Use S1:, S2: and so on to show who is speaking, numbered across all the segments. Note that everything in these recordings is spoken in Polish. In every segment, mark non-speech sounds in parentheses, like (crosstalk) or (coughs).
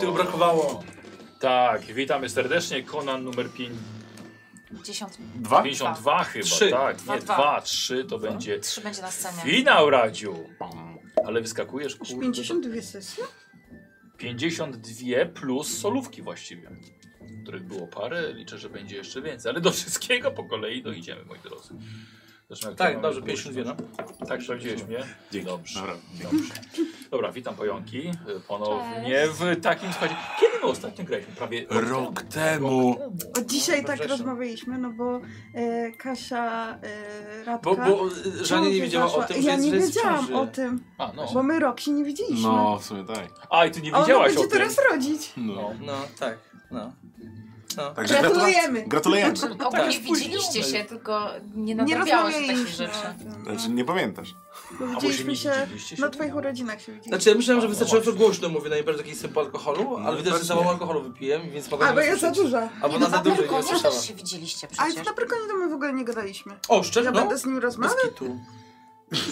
S1: tego brakowało.
S2: Tak, witamy serdecznie. Konan numer 5,
S3: Dziesiąt.
S4: Dwa?
S2: 52 chyba,
S1: Trzy.
S2: tak.
S3: Dwa,
S2: nie,
S3: dwa.
S2: 2, 3 to będzie.
S3: Trzy będzie na scenie.
S2: Finał Radziu! Ale wyskakujesz
S5: Aż
S2: kurde.
S5: 52 sesje?
S2: 52 plus solówki właściwie, których było parę. Liczę, że będzie jeszcze więcej, ale do wszystkiego po kolei dojdziemy, moi drodzy. Zresztą, jak
S1: Tak,
S2: mamy
S1: dobrze,
S2: długość,
S1: 52, no.
S2: no. Tak, sprawdziłeś mnie.
S4: Dzięki.
S2: Dobrze.
S4: Dobra.
S2: Dobrze. Dobra, witam pojąki y, ponownie w takim składzie. Kiedy my ostatnio graliśmy? Prawie
S4: Rok temu.
S5: O dzisiaj tak
S1: Wrześniu.
S5: rozmawialiśmy, no bo e, Kasia e, Radka...
S1: Bo, bo e, Żania nie
S5: ciąży
S1: wiedziała o
S5: zaszła-
S1: tym, że
S5: Ja
S1: jest,
S5: nie
S1: że jest w
S5: wiedziałam
S1: ciąży.
S5: o tym,
S2: A, no.
S5: bo my rok się nie widzieliśmy.
S4: No, w sumie tak.
S2: A, i ty nie
S5: A ona
S2: wiedziałaś o
S5: będzie
S2: tym.
S5: teraz rodzić.
S4: No.
S2: No.
S1: No tak, no. no.
S4: Także
S5: Gratulujemy.
S4: gratula- Gratulujemy.
S3: Ogólnie
S2: Tak,
S3: widzieliście
S2: spóźnione.
S3: się, tylko nie
S5: Nie
S3: nadrabiało No, się takich
S5: rozmawialiśmy.
S3: rzeczy.
S5: No,
S4: Znaczy, nie pamiętasz.
S5: bo
S2: A może
S5: widzieliśmy
S2: nie
S5: się
S2: widzieliście się?
S5: na twoich urodzinach się widzieliśmy.
S1: Znaczy ja myślałem, że
S2: A, no
S1: wystarczyło, że
S2: właśnie.
S1: głośno mówię najbardziej jakiś po alkoholu, ale
S4: No,
S1: widać, że za
S4: właśnie.
S1: mało alkoholu wypiłem, więc mogę
S5: A, bo ja za dużo.
S1: Albo
S3: Nie,
S1: na
S3: no
S1: za
S3: na
S1: dużo nie
S3: balkonie
S1: słyszałem.
S3: też się widzieliście
S5: Ale
S3: przecież.
S5: na Brykonie to my w ogóle nie gadaliśmy.
S1: O,
S5: Ja
S1: szczerze, no?
S5: będę z nim
S1: Bez
S5: rozmawiał?
S1: kitu.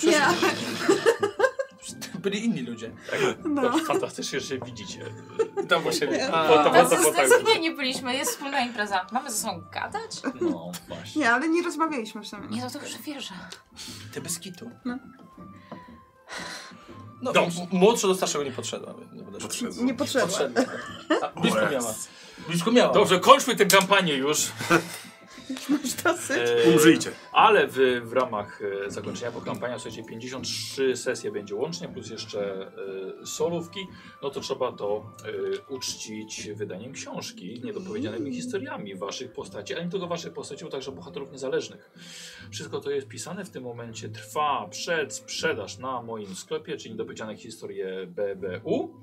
S5: Nie.
S1: Byli inni ludzie.
S5: (laughs) No.
S2: Dobrze, Tak, fantastycznie, że się widzicie. (laughs)
S1: Tam właśnie.
S2: A, po to, po to,
S3: Tacy
S2: po to.
S3: zdecydowanie byliśmy, jest wspólna impreza. Mamy ze sobą gadać?
S2: No, właśnie.
S5: Nie, ale nie rozmawialiśmy przynajmniej.
S3: Nie, no to już wierzę.
S1: Ty bez kitu.
S5: No.
S1: No,
S2: Dobrze.
S1: m- młodszy do starszego nie podszedła. więc Nie będę
S4: Podszedł.
S5: Nie potrzeba.
S1: Podszedła. A, Blisko
S4: Ojej.
S1: miała. Blisko miała.
S2: Dobrze, kończmy tę kampanię już.
S5: Masz dosyć.
S2: E,
S4: Umrzyjcie.
S2: Ale w, w ramach e, zakończenia po kampania, słuchajcie, 53 sesje będzie łącznie, plus jeszcze e, solówki, no to trzeba to e, uczcić wydaniem książki, niedopowiedzianymi historiami waszych postaci, ale nie tylko waszych postaci, bo także bohaterów niezależnych. Wszystko to jest pisane w tym momencie, trwa przed sprzedaż na moim sklepie, czyli niedopowiedziane historie BBU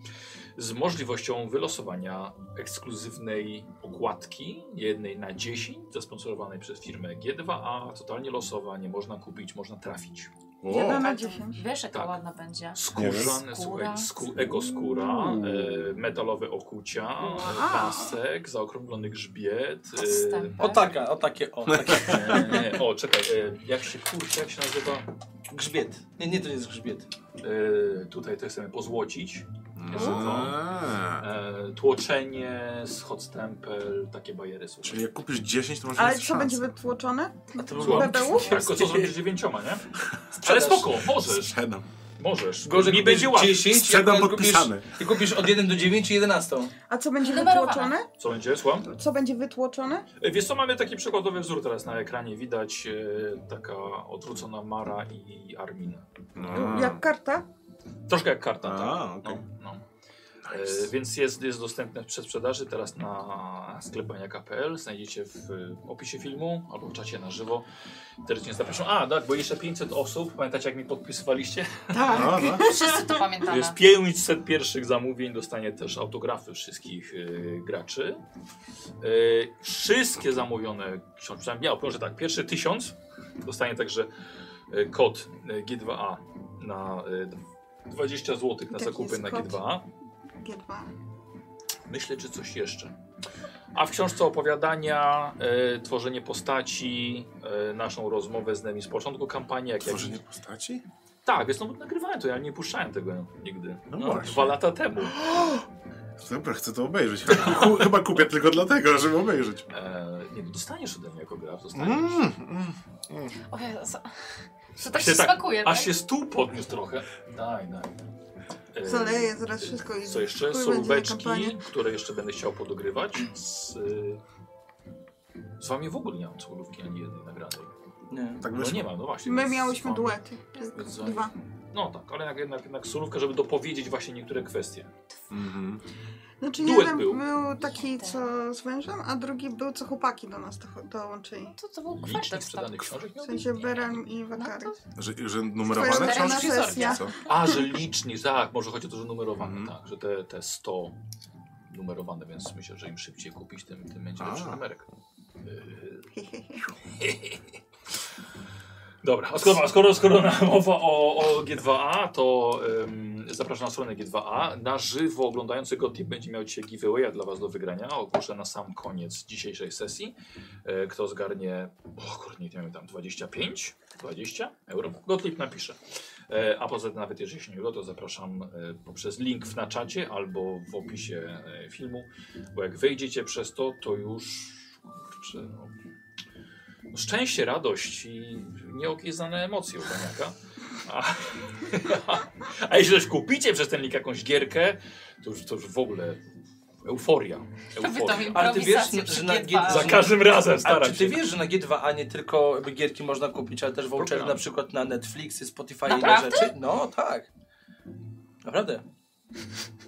S2: z możliwością wylosowania ekskluzywnej okładki, jednej na 10, zasponsorowanej przez firmę G2, a totalnie losowa, nie można kupić, można trafić.
S5: Jedna
S4: O,
S5: na
S3: Ale to
S5: dziesięć.
S3: Wiesz, jaka
S2: Tak.
S3: ładna będzie.
S2: Skórzane,
S3: Skóra.
S2: słuchaj, sku, ekoskóra, e, metalowe okucia,
S5: Wow.
S2: e, pasek, zaokrąglony grzbiet.
S3: Wstępek.
S1: O taka, o takie, o takie.
S2: E, nie, nie, o, czekaj, e, jak się kurczę, jak się nazywa?
S1: Grzbiet. Nie, nie, to nie jest grzbiet.
S2: E, tutaj to chcemy pozłocić.
S4: No, A.
S2: E, tłoczenie, schod stempel, takie bajery są.
S4: Czyli jak kupisz 10, to masz
S5: Ale
S4: więcej
S5: co
S4: szans.
S5: będzie wytłoczone?
S1: A to
S2: Słucham?
S1: było
S5: BBU?
S2: Tak, tylko co zrobisz z dziewięcioma, nie? Ale
S1: Sprzedaż.
S2: spoko,
S4: No,
S2: możesz,
S4: Sprzedam.
S2: możesz.
S1: Gorzej
S2: mi
S1: kupisz
S2: będzie łatwiej.
S1: 10,
S4: Sprzedam
S1: jak
S4: podpisane.
S1: Kupisz, jak kupisz od 1 do 9 i 11.
S5: A co będzie
S3: Numerowane.
S5: wytłoczone?
S2: Co będzie, słucham?
S5: Co będzie wytłoczone?
S2: E, Wiesz co, mamy taki przykładowy wzór teraz na ekranie. Widać e, taka odwrócona Mara i Armin.
S4: No.
S5: Jak karta?
S2: Troszkę jak karta,
S4: A,
S2: tak?
S4: okej.
S2: No, no. E,
S4: Nice.
S2: więc jest, jest dostępne w przedsprzedaży teraz na sklepaniaka.pl. Znajdziecie w e, opisie filmu albo w czacie na żywo. Serdecznie zapraszam. A, tak, bo jeszcze 500 osób. Pamiętacie, jak mi podpisywaliście?
S5: Tak.
S4: No, no.
S3: Wszyscy to pamiętamy.
S2: Jest 500 pierwszych zamówień, dostanie też autografy wszystkich y, graczy. Y, wszystkie zamówione książki, przynajmniej ja opowiem, że tak, pierwszy tysiąc dostanie także y, kod y, G2A na y, 20 zł na
S5: Taki
S2: zakupy
S5: jest
S2: na
S5: kod.
S2: G2A.
S5: G2.
S2: Myślę, czy coś jeszcze. A w książce opowiadania, y, tworzenie postaci, y, naszą rozmowę z nami z początku kampanii, jak
S4: Tworzenie postaci?
S2: Tak, więc no nagrywałem to, ja nie puszczałem tego nigdy.
S4: No
S2: No,
S4: właśnie.
S2: dwa lata temu.
S4: Dobra, chcę to obejrzeć. Chyba- (laughs) Chyba kupię tylko dlatego, żeby obejrzeć.
S2: E, nie, no dostaniesz ode mnie jako graf, dostaniesz.
S4: Mm, mm, mm.
S3: O Jezu. To tak
S2: Się
S3: się
S2: tak-
S3: smakuje, tak?
S2: Aż się stół podniósł trochę. Daj, daj. E,
S5: Zaleję zaraz wszystko i
S2: Co jeszcze?
S5: wpływ będzie na
S2: Solubeczki,
S5: kampanię.
S2: które jeszcze będę chciał podogrywać. Z, e, z wami w ogóle nie mam solówki ani jednej nagranej.
S1: Nie.
S4: Tak
S2: No
S4: wyszło.
S2: nie mam, no właśnie.
S5: My
S2: więc z
S5: miałyśmy
S2: wami-
S5: duety. tylko
S2: Więc z wami-
S5: Dwa.
S2: No tak, ale jednak, jednak, jednak solówkę, żeby dopowiedzieć właśnie niektóre kwestie.
S4: Mhm.
S5: Znaczy
S2: Duet
S5: jeden
S2: był.
S5: był. taki, co z wężem, a drugi był, co chłopaki do nas do- dołączyli.
S3: No To, to
S6: No,
S3: był
S2: Licznik
S6: tak
S3: kwartet sprzedanych
S2: sprzedanych książek.
S5: W
S2: No,
S5: sensie Beren i
S3: No
S5: Wakary.
S3: to
S4: Że, że
S5: Twoja
S4: numerowane
S3: cztery
S4: książki?
S3: na
S4: czy
S5: sesja.
S4: Co?
S2: A, że licznik, tak, może chodzi o to, że numerowane,
S4: Mhm.
S2: tak, że te, te 100 numerowane, więc myślę, że im szybciej kupić, tym, tym będzie
S4: A.
S2: lepszy numerek.
S4: (laughs)
S2: Yy,
S5: Hehehe.
S2: Dobra, a skoro, a skoro, skoro na- mowa o, o G2A, to ym, zapraszam na stronę G2A. Na żywo oglądający go tip będzie miał dzisiaj giveawaya dla Was do wygrania. Ogłoszę na sam koniec dzisiejszej sesji. E, kto zgarnie, o kurde, nie wiem, tam 25, 20 euro. Gotlip napisze. E, A poza tym, nawet jeżeli się nie uda, to zapraszam e, poprzez link w na czacie albo w opisie e, filmu, bo jak wejdziecie przez to, to już kurczę, no, no szczęście, radość i nieokieznane emocje u paniaka. A, (laughs) a jeśli też kupicie przez ten link jakąś gierkę, to już, to już w ogóle euforia.
S3: Wy tam
S2: euforia.
S1: Ale ty wiesz,
S3: improwizację
S1: że na-
S3: przypierdalasz.
S2: Za każdym razem
S1: A
S2: staram
S1: czy
S2: się.
S1: ty wiesz, że na G2A nie tylko jakby gierki można kupić, ale też vouchery
S2: Program.
S1: na przykład na Netflixy, Spotify i inne
S3: Naprawdę?
S1: rzeczy? No tak. Naprawdę.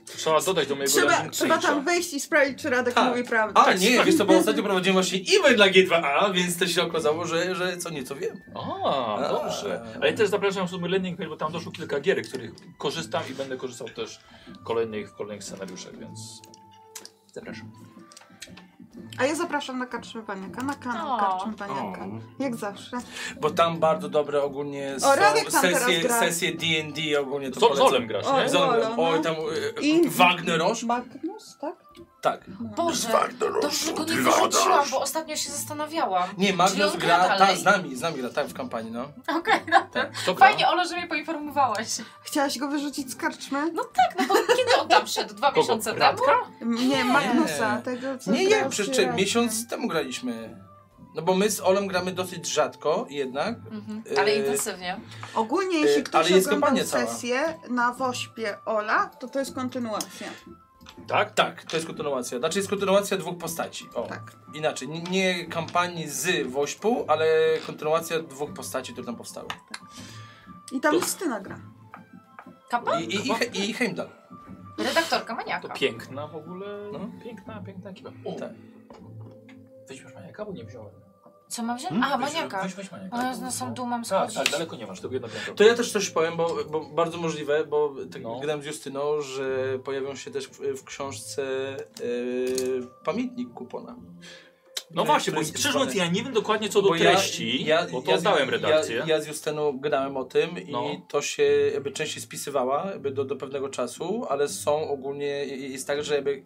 S2: Trzeba dodać do mojego
S5: Trzeba,
S2: rankingu
S5: trzeba
S2: Twitcha.
S5: tam wejść i sprawdzić, czy Radek
S1: Tak.
S5: mówi prawdę.
S1: A nie, wiesz co, bo ostatnio prowadziłem właśnie event dla G2A, więc też się okazało, że, że co nieco wiem.
S2: A,
S1: A.
S2: dobrze. Ale też zapraszam w sumie Landing Page, bo tam doszło kilka gier, których korzystam i będę korzystał też w kolejnych, w kolejnych scenariuszach, więc zapraszam.
S5: A ja zapraszam na Karczmy Paniaka, na kanał
S3: O.
S5: Karczmy Paniaka.
S4: O.
S5: Jak zawsze.
S1: Bo tam bardzo dobre ogólnie
S5: O, Radek
S1: są
S5: tam teraz
S1: sesje,
S5: gra.
S1: sesje D&D ogólnie to
S2: Z Zolem grasz,
S5: O,
S2: nie?
S1: Z Olem.
S5: Zola, no.
S1: Oj, tam
S5: I-
S1: y, Wagnerosz?
S5: Magnus, tak?
S1: Tak.
S3: Boże, dobrze go nie wyrzuciłam, bo ostatnio się zastanawiałam.
S1: Nie, Magnus
S5: No,
S3: on
S1: gra,
S3: gra
S1: ta,
S3: dalej?
S1: z nami, z nami gra, tak, w kampanii, no.
S3: Okej, no to...
S2: To gra.
S3: Fajnie, Olo, że mnie poinformowałaś.
S5: Chciałaś go wyrzucić z karczmy?
S3: No tak, no bo kiedy on tam wszedł? Dwa
S2: Kogo?
S3: miesiące temu?
S2: Radka?
S5: Nie, Magnusa, tego co
S1: Nie,
S5: grał
S1: nie,
S5: z
S1: przecież czy-
S5: Radkiem.
S1: miesiąc temu graliśmy. No bo my z Olem gramy dosyć rzadko jednak.
S3: Mhm.
S2: E,
S3: Ale
S1: Yy,
S3: intensywnie.
S5: Ogólnie
S1: Y,
S5: jeśli ktoś
S1: ale jest
S5: oglądał
S1: kampania cała.
S5: sesję na Wośpie Ola, to to jest kontynuacja.
S2: Tak?
S1: Tak, to jest kontynuacja. Znaczy jest kontynuacja dwóch postaci. O,
S5: Tak.
S1: inaczej. Nie, nie kampanii z Wośpu, ale kontynuacja dwóch postaci, które tam powstały.
S5: I tam
S2: To-
S5: Justyna gra.
S3: Kapa?
S1: I, i, i, He- i Heimdall.
S3: Redaktorka
S2: To
S3: maniaka.
S2: piękna w ogóle,
S1: No.
S2: piękna, piękna ekipa. O,
S1: Tak.
S2: weźmiesz maniaka, bo nie wziąłem.
S3: Co mam wziąć? A,
S2: Weź-
S3: maniaka.
S2: Weź, weź maniaka.
S3: A ja na sam dół mam
S2: Hmm? Tak,
S3: schodzić.
S2: tak, daleko nie masz, tylko jedno piętro.
S1: To ja też coś powiem, bo, bo bardzo możliwe, bo tak
S2: No.
S1: gadałem z Justyną, że pojawią się też w, w książce yy, pamiętnik kupona.
S2: No właśnie, bo
S1: Który jest
S2: szczerze mówiąc, ja nie wiem dokładnie co do
S1: Bo ja-
S2: treści,
S1: ja-
S2: bo to
S1: ja z-
S2: oddałem redakcję.
S1: Ja, ja z Justyną gadałem o tym
S2: No.
S1: i to się jakby częściej spisywała jakby do, do pewnego czasu, ale są ogólnie, i- jest tak, że jakby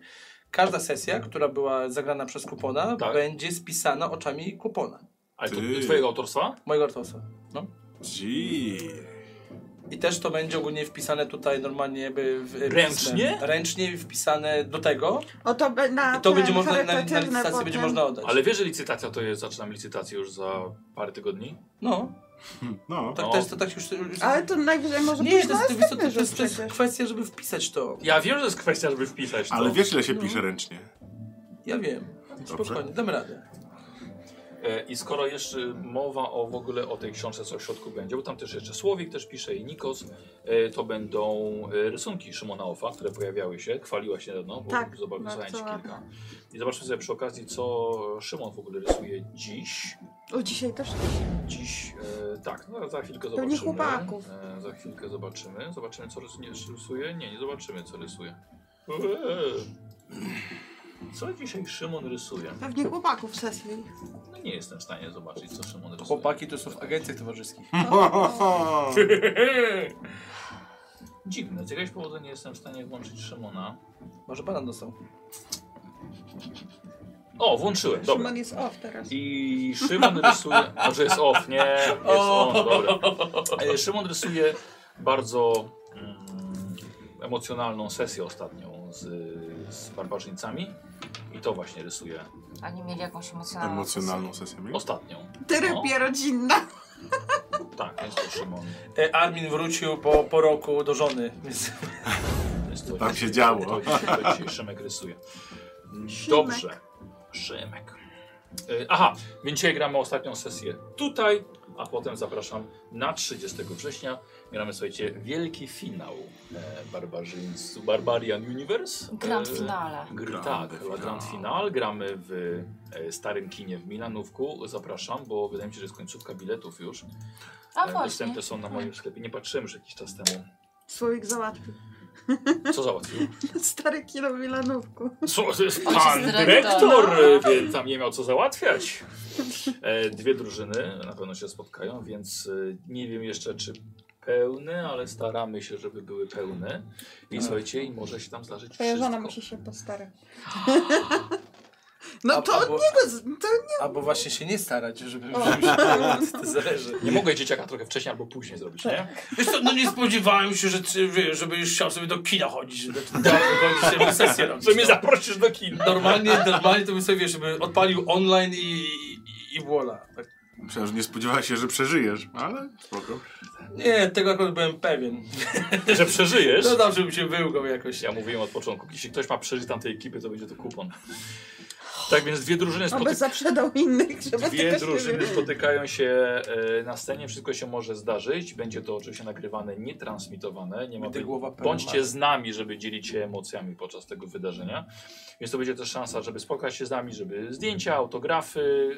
S1: każda sesja, która była zagrana przez Kupona,
S2: Tak.
S1: będzie spisana oczami Kupona,
S2: Ale to
S4: Ty.
S2: twojego autorstwa?
S1: mojego artosa.
S4: Ci.
S1: I też to będzie ogólnie wpisane tutaj normalnie jakby... W,
S2: Ręcznie?
S1: pismem. Ręcznie wpisane do tego
S5: O to be- na
S1: i to
S5: ten
S1: będzie można, na, na
S5: charytatywne
S1: licytację
S5: potem.
S1: będzie można oddać.
S2: Ale wiesz, że licytacja to jest, zaczynam licytację już za parę tygodni?
S1: No,
S4: Hm, No.
S1: tak
S2: No.
S1: też, to tak już... już
S5: Ale to najwyżej może
S1: nie,
S5: pójść
S1: to
S5: na
S1: jest, to, to,
S5: następny
S1: to, to,
S5: rzecz
S1: jest, to jest
S5: przecież.
S1: kwestia, żeby wpisać to.
S2: Ja wiem, że jest kwestia, żeby wpisać to.
S4: Ale wiesz, ile się
S1: No.
S4: pisze ręcznie?
S1: Ja wiem.
S4: Dobrze.
S1: Spokojnie, damy radę.
S2: E, I skoro jeszcze mowa o w ogóle o tej książce, co w środku będzie, bo tam też jeszcze Słowik też pisze i Nikos, e, to będą e, rysunki Szymona Ofa, które pojawiały się, chwaliła się niedawno, bo
S5: Tak,
S2: zobaczyłem ci
S5: bardzo ładne.
S2: kilka. I zobaczmy sobie przy okazji, co Szymon w ogóle rysuje dziś.
S5: O, dzisiaj też.
S2: Dziś, e, tak, no, za chwilkę
S5: Pewnie
S2: zobaczymy.
S5: chłopaków.
S2: E, za chwilkę zobaczymy. Zobaczymy, co rys- nie, rysuje. Nie, nie zobaczymy, co rysuje. Eee. Co dzisiaj Szymon rysuje?
S5: Pewnie chłopaków sesji.
S2: No nie jestem w stanie zobaczyć, co Szymon rysuje.
S1: Chłopaki to są w agencjach towarzyskich.
S2: Dziwne, z jakiegoś powodu nie jestem w stanie włączyć Szymona.
S1: Może banan dostał.
S2: O, włączyłem, dobra.
S5: Szymon jest off teraz.
S2: I Szymon rysuje. Może jest off, nie? Jest on, dobra. E, Szymon rysuje bardzo mm, emocjonalną sesję ostatnią z, z barbarzyńcami. I to właśnie rysuje.
S3: Oni mieli jakąś emocjonalną...
S4: Emocjonalną sesję. mieli?
S2: Ostatnią.
S1: No.
S5: Terapia rodzinna.
S2: Tak, więc to Szymon.
S1: E, Armin wrócił po, po roku do żony, więc
S2: Więc to,
S4: Tam się działo.
S2: To, to dzisiaj Szymek rysuje. Dobrze. Szymek. E, Aha, więc dzisiaj gramy ostatnią sesję tutaj, a potem zapraszam na 30 września. Gramy, słuchajcie, wielki finał e, Barbarzyńcu, Barbarian Universe.
S3: Grand
S2: E,
S3: finale.
S2: Gr
S4: Grand
S2: tak,
S4: finale.
S2: Grand Final. Gramy w e, starym kinie w Milanówku. Zapraszam, bo wydaje mi się, że jest końcówka biletów już.
S3: A
S2: E,
S3: No właśnie.
S2: Dostępne są na moim sklepie. Nie patrzyłem już jakiś czas temu.
S5: Słowik załatwił. (laughs)
S2: Co załatwił?
S5: Stary kino w Milanówku.
S2: Co, to jest
S3: Ojciec
S2: pan
S3: dyrektora.
S2: dyrektor, więc tam nie miał co załatwiać. E, Dwie drużyny na pewno się spotkają, więc e, nie wiem jeszcze czy pełne, ale staramy się, żeby były pełne. I słuchajcie, i może się tam zdarzyć
S5: Twoja
S2: wszystko.
S5: żona musi się postarać. (laughs) No
S1: A-
S5: to od
S1: albo-
S5: niego, z- to
S1: Albo właśnie się nie starać, żeby,
S5: O.
S1: żeby się (laughs) to zależy.
S2: Nie mogę dzieciaka trochę wcześniej albo później zrobić, nie?
S1: Wiesz co, no nie spodziewałem się, że ty, wiesz, żeby już chciał sobie do kina chodzić, żeby do chodzić, żeby sesję robić.
S2: Że mnie
S1: no.
S2: zaprosisz do
S1: (laughs)
S2: kina.
S1: Normalnie, normalnie to bym sobie, wiesz, żeby odpalił online i, i, i voila. Tak.
S4: Myślałem, że nie spodziewałeś się, że przeżyjesz, ale spoko.
S1: Nie, tego akurat byłem pewien.
S2: Że przeżyjesz.
S1: No dobrze bym się wyłgał jakoś.
S2: Ja mówiłem od początku, jeśli ktoś ma przeżyć tamtej ekipy, to będzie to kupon. Tak więc dwie drużyny
S5: aby
S2: spotykają.
S5: zaprzedał innych, żeby
S2: Dwie
S5: (laughs) tego się
S2: drużyny
S5: nie-
S2: spotykają się e, na scenie, wszystko się może zdarzyć. Będzie to oczywiście nagrywane, nie transmitowane. Nie ma
S1: Gdy głowa pełna
S2: Bądźcie
S1: marzeń.
S2: z nami, żeby dzielić się emocjami podczas tego wydarzenia. Więc to będzie też szansa, żeby spotkać się z nami, żeby zdjęcia, autografy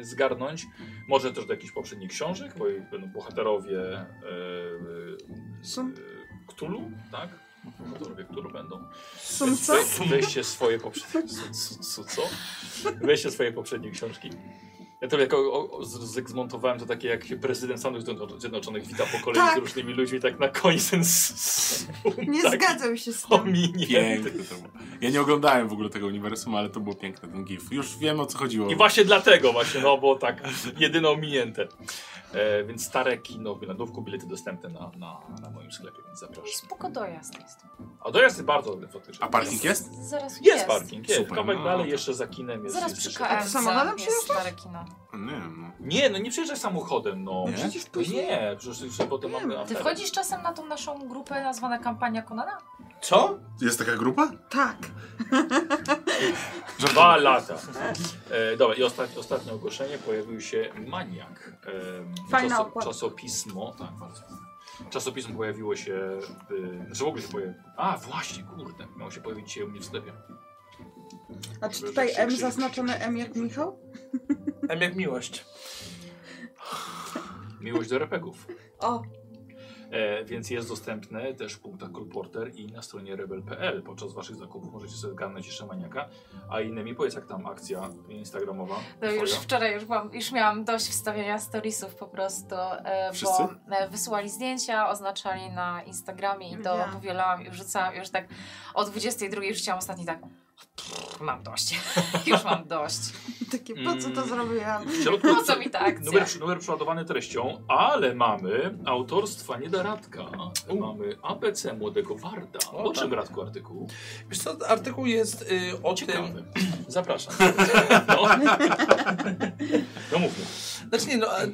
S2: e, zgarnąć. Może też do jakichś poprzednich książek, bo będą bohaterowie e,
S5: Są-
S2: e, Cthulhu, tak? Bohaterowie Cthulhu będą.
S5: Sumca?
S2: We- Weźcie swoje poprzednie. Su, su, su, co? Weźcie swoje poprzednie książki. Ja to jak o, o, z- z- zmontowałem to takie jak się prezydent Stanów Zjedno- Zjednoczonych wita po kolei
S5: Tak.
S2: z różnymi ludźmi, tak na koniec ten s- s-
S5: Nie
S2: taki
S5: zgadzam się z tym.
S2: pominięty.
S4: Piękne to było. Ja nie oglądałem w ogóle tego uniwersum, ale to było piękne, ten gif. Już wiem o co chodziło.
S2: I właśnie dlatego właśnie, no bo tak jedyne ominięte. E, więc stare kino w Wielandówku, bilety dostępne na, na, na moim sklepie, więc zapraszam.
S3: Spoko dojazd jest.
S2: A dojazd jest bardzo egzotyczny.
S4: A parking jest?
S3: Zaraz
S2: Jest, parking, jest.
S4: Super.
S2: Kawałek
S4: No,
S2: dalej
S4: tak.
S2: jeszcze za kinem jest.
S3: Zaraz
S2: jest
S3: przy
S2: jeszcze-
S5: A
S3: KM
S5: ty samochodem
S3: jest stare kino.
S4: Nie wiem, no.
S2: Nie, no nie przyjeżdżaj samochodem, no.
S4: Nie?
S2: Przecież później. Nie, przecież potem
S5: Nie,
S2: mamy
S3: Ty
S2: aferę.
S3: wchodzisz czasem na tą naszą grupę nazwana Kampania Konana?
S1: Co?
S4: Jest taka grupa?
S5: Tak.
S2: Dwa lata. E, dobra, i ostatnie, ostatnie ogłoszenie. Pojawił się Maniak. E,
S5: Fajna okładka.
S2: Czasopismo, tak, bardzo. Czasopismo pojawiło się, e, że w ogóle się pojawiło. A, właśnie, kurde, miało się pojawić dzisiaj u mnie w sklepie.
S5: A czy tutaj M zaznaczone M jak Michał?
S1: M jak miłość.
S2: Miłość do repegów.
S5: O,
S2: E, więc jest dostępne też w punktach Porter i na stronie rebel.pl. Podczas waszych zakupów możecie sobie zgarnąć jeszcze Maniaka. A innymi powiedz, jak tam akcja instagramowa
S3: No już
S2: twoja?
S3: wczoraj już, byłam, już miałam dość wstawiania storiesów po prostu, e,
S4: Wszyscy?
S3: bo e, wysyłali zdjęcia, oznaczali na Instagramie i to
S5: Ja.
S3: powielałam i wrzucałam już tak o 22 rzuciłam ostatni tak "Pff, mam dość, (laughs) już mam dość.
S5: takie po co to
S2: Mm.
S5: zrobiłam?
S3: (laughs)
S2: W środku
S3: Po co mi ta akcja?
S2: Numer, przy- numer przeładowany treścią, ale mamy autorstwa Niedaradka.
S1: U.
S2: Mamy ABC Młodego Warda.
S1: O,
S2: O czym,
S1: tak.
S2: Radku, artykuł?
S1: Wiesz co, artykuł jest y, o tym...
S2: Ciekawy.
S1: (laughs)
S2: Zapraszam. No, no mówmy.
S1: Znaczy nie, no, e, e,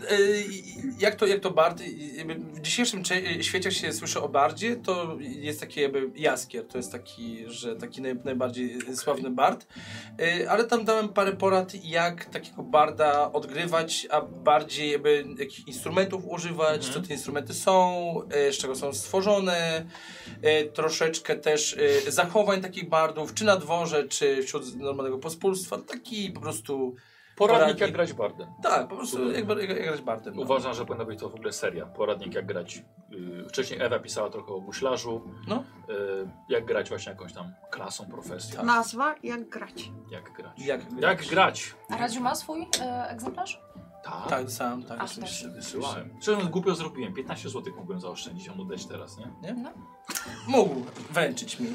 S1: jak to, jak to Bard, jakby w dzisiejszym cze- e, świecie jak się słyszy o Bardzie, to jest taki jakby jaskier, to jest taki, że taki naj, najbardziej sławny Bard, E, ale tam dałem parę porad, jak takiego Barda odgrywać, a bardziej jakby jakich instrumentów używać,
S2: Mhm.
S1: co te instrumenty są, e, z czego są stworzone, e, troszeczkę też e, zachowań takich Bardów, czy na dworze, czy wśród normalnego pospólstwa, taki po prostu...
S2: Poradnik
S1: Poradnik.
S2: jak grać Bardem.
S1: Tak, po prostu jak, jak, jak grać Bardem. no.
S2: Uważam, że powinna być to w ogóle seria. Poradnik jak grać. y, Wcześniej Ewa pisała trochę o guślarzu.
S1: No.
S2: Y, Jak grać właśnie jakąś tam klasą, profesją.
S1: Tak.
S5: Nazwa jak grać.
S2: Jak grać.
S1: Jak grać.
S2: Jak grać.
S3: A Radziu ma swój e, egzemplarz?
S2: Tak.
S1: Tak, sam, tak.
S3: A,
S1: oczywiście.
S3: tak.
S2: Wysyłałem. Przecież głupio zrobiłem. 15 zł mogłem zaoszczędzić, on oddać teraz, nie?
S1: Mógł wręczyć mi.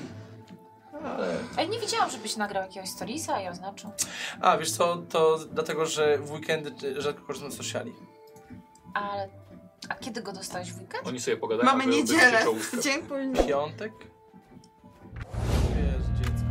S3: Ej, nie widziałam, żebyś nagrał jakiegoś storiesa i oznaczył.
S1: A, wiesz co, to dlatego, że w weekendy rzadko korzystam z sociali.
S3: Ale, a kiedy go dostałeś w weekend?
S2: Oni sobie pogadają.
S5: Mamy
S2: wy- wy-
S5: niedzielę,
S2: czołówkę.
S5: (laughs) dzień później.
S1: Piątek? Wiesz, dziecko.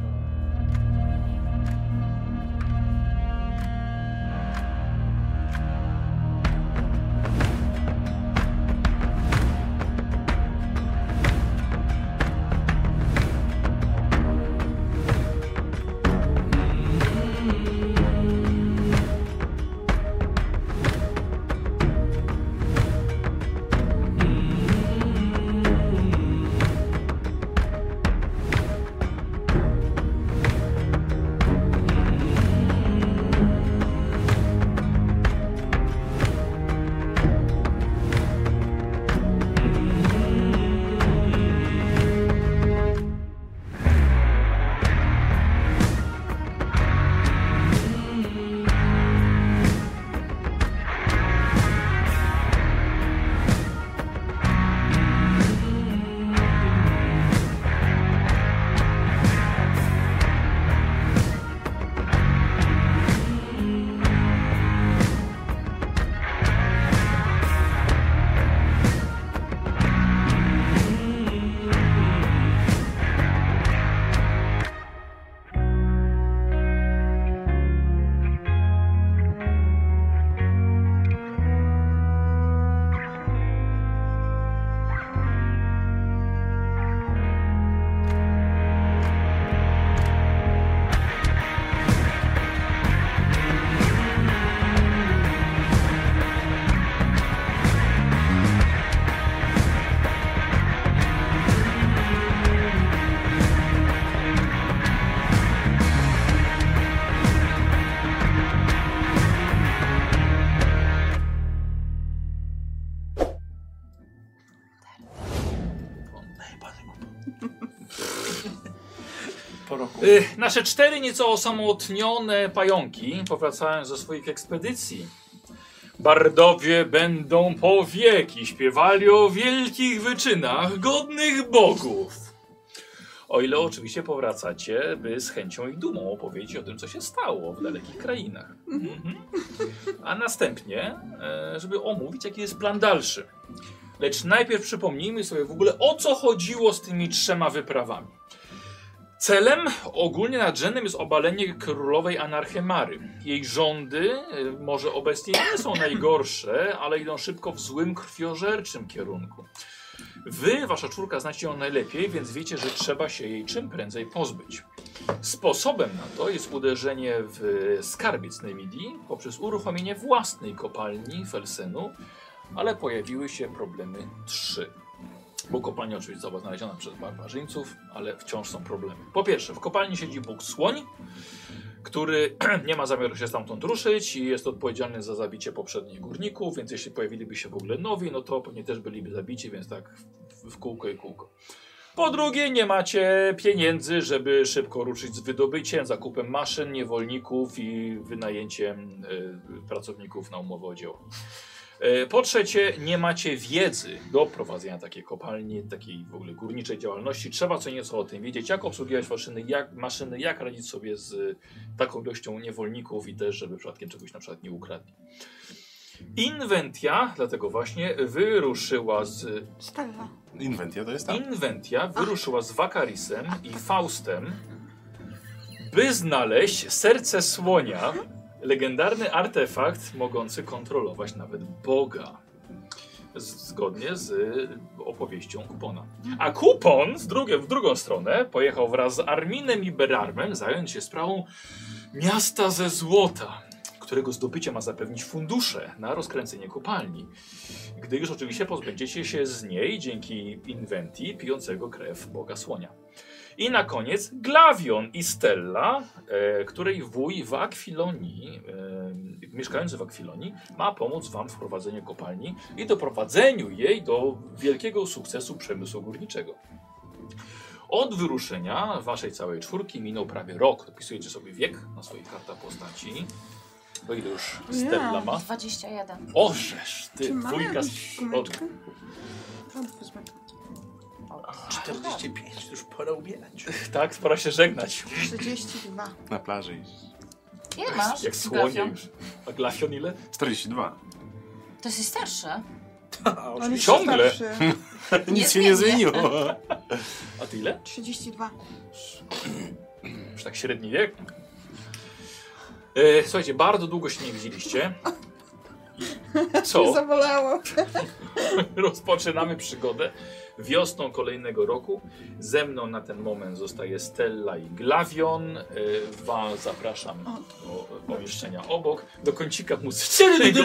S2: Y, Nasze cztery nieco osamotnione pająki powracają ze swoich ekspedycji. Bardowie będą po wieki śpiewali o wielkich wyczynach godnych bogów. O ile oczywiście powracacie, by z chęcią i dumą opowiedzieć o tym, co się stało w dalekich krainach. Mhm. A następnie, e, żeby omówić, jaki jest plan dalszy. Lecz najpierw przypomnijmy sobie w ogóle, o co chodziło z tymi trzema wyprawami. Celem ogólnie nadrzędnym jest obalenie królowej Anarchemary. Jej rządy, y, może obecnie nie są najgorsze, ale idą szybko w złym, krwiożerczym kierunku. Wy, wasza czwórka, znacie ją najlepiej, więc wiecie, że trzeba się jej czym prędzej pozbyć. Sposobem na to jest uderzenie w skarbiec Nemidii poprzez uruchomienie własnej kopalni Felsynu, ale pojawiły się problemy trzy. Bo kopalnia oczywiście została znaleziona przez barbarzyńców, ale wciąż są problemy. Po pierwsze, w kopalni siedzi Bóg Słoń, który (clears throat) nie ma zamiaru się stamtąd ruszyć i jest odpowiedzialny za zabicie poprzednich górników, więc jeśli pojawiliby się w ogóle nowi, no to pewnie też byliby zabici, więc tak w, w kółko i kółko. Po drugie, nie macie pieniędzy, żeby szybko ruszyć z wydobyciem, zakupem maszyn, niewolników i wynajęciem y, pracowników na umowę o dzieło. E, Po trzecie, nie macie wiedzy do prowadzenia takiej kopalni, takiej w ogóle górniczej działalności. Trzeba co nieco o tym wiedzieć, jak obsługiwać maszyny, jak, maszyny, jak radzić sobie z y, taką ilością niewolników i też, żeby przypadkiem czegoś na przykład nie ukradli. Inwentia, dlatego właśnie, wyruszyła z...
S5: Stella.
S4: Inwentia to jest tam.
S2: Inwentia wyruszyła z Wakarisem i Faustem, by znaleźć serce słonia,
S4: Mhm.
S2: legendarny artefakt mogący kontrolować nawet Boga. Z- Zgodnie z y, opowieścią kupona. A kupon z drugie, w drugą stronę pojechał wraz z Arminem i Berarmem zająć się sprawą miasta ze złota, którego zdobycie ma zapewnić fundusze na rozkręcenie kopalni gdy już oczywiście pozbędziecie się z niej dzięki inwentii pijącego krew Boga Słonia. I na koniec Glavion i Stella, e, której wuj w Akwilonii, e, mieszkający w Akwilonii, ma pomóc wam w prowadzeniu kopalni i doprowadzeniu jej do wielkiego sukcesu przemysłu górniczego. Od wyruszenia waszej całej czwórki minął prawie rok. Dopisujecie sobie wiek na swojej kartach postaci. To ile już Stella
S5: Ja.
S2: ma?
S3: 21.
S2: Ożesz, ty,
S5: Czy mamy
S2: dwójka z
S5: jakąś gumeczkę?
S2: środka.
S5: To wezmę.
S1: 45, to już pora
S2: (laughs)
S1: umierać.
S2: Tak, pora się żegnać.
S5: 32.
S4: Na plaży iść.
S3: Ile masz?
S2: Jak słonie
S3: Glafion?
S2: już. A glafion ile?
S4: 42.
S3: To jesteś starszy.
S1: A,
S5: On jest
S1: oczywiście.
S2: Ciągle.
S5: starszy.
S4: Nic się nie
S3: zmienię.
S4: zmieniło.
S2: A ty ile?
S5: 32.
S2: Już tak średni wiek. E, słuchajcie, bardzo długo się nie widzieliście.
S5: (laughs) Nie
S2: Co?
S5: zabolało.
S2: Rozpoczynamy przygodę wiosną kolejnego roku. Ze mną na ten moment zostaje Stella i Glavion. E, was zapraszam do pomieszczenia obok, do kącika muzycznego.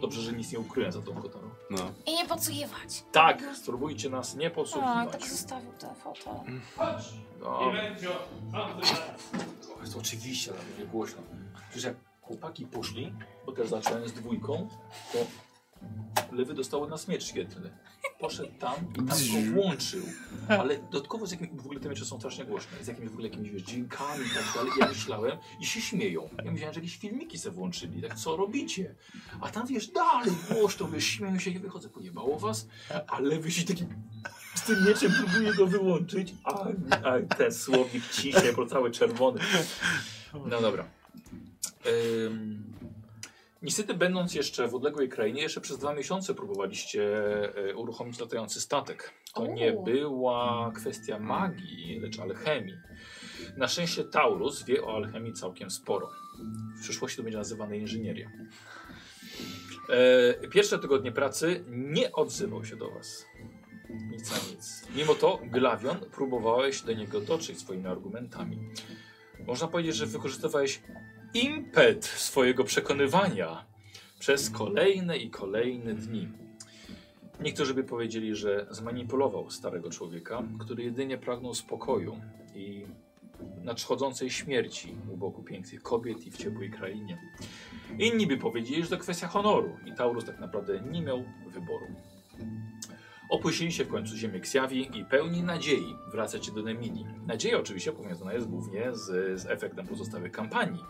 S2: Dobrze, że nic nie ukryłem za tą kotarą.
S4: No.
S3: I nie podsłuchiwać.
S2: Tak, spróbujcie nas nie
S3: A,
S2: podsłuchiwać.
S3: tak zostawił te fotel.
S2: No. To jest oczywiście, ale będzie głośno. Przecież jak chłopaki poszli, bo też zacząłem z dwójką, to lewy dostały na miecz świetlny. Poszedł tam i tam go włączył. Ale dodatkowo z jakimś, w ogóle te miecze są strasznie głośne, z jakimiś w ogóle jakimiś wiesz, dźwiękami i tak dalej. Ja myślałem i się śmieją. Ja myślałem, że jakieś filmiki se włączyli, tak co robicie? A tam wiesz, dalej głośno, wiesz, śmieją się, ja wychodzę, pojebało was, a lewy się taki z tym mieczem próbuje go wyłączyć, a, a ten słowik ciśnie, bo cały czerwony. No dobra. Ym, niestety będąc jeszcze w odległej krainie, jeszcze przez dwa miesiące próbowaliście e, uruchomić latający statek. To
S3: O.
S2: nie była kwestia magii, lecz alchemii. Na szczęście Taurus wie o alchemii całkiem sporo. W przyszłości to będzie nazywane inżynieria. E, pierwsze tygodnie pracy nie odzywał się do was. Nic na nic. Mimo to Glawion próbowałeś do niego dotrzeć swoimi argumentami. Można powiedzieć, że wykorzystywałeś impet swojego przekonywania przez kolejne i kolejne dni. Niektórzy by powiedzieli, że zmanipulował starego człowieka, który jedynie pragnął spokoju i nadchodzącej śmierci u boku pięknych kobiet i w ciepłej krainie. Inni by powiedzieli, że to kwestia honoru i Taurus tak naprawdę nie miał wyboru. Opuścili się w końcu ziemię Ksiawi i pełni nadziei wracać do Nemini. Nadzieja oczywiście powiązana jest głównie z, z efektem pozostałych kampanii,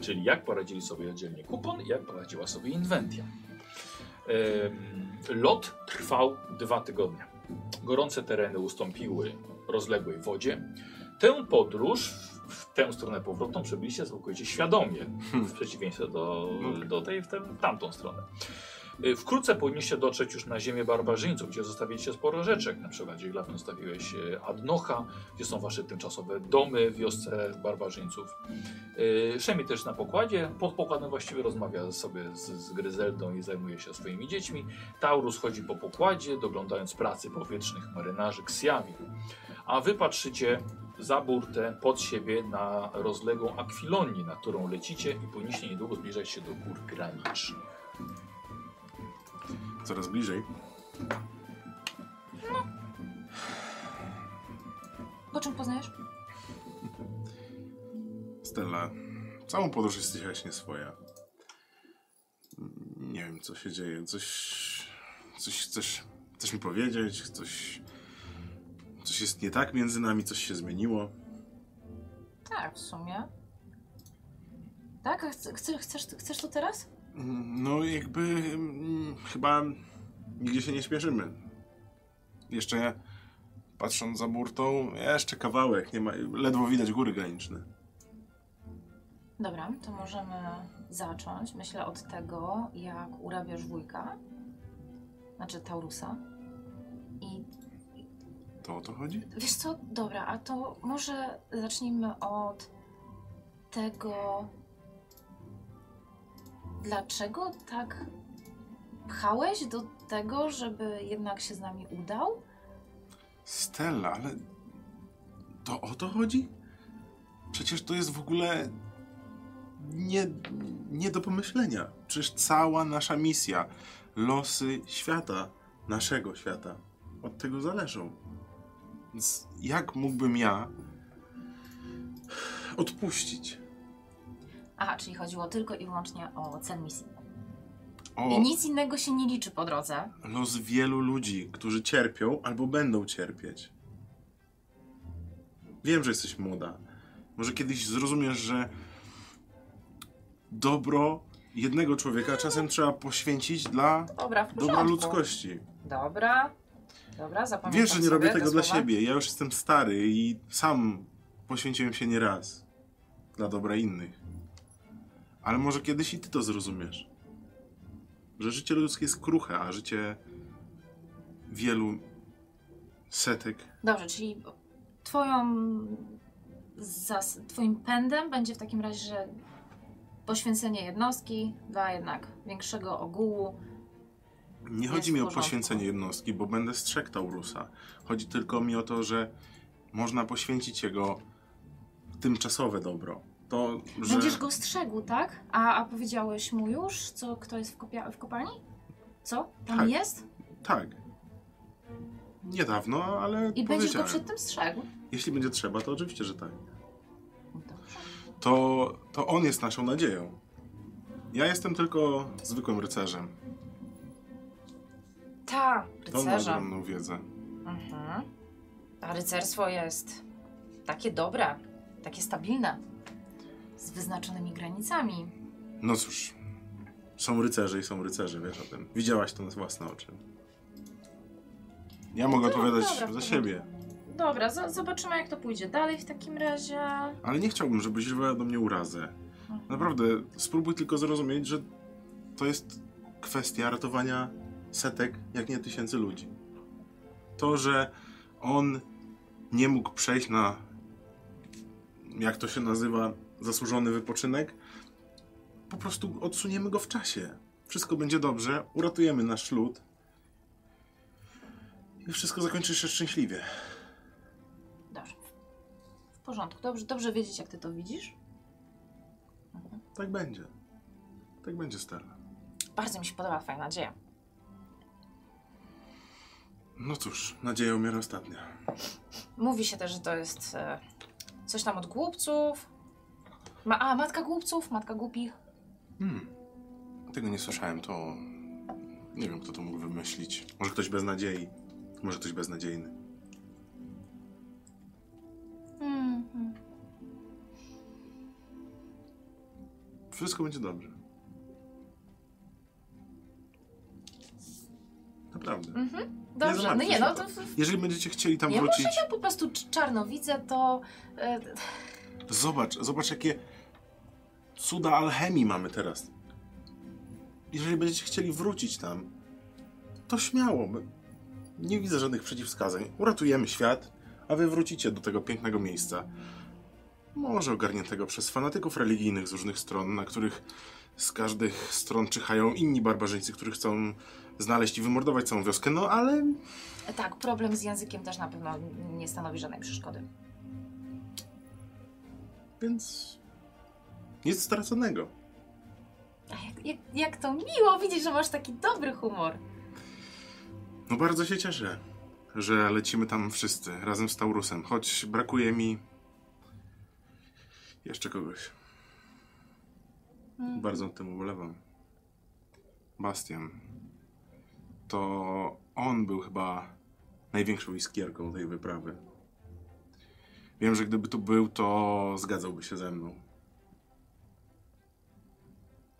S2: czyli jak poradzili sobie oddzielnie Kupon i jak poradziła sobie Inventia. Em, Lot trwał dwa tygodnie. Gorące tereny ustąpiły rozległej wodzie. Tę podróż w- w tę stronę powrotną przebyliście całkowicie tak świadomie, w przeciwieństwie do, do tej w tę, w tamtą stronę. Y, Wkrótce powinniście dotrzeć już na ziemię barbarzyńców, gdzie zostawiliście sporo rzeczy. Na przykład Jiglaw zostawiłeś y, Adnocha, gdzie są wasze tymczasowe domy w wiosce barbarzyńców. Y, Szemi też na pokładzie, pod pokładem właściwie rozmawia sobie z, z Gryzeldą i zajmuje się swoimi dziećmi. Taurus chodzi po pokładzie, doglądając pracy powietrznych marynarzy Ksiawi. A wy patrzycie za burtę pod siebie na rozległą akwilonię, na którą lecicie i powinniście niedługo zbliżać się do gór granicznych.
S4: Coraz bliżej.
S6: Po czym poznajesz?
S4: Stella, całą podróż jesteś jaśnie swoja. Nie wiem, co się dzieje. Coś. Coś chcesz. Chcesz mi powiedzieć? Coś. Coś jest nie tak między nami, coś się zmieniło.
S6: Tak, w sumie. Tak? A chce- chce- chcesz, chcesz to teraz?
S4: Mm, No, jakby. mm, Chyba nigdzie się nie śpieszymy. Jeszcze patrząc za burtą, jeszcze kawałek. Nie ma, ledwo widać góry graniczne.
S6: Dobra, to możemy zacząć. Myślę od tego, jak urabiasz wujka, znaczy Taurusa. I
S4: To o to chodzi?
S6: Wiesz co, dobra, a to może zacznijmy od tego, dlaczego tak pchałeś do tego, żeby jednak się z nami udał?
S4: Stella, ale to o to chodzi? Przecież to jest w ogóle nie, nie do pomyślenia. Przecież cała nasza misja, losy świata, naszego świata, od tego zależą. Więc jak mógłbym ja odpuścić?
S6: Aha, czyli chodziło tylko i wyłącznie o cel misji. I
S4: O
S6: nic innego się nie liczy po drodze.
S4: los wielu ludzi, którzy cierpią albo będą cierpieć. Wiem, że jesteś młoda. Może kiedyś zrozumiesz, że dobro jednego człowieka czasem trzeba poświęcić dla
S6: Dobra, w porządku.
S4: dobra ludzkości.
S6: Dobra, dobra, zapamiętam
S4: Wiesz, że nie
S6: sobie
S4: robię
S6: te
S4: tego dla
S6: słowa.
S4: siebie. Ja już jestem stary i sam poświęciłem się nieraz dla dobra innych. Ale może kiedyś i ty to zrozumiesz. Że życie ludzkie jest kruche, a życie wielu setek.
S6: Dobrze, czyli twoją zas- twoim pędem będzie w takim razie, że poświęcenie jednostki dla jednak większego ogółu.
S4: Nie
S6: Jest
S4: chodzi mi
S6: w
S4: o
S6: porządku.
S4: poświęcenie jednostki, bo będę strzegł Taurusa. Chodzi tylko mi o to, że można poświęcić jego tymczasowe dobro. To, że...
S6: Będziesz go strzegł, tak? A, a powiedziałeś mu już, co, kto jest w, kopia- w kopalni? Co? Tam
S4: Tak.
S6: jest?
S4: Tak. Niedawno, ale
S6: I będziesz go
S4: powiedziałem.
S6: przed tym strzegł?
S4: Jeśli będzie trzeba, to oczywiście, że tak.
S6: Dobrze.
S4: To, to on jest naszą nadzieją. Ja jestem tylko zwykłym rycerzem.
S6: Ta,
S4: To on ma
S6: rycerza.
S4: ogromną wiedzę.
S6: Mhm. A rycerstwo jest takie dobre, takie stabilne, z wyznaczonymi granicami.
S4: No cóż, są rycerze i są rycerze, wiesz o tym. Widziałaś to na własne oczy. Ja mogę
S6: No,
S4: odpowiadać
S6: dobra, w
S4: za
S6: porządku.
S4: siebie,
S6: Dobra, z- zobaczymy jak to pójdzie dalej w takim razie.
S4: ale nie chciałbym, żebyś żywała do mnie urazę. Naprawdę, spróbuj tylko zrozumieć, że to jest kwestia ratowania setek, jak nie tysięcy ludzi. To, że on nie mógł przejść na, jak to się nazywa, zasłużony wypoczynek, po prostu odsuniemy go w czasie. Wszystko będzie dobrze, uratujemy nasz lud i wszystko zakończy się szczęśliwie.
S6: Dobrze. W porządku, dobrze, dobrze wiedzieć jak ty to widzisz.
S4: Tak będzie. Tak będzie, Stella.
S6: Bardzo mi się podoba twoja nadzieja.
S4: No cóż, nadzieja umiera ostatnia.
S6: Mówi się też, że to jest e, coś tam od głupców. Ma, a, matka głupców, matka głupich.
S4: Hmm. Tego nie słyszałem, to. Nie wiem, kto to mógł wymyślić. Może ktoś bez nadziei. Może ktoś beznadziejny.
S6: Mhm.
S4: Wszystko będzie dobrze. Naprawdę.
S6: Dobrze,
S4: Nie
S6: no nie, no to
S4: zamartwisz Jeżeli będziecie chcieli tam
S6: ja
S4: wrócić,
S6: może ja po prostu cz- czarno widzę, to e,
S4: zobacz, zobacz jakie cuda alchemii mamy teraz. Jeżeli będziecie chcieli wrócić tam, to śmiało. my- Nie widzę żadnych przeciwwskazań. Uratujemy świat, a wy wrócicie do tego pięknego miejsca. Może ogarniętego przez fanatyków religijnych z różnych stron, na których z każdych stron czyhają inni barbarzyńcy, których chcą znaleźć i wymordować całą wioskę, no ale
S6: tak, problem z językiem też na pewno nie stanowi żadnej przeszkody.
S4: Więc nic straconego.
S6: Ach, jak, jak, jak to miło widzieć, że masz taki dobry humor.
S4: No bardzo się cieszę, że lecimy tam wszyscy razem z Taurusem, choć brakuje mi jeszcze kogoś.
S6: Mm.
S4: Bardzo o tym ubolewam. Bastian. To on był chyba największą iskierką tej wyprawy. Wiem, że gdyby tu był, to zgadzałby się ze mną.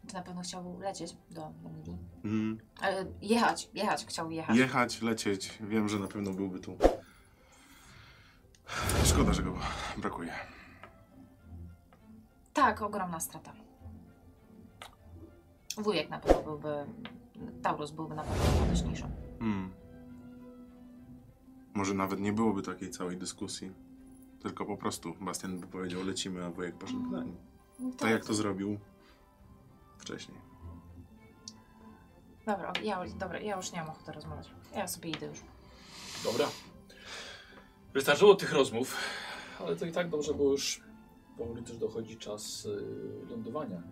S6: To na pewno chciałby lecieć do Emilii.
S4: Mm.
S6: Ale jechać, jechać, chciał jechać.
S4: Jechać, lecieć, wiem, że na pewno byłby tu. Szkoda, że go brakuje.
S6: Tak, ogromna strata. Wujek na pewno byłby, Taurus byłby na pewno radośniejszy.
S4: Hmm. Może nawet nie byłoby takiej całej dyskusji. Tylko po prostu Bastian by powiedział lecimy, a wujek poszedł na nim. Tak jak to zrobił wcześniej.
S6: Dobra, ja, dobra, ja już nie mam ochoty rozmawiać. Ja sobie idę już.
S2: Dobra. Wystarczyło tych rozmów, ale to i tak dobrze, bo już powoli też dochodzi czas y, lądowania.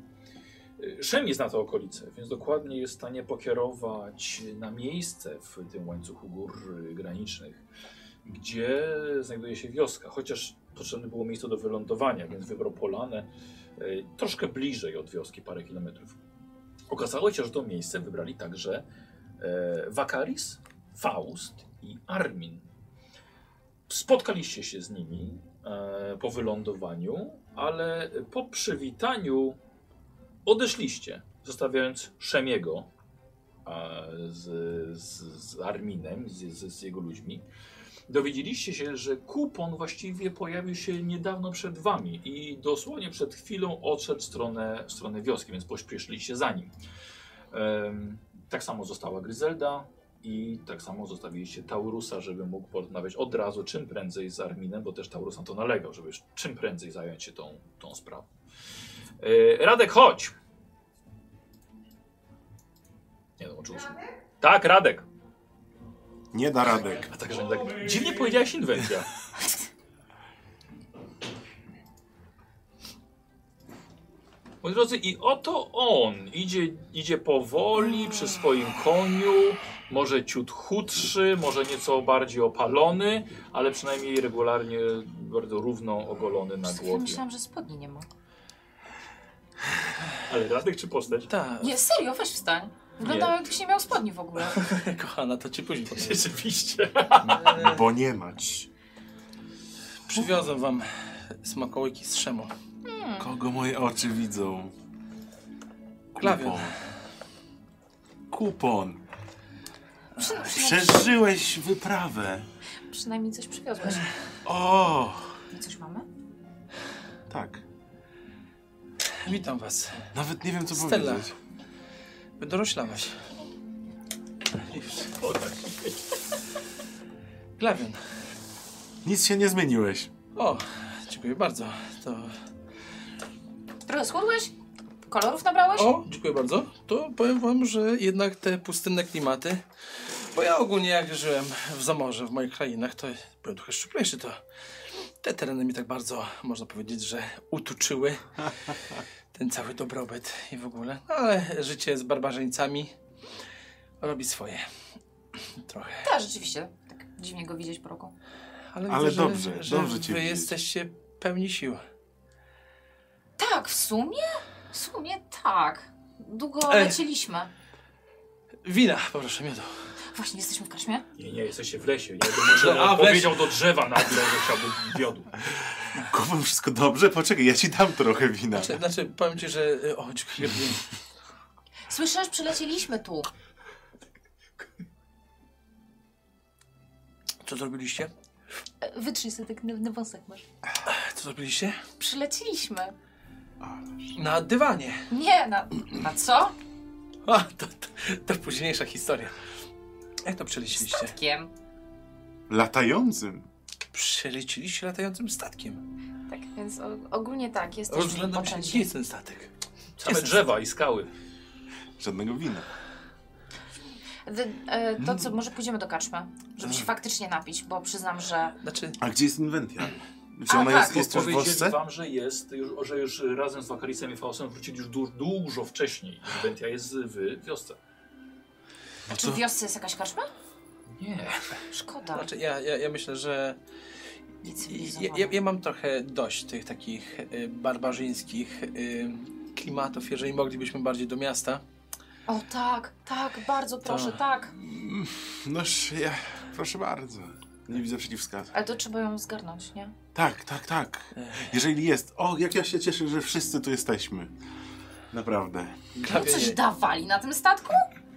S2: Y, Szem jest na te okolice, więc dokładnie jest w stanie pokierować na miejsce w tym łańcuchu gór y, granicznych, gdzie znajduje się wioska. Chociaż potrzebne było miejsce do wylądowania, więc wybrał polanę y, troszkę bliżej od wioski, parę kilometrów. Okazało się, że to miejsce wybrali także e, Wakaris, Faust i Armin. Spotkaliście się z nimi e, po wylądowaniu, ale po przywitaniu odeszliście, zostawiając Szemiego e, z, z, z Arminem, z, z, z jego ludźmi. Dowiedzieliście się, że kupon właściwie pojawił się niedawno przed wami i dosłownie przed chwilą odszedł w stronę, w stronę wioski, więc pośpieszyliście za nim. Em, tak samo została Gryzelda i tak samo zostawiliście Taurusa, żeby mógł porozmawiać od razu, czym prędzej z Arminem, bo też Taurus na to nalegał, żeby już czym prędzej zająć się tą, tą sprawą. E, Radek, chodź! Nie dołączyło się. Tak, Radek!
S4: Nie da Radek.
S2: A także nie tak. Dziwnie powiedziałeś inwencja. Moi drodzy, i oto on idzie, idzie powoli przy swoim koniu, może ciut chudszy, może nieco bardziej opalony, ale przynajmniej regularnie bardzo równo ogolony na
S6: Przez chwilę
S2: głowie.
S6: myślałam, że spodni nie ma.
S2: Ale Radek czy postać?
S1: (laughs) Tak,
S6: Nie, serio, weź wstań. Wyglądał jakbyś nie miał spodni w ogóle.
S1: kochana, to ci później. powiem.
S2: Rzeczywiście.
S4: Bo nie mać.
S1: Przywiozę wam smakołyki z szemu.
S4: Kogo moje oczy widzą?
S1: Klawian.
S4: Kupon.
S6: Przy, przynajmniej,
S4: Przeżyłeś wyprawę.
S6: przynajmniej coś przywiozłeś.
S4: O!
S6: I coś mamy?
S4: Tak.
S1: Witam was.
S4: Nawet nie wiem co
S1: Stella.
S4: powiedzieć.
S1: Wydoroślałaś.
S2: tak.
S1: Glawion.
S4: Nic się nie zmieniłeś.
S1: O, dziękuję bardzo. To...
S6: Trochę schudłeś? Kolorów nabrałeś?
S1: O, dziękuję bardzo. To powiem wam, że jednak te pustynne klimaty, bo ja ogólnie jak żyłem w Zamorze, w moich krainach, to byłem trochę szczuplejszy, to te tereny mi tak bardzo, można powiedzieć, że
S4: (laughs)
S1: utuczyły ten cały dobrobyt i w ogóle. No, ale życie z barbarzyńcami robi swoje. Trochę.
S6: Tak, rzeczywiście. Tak dziwnie go widzieć po roku.
S1: Ale,
S4: Ale
S1: widzę,
S4: dobrze,
S1: że, że
S4: dobrze
S1: wy
S4: cię widzieć.
S1: jesteście pełni sił.
S6: Tak, w sumie? W sumie tak. Długo
S1: Ej.
S6: lecieliśmy.
S1: Wina, poproszę, miodu.
S6: Właśnie, jesteśmy w karczmie?
S2: Nie, nie, jesteście w lesie. Nie wiem, może
S1: A, w
S2: powiedział do drzewa nagle, że chciałbym biodu.
S4: Kupam wszystko dobrze? Poczekaj, ja ci dam trochę wina.
S1: Znaczy, znaczy powiem ci, że... y, O,
S4: (laughs)
S1: czekaj,
S6: Słyszysz, przylecieliśmy tu.
S1: co zrobiliście?
S6: E, Wytrzyj sobie tak na wąsek masz.
S1: Co zrobiliście?
S6: Przylecieliśmy.
S1: Na dywanie.
S6: Nie, na, na co?
S1: A, to, to, to późniejsza historia. Jak to przeleciliście?
S6: Statkiem.
S4: Latającym.
S1: Przeleciliście latającym statkiem.
S6: Tak, więc o, ogólnie tak, jesteśmy
S1: Rozglądam się, gdzie
S6: potenci.
S1: jest ten statek?
S2: Same drzewa i skały.
S4: Żadnego wina.
S6: D- e, To
S1: Mm.
S6: co, może pójdziemy do karczmy, żeby się faktycznie napić, bo przyznam, że
S1: Znaczy,
S4: A gdzie jest inwentja? Czy
S6: A,
S4: ona
S6: tak,
S4: jest, jest już w
S2: Powiedzieli
S4: wosce?
S2: wam, że jest, już, że już razem z wakalicem i Faustem wrócili już du dużo wcześniej. Bentia jest w wiosce.
S6: czy w wiosce jest jakaś karczma?
S2: Nie.
S6: Szkoda.
S1: znaczy ja, ja, ja myślę, że...
S6: Nic
S1: Ja, ja, ja mam trochę dość tych takich y, barbarzyńskich y, klimatów, jeżeli moglibyśmy bardziej do miasta.
S6: O tak, tak, bardzo proszę,
S1: To-
S6: tak.
S4: Mm, Noż, ja... Proszę bardzo. Nie widzę przeciwwskazu.
S6: Ale to trzeba ją zgarnąć, nie? No
S4: Tak, tak, tak. Jeżeli jest... O, jak ja się cieszę, że wszyscy tu jesteśmy. Naprawdę.
S6: No coś dawali na tym statku?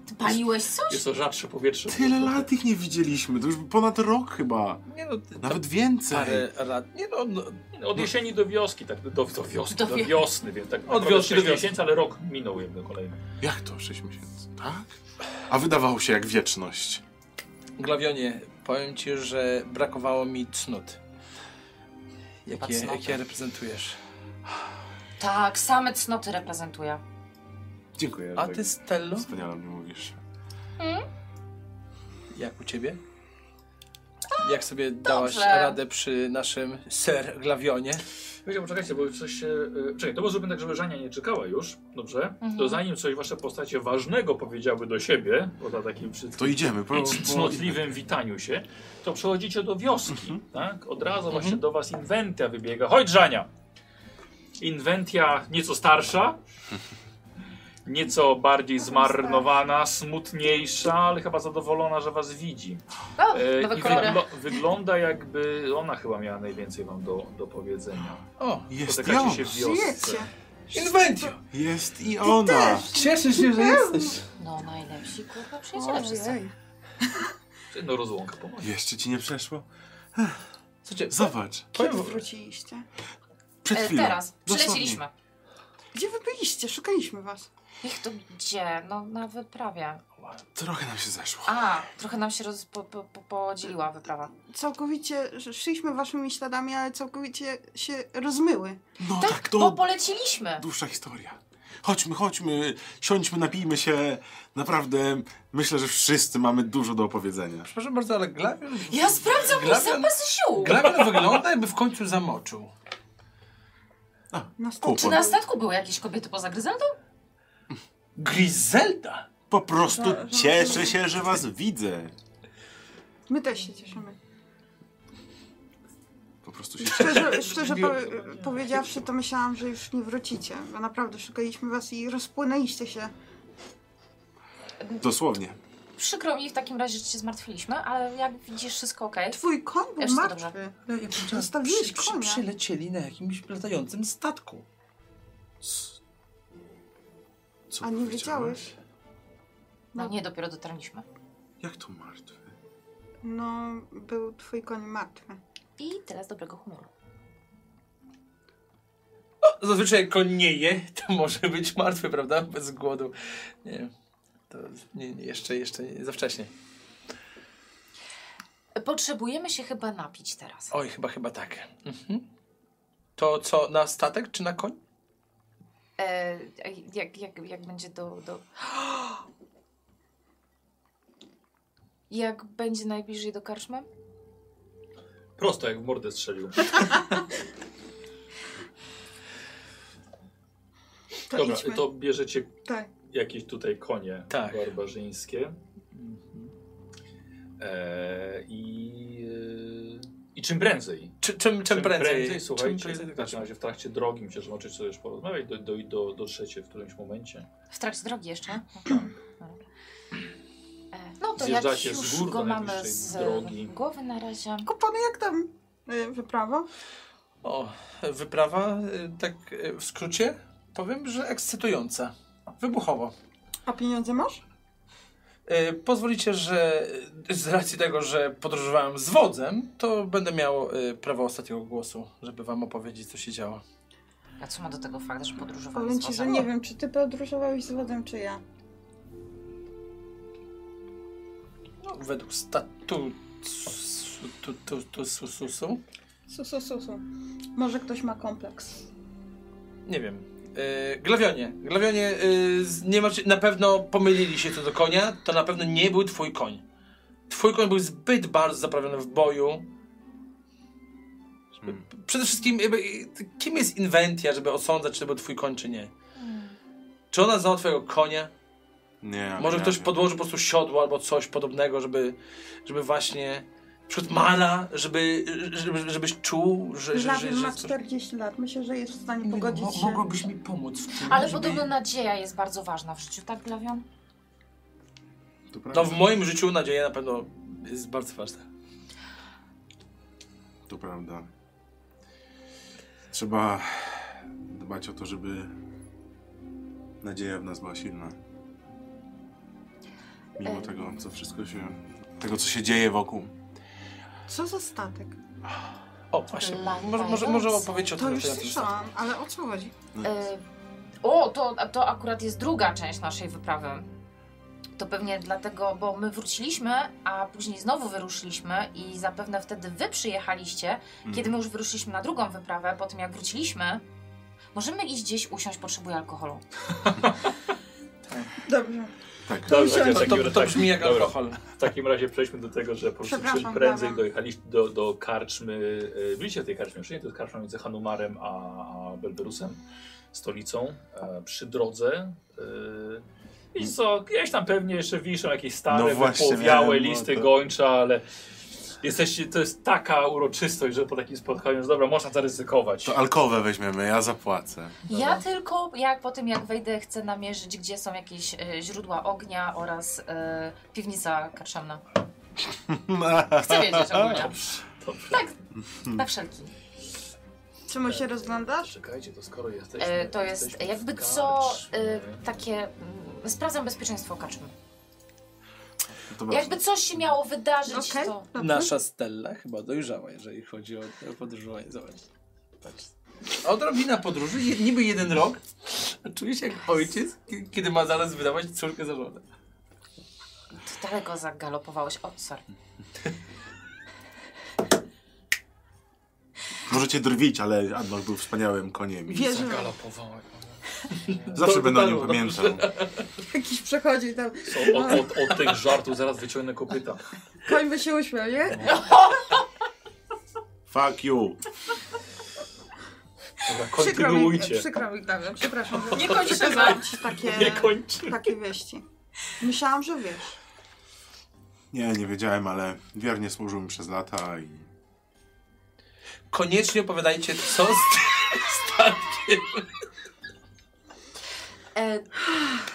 S6: Ty paliłeś coś?
S2: Jest to rzadsze powietrze.
S4: Tyle lat ich nie widzieliśmy. To już ponad rok chyba.
S1: Nie no, ty-
S4: Nawet
S1: to
S4: więcej.
S1: parę lat. Nie no, no
S2: Od jesieni do wioski, tak do, do wioski,
S6: Do
S2: do,
S6: wio-
S2: wiosny, więc tak naprawdę
S1: wiosny
S2: sześć
S1: do wiosny.
S2: miesięcy, ale rok minął jedno kolejny.
S4: Jak to? Sześć miesięcy. Tak? A wydawało się jak wieczność.
S1: Glawionie, powiem ci, że brakowało mi cnót. Jakie,
S6: Cnoty.
S1: jakie reprezentujesz?
S6: Tak, same cnoty reprezentuje.
S4: Dziękuję.
S1: A
S4: tak
S1: ty, no? Stello?
S4: Wspaniale mnie mówisz.
S1: Jak u ciebie? Jak sobie dałaś
S6: dobrze.
S1: radę przy naszym ser Glawionie?
S2: Powiedział, poczekajcie, bo coś się... e, Czekaj, to może zróbmy tak, żeby Żania nie czekała już, dobrze?
S6: Mhm.
S2: To zanim coś wasze postacie ważnego powiedziały do siebie, poza takim przy...
S4: To idziemy. Po,
S2: no, i c- cnotliwym witaniu się, to przechodzicie do wioski, tak? Od razu właśnie do was Inwentia wybiega. Chodź, Żania! Inwentia nieco starsza, nieco bardziej zmarnowana, smutniejsza, ale chyba zadowolona, że was widzi.
S6: O,
S2: E,
S6: nowe
S2: i
S6: kolory.
S2: wyglo- wygląda jakby ona chyba miała najwięcej wam do, do powiedzenia.
S1: O,
S4: Jest i
S2: Spotykacie
S4: on.
S2: się w wiosce.
S5: Przyjedźcie.
S1: Inventio!
S4: Jest i ona.
S1: Cieszę się, że jesteś.
S6: No najlepsi, kurwa, przyjaciele wszyscy. E,
S5: Ojej.
S2: Czy No rozłąka pomoże.
S4: Jeszcze ci nie przeszło?
S1: Słuchajcie,
S4: Zobacz.
S1: powiem,
S5: Kiedy wróciliście?
S4: Przed
S6: E,
S4: chwilą.
S6: teraz,
S4: Dosłownie.
S6: przylecieliśmy.
S5: Gdzie wy byliście? Szukaliśmy was.
S6: Jak to gdzie? No na wyprawie.
S4: Trochę nam się zeszło.
S6: A, trochę nam się roz... po, po, po, podzieliła wyprawa.
S5: Całkowicie, że szliśmy waszymi śladami, ale całkowicie się rozmyły.
S4: No
S6: Tak,
S4: tak,
S6: bo
S4: to
S6: poleciliśmy.
S4: dłuższa historia. Chodźmy, chodźmy, siądźmy, napijmy się. Naprawdę, myślę, że wszyscy mamy dużo do opowiedzenia.
S1: przepraszam bardzo, ale Glawion...
S6: Ja sprawdzam mój
S1: Glawion-
S6: zapas sił.
S1: Glawion wygląda jakby w końcu zamoczył.
S5: Na
S6: Czy na statku były jakieś kobiety poza Gryzeldą?
S1: Griselda!
S4: Po prostu
S5: Tak, no,
S4: cieszę się, że was widzę.
S5: My też się cieszymy.
S4: Po
S2: (laughs)
S4: prostu się cieszę.
S5: Szczerze, szczerze powie- powiedziawszy, to myślałam, że już nie wrócicie, bo naprawdę szukaliśmy was i rozpłynęliście się.
S4: Dosłownie.
S6: Przykro mi w takim razie, że się zmartwiliśmy, ale jak widzisz, wszystko okej.
S5: Twój koń był
S6: Jeszcze
S5: martwy.
S6: dobrze.
S1: Ale jak powiedziałem,
S5: Zostawiłeś
S1: przy- przy-
S5: konia.
S1: Przylecieli na jakimś latającym statku.
S4: Co
S5: A nie
S4: powiedziałeś?
S5: wiedziałeś?
S6: No nie, dopiero dotarliśmy.
S4: Jak to martwy?
S5: No, był twój koń martwy.
S6: I tyle z dobrego humoru.
S1: No, Zazwyczaj jak koń nie je, to może być martwy, prawda? Bez głodu. Nie, to nie, nie, jeszcze, jeszcze nie, za wcześnie.
S6: Potrzebujemy się chyba napić teraz.
S1: Oj, chyba, chyba tak. Mhm. To co, na statek czy na koń?
S6: E, jak, jak, jak będzie do, do... (gasps) Jak będzie najbliżej do karczmy?
S2: Prosto jak w mordę strzelił.
S5: To
S2: Dobra,
S5: idźmy.
S2: to bierzecie
S5: Tak.
S2: jakieś tutaj konie
S1: Tak.
S2: barbarzyńskie. Mhm. E, i, e, I czym prędzej.
S1: Czy, czym, czym, prędzej? tak,
S2: słuchajcie,
S1: czym prędzej
S2: w takim razie w trakcie drogi musisz zobaczyć sobie już porozmawiać, do, do, do, dotrzecie w którymś momencie.
S6: W trakcie drogi jeszcze? E,
S3: No to jak
S2: Zjeżdżacie z
S3: już
S2: gór
S3: go
S2: do
S3: mamy
S2: najbliższej
S3: z
S2: drogi.
S3: głowy na razie.
S5: Kupony, jak tam y, wyprawa?
S1: O, wyprawa, y, tak y, w skrócie powiem, że ekscytująca. Wybuchowo.
S5: A pieniądze masz?
S1: Y, Pozwolicie, że y, z racji tego, że podróżowałem z wodzem, to będę miał y, prawo ostatniego głosu, żeby wam opowiedzieć, co się działo.
S6: A co ma do tego fakt, że podróżowałeś
S5: Powiem
S6: z
S5: ci, że
S6: wozem?
S5: nie wiem, czy ty podróżowałeś z wodem, czy ja.
S1: No, według statutu tu, tu, tu, su, su, su,
S5: Susu, susu. Może ktoś ma kompleks.
S1: nie wiem. Y, Glawionie, Glawionie, y, z- nie macie, na pewno pomylili się co do konia, to na pewno nie był twój koń. Twój koń był zbyt bardzo zaprawiony w boju.
S4: Hmm.
S1: Przede wszystkim, jakby, y, kim jest inwentia, żeby osądzać, czy to był twój koń, czy nie?
S5: Hmm.
S1: Czy ona znała twojego konia?
S4: Nie.
S1: Może
S4: nie,
S1: ktoś
S4: nie.
S1: podłoży po prostu siodło albo coś podobnego, żeby, żeby właśnie na przykład mala, żeby, żeby, żebyś czuł, że... że, że,
S5: Żlawin
S1: że
S5: ma 40 lat, myślę, że jest w stanie pogodzić
S1: Mo-
S5: się.
S1: Mogłabyś mi pomóc w tym,
S6: Ale
S1: żeby-
S6: podobno nadzieja jest bardzo ważna w życiu, tak, Glawion?
S4: To prawda.
S1: No w moim życiu nadzieja na pewno jest bardzo ważna.
S4: To prawda. Trzeba dbać o to, żeby nadzieja w nas była silna. Mimo
S6: Em.
S4: tego, co wszystko się. tego, co się dzieje wokół.
S6: E,
S5: Co za statek?
S1: O, właśnie.
S6: Dla
S1: Może, może, może opowiedz o tym.
S5: To już
S1: na tym
S5: słyszałam, ale o co chodzi?
S4: No,
S6: E, o, to, to akurat jest druga część naszej wyprawy. To pewnie dlatego, bo my wróciliśmy, a później znowu wyruszyliśmy i zapewne wtedy wy przyjechaliście,
S2: Mhm.
S4: mm.
S6: kiedy my już wyruszyliśmy na drugą wyprawę, po tym jak wróciliśmy. Możemy iść gdzieś usiąść, potrzebuję alkoholu.
S5: Dobrze.
S4: Tak.
S2: Dobra,
S5: usiądź.
S2: dziewczynki,
S1: To, to,
S2: biorę
S1: to
S2: tak.
S1: brzmi jak
S2: Dobra.
S1: alkohol.
S2: W takim razie przejdźmy do tego, że po prostu
S5: Przepraszam,
S2: przy- prędzej
S5: Damian.
S2: dojechaliście do, do karczmy. e, Byliście w tej karczmie, już nie? To jest karczma między Hanumarem a a Belberusem, stolicą, e, przy drodze. E, I co, gdzieś tam pewnie jeszcze wiszą jakieś
S4: Mm. No
S2: stare,
S4: właśnie,
S2: wypowiałe
S4: miałem o
S2: listy
S4: to.
S2: gończa, ale jesteście, to jest taka uroczystość, że po takim spotkaniu, że dobra, można zaryzykować.
S4: To alkowe weźmiemy, ja zapłacę.
S6: Ja tylko, jak po tym jak wejdę, chcę namierzyć, gdzie są jakieś e, źródła ognia oraz e, piwnica karczemna. (laughs) Chcę wiedzieć ogólnie.
S2: Dobrze.
S6: Tak,
S2: Hmm.
S6: na wszelki.
S5: Czemu się rozglądasz?
S2: Czekajcie, to skoro jesteśmy...
S6: E, to jest
S2: jesteśmy w
S6: jakby co e,
S2: karczmie.
S6: takie. mm, Sprawdzam bezpieczeństwo karczmy.
S4: To bardzo-
S6: Jakby coś się miało wydarzyć,
S5: Okej,
S6: to.
S5: dobrze.
S1: Nasza Stella chyba dojrzała, jeżeli chodzi o o podróżowanie. Zobacz. Odrobina podróży, je- niby jeden rok. a Czuje się jak ojciec, ki- kiedy ma zaraz wydawać córkę za żonę.
S6: To daleko zagalopowałeś. O, sorry.
S4: Możecie drwić, ale Adnok był wspaniałym koniem. I
S5: Wierzę.
S2: Zagalopowałem.
S4: zawsze
S1: to
S4: będę o nim
S1: dotarło, dobrze.
S4: pamiętał.
S5: (laughs) Jakiś przechodzi tam.
S2: Co, Od, od, od tych żartów zaraz wyciągnę kopyta.
S5: Koń by się uśmiał, nie?
S4: Fuck you.
S2: Dobra,
S5: Przykro mi,
S2: no, kontynuujcie.
S5: przykro mi, Damian, przepraszam. że-
S6: Nie kończę
S5: Przekazałam ci takie,
S2: Nie kończy.
S5: takie wieści. Myślałam, że wiesz.
S4: Nie, nie wiedziałem, ale wiernie służył mi przez lata i
S1: Koniecznie opowiadajcie, co z tym statkiem.
S6: E,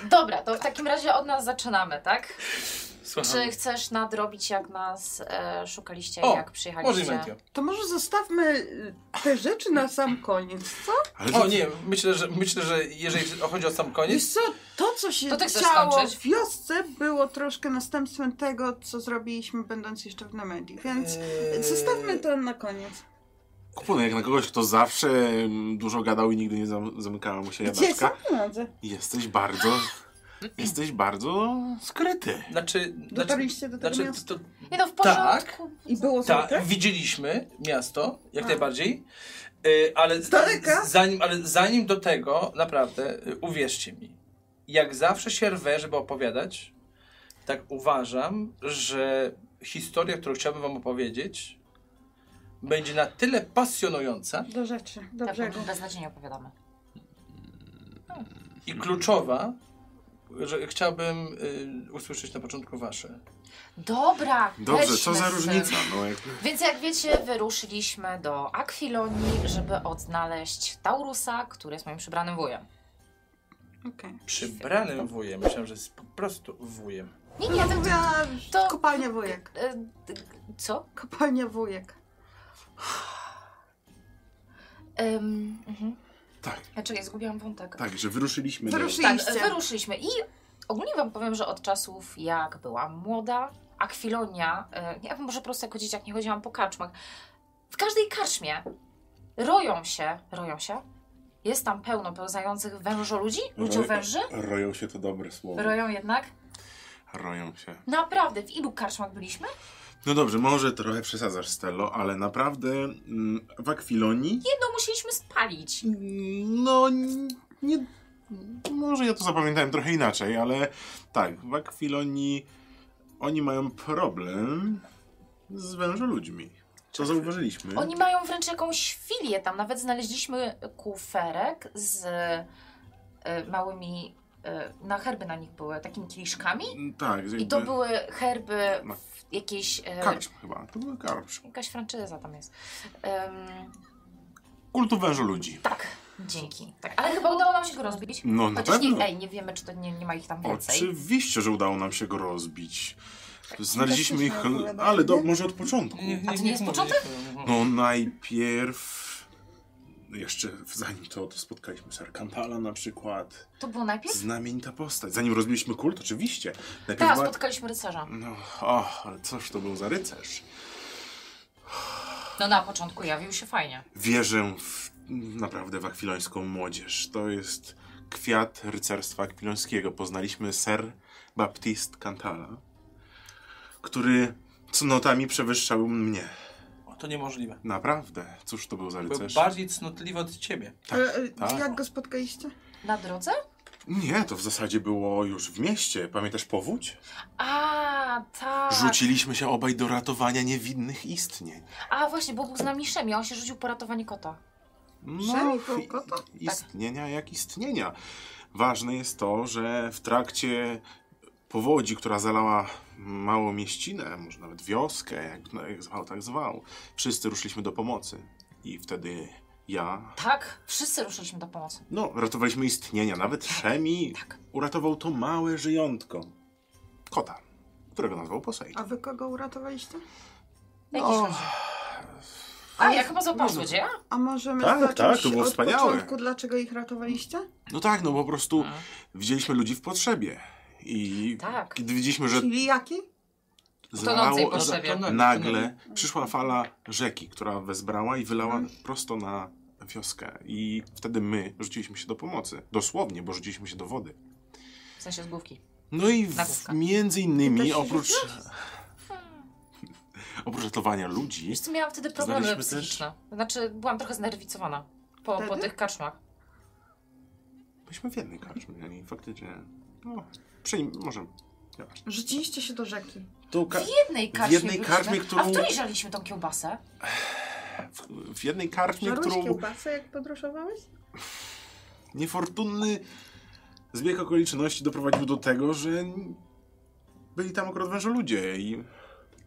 S6: dobra, to w takim razie od nas zaczynamy, tak?
S1: Słucham.
S6: Czy chcesz nadrobić, jak nas e, szukaliście,
S1: O,
S6: jak
S5: Tak,
S1: Może
S6: przyjechaliście?
S1: Inventio.
S5: To może zostawmy y, te rzeczy na sam koniec, co?
S4: Ale
S1: O nie, myślę, że, myślę, że jeżeli chodzi o sam koniec,
S5: Wiesz co, to co się
S6: To ty chcesz
S5: działo
S6: skończyć?
S5: w wiosce było troszkę następstwem tego, co zrobiliśmy będąc jeszcze w Nemedii, więc
S1: Eee.
S5: zostawmy to na koniec.
S4: Kupunek jak na kogoś, kto zawsze mm, dużo gadał i nigdy nie zam- zamykała mu się
S5: Gdzie są
S4: jadaczka.
S5: pieniądze?
S4: Jesteś bardzo. Jesteś bardzo skryty.
S1: znaczy... znaczy,
S5: Dotarliście do tego
S1: znaczy
S5: miasta
S1: to,
S6: Nie no, w
S1: Tak.
S6: porządku.
S5: i było
S1: Ta,
S5: złote?
S1: widzieliśmy miasto, jak
S5: A.
S1: najbardziej, y, ale, z-
S5: Z daleka?
S1: zanim, ale zanim do tego, naprawdę, y, uwierzcie mi, jak zawsze się rwę, żeby opowiadać, tak uważam, że historia, którą chciałbym wam opowiedzieć, będzie na tyle pasjonująca
S5: Do rzeczy, do
S6: Tak,
S5: brzegu.
S6: beznadziejnie opowiadamy.
S1: i kluczowa, że chciałbym y, usłyszeć na początku wasze.
S6: Dobra,
S4: Dobrze,
S6: lećmy
S4: co za
S6: z tym.
S4: różnica? No, jak...
S6: Więc jak wiecie, wyruszyliśmy do Akwilonii, żeby odnaleźć Taurusa, który jest moim przybranym wujem.
S5: Okej.
S1: Przybranym wujem, myślałem, że jest po prostu wujem.
S6: Nie, nie,
S5: Ja
S6: to,
S5: mówiła
S6: to-
S5: kopalnia wujek.
S6: e, d- co?
S5: Kopalnia wujek.
S6: Ym, mhm.
S4: Tak,
S6: A Czekaj, zgubiłam wątek.
S4: tak, że wyruszyliśmy. do-
S5: Wyruszyliśmy.
S6: Tak,
S5: Wyjście.
S6: wyruszyliśmy. I ogólnie wam powiem, że od czasów jak byłam młoda, akwilonia, e, ja może po prostu jako dzieciak nie chodziłam po karczmach, w każdej karczmie roją się, roją się, jest tam pełno pełzających wężo ludzi,
S4: Mhm.
S6: ludziu węży,
S4: Roją się to dobre słowo.
S6: roją jednak.
S4: Roją się.
S6: Naprawdę, w ilu karczmach byliśmy?
S4: No dobrze, może trochę przesadzasz, Stelo, ale naprawdę mm, w Akwilonii
S6: Jedno musieliśmy spalić.
S4: No, nie. Może ja to zapamiętałem trochę inaczej, ale tak, w Akwilonii oni mają problem z wężoludźmi. Co zauważyliśmy?
S6: Tak. Oni mają wręcz jakąś filię tam. Nawet znaleźliśmy kuferek z e, małymi, e, na herby na nich były, takimi kieliszkami.
S4: Tak,
S6: I to były herby
S4: No.
S6: w jakiejś. E,
S4: karczm chyba, to były karczm.
S6: jakaś franczyza tam jest. Em,
S4: Kultu wężoludzi.
S6: tak, dzięki. Tak. Ale chyba udało nam się go rozbić.
S4: No na
S6: Chociaż
S4: pewno.
S6: nie, ej, nie wiemy, czy to nie, nie ma ich tam więcej.
S4: Oczywiście, że udało nam się go rozbić. Znaleźliśmy ich,
S5: Fantastyczne opowiadanie,
S4: ale do,
S5: nie?
S4: może od początku.
S6: A to nie jest
S1: mówię,
S6: początek?
S1: nie-
S4: No najpierw, jeszcze zanim to, to spotkaliśmy Sarkantala na przykład.
S6: To było najpierw?
S4: Znamienita postać. Zanim rozbiliśmy kult, oczywiście. Najpierw
S6: Tak,
S4: była-
S6: spotkaliśmy rycerza.
S4: No, och, ale coś to był za rycerz.
S6: No na początku jawił się fajnie.
S4: Wierzę w, naprawdę w akwilońską młodzież. To jest kwiat rycerstwa akwilońskiego. Poznaliśmy Sir Baptiste Cantala, który cnotami przewyższał mnie.
S1: O, To niemożliwe.
S4: Naprawdę, cóż to był za
S1: Był
S4: rycerz?
S1: bardziej cnotliwy od ciebie.
S4: Tak,
S5: Ale, e,
S4: tak.
S5: Jak go spotkaliście?
S6: Na drodze?
S4: Nie, to w zasadzie było już w mieście. Pamiętasz powódź?
S6: A, tak.
S4: Rzuciliśmy się obaj do ratowania niewinnych istnień.
S6: A właśnie, bo był z nami Szemi, a on się rzucił po ratowanie kota.
S4: No,
S5: Przemi
S4: i-
S5: Kołkota?
S6: Tak.
S4: istnienia jak istnienia. Ważne jest to, że w trakcie powodzi, która zalała małą mieścinę, może nawet wioskę, jak, no, jak zwał, tak zwał, wszyscy ruszyliśmy do pomocy. I wtedy ja,
S6: Tak, wszyscy ruszyliśmy do pomocy.
S4: no, ratowaliśmy istnienia, nawet Szemi
S6: Tak.
S4: uratował to małe żyjątko. Kota, którego nazwał Poseidon.
S5: A wy kogo uratowaliście?
S6: Jakiś
S4: No,
S6: A, ja chyba złapałam złodzieja?
S5: A możemy
S4: Tak,
S5: zacząć
S4: tak, to było
S5: od
S4: wspaniałe.
S5: początku, dlaczego ich ratowaliście?
S4: no tak, no po prostu widzieliśmy ludzi w potrzebie. I
S6: Tak.
S4: kiedy widzieliśmy, że
S5: Czyli jaki?
S6: Tonącej
S4: zalało,
S6: potrzebie.
S1: to nagle-
S4: Nagle przyszła fala rzeki, która wezbrała i wylała
S5: Mhm.
S4: prosto na wioskę. I wtedy my rzuciliśmy się do pomocy. Dosłownie, bo rzuciliśmy się do wody.
S6: W sensie z główki.
S4: No i
S6: Na
S4: w,
S6: wioskę.
S4: między
S5: Ty też
S4: innymi
S5: się
S4: oprócz...
S6: Hmm.
S4: oprócz ratowania ludzi...
S6: Wiesz co, miałam wtedy problemy
S4: Znaliśmy też-
S6: psychiczne. Znaczy, byłam trochę znerwicowana po, po
S5: Wtedy?
S6: tych karczmach.
S4: Byliśmy w jednej karczmie i faktycznie... No, przyjm... może... nieważne.
S5: Rzuciliście się do rzeki.
S4: Tu ka-
S6: W jednej karczmie
S4: jednej
S6: byliśmy.
S4: karczmie, którą-
S6: A w której żaliśmy tą kiełbasę?
S4: w- w jednej karczmie,
S5: Żarłeś
S4: którą
S5: kiełbasę, jak podróżowałeś?
S4: niefortunny zbieg okoliczności doprowadził do tego, że... Byli tam akurat wężoludzie i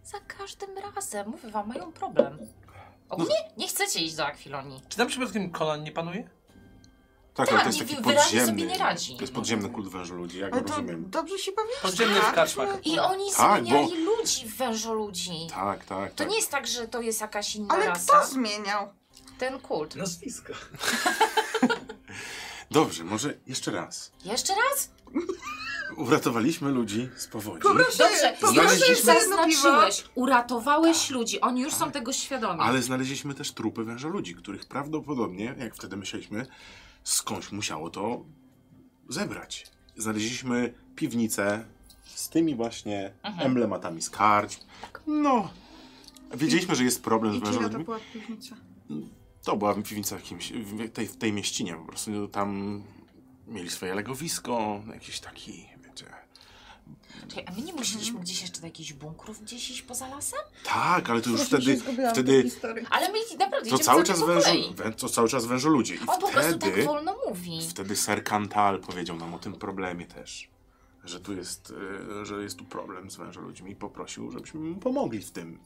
S6: Za każdym razem, mówię wam, mają problem.
S4: No-
S6: Ogólnie nie chcecie iść do akwilonii.
S1: Czy tam przypadkiem Conan nie panuje?
S6: Tak,
S4: Tak, ale to jest
S6: i
S4: taki
S6: wyraźnie
S4: podziemny.
S6: sobie nie radzi.
S4: To jest podziemny kult wężu ludzi, jak
S5: Ale to
S4: rozumiem.
S5: dobrze się bawiłeś. Tak.
S1: Podziemny w karczmach.
S6: I oni
S4: Tak,
S6: zmieniali ludzi w wężo ludzi.
S4: Tak, tak,
S6: To
S4: tak.
S6: nie jest tak, że to jest jakaś inna
S5: Ale
S6: rasa.
S5: kto zmieniał?
S6: Ten kult.
S2: Nazwiska.
S4: Dobrze, może jeszcze raz.
S6: Jeszcze raz?
S4: Uratowaliśmy ludzi z powodzi.
S6: Dobrze,
S4: po
S6: już
S4: prostu
S6: ich
S4: Znaleźliśmy- Tak.
S6: zaznaczyłeś. Uratowałeś ludzi. Oni już są tego świadomi.
S4: Ale znaleźliśmy też trupy węża ludzi, których prawdopodobnie, jak wtedy myśleliśmy, skądś musiało to zebrać. Znaleźliśmy piwnicę z tymi właśnie
S6: Mhm.
S4: emblematami z karczm. No, wiedzieliśmy, że jest problem
S5: I
S4: z węża
S5: czyja to
S4: ludźmi.
S5: była piwnica?
S4: To była piwnica w, jakimś, w, tej, w tej mieścinie, po prostu no, tam mieli swoje legowisko, no, jakiś taki, wiecie...
S6: Czekaj, a my nie musieliśmy gdzieś jeszcze do jakichś bunkrów gdzieś iść poza lasem?
S4: Tak, ale to już
S5: Strasznie
S4: wtedy,
S5: się zgubiłam tej
S4: wtedy
S5: historii.
S6: Ale my naprawdę
S4: to
S6: idziemy cały
S4: cały czas
S6: po
S4: wężu,
S6: kolei.
S4: wę- to cały czas wężu ludzi. I
S6: On po prostu tak
S4: wtedy,
S6: wolno mówi.
S4: wtedy ser Kantal powiedział nam o tym problemie też. Że tu jest, e, że jest tu problem z wężu ludźmi i poprosił, żebyśmy mu pomogli w tym.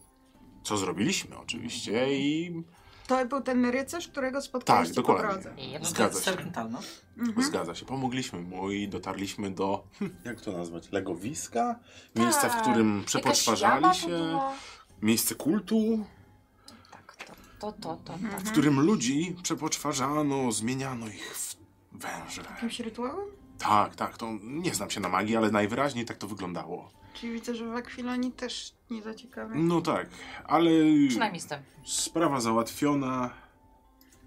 S4: Co zrobiliśmy oczywiście i
S5: To był ten rycerz, którego spotkaliście po
S4: Tak, dokładnie.
S5: drodze.
S6: Jedno
S4: Zgadza się.
S1: Serpentalno.
S5: Mhm.
S4: Zgadza się, pomogliśmy mu i dotarliśmy do, (laughs) hm, jak to nazwać, legowiska? Miejsca, w
S6: Tak.
S4: którym
S6: Jakaś
S4: przepotwarzali
S6: jama tu
S4: się,
S6: była.
S4: miejsce kultu,
S6: Tak, to, to, to, to.
S5: Mhm.
S4: w którym ludzi przepoczwarzano, zmieniano ich w węże.
S5: Jakimś rytuałem?
S4: Tak, tak, to nie znam się na magii, ale najwyraźniej tak to wyglądało.
S5: Czyli widzę, że w Akwilonii też nie za ciekawe.
S4: No tak, ale
S6: Mhm. Przynajmniej z tym.
S4: sprawa załatwiona,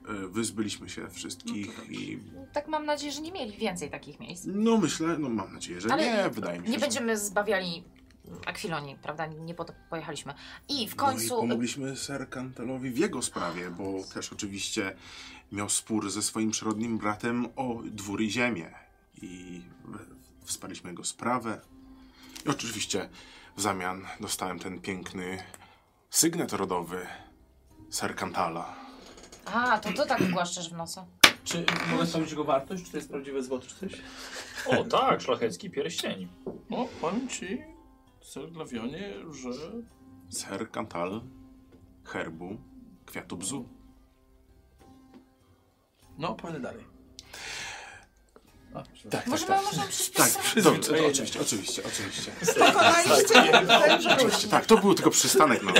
S4: e, wyzbyliśmy się wszystkich
S5: dobrze.
S4: i...
S6: Tak mam nadzieję, że nie mieli więcej takich miejsc.
S4: No myślę, no mam nadzieję, że
S6: Ale
S4: nie, wydaje mi się,
S6: Nie
S4: że...
S6: będziemy zbawiali Akwilonii, prawda? Nie po to pojechaliśmy. I w
S4: No i
S6: końcu...
S4: pomogliśmy Ser Kantelowi w jego sprawie, bo też oczywiście miał spór ze swoim przyrodnim bratem o dwór i ziemię. I w- wsparliśmy jego sprawę. I oczywiście w zamian dostałem ten piękny sygnet rodowy Ser Kantala.
S6: A, to to tak głaszczesz w nosu.
S1: Czy mogę sprawdzić jego wartość? Czy to jest prawdziwe złoto, czy coś?
S2: O tak, szlachecki pierścień.
S1: No, powiem ci, Serglawionie, że...
S4: Ser Kantal herbu kwiatu bzu.
S1: No, opowiadaj dalej. A,
S4: Tak,
S6: Może my możemy
S4: Tak,
S6: przyspieszyć.
S4: tak, dobrze, oczywiście, oczywiście, oczywiście.
S5: Pokonaliście ten
S4: Oczywiście, tak, to był tylko przystanek
S6: (laughs)
S4: na,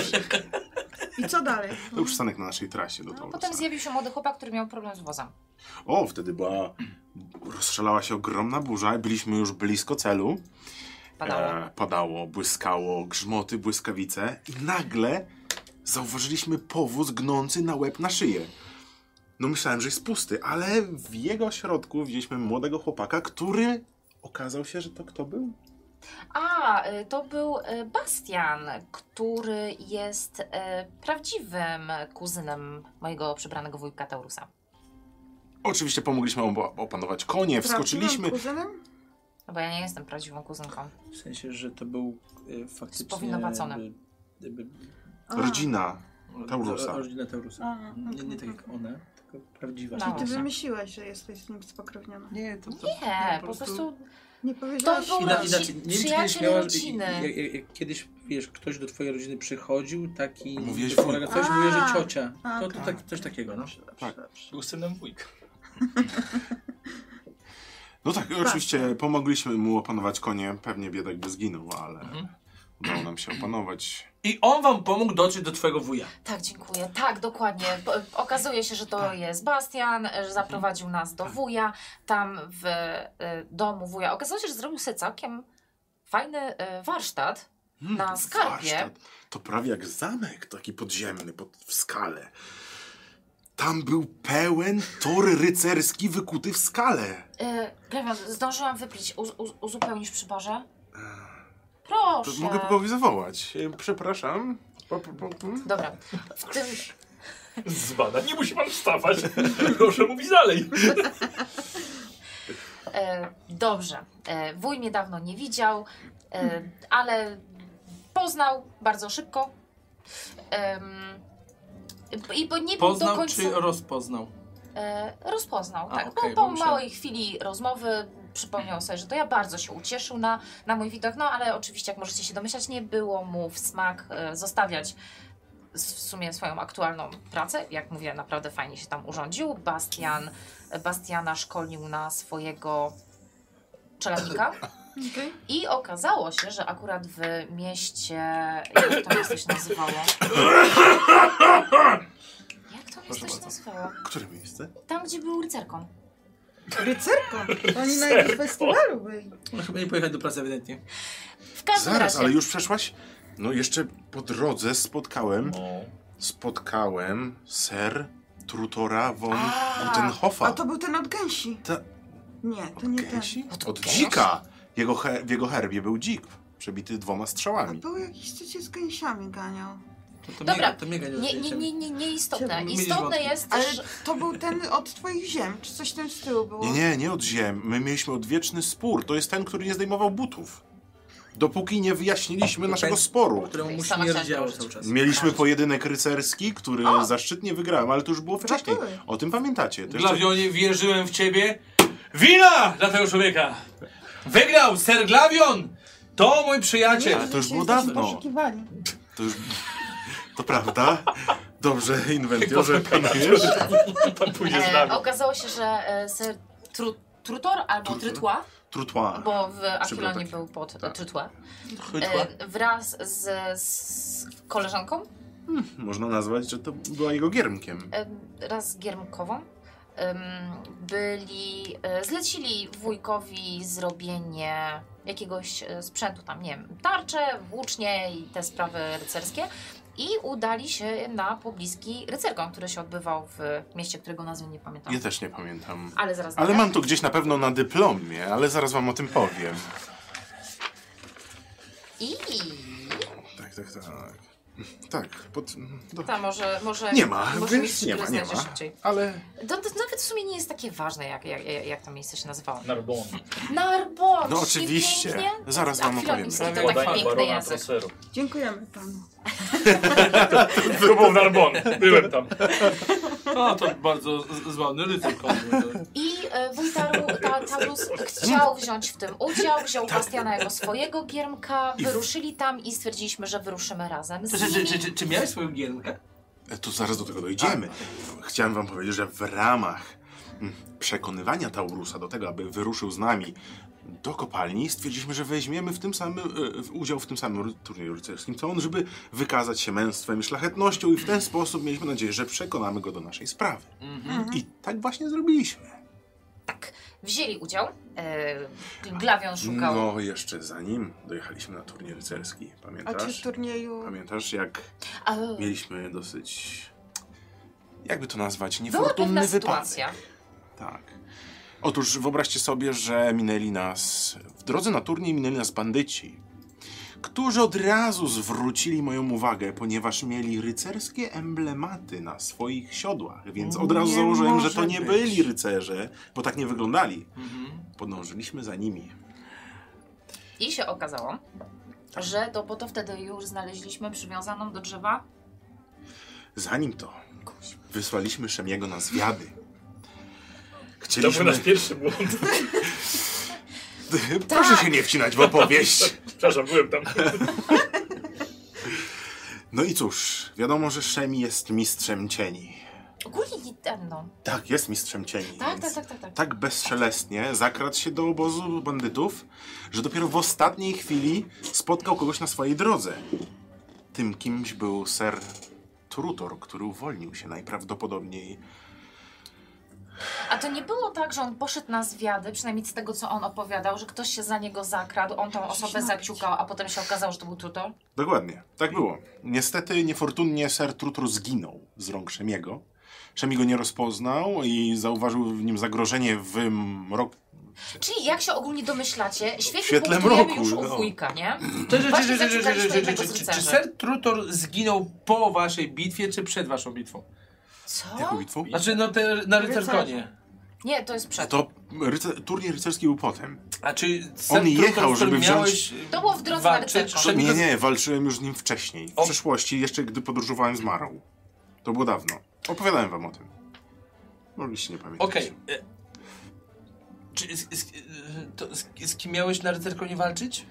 S5: I co dalej?
S4: to był przystanek na naszej trasie do
S6: No,
S4: Taurusa.
S6: potem zjawił się młody chłopak, który miał problem z wozem.
S4: O, wtedy była. Rozstrzelała się ogromna burza, byliśmy już blisko celu.
S6: Padało.
S4: E, padało, błyskało, grzmoty, błyskawice. I nagle zauważyliśmy powóz gnący na łeb na szyję. No myślałem, że jest pusty, ale w jego środku widzieliśmy młodego chłopaka, który okazał się, że to kto był?
S6: A, y, to był y, Bastian, który jest y, prawdziwym kuzynem mojego przybranego wujka Taurusa.
S4: Oczywiście pomogliśmy obo- opanować konie, wskoczyliśmy.
S5: Prawdziwym kuzynem?
S6: No bo ja nie jestem prawdziwą kuzynką.
S1: W sensie, że to był y, faktycznie...
S6: Spowinowacony.
S1: y, y,
S5: A,
S4: Rodzina.
S1: y,
S4: Taurusa.
S1: ro- Rodzina Taurusa.
S5: A,
S1: Nie, nie
S5: okej,
S1: tak jak
S5: okej.
S1: one, tylko prawdziwa.
S6: No.
S5: Ty
S6: Właśnie.
S5: wymyśliłeś, że jesteś z nim spokrewniona.
S1: Nie, to... to
S6: Nie, po prostu
S5: Nie powiedziałaś.
S6: To był
S1: Ina,
S6: Rodzin-
S1: inaczej, nie wiem, czy kiedyś
S6: przyjaciel
S1: miałaś,
S6: rodziny.
S1: jak, jak, jak kiedyś, wiesz, ktoś do twojej rodziny przychodził, taki...
S4: Mówiłeś
S1: do kolega,
S4: wujku.
S1: Ktoś
S5: A.
S1: mówił, że ciocia. To,
S5: A,
S1: to
S5: okej.
S1: tak, coś takiego, no.
S5: Dobrze, dobrze,
S4: Tak.
S5: dobrze.
S2: Był synem wujka.
S4: No tak, oczywiście pomogliśmy mu opanować konie. Pewnie biedak by zginął, ale udało nam się opanować.
S1: I on wam pomógł dotrzeć do twojego wuja.
S6: tak, dziękuję. Tak, dokładnie. Po- Okazuje się, że to jest Bastian, e, że zaprowadził nas do wuja, tam w y, domu wuja. Okazuje się, że zrobił sobie całkiem fajny y, warsztat.
S4: Mm,
S6: Na skarpie.
S4: warsztat. To prawie jak zamek, taki podziemny, pod, w skale. Tam był pełen tor rycerski wykuty w skale.
S6: Y, Glewion, zdążyłam wypić. Uz, uz, uzupełnisz przy barze? Proszę.
S4: To Mogę kogoś zawołać. E, Przepraszam. Po, po, po, po.
S6: Dobra. W tym,
S2: Z bada. Nie musi pan wstawać. Proszę mówić dalej.
S6: E, dobrze. E, wuj mnie dawno nie widział, e, ale poznał bardzo szybko. Em, I bo nie był do
S1: Poznał
S6: końca.
S1: czy rozpoznał?
S6: E, rozpoznał,
S1: A,
S6: tak.
S1: okej,
S6: po
S1: bo
S6: po
S1: myślałem-
S6: małej chwili rozmowy przypomniał sobie, że to ja bardzo się ucieszył na, na mój widok, no ale oczywiście, jak możecie się domyślać, nie było mu w smak e, zostawiać s- w sumie swoją aktualną pracę. Jak mówię, naprawdę fajnie się tam urządził. Bastian, Bastiana szkolił na swojego czeladnika.
S5: Okej.
S6: I okazało się, że akurat w mieście. Jak to miasto się
S1: (coughs)
S6: nazywało? Jak to miasto się
S4: bardzo.
S6: nazywało?
S4: Które miejsce?
S6: Tam, gdzie był rycerką.
S4: (laughs)
S5: Rycerką! Oni na jakimś festiwalu byli.
S4: Tak.
S1: No chyba nie pojechać do pracy ewidentnie.
S6: W każdym
S4: Zaraz,
S6: razie.
S4: ale już przeszłaś? No jeszcze po drodze spotkałem,
S2: No.
S4: spotkałem ser Trutora von
S6: A,
S4: Gutenhofa.
S5: A to był ten od gęsi.
S4: Ta-
S5: Nie, to
S4: Od
S5: nie ten.
S4: gęsi?
S6: Od
S4: Od
S6: gęsi?
S4: dzika. Jego her- w jego herbie był dzik, przebity dwoma
S5: A
S4: strzałami.
S5: był jakiś, co cię z gęsiami ganiał.
S1: To, to
S6: Dobra.
S1: Miega, to miega nie
S6: Nie, nie, nie, nie, nie istotne.
S1: Chciałbym mieć
S6: Istotne
S1: wątki.
S6: jest,
S5: Ale
S6: że.
S5: to był ten od twoich ziem, czy coś tam z tyłu było?
S4: Nie, nie, nie od ziem. My mieliśmy odwieczny spór. To jest ten, który nie zdejmował butów. Dopóki nie wyjaśniliśmy naszego sporu.
S1: Któremu
S6: Okej,
S1: musi
S6: sama
S1: nie
S6: chciałam
S1: rozdziało
S6: dołożyć.
S1: cały czas.
S4: Mieliśmy pojedynek rycerski, który zaszczytnie wygrałem, ale to już było wcześniej.
S5: Gratuluję.
S4: O tym pamiętacie. To jeszcze...
S1: Glawionie, wierzyłem w ciebie. Wina dla tego człowieka! Wygrał Ser Glawion! To mój przyjaciel!
S4: Ale to już
S5: Cię
S4: było
S5: jesteśmy
S4: (laughs) dawno.
S5: Oszukiwani.
S4: To, już... to prawda. Dobrze, inwentyorze, panujesz.
S2: Pan pójdzie z
S6: E,
S2: nami.
S6: a okazało się, że e, ser tru, Trutor albo
S4: Trutor?
S6: Trytła,
S4: Trottoir.
S6: bo w Achilonie
S4: Przeprowadzki.
S6: był pod
S4: Tak.
S6: Trytła,
S1: Chytła.
S6: e, wraz z, z koleżanką,
S4: Można nazwać, że to była jego giermkiem.
S6: e, raz z Giermkową, em, byli, e, zlecili wujkowi zrobienie jakiegoś e, sprzętu tam, nie wiem, tarcze, włócznie i te sprawy rycerskie i udali się na pobliski rycerką, który się odbywał w mieście, którego nazwy nie pamiętam.
S4: Ja też nie pamiętam.
S6: Ale zaraz
S4: Ale
S6: będę.
S4: mam to gdzieś na pewno na dyplomie, ale zaraz wam o tym powiem.
S6: I
S4: Tak, tak, tak. Tak, pod... do-
S6: Ta, może, może,
S4: Nie ma,
S6: może
S4: więc
S6: mistrz
S4: nie ma, nie
S6: znajdzie
S4: ma.
S6: Szybciej.
S4: Ale
S6: To, to nawet w sumie nie jest takie ważne, jak, jak, jak jak to miejsce się nazywało.
S2: Narbon.
S6: Narbon!
S4: No oczywiście. Zaraz wam opowiem.
S6: To
S2: Prawie
S6: tak
S2: badania
S6: piękny
S2: barona
S6: język.
S2: Trosseru.
S5: Dziękujemy panu.
S2: To był Narbon, byłem tam.
S1: A, to bardzo z- złany rytm.
S6: (laughs) I e, wuj Taru- ta- Taurus chciał wziąć w tym udział, wziął Bastiana jako swojego giermka, wyruszyli tam i stwierdziliśmy, że wyruszymy razem z
S1: Czy, czy, czy,
S6: nimi.
S1: czy, czy miałeś swoją giermkę?
S4: tu zaraz do tego dojdziemy. Chciałem wam powiedzieć, że w ramach mm, przekonywania Taurusa do tego, aby wyruszył z nami do kopalni, stwierdziliśmy, że weźmiemy w tym samym, e, w udział w tym samym ry- turnieju rycerskim, co on, żeby wykazać się męstwem i szlachetnością i w ten sposób mieliśmy nadzieję, że przekonamy go do naszej sprawy.
S6: Mhm.
S4: I tak właśnie zrobiliśmy.
S6: Wzięli udział, e, Glawion szukał.
S4: No, jeszcze zanim dojechaliśmy na turniej rycerski,
S5: A czy w
S4: pamiętasz?
S5: turnieju...
S4: Pamiętasz, jak
S6: A,
S4: mieliśmy dosyć, jakby to nazwać,
S6: była pewna
S4: niefortunny wypadek.
S6: sytuacja.
S4: Tak. Otóż wyobraźcie sobie, że minęli nas, w drodze na turniej minęli nas bandyci, którzy od razu zwrócili moją uwagę, ponieważ mieli rycerskie emblematy na swoich siodłach, więc od razu
S5: Nie
S4: założyłem, że
S5: może
S4: to nie
S5: być.
S4: byli rycerze, bo tak nie wyglądali.
S1: Mhm.
S4: Podążyliśmy za nimi.
S6: I się okazało, że to, bo to wtedy już znaleźliśmy przywiązaną do drzewa.
S4: Zanim to, wysłaliśmy Szemiego na zwiady.
S2: To był
S4: Chcieliśmy...
S2: nasz pierwszy błąd.
S4: (laughs) Proszę
S5: Tak.
S4: się nie wcinać w opowieść.
S2: Przepraszam, byłem tam.
S4: No i cóż, wiadomo, że Szemi jest mistrzem cieni.
S6: Ogólnie nie ten, no.
S4: Tak, jest mistrzem cieni.
S6: Tak,
S4: więc
S6: tak, tak, tak, tak.
S4: Tak bezszelestnie zakradł się do obozu bandytów, że dopiero w ostatniej chwili spotkał kogoś na swojej drodze. Tym kimś był ser Trutor, który uwolnił się najprawdopodobniej.
S6: A to nie było tak, że on poszedł na zwiady, przynajmniej z tego, co on opowiadał, że ktoś się za niego zakradł, on tą osobę zaciukał, a potem się okazało, że to był tutor?
S4: Dokładnie, tak było. Niestety, niefortunnie ser Trutor zginął z rąk Szemiego. Szemi go nie rozpoznał i zauważył w nim zagrożenie w mroku.
S6: Czyli jak się ogólnie domyślacie,
S4: W
S6: świetnie
S4: świetle
S6: punktujemy
S4: mroku,
S6: już u
S4: no.
S6: wujka, nie?
S1: Czy, czy, czy, czy, czy,
S6: Właśnie zaciągaliśmy
S1: czy, czy,
S6: jednego
S1: czy,
S6: z
S1: czy, czy
S6: rycerzy.
S1: ser Trutor zginął po waszej bitwie, czy przed waszą bitwą?
S4: Jaką
S6: Co?
S4: bitwą?
S1: Znaczy, no, te, na
S5: Rycerze.
S1: rycerkonie.
S6: Nie, to jest przed. To,
S4: To ryce- turniej rycerski był potem.
S1: A czy ser
S4: On jechał,
S1: Trutor, z którym
S4: żeby wziąć-
S1: miałeś... e,
S6: było w drodze
S1: walczyć,
S6: na rycerką.
S1: żeby-
S4: Nie, nie, walczyłem już z nim wcześniej. W
S1: O.
S4: przeszłości, jeszcze gdy podróżowałem z Marą. To było dawno. Opowiadałem wam o tym. Mogliście nie pamiętać.
S1: Okej. e, Czy z, z, to z, z kim miałeś na rycerkonie walczyć?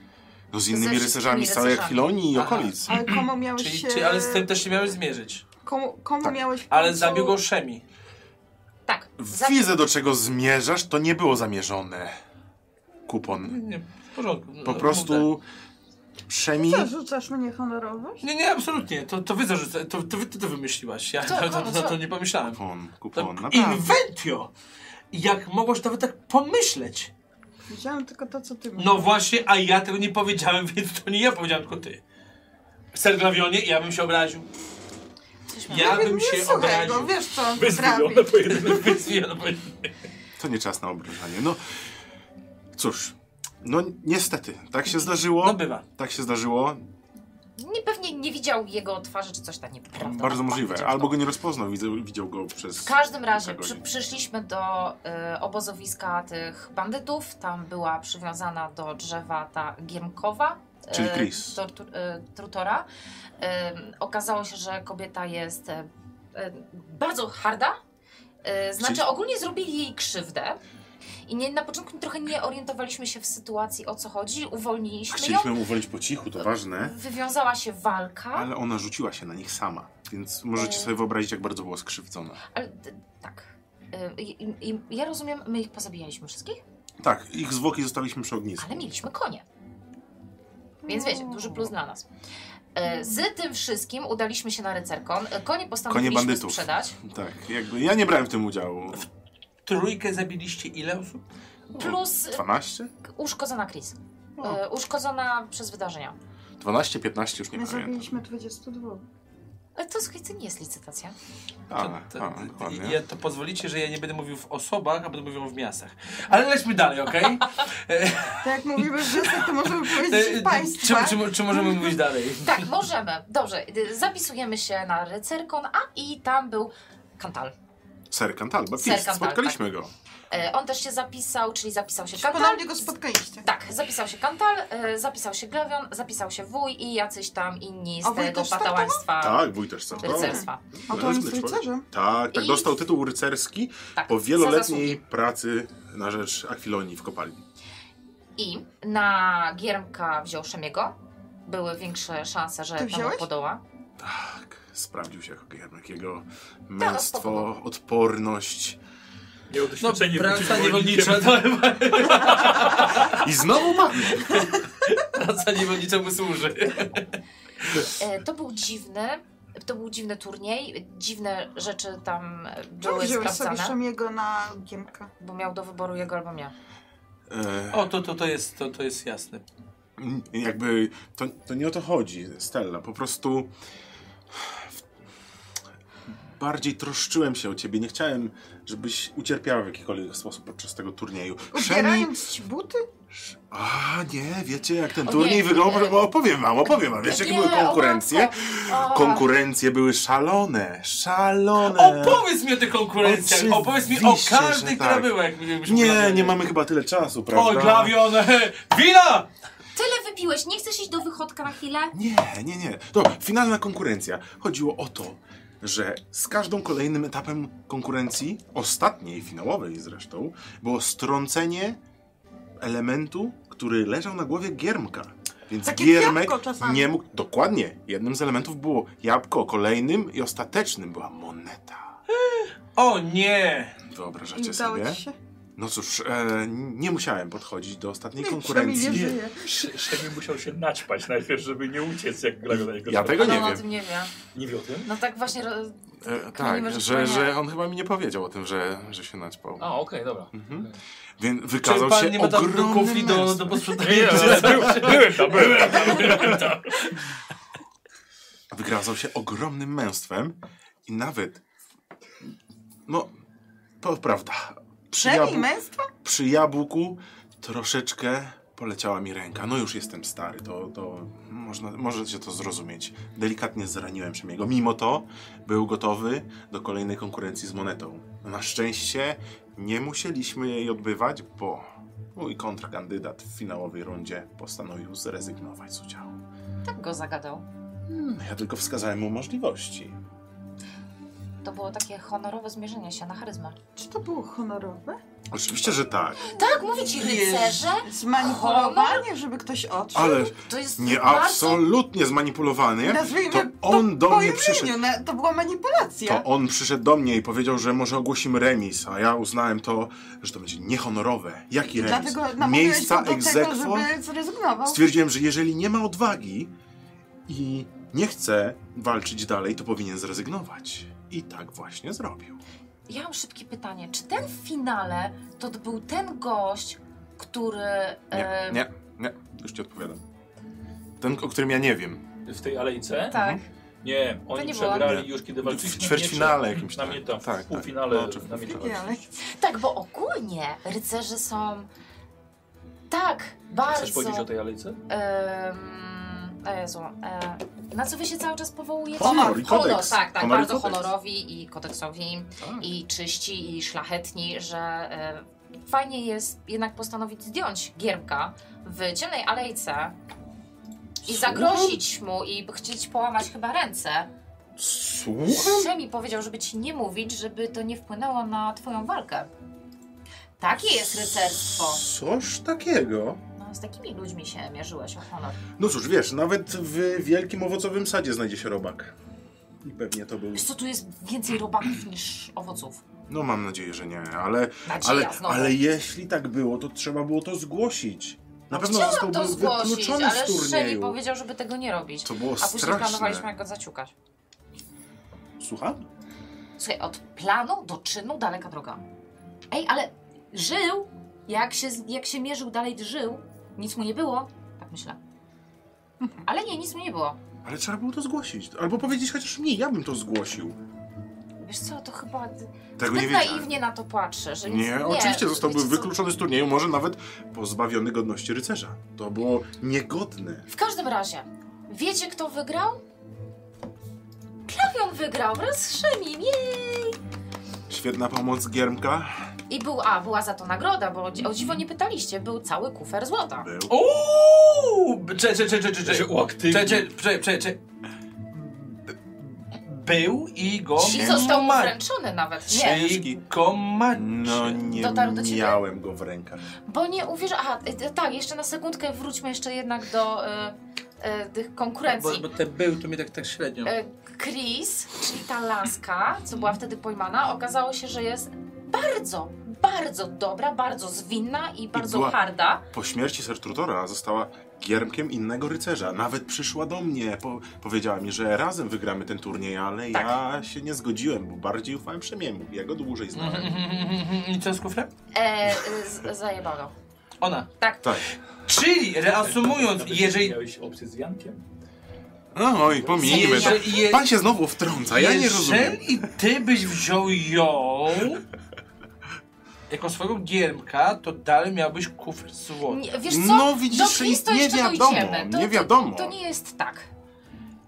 S4: No z innymi
S6: Ze
S4: rycerzami z całej
S6: rycerzami.
S4: Achilonii i
S1: Aha.
S4: okolic.
S5: Ale komu miałeś
S1: Czyli,
S5: się...
S1: czy, ale z tym też się miałeś zmierzyć.
S5: Komu, komu
S4: Tak.
S5: miałeś... w
S1: Ale
S5: końcu-
S1: zabił go Szemi.
S6: tak. Za...
S4: Widzę, do czego zmierzasz, to nie było zamierzone. Kupon.
S1: Nie, w porządku. no, tak.
S4: Po
S1: mów
S4: prostu... Przemi...
S5: Co, rzucasz mnie honorowo?
S1: dalej. Nie, nie, absolutnie. To, to wy zarzucę, to, to, wy- ty to wymyśliłaś. Ja (laughs)
S6: Kto?
S1: na to,
S6: Komu?
S1: na to
S6: Co?
S1: nie pomyślałem.
S4: Kupon,
S1: To
S4: kupon, naprawdę.
S1: inventio! Jak mogłaś nawet tak pomyśleć?
S5: Widziałam tylko to, co ty mówisz.
S1: No właśnie, a ja tego nie powiedziałem, (laughs) więc to nie ja powiedziałem, tylko ty. Serglawionie, ja bym się obraził.
S6: Coś
S1: Ja
S5: Nawet
S1: bym
S5: nie
S1: się
S5: słuchaj no
S1: obraził.
S5: Go, wiesz co on potrafi.
S2: Wyzwolone pojedynek.
S1: Wyzwijano powiedzieć.
S4: To nie czas na obrażanie. No... Cóż. No niestety, tak się
S1: (laughs)
S4: zdarzyło.
S1: No bywa.
S4: Tak się zdarzyło.
S6: Nie, pewnie nie widział jego twarzy czy coś tak nieprawda.
S4: Bardzo możliwe. Albo go nie rozpoznał, widzę- widział go
S6: W
S4: przez...
S6: każdym razie
S4: Kilka
S6: przy,
S4: godzin.
S6: przyszliśmy do y, obozowiska tych bandytów. Tam była przywiązana do drzewa ta Giermkowa. y,
S4: Czyli Chris.
S6: tortur- y, Trutora. Ym, okazało się, że kobieta jest y, y, bardzo harda. Y, znaczy
S4: Czyli-
S6: ogólnie zrobili jej krzywdę. I nie, na początku trochę nie orientowaliśmy się w sytuacji, o co chodzi. Uwolniliśmy ją.
S4: Chcieliśmy uwolnić po cichu, to ważne.
S6: Wywiązała się walka.
S4: Ale ona rzuciła się na nich sama, więc możecie
S6: E.
S4: sobie wyobrazić, jak bardzo była skrzywdzona.
S6: Ale, d- tak. Y, i- i- ja rozumiem, my ich pozabijaliśmy wszystkich,
S4: Tak, ich zwłoki zostawiliśmy przy ognisku.
S6: ale mieliśmy konie. Więc wiecie, duży plus dla nas. Y, Z tym wszystkim udaliśmy się na rycerkon. Y, Konie
S4: Konie
S6: postanowiliśmy
S4: bandytów.
S6: sprzedać.
S4: Tak, jakby ja nie brałem w tym udziału.
S1: Trójkę zabiliście ile osób?
S6: Plus y,
S4: 12?
S6: uszkodzona Chris.
S4: O.
S5: No.
S6: Y, Uszkodzona przez wydarzenia.
S4: 12, 15 już nie
S5: My
S4: pamiętam.
S5: zabiliśmy 22.
S6: Ale E, to słuchaj, to nie jest
S5: (laughs)
S6: licytacja.
S4: A,
S1: to, to,
S4: a, Tak, dokładnie.
S1: ja, to pozwolicie, że ja nie będę mówił w osobach, a będę mówił w miastach. Ale lećmy dalej, okej?
S5: (laughs) Tak jak mówimy, że
S1: (laughs)
S5: to możemy powiedzieć
S1: E, czy,
S5: państwa.
S1: czy, czy możemy mówić dalej?
S6: Tak, możemy. Dobrze, y, zapisujemy się na rycerkon, a i tam był Kantal.
S4: Ser Kantal, Baptist,
S6: Ser Kantal,
S4: spotkaliśmy go.
S6: Y, On też się zapisał, czyli zapisał się Kantal.
S5: Ponownie go spotkaliście.
S6: Tak, zapisał się Kantal, e, zapisał się Glavion, zapisał się Wuj i jacyś tam inni z
S5: A wuj
S6: tego
S5: też startował?
S6: patołaństwa
S4: Tak, wuj też startował.
S6: rycerstwa.
S5: A to on
S4: Mężny
S5: jest
S4: człowiek.
S5: rycerzem.
S4: Tak, tak,
S6: I-
S4: dostał tytuł rycerski
S6: Tak,
S4: po
S6: za
S4: wieloletniej
S6: zasługi.
S4: pracy na rzecz akwilonii w kopalni.
S6: I na Giermka wziął Szemiego. Były większe szanse, że
S5: Ty
S6: temu
S5: wziąłeś?
S6: podoła.
S4: Tak, sprawdził się jako Jarmek, jego
S6: Tak, spoko,
S4: męstwo, odporność.
S1: No,
S2: Nieudoświadczenie
S1: praca niewolnicza.
S4: I znowu mamy!
S1: Praca niewolnicza mu służy.
S6: E, To był dziwny, to był dziwny turniej, dziwne rzeczy tam e,
S5: Czemu
S6: były
S5: wziąłeś sobie
S6: sprawdzane,
S5: Szamiego na Giemka?
S6: bo miał do wyboru jego albo mnie.
S4: E,
S1: O, to, to, to, jest, to, to jest jasne.
S4: m, jakby to, to nie o to chodzi, Stella. Po prostu bardziej troszczyłem się o ciebie. Nie chciałem, żebyś ucierpiała w jakikolwiek sposób podczas tego turnieju. Szemi-
S5: Ubierając ci buty?
S4: A nie, wiecie jak ten
S6: O
S4: turniej
S6: nie,
S4: wyglądał? no
S6: nie.
S4: Bo Opowiem wam, opowiem wam. Wiecie jakie były konkurencje? Konkurencje były szalone, szalone.
S1: Opowiedz mi o tych konkurencjach.
S4: Oczywiście,
S1: Opowiedz mi o każdej,
S4: że
S1: która
S4: tak.
S1: była. Jak byśmy
S4: Nie,
S1: rozmawiali.
S4: nie mamy chyba tyle czasu, prawda?
S1: O, Glavion! he, (laughs) Wina!
S6: Tyle wypiłeś, nie chcesz iść do wychodka na chwilę?
S4: Nie, nie, nie. Dobra, finalna konkurencja. Chodziło o to, że z każdą kolejnym etapem konkurencji, ostatniej, finałowej zresztą, było strącenie elementu, który leżał na głowie Giermka. Więc
S5: Tak jak
S4: Giermek
S5: jabłko czasami.
S4: nie mógł... Dokładnie. Jednym z elementów było jabłko, kolejnym i ostatecznym była moneta.
S1: O nie!
S5: I
S4: Wyobrażacie
S5: udało
S4: sobie?
S5: ci się.
S4: No cóż, e, nie musiałem podchodzić do ostatniej
S5: Szami nie
S4: konkurencji.
S5: żyje.
S2: Szemi musiał się naćpać najpierw, żeby nie uciec, jak Glavion na niego
S4: Ja
S2: spadł.
S4: tego
S6: Ale
S4: nie
S6: on o
S4: wiem.
S6: tym nie wie.
S2: Nie wie o tym?
S6: No tak właśnie... ro-
S4: E,
S6: Kronimy, że
S4: tak, że,
S6: wspaniale.
S4: że on chyba mi nie powiedział o tym, że, że się naćpał.
S2: A, okej, dobra.
S4: Mhm. Więc
S1: Czy
S4: wykazał
S1: pan
S4: się
S1: nie ma tam do
S4: ogromny
S1: kufli do, do
S4: do...
S1: posprzątania?
S2: Nie, nie, by,
S1: (laughs)
S2: byłem tam, byłem tam, byłem tam.
S4: Wykazał się ogromnym męstwem i nawet no, to prawda. Przy,
S5: Szemi,
S4: jabł...
S5: męstwo?
S4: przy jabłku troszeczkę poleciała mi ręka. No już jestem stary, to, to można, możecie to zrozumieć. Delikatnie zraniłem Szemiego. Mimo to był gotowy do kolejnej konkurencji z monetą. Na szczęście nie musieliśmy jej odbywać, bo mój kontrakandydat w finałowej rundzie postanowił zrezygnować z udziału.
S6: Tak go zagadał.
S4: Hmm, ja tylko wskazałem mu możliwości.
S6: To było takie honorowe zmierzenie się na charyzmę.
S5: Czy to było honorowe?
S4: Oczywiście, że tak,
S6: Tak, mówię ci, rycerze?
S5: Zmanipulowanie, żeby ktoś odszedł?
S4: ale
S6: To jest
S4: nie
S6: bardzo...
S4: absolutnie zmanipulowany.
S5: Nazwijmy
S4: To on do
S5: po
S4: mnie
S5: imieniu,
S4: przyszedł.
S5: na- To była manipulacja.
S4: To on przyszedł do mnie i powiedział, że może ogłosimy remis, a ja uznałem to, że to będzie niehonorowe. Jaki
S5: I
S4: remis?
S5: dlatego namawiałeś
S4: Miejsca
S5: go do tego,
S4: egzekwo?
S5: żeby zrezygnował.
S4: Stwierdziłem, że jeżeli nie ma odwagi i nie chce walczyć dalej, to powinien zrezygnować. I tak właśnie zrobił.
S6: Ja mam szybkie pytanie. Czy ten w finale to był ten gość, który...
S4: Nie,
S6: e,
S4: nie, nie, już ci odpowiadam. Ten, o którym ja nie wiem.
S2: W tej alejce?
S6: Tak.
S2: Nie, oni
S6: nie było.
S2: przegrali
S4: Nie.
S2: już kiedy
S4: W
S2: walczyliśmy.
S4: ćwierćfinale
S2: miecze.
S4: jakimś
S2: Na
S4: tak.
S2: mnie tam,
S4: Tak,
S2: w
S4: tak.
S2: półfinale
S4: No, czy-
S2: na mnie tam.
S5: Ale
S6: Tak, bo ogólnie rycerze są tak
S2: Chcesz powiedzieć o
S6: bardzo.
S2: tej alejce?
S6: Em, o Jezu, e, na co wy się cały czas powołujecie?
S4: Honor i kodeks.
S6: tak, tak,
S4: Honor i
S6: bardzo
S4: kodeks.
S6: honorowi i kodeksowi
S2: Tak.
S6: i czyści i szlachetni, że e, fajnie jest jednak postanowić zdjąć Giermka w ciemnej alejce i zagrozić mu i chcieć połamać chyba ręce.
S4: Słucham?
S6: Szemi powiedział, żeby ci nie mówić, żeby to nie wpłynęło na twoją walkę. Takie jest rycerstwo.
S4: Coś takiego.
S6: No, z takimi ludźmi się mierzyłeś o honor.
S4: No cóż, wiesz, nawet w wielkim owocowym sadzie znajdzie się robak. I pewnie to był.
S6: Wiesz co, tu jest więcej robaków niż owoców.
S4: No mam nadzieję, że nie, ale.
S6: Nadzieja
S4: Ale,
S6: znowu.
S4: ale jeśli tak było, to trzeba było to zgłosić. Na pewno
S6: Chciałam
S4: został
S6: to zgłosić,
S4: wykluczony
S6: ale
S4: z
S6: Szeli
S4: turnieju.
S6: powiedział, żeby tego nie robić.
S4: To było
S6: A później planowaliśmy,
S4: straszne.
S6: jak go zaciukać.
S4: Słucham?
S6: Słuchaj, od planu do czynu daleka droga. Ej, ale żył, jak się, jak się mierzył dalej, żył, nic mu nie było, tak myślę. Ale nie, nic mu nie było.
S4: Ale trzeba było to zgłosić. Albo powiedzieć chociaż mi, ja bym to zgłosił.
S6: Wiesz co, to chyba
S4: Tego nie
S6: zbyt
S4: wiedziałem.
S6: naiwnie na to patrzę, że nic,
S4: Nie, oczywiście zostałby
S6: wiecie co?
S4: wykluczony z turnieju, może nawet pozbawiony godności rycerza. To było niegodne.
S6: W każdym razie, wiecie kto wygrał? Klawion wygrał wraz z Szemim, jej!
S4: Świetna pomoc Giermka.
S6: I był, a była za to nagroda, bo o dzi- o dziwo nie pytaliście, był cały kufer złota.
S4: Był.
S1: Uuu! Cze, cze, cze, cze, cze,
S2: Że się
S1: cze.
S2: uaktywnił.
S1: Cze, cze, cze, cze, cze. Był i go
S6: I został mu
S1: ma-
S6: wręczony nawet, nie?
S1: Czyli go macie.
S4: No nie
S6: Dotarł do ciebie?
S4: miałem go w rękach.
S6: Bo nie uwierzę. Aha, y, y, tak, jeszcze na sekundkę wróćmy jeszcze jednak do y, y, tych
S1: Bo,
S6: konkurencji.
S1: bo te był to mi tak, tak średnio.
S6: Y, Chris, czyli ta laska, co była wtedy pojmana, okazało się, że jest bardzo, bardzo dobra, bardzo zwinna i bardzo
S4: była-
S6: harda.
S4: Po śmierci Sertrutora została Giermkiem innego rycerza. Nawet przyszła do mnie. Po powiedziała mi, że razem wygramy ten turniej, ale
S6: Tak.
S4: ja się nie zgodziłem, bo bardziej ufałem Przemiemu. Ja go dłużej
S6: Mhm,
S4: znałem.
S1: I co z kufrem?
S6: E, y, z- zajebano.
S1: Ona.
S4: Tak.
S1: Czyli reasumując,
S2: Nawet
S1: jeżeli.
S2: Miałeś opcję z Jankiem?
S4: No oj, pominijmy to.
S1: jeżeli- je-
S4: Pan się znowu wtrąca, ja nie rozumiem.
S1: Jeżeli ty byś wziął ją jako swojego giermka, to dalej miałbyś kufr złoty.
S6: Nie, wiesz co?
S4: No widzisz,
S6: do
S4: że
S6: Chris to
S4: nie
S6: jeszcze
S4: wiadomo,
S6: dojdziemy. To,
S4: nie
S6: to-
S4: wiadomo.
S6: To, nie jest tak.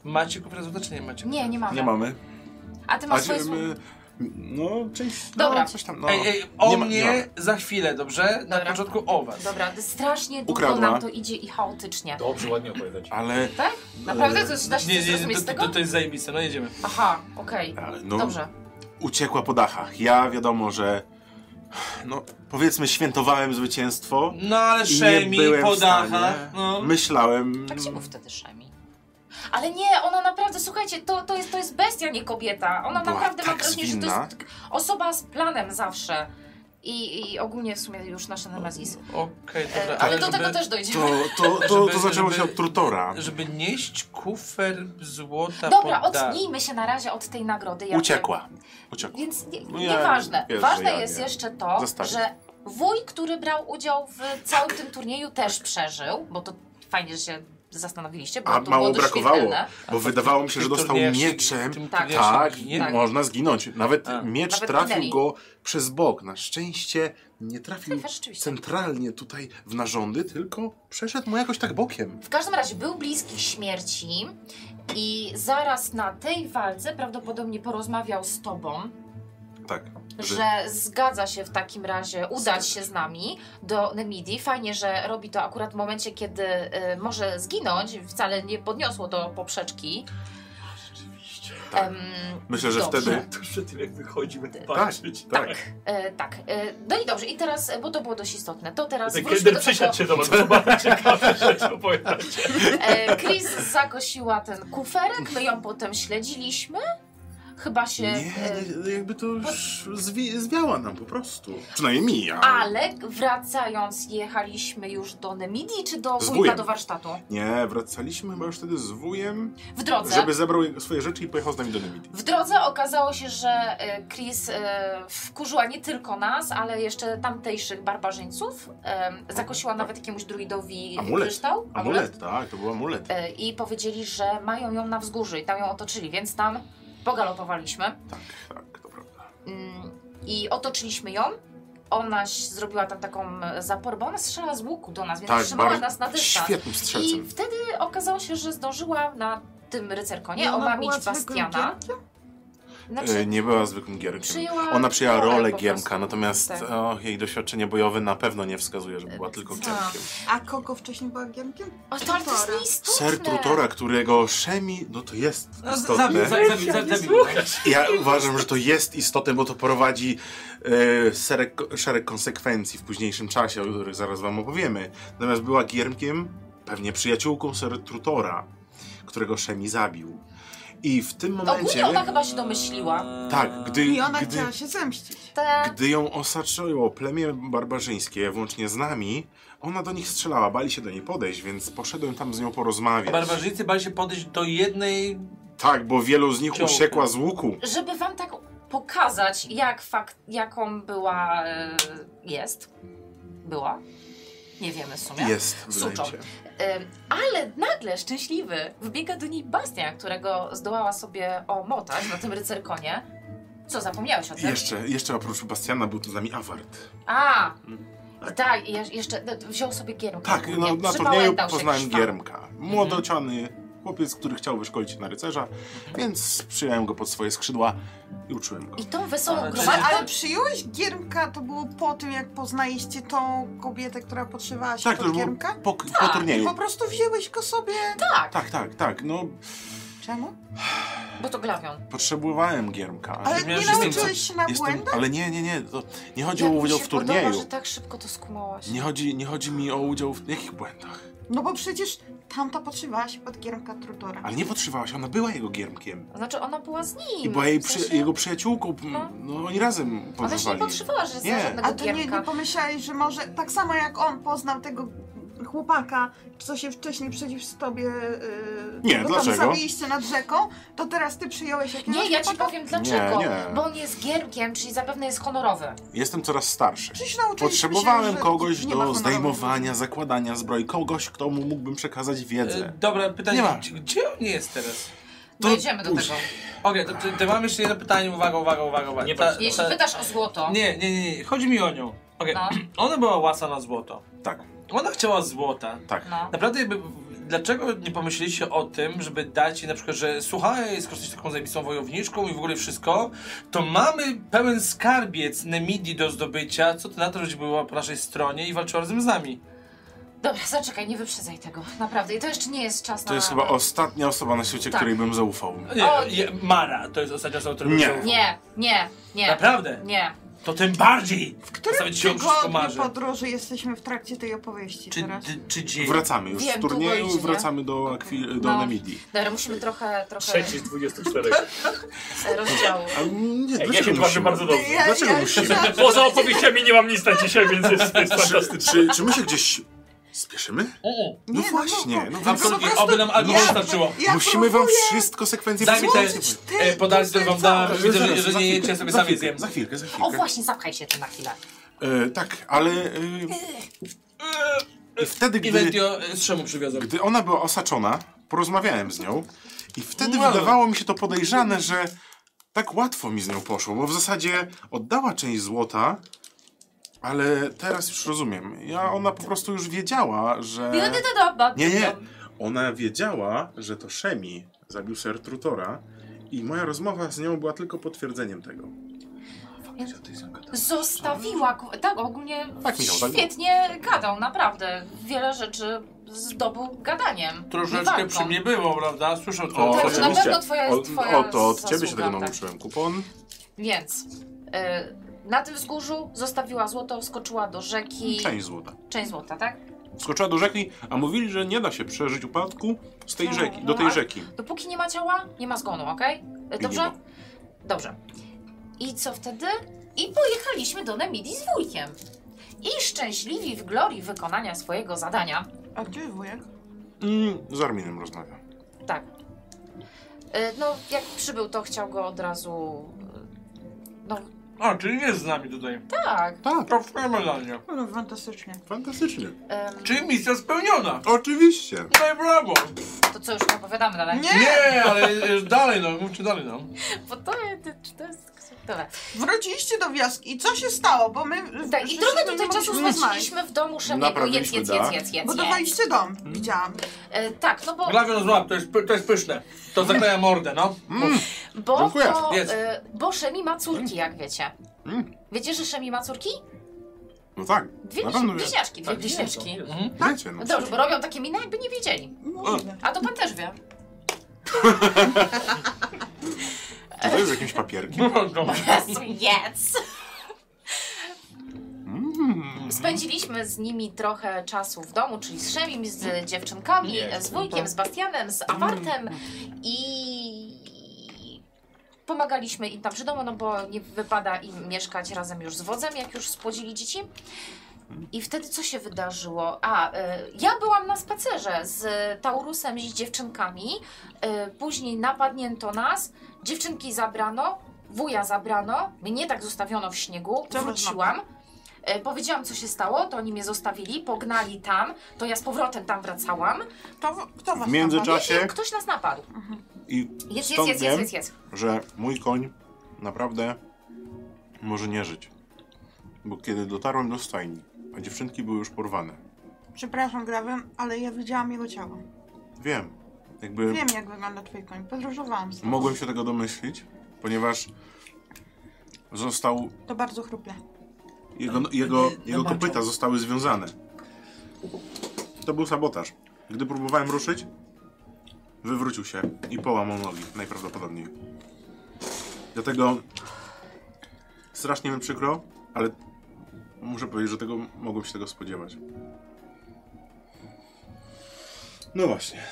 S1: Macie kufr złoty, czy nie macie?
S6: Nie, nie mamy.
S4: Nie mamy.
S6: A ty
S4: A
S6: masz swoje
S4: gdzie
S6: słowo.
S4: my- No, część.
S6: Dobra.
S4: No, coś tam. No.
S1: Ej, ej, o
S4: Nie ma- nie
S1: mnie za chwilę, dobrze? Na
S6: Dobra.
S1: początku o was.
S6: Dobra, to strasznie długo
S4: Ukradła.
S6: nam to idzie i chaotycznie.
S2: Dobrze, ładnie opowiadać.
S4: Ale.
S6: Tak? Naprawdę? To
S4: e,
S6: jest- da się
S1: Nie,
S6: coś
S1: nie,
S6: zrozumieć
S1: nie,
S6: z
S1: to,
S6: tego?
S1: to, to jest zajebiste, no jedziemy.
S6: Aha, okej.
S4: ale no,
S6: Dobrze.
S4: Uciekła po dachach. Ja wiadomo, że. No, powiedzmy, świętowałem zwycięstwo.
S1: No ale
S4: I nie
S1: Szemi
S4: byłem
S1: po
S4: w stanie.
S1: dachach. No.
S4: Myślałem.
S6: Tak się
S1: Mm.
S6: mów wtedy Szemi. Ale nie, ona naprawdę, słuchajcie, to, to, jest, to jest bestia, nie kobieta. Ona
S4: Była
S6: naprawdę
S4: tak
S6: ma wrażenie, że to
S4: zwinna.
S6: jest osoba z planem zawsze. I, I ogólnie w sumie już nasze nemesis.
S1: Okej,
S6: E,
S1: dobra,
S6: ale,
S1: ale
S6: do
S1: żeby,
S6: tego też dojdziemy.
S4: To, to, to,
S1: Żeby-
S4: to zaczęło się
S1: żeby-
S4: od Trutora.
S1: żeby nieść kufer złota
S6: Dobra,
S1: po dach.
S6: odnijmy się na razie od tej nagrody. Jakby.
S4: Uciekła. Uciekła.
S6: Więc nie,
S4: No ja
S6: nieważne.
S4: wiesz, że
S6: Ważne
S4: ja
S6: jest
S4: nie.
S6: jeszcze to,
S4: Zostawię.
S6: że wuj, który brał udział w całym tym turnieju, też przeżył, bo to fajnie, że się zastanowiliście, bo
S4: A
S6: no to
S4: mało
S6: było
S4: brakowało, Hmm.
S6: doświetlne.
S4: bo wydawało mi się, że
S1: Tym
S4: dostał
S1: turniejszy-
S4: mieczem.
S1: tym
S6: Tak.
S1: turniejszym
S4: Tak,
S1: ginie-
S6: tak.
S4: można zginąć. Nawet
S1: A.
S4: miecz
S6: Nawet
S4: trafił
S6: minęli.
S4: go przez bok. Na szczęście nie trafił
S6: Trafiasz, rzeczywiście.
S4: centralnie tutaj w narządy, tylko przeszedł mu jakoś tak bokiem.
S6: W każdym razie był bliski śmierci i zaraz na tej walce prawdopodobnie porozmawiał z tobą,
S4: Tak.
S6: że zgadza się w takim razie udać się z nami do Nemidii. Fajnie, że robi to akurat w momencie, kiedy y, może zginąć. Wcale nie podniosło do poprzeczki.
S2: (laughs) (laughs) Rzeczywiście.
S4: Tak.
S6: Em,
S4: Myślę, że
S6: dobrze.
S4: wtedy-
S2: Tuż przed tym, jak wychodzimy,
S4: Tak,
S2: patrzeć.
S4: tak.
S6: E, tak, e, no i dobrze, i teraz, e, bo to było dość istotne, to teraz
S2: Ten
S6: wróćmy
S2: Kinder
S6: do
S2: przysiadł
S6: tego.
S2: się do was, zobaczcie, ciekawe rzeczy opowiadać.
S6: E, Chris zakosiła ten kuferek, my ją potem śledziliśmy. Chyba się...
S4: Nie,
S6: e,
S4: nie, jakby to już zwi- zwiała nam po prostu. Przynajmniej mi, ale...
S6: Ale wracając, jechaliśmy już do Nemidii czy do
S4: Z
S6: wujka
S4: wujem.
S6: do warsztatu?
S4: Nie, wracaliśmy chyba już wtedy z wujem,
S6: W drodze.
S4: żeby zebrał jego- swoje rzeczy i pojechał z nami do Nemity.
S6: W drodze okazało się, że e, Chris e, wkurzyła nie tylko nas, ale jeszcze tamtejszych barbarzyńców. E, Zakosiła nawet jakiemuś druidowi
S4: Amulet.
S6: kryształ.
S4: Amulet, tak, to był amulet.
S6: E, I powiedzieli, że mają ją na wzgórzu i tam ją otoczyli, więc tam pogalopowaliśmy.
S4: Tak, tak, to prawda.
S6: Mm, I otoczyliśmy ją. Ona ś- zrobiła tam taką e, zaporę, bo ona strzela z łuku do nas, więc
S4: tak,
S6: trzymała
S4: bar-
S6: nas na dystans.
S4: Świetnym
S6: I
S4: strzelcem.
S6: wtedy okazało się, że zdążyła na tym rycerkonie
S5: I No, ona
S6: omamić
S5: była zwykłym
S6: Bastiana. Znaczy,
S4: E, Nie była zwykłym gierkiem.
S6: przyjęła
S4: Ona przyjęła
S6: rolę
S4: rolę
S6: po
S4: gierka,
S6: prostu.
S4: natomiast
S6: Tak. E,
S4: o, jej doświadczenie bojowe na pewno nie wskazuje, że była tylko
S6: Co?
S4: gierkiem.
S5: A Koko wcześniej była gierkiem?
S6: O, to, ale to jest
S5: Tutora.
S6: nieistotne.
S4: E, Ser Trutora, którego szemi, no to jest
S1: No, z- zabij,
S4: istotne.
S1: zabij, zabij, zabij.
S4: Ja uważam, że to jest istotne, bo to prowadzi e, szereg, szereg konsekwencji w późniejszym czasie, o których zaraz wam opowiemy. Natomiast była gierkiem, pewnie przyjaciółką Ser Trutora, którego szemi zabił. I w tym
S6: Ogólnie
S4: momencie,
S6: ona chyba się domyśliła.
S4: tak, gdy,
S5: I ona
S4: gdy,
S5: chciała się zemścić.
S6: Te...
S4: Gdy ją osaczyło plemię barbarzyńskie, włącznie z nami, ona do nich strzelała, bali się do niej podejść, więc poszedłem tam z nią porozmawiać.
S1: Barbarzyńcy bali się podejść do jednej... e,
S4: Tak, bo wielu z nich
S1: Ciągle.
S4: uciekła z łuku.
S6: Żeby wam tak pokazać, jak fakt, jaką była... e, jest. Była. Nie wiemy w sumie.
S4: Jest, wydaje
S6: Suczą.
S4: mi się.
S6: Em, Ale nagle szczęśliwy wbiega do niej Bastian, którego zdołała sobie omotać na tym rycerkonie. Co, zapomniałeś o tym?
S4: Jeszcze, jeszcze oprócz Bastiana był tu z nami Awart.
S6: A!
S4: Tak.
S6: Tak, i je- jeszcze no, wziął sobie kierunki.
S4: Tak, no, na turnieju
S6: Przypałętał się Mhm.
S4: poznałem
S6: jakiś tam.
S4: Giermka. Młodociany chłopiec, który chciał wyszkolić na rycerza, więc przyjąłem go pod swoje skrzydła i uczyłem go.
S6: I tą wesołą
S1: Ale-
S5: Ale,
S6: gromadkę.
S5: ale przyjąłeś Giermka, to było po tym, jak poznaliście tą kobietę, która podszywała się
S4: Tak, to
S5: pod
S4: już było
S5: Giermka?
S4: po, po turnieju.
S5: Po prostu wzięłeś go sobie...
S6: Tak,
S4: Tak, tak, tak. No,
S5: Czemu?
S6: bo to glawion.
S4: potrzebowałem Giermka.
S5: Ale
S1: miałem
S5: nie
S1: się z tym
S5: nauczyłeś się na
S4: Jestem,
S5: błędach?
S4: ale nie, nie, nie. To nie chodzi
S6: Jak
S4: o
S6: mi
S4: udział
S6: się
S4: w turnieju.
S6: Podoba, że tak szybko to skumałaś.
S4: nie, chodzi, nie chodzi mi o udział w jakich błędach.
S5: No bo przecież tamta podszywała się pod Giermka Trutora.
S4: Ale nie potrzebowała się, ona była jego giermkiem.
S6: Znaczy ona była z nim.
S4: I była jej
S6: w
S4: przy,
S6: sensie-
S4: jego przyjaciółką. p-
S6: No.
S4: No oni razem
S6: Ona się nie
S4: podróżowali.
S6: podszywała, że jest
S4: Nie.
S6: żadnego
S5: A to nie,
S6: gierka.
S5: nie pomyślałeś, że może tak samo jak on poznał tego chłopaka, co się wcześniej przeciw tobie yy,
S4: Nie,
S5: go
S4: dlaczego?
S5: tam zabiliście nad rzeką, to teraz ty przyjąłeś jakiegoś
S6: Nie, ja ci
S5: chłopaka?
S6: powiem dlaczego.
S4: Nie, nie.
S6: Bo on jest gierkiem, czyli zapewne jest honorowy.
S4: Jestem coraz starszy.
S5: Przecież nauczyliśmy
S4: Potrzebowałem
S5: się, że
S4: kogoś
S5: nie ma
S4: do
S5: honoru.
S4: zdejmowania, zakładania zbroi. Kogoś, kto mu mógłbym przekazać
S1: E,
S4: wiedzę.
S1: Dobra, pytanie,
S4: Nie ma.
S1: gdzie- gdzie on jest teraz?
S4: To
S6: Dojdziemy do tego.
S4: później.
S1: Okej, to, to, to mam jeszcze jedno pytanie, uwaga, uwaga, uwaga. uwaga.
S2: Nie bądź-
S6: Jeśli pytasz o złoto,
S1: nie, nie, nie, nie, chodzi mi o nią. Okej,
S6: no,
S1: ona była łasa na złoto.
S4: Tak,
S1: Ona chciała złota.
S4: tak.
S6: no.
S1: Naprawdę jakby, dlaczego nie pomyśleliście o tym, żeby dać jej na przykład, że słuchaj, skoro jesteś taką zajebistą wojowniczką i w ogóle wszystko, to mamy pełen skarbiec Nemidii do zdobycia, co ty na to, żeby była po naszej stronie i walczyła razem z nami.
S6: Dobra, zaczekaj, nie wyprzedzaj tego. Naprawdę. I to jeszcze nie jest czas na...
S4: To jest chyba ostatnia osoba na świecie,
S6: no, Tak.
S4: której bym zaufał.
S1: No Nie,
S6: O,
S1: je, Mara, to jest ostatnia osoba, którą
S4: Nie.
S1: chciał-
S6: Nie, nie, nie,
S1: Naprawdę,
S6: nie.
S1: to tym bardziej. W
S5: Którym tygodniu podróży jesteśmy w trakcie tej opowieści
S1: Czy,
S5: teraz?
S1: czy, czy dzień?
S4: Wracamy już
S6: Wiem,
S4: z
S6: długo
S4: turnieju,
S6: idzie, nie?
S4: wracamy do, akwi- do
S6: No.
S4: Nemidii.
S6: Dobra, musimy trochę, trochę
S2: (laughs) Trzeci z 24.
S6: Tak. rozdziału.
S4: A, nie,
S2: Ja
S4: dlaczego
S2: się bawię
S4: musimy?
S2: bardzo dobrze.
S4: Dlaczego musimy?
S5: myślałam, że-
S2: Poza opowieściami nie mam nic na dzisiaj, więc jest, jest fantastyczne.
S4: Czy, czy my się gdzieś spieszymy?
S1: Mm.
S4: No właśnie, no
S5: po
S4: właśnie.
S5: prostu-
S1: Oby nam albo
S5: ja-
S1: wystarczyło.
S5: ja
S4: Musimy wam
S5: próbuję-
S4: wszystko sekwencje
S1: Daj mi te-
S4: wszystko-
S1: E, podać, które wam dałem,
S4: Zaraz,
S1: widzę, że,
S4: zaraz,
S1: że
S4: za
S1: nie
S4: chwilkę,
S1: jecie, sobie
S4: za
S1: sami
S4: chwilkę,
S1: zjem.
S4: Za chwilkę, za
S6: O
S4: chwilkę.
S6: właśnie, zapchaj się tu na chwilę.
S4: E, tak, ale e, i wtedy, gdy,
S1: Inventio e, z czemu przywiozłem?
S4: gdy ona była osaczona, porozmawiałem z nią i wtedy
S1: Wow.
S4: wydawało mi się to podejrzane, że tak łatwo mi z nią poszło, bo w zasadzie oddała część złota, ale teraz już rozumiem. Ja, ona po prostu już wiedziała, że... Nie, nie. Ona wiedziała, że to Szemi zabił Ser Trutora i moja rozmowa z nią była tylko potwierdzeniem tego.
S6: Zostawiła go. Tak, ogólnie
S4: Tak, Michał, tak.
S6: świetnie gadał, naprawdę. Wiele rzeczy zdobył gadaniem. nie
S1: Troszeczkę
S6: walką.
S1: przy mnie było, prawda? Słyszał to.
S6: O,
S1: Słyszał-
S6: na pewno twoja-
S4: o,
S6: twoja
S4: o, to od ciebie się
S6: zasługa,
S4: tego
S6: tak.
S4: nauczyłem. Kupon.
S6: Więc y, na tym wzgórzu zostawiła złoto, skoczyła do rzeki.
S4: Część złota.
S6: Część złota, tak?
S4: Skoczyła do rzeki, a mówili, że nie da się przeżyć upadku z tej
S6: No,
S4: rzeki,
S6: no,
S4: do tej
S6: ale-
S4: rzeki.
S6: Dopóki nie ma ciała, nie ma zgonu, okej? Y, Dobrze?
S4: było.
S6: Dobrze. I co wtedy? I pojechaliśmy do Nemidii z wujkiem. I szczęśliwi w glorii wykonania swojego zadania,
S5: A gdzie jest wujek?
S4: Mm, z Arminem rozmawiam.
S6: tak. Y, No, jak przybył, to chciał go od razu. y, No,
S1: A, czyli jest z nami tutaj.
S6: tak.
S4: Tak,
S1: Pracujemy dla niej.
S5: No fantastycznie.
S4: fantastycznie.
S6: Ym,
S1: Czyli misja spełniona.
S4: Oczywiście.
S1: No i brawo.
S6: To co już nie opowiadamy dalej?
S5: Nie!
S1: Nie, ale e, dalej no, mówcie dalej no.
S6: Bo to, to, to jest. Dobra.
S5: Wróciliście do wioski i co się stało? Bo my.
S6: Tak, I
S5: że
S6: trochę
S5: się
S6: tutaj
S5: nie
S6: czasu
S5: mogliśmy znaleźć.
S6: spędziliśmy w domu Szemiego. Jedz,
S4: Naprawiliśmy
S6: jedz, jedz,
S4: dach.
S6: jedz, jedz, jedz.
S5: Budowaliście dom, widziałam.
S6: E, tak, no bo,
S1: Glawion z łap, to jest, py- to jest pyszne. To zakleja mordę, no.
S4: Mm,
S6: bo,
S4: Dziękuję.
S6: to,
S1: Jedz.
S6: e, bo Szemi ma córki, jak wiecie.
S4: Mm.
S6: Wiecie, że Szemi ma córki?
S4: No tak,
S6: Dwie
S4: na pewno wie.
S6: bliźniaczki, dwie
S2: Tak,
S6: bliźniaczki.
S2: wiedzą, wiedzą.
S1: Mhm.
S4: Wiecie, no.
S6: No dobrze, bo robią takie miny, jakby nie wiedzieli.
S5: Możliwe.
S6: A to pan też wie.
S4: Czy to jest jakimś papierkiem?
S6: Jezu, jedz!
S4: Mm.
S6: Spędziliśmy z nimi trochę czasu w domu, czyli z Szemim, z dziewczynkami,
S2: Nie,
S6: z wujkiem, z Bastianem, z Awartem i pomagaliśmy im tam przy domu, no bo nie wypada im mieszkać razem już z wodzem, jak już spłodzili dzieci. I wtedy co się wydarzyło? A, y, ja byłam na spacerze z Taurusem i z dziewczynkami. Y, później napadnięto nas, dziewczynki zabrano, wuja zabrano, mnie tak zostawiono w śniegu,
S5: Co was
S6: wróciłam. Y, Powiedziałam, co się stało, to oni mnie zostawili, pognali tam, to ja z powrotem tam wracałam. E,
S5: Kto, kto was
S4: W międzyczasie
S6: Ktoś nas napadł.
S4: i
S6: Jest, jest,
S4: stąd
S6: jest, jest,
S4: wiem,
S6: jest, jest.
S4: że mój koń naprawdę może nie żyć. Bo kiedy dotarłem do stajni, a dziewczynki były już porwane.
S5: napadł? Przepraszam, Grawen, ale ja widziałam jego ciało.
S4: Wiem, jakby
S5: Wiem, jak wygląda twój koń. Podróżowałam z nim.
S4: mogłem się tego domyślić, ponieważ został,
S5: To bardzo chruple.
S4: jego, jego, jego kopyta zostały związane. To był sabotaż. Gdy próbowałem ruszyć, wywrócił się i połamał nogi, najprawdopodobniej. Dlatego strasznie mi przykro, ale muszę powiedzieć, że tego mogłem się tego spodziewać. No właśnie.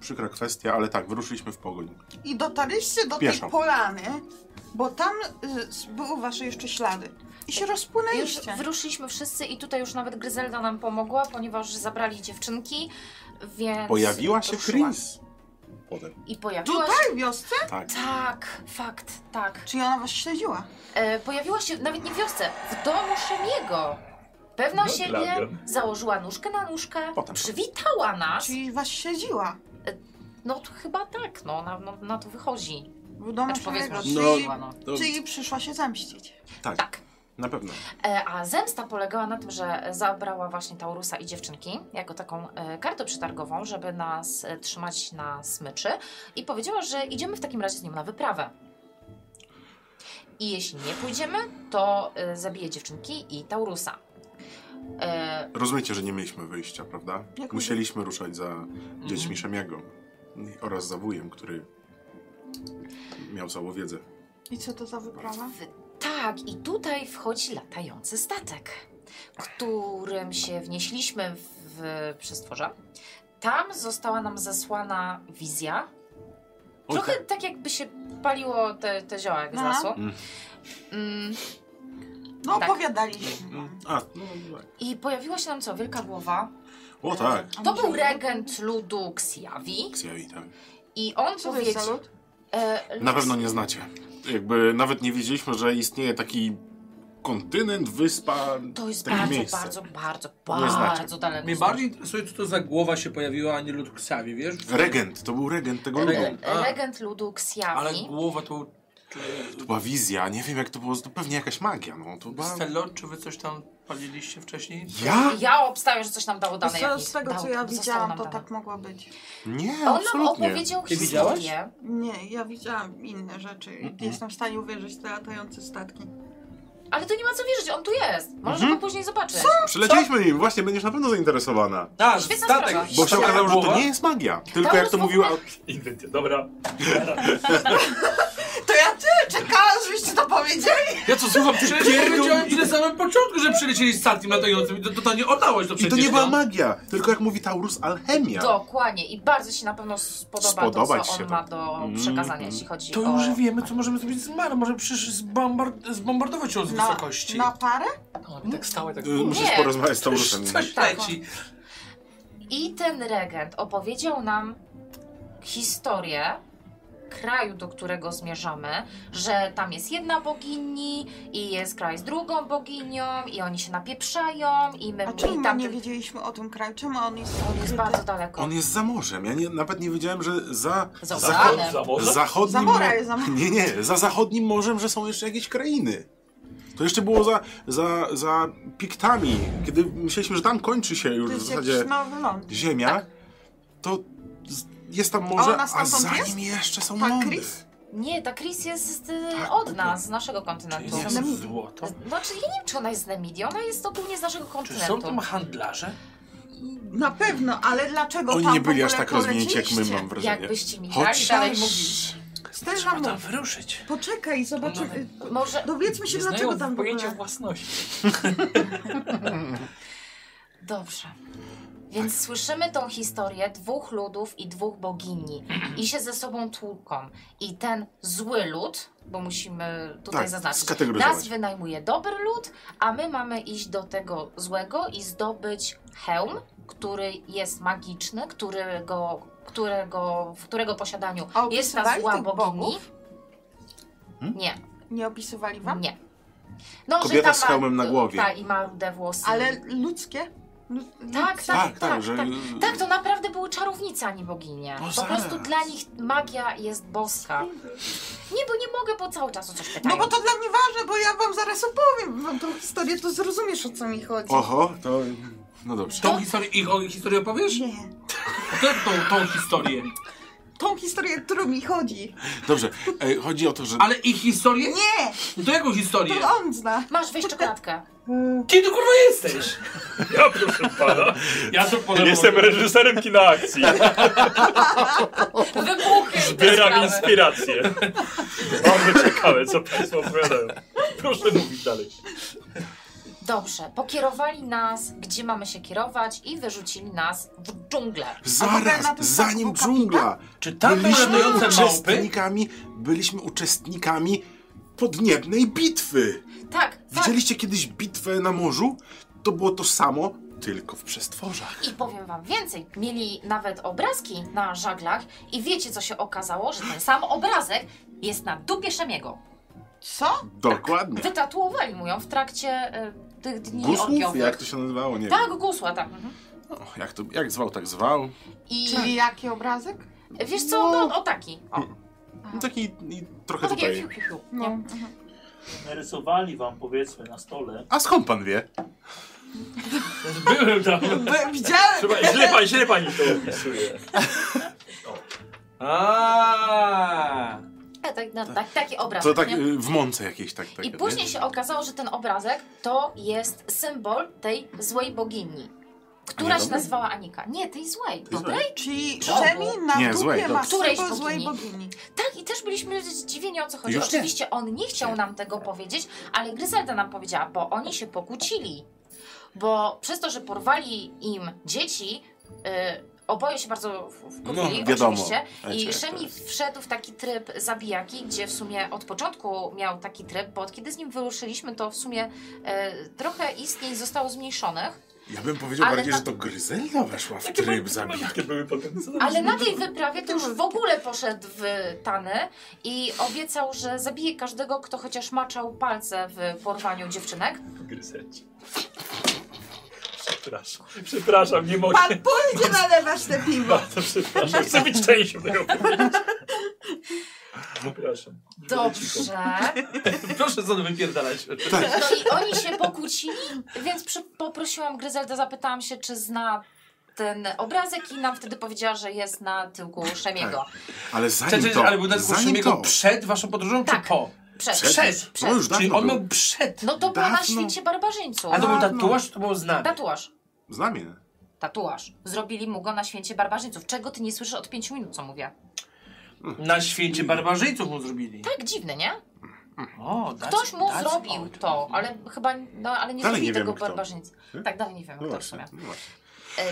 S4: Przykra kwestia, ale tak, wyruszyliśmy w pogoń.
S5: I dotarliście do
S4: Pieszo.
S5: tej polany, bo tam y, s- były wasze jeszcze ślady. I się
S6: Już
S5: rozpłynęliście.
S6: wyruszyliśmy wszyscy i tutaj już nawet Gryzelda nam pomogła, ponieważ zabrali dziewczynki, więc...
S4: Pojawiła się
S6: ruszyła.
S4: Chris. Potem.
S6: I pojawiła się...
S5: Tutaj w wiosce?
S4: Tak.
S6: Tak, fakt, tak.
S5: Czyli ona was śledziła?
S6: E, pojawiła się nawet nie w wiosce, w domu Szemiego. Pewna
S2: No,
S6: siebie
S2: Glawion.
S6: założyła nóżkę na nóżkę,
S4: Potem.
S6: przywitała nas.
S5: Czyli was śledziła?
S6: No to chyba tak, no na, no, na to wychodzi.
S5: W domu
S6: Znaczy powiedzmy,
S5: swojego.
S6: że
S4: No.
S5: Czyli,
S6: śledziła, no.
S4: To-
S5: czyli przyszła się zemścić.
S4: Tak,
S6: Tak.
S4: na pewno.
S6: E, A zemsta polegała na tym, że zabrała właśnie Taurusa i dziewczynki jako taką e, kartę przetargową, żeby nas e, trzymać na smyczy i powiedziała, że idziemy w takim razie z nim na wyprawę. I jeśli nie pójdziemy, to e, zabije dziewczynki i Taurusa. E,
S4: Rozumiecie, że nie mieliśmy wyjścia, prawda?
S5: Jak
S4: Musieliśmy ruszać za dziećmi Szemiego oraz za wujem, który miał całą wiedzę.
S5: I co to za wyprawa?
S6: Tak, i tutaj wchodzi latający statek, którym się wnieśliśmy w przestworze. Tam została nam zasłana wizja. Trochę tak jakby się paliło te, te zioła, jak
S5: Aha.
S6: zasło.
S4: Mm.
S6: Mm,
S5: No
S6: Tak.
S5: opowiadaliśmy. wam.
S4: A, no, no, tak.
S6: I pojawiła się nam co? Wielka głowa.
S4: O tak,
S5: A
S6: To
S5: mi się
S6: był
S5: wydaje-
S6: regent ludu Ksiawi
S4: Xiaomi, tak.
S6: i on
S5: Co to jest za
S6: powiedział...
S5: lud?
S6: E,
S4: Na pewno nie znacie. Jakby nawet nie wiedzieliśmy, że istnieje taki kontynent, wyspa,
S6: To jest
S4: takie
S6: bardzo,
S4: miejsce.
S6: bardzo, bardzo,
S4: Nie
S6: bardzo,
S4: znacie.
S6: daleko.
S1: Mnie bardziej interesuje, co to za głowa się pojawiła, a nie lud Ksawi, wiesz?
S4: Regent, to był regent tego ludu.
S1: Regent.
S6: E, Regent ludu Ksiawi.
S1: Ale głowa to...
S4: To była wizja, nie wiem jak to było, to pewnie jakaś magia, no. To była...
S1: Stellor, czy wy coś tam paliliście wcześniej?
S4: Ja?
S6: Ja obstawiam, że coś nam dało dane.
S5: Z,
S6: jak
S5: z
S6: nic.
S5: tego, co
S6: Dało- zostało
S5: ja
S6: nam
S5: widziałam, to
S6: dane.
S5: tak mogło być.
S4: Nie,
S6: On nam
S4: absolutnie.
S6: opowiedział
S1: Ty
S6: historię.
S1: widziałaś?
S5: Nie, ja widziałam inne rzeczy. i
S4: Mhm.
S5: Jestem w stanie uwierzyć w te latające statki.
S6: Ale to nie ma co wierzyć, on tu jest. Możesz
S4: Mhm.
S6: go później zobaczyć.
S4: Przylecieliśmy im, właśnie, będziesz na pewno zainteresowana.
S1: Nasz
S6: Świetna
S1: statek!
S6: sprawa.
S4: Bo się
S1: Statek
S4: okazało, że
S1: głowa?
S4: to nie jest magia. Tylko
S6: Tam
S4: jak to
S6: już w
S4: mówiła.
S2: Inwencja, dobra.
S5: To ja tyle czekałam, żebyście to powiedzieli.
S2: Ja co słucham tych
S1: Przecież ja wiedziałem ci na samym początku, że przylecieli z statkiem latającym i to, to, to nie oddałeś to
S4: I
S1: przecież.
S4: to nie była
S1: no.
S4: magia, tylko jak mówi Taurus, alchemia.
S6: Dokładnie. I bardzo się na pewno spodoba
S4: Spodobać
S6: to, co
S4: się
S6: on
S4: to.
S6: ma do
S4: Mm,
S6: przekazania,
S4: mm.
S6: jeśli chodzi
S1: To
S6: o...
S1: już wiemy, co możemy zrobić z Mar. Może przecież zbombard- zbombardować ją z
S5: Na,
S1: wysokości.
S5: na parę?
S2: No, tak stałe, tak...
S4: Y, Musisz
S6: Nie.
S4: porozmawiać z Taurusem.
S1: Coś
S6: Tak.
S1: leci.
S6: I ten regent opowiedział nam historię kraju, do którego zmierzamy, że tam jest jedna bogini i jest kraj z drugą boginią i oni się napieprzają i my...
S5: A czemu
S6: i
S5: my
S6: tam
S5: nie wiedzieliśmy o tym kraju? Czemu on jest
S6: On jest
S5: ukryty?
S6: bardzo daleko.
S4: On jest za morzem. Ja nie, nawet nie wiedziałem, że za.
S6: Za
S4: zachod-
S6: oceanem.
S2: Za morze?
S4: zachodnim.
S5: Za mora jest za
S4: Nie, nie, za zachodnim morzem, że są jeszcze jakieś krainy. To jeszcze było za, za, za piktami, kiedy myśleliśmy, że tam kończy się już
S5: To
S4: w
S5: jest
S4: zasadzie
S5: jakiś nowy ląd.
S4: ziemia, to z- jest tam morze,
S5: Tak. ona
S4: a,
S5: stamtąd
S4: za
S5: jest?
S4: nim jeszcze są
S5: Ta
S4: lądy.
S5: Chris?
S6: Nie, ta Chris jest y, od nas, z naszego
S1: Tak,
S5: Tak,
S1: Czy
S6: kontynentu.
S1: jest
S5: Namidii.
S1: złoto?
S5: no,
S6: Znaczy, ja nie wiem, czy ona jest z Nemidii, ona jest ogólnie z naszego
S1: Czy
S5: no,
S1: są
S6: kontynentu.
S1: tam handlarze?
S5: Na pewno, ale dlaczego
S4: Oni
S5: tam
S4: nie
S5: w
S4: byli aż
S5: ogóle
S4: tak rozwinięci jak my,
S5: poleciliście?
S4: mam wrażenie. tak,
S6: Jakbyście mi dali
S4: Chociaż-
S6: dalej mówić.
S5: Też
S1: Trzeba
S5: wam
S1: tam
S5: mówię.
S1: wyruszyć.
S5: Poczekaj, zobaczymy.
S6: Może,
S5: Dowiedzmy się,
S2: Nie
S5: dlaczego
S2: znają
S5: tam w
S2: pojęcia
S5: ogóle...
S2: własności.
S6: Dobrze. Więc słyszymy tą historię dwóch ludów i dwóch bogini i się ze sobą tłuką. I ten zły lud, bo musimy tutaj
S4: Tak,
S6: zaznaczyć,
S4: skategoryzować.
S6: nas wynajmuje dobry lud, a my mamy iść do tego złego i zdobyć hełm, który jest magiczny, którego, którego, w którego posiadaniu
S5: A
S6: jest ta
S5: opisywali
S6: zła
S5: tych
S6: bogini.
S5: bogów?
S4: Hmm?
S6: Nie,
S5: Nie opisywali wam?
S6: nie. No,
S4: Kobieta
S6: ta
S4: z hełmem na głowie.
S6: Ta, i ma rude włosy.
S5: Ale ludzkie? No, Lu-
S6: Tak, tak,
S5: ludzkie.
S4: Tak, tak,
S6: tak,
S4: że.
S6: tak. Tak, to naprawdę były czarownice, a nie boginie.
S4: No
S6: po
S4: zaraz.
S6: prostu dla nich magia jest boska. Nie, bo nie mogę, bo cały czas o coś pytają.
S5: No bo to dla mnie ważne, bo ja wam zaraz opowiem wam tą historię, to zrozumiesz o co mi chodzi.
S4: Oho, to. No dobrze.
S1: Tą historię, ich, o, historię opowiesz?
S5: Nie.
S1: Tę, tą, tą historię.
S5: Tą historię, którą mi chodzi.
S4: Dobrze. E, chodzi o to, że.
S1: Ale ich historię?
S5: Nie!
S1: To jaką historię?
S5: To on zna.
S6: Masz weź czekoladkę.
S1: Gdzie ty kurwa jesteś?
S2: Ja proszę pana.
S1: Ja to podam.
S2: Jestem reżyserem kina akcji. (laughs)
S6: Wybuchy! i te
S2: Zbieram
S6: sprawy.
S2: inspirację. Bardzo ciekawe, co państwo opowiadają. Proszę mówić dalej.
S6: Dobrze, pokierowali nas, gdzie mamy się kierować i wyrzucili nas w dżunglę.
S5: potem na
S4: Zaraz,
S5: tym
S4: zanim
S5: statku kapitan?
S4: dżungla.
S1: Czy tam były latające małpy?
S4: uczestnikami, byliśmy uczestnikami podniebnej bitwy.
S6: Tak, tak.
S4: Widzieliście kiedyś bitwę na morzu? To było to samo, tylko w przestworzach.
S6: I powiem wam więcej, mieli nawet obrazki na żaglach i wiecie co się okazało, że ten sam obrazek jest na dupie Szemiego.
S5: Co?
S4: Dokładnie.
S6: Tak. Wytatuowali mu ją w trakcie y, tych dni
S4: Gusłów?
S6: orgiowych.
S4: Jak to się nazywało? Nie
S6: Tak, gusła, tak. Mhm.
S4: wiem. O, jak, to, jak zwał, tak zwał.
S6: I
S5: Czyli jaki obrazek?
S6: wiesz co, no, o taki. O,
S4: No taki i trochę
S6: o taki
S4: tutaj.
S6: piu, piu, piu.
S5: No.
S6: Nie.
S5: mhm.
S7: Narysowali wam powiedzmy na stole.
S4: A skąd pan wie?
S2: Byłem tam.
S5: By- Widziałem!
S2: Chyba źle, pani, źle pani to opisuje.
S1: Aaaa!
S6: E, Tak, no, tak, taki obraz.
S4: To tak
S6: nie?
S4: y, w mące jakiejś tak. tak
S6: I później się okazało, że ten obrazek to jest symbol tej złej bogini, która się
S4: dobrej?
S6: nazywała Anika. Nie, tej złej. Dobrej?
S4: Dobrej?
S5: Czyli
S6: Czemu?
S5: Szemi na
S4: Nie,
S5: dupie
S4: złej,
S5: ma
S4: dobrze.
S6: Którejś
S5: symbol złej
S6: bogini.
S5: bogini.
S6: Tak, i też byliśmy zdziwieni o co chodzi.
S4: Już nie.
S6: Oczywiście on nie chciał nam tego powiedzieć, ale Gryzelda nam powiedziała, bo oni się pokłócili. Bo przez to, że porwali im dzieci, y, oboje się bardzo w- wkurwili,
S4: No, wiadomo.
S6: oczywiście.
S4: Wiecie,
S6: I
S4: jak to
S6: Szemi
S4: jest.
S6: wszedł w taki tryb zabijaki, gdzie w sumie od początku miał taki tryb, bo od kiedy z nim wyruszyliśmy, to w sumie y, trochę istnień zostało zmniejszonych.
S4: Ja bym powiedział
S6: Ale no-
S4: bardziej,
S6: na-
S4: że to Gryzelda weszła w tryb zabijania.
S2: Jakie były potem? Co tam
S6: Ale
S2: się
S6: na tej wyprawie to już w ogóle poszedł w Tany i obiecał, że zabije każdego, kto chociaż maczał palce w porwaniu dziewczynek.
S2: gryzeć? Przepraszam, przepraszam, nie mogę.
S5: Pan pójdzie nalewasz te piwo.
S2: Bardzo przepraszam, chcę być częścią tego. opowiadania. Przepraszam.
S6: Dobrze.
S1: Proszę co wypierdalać.
S4: Tak,
S6: No i oni się pokłócili, więc przy, poprosiłam Gryzeldę, zapytałam się, czy zna ten obrazek i nam wtedy powiedziała, że jest na tyłku Szemiego.
S4: Ale
S1: Cześć,
S4: zanim
S1: cześć,
S4: to,
S1: ale był na
S4: zanim
S1: jego
S4: to,
S1: przed waszą podróżą,
S6: Tak.
S1: czy po?
S6: Przed.
S1: Przed.
S4: No już
S1: Czyli
S4: dawno
S1: on
S4: był.
S1: miał przed.
S6: No to była na
S4: Dawno.
S6: święcie barbarzyńców.
S1: A to był
S4: Dawno.
S1: tatuaż, czy to było znane.
S6: Tatuaż.
S4: Znamię.
S6: No Tatuaż. Zrobili mu go na święcie barbarzyńców. Czego ty nie słyszysz od pięciu minut, co mówię?
S1: Na święcie barbarzyńców mu zrobili.
S6: Tak dziwne, nie?
S1: O, that's-
S6: Ktoś mu
S1: that's
S6: zrobił
S1: odd.
S6: to, ale chyba, no ale nie
S4: Dalej
S6: zrobili
S4: nie
S6: tego
S4: wiemy, kto.
S6: barbarzyńcy.
S4: Hmm?
S6: Tak, dalej nie wiem,
S4: No
S6: kto w sumie.
S4: właśnie, no właśnie.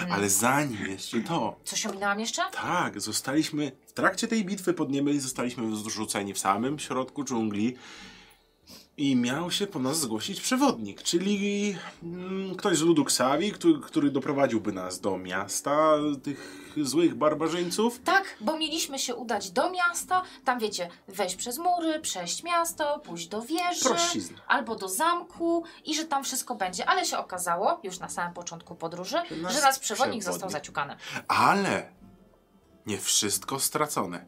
S6: Ym,
S4: Ale zanim jeszcze to,
S6: Coś ominęłam jeszcze?
S4: tak, zostaliśmy w trakcie tej bitwy pod niebem zostaliśmy zrzuceni w samym środku dżungli I miał się po nas zgłosić przewodnik, czyli mm, ktoś z ludu Ksawi, który, który doprowadziłby nas do miasta tych złych barbarzyńców.
S6: Tak, bo mieliśmy się udać do miasta, tam wiecie, wejść przez mury, przejść miasto, pójść do wieży.
S4: Prościzna.
S6: albo do zamku i że tam wszystko będzie. Ale się okazało, już na samym początku podróży,
S4: Że nas
S6: że nas przewodnik został
S4: przewodnik.
S6: zaciukany.
S4: Ale nie wszystko stracone.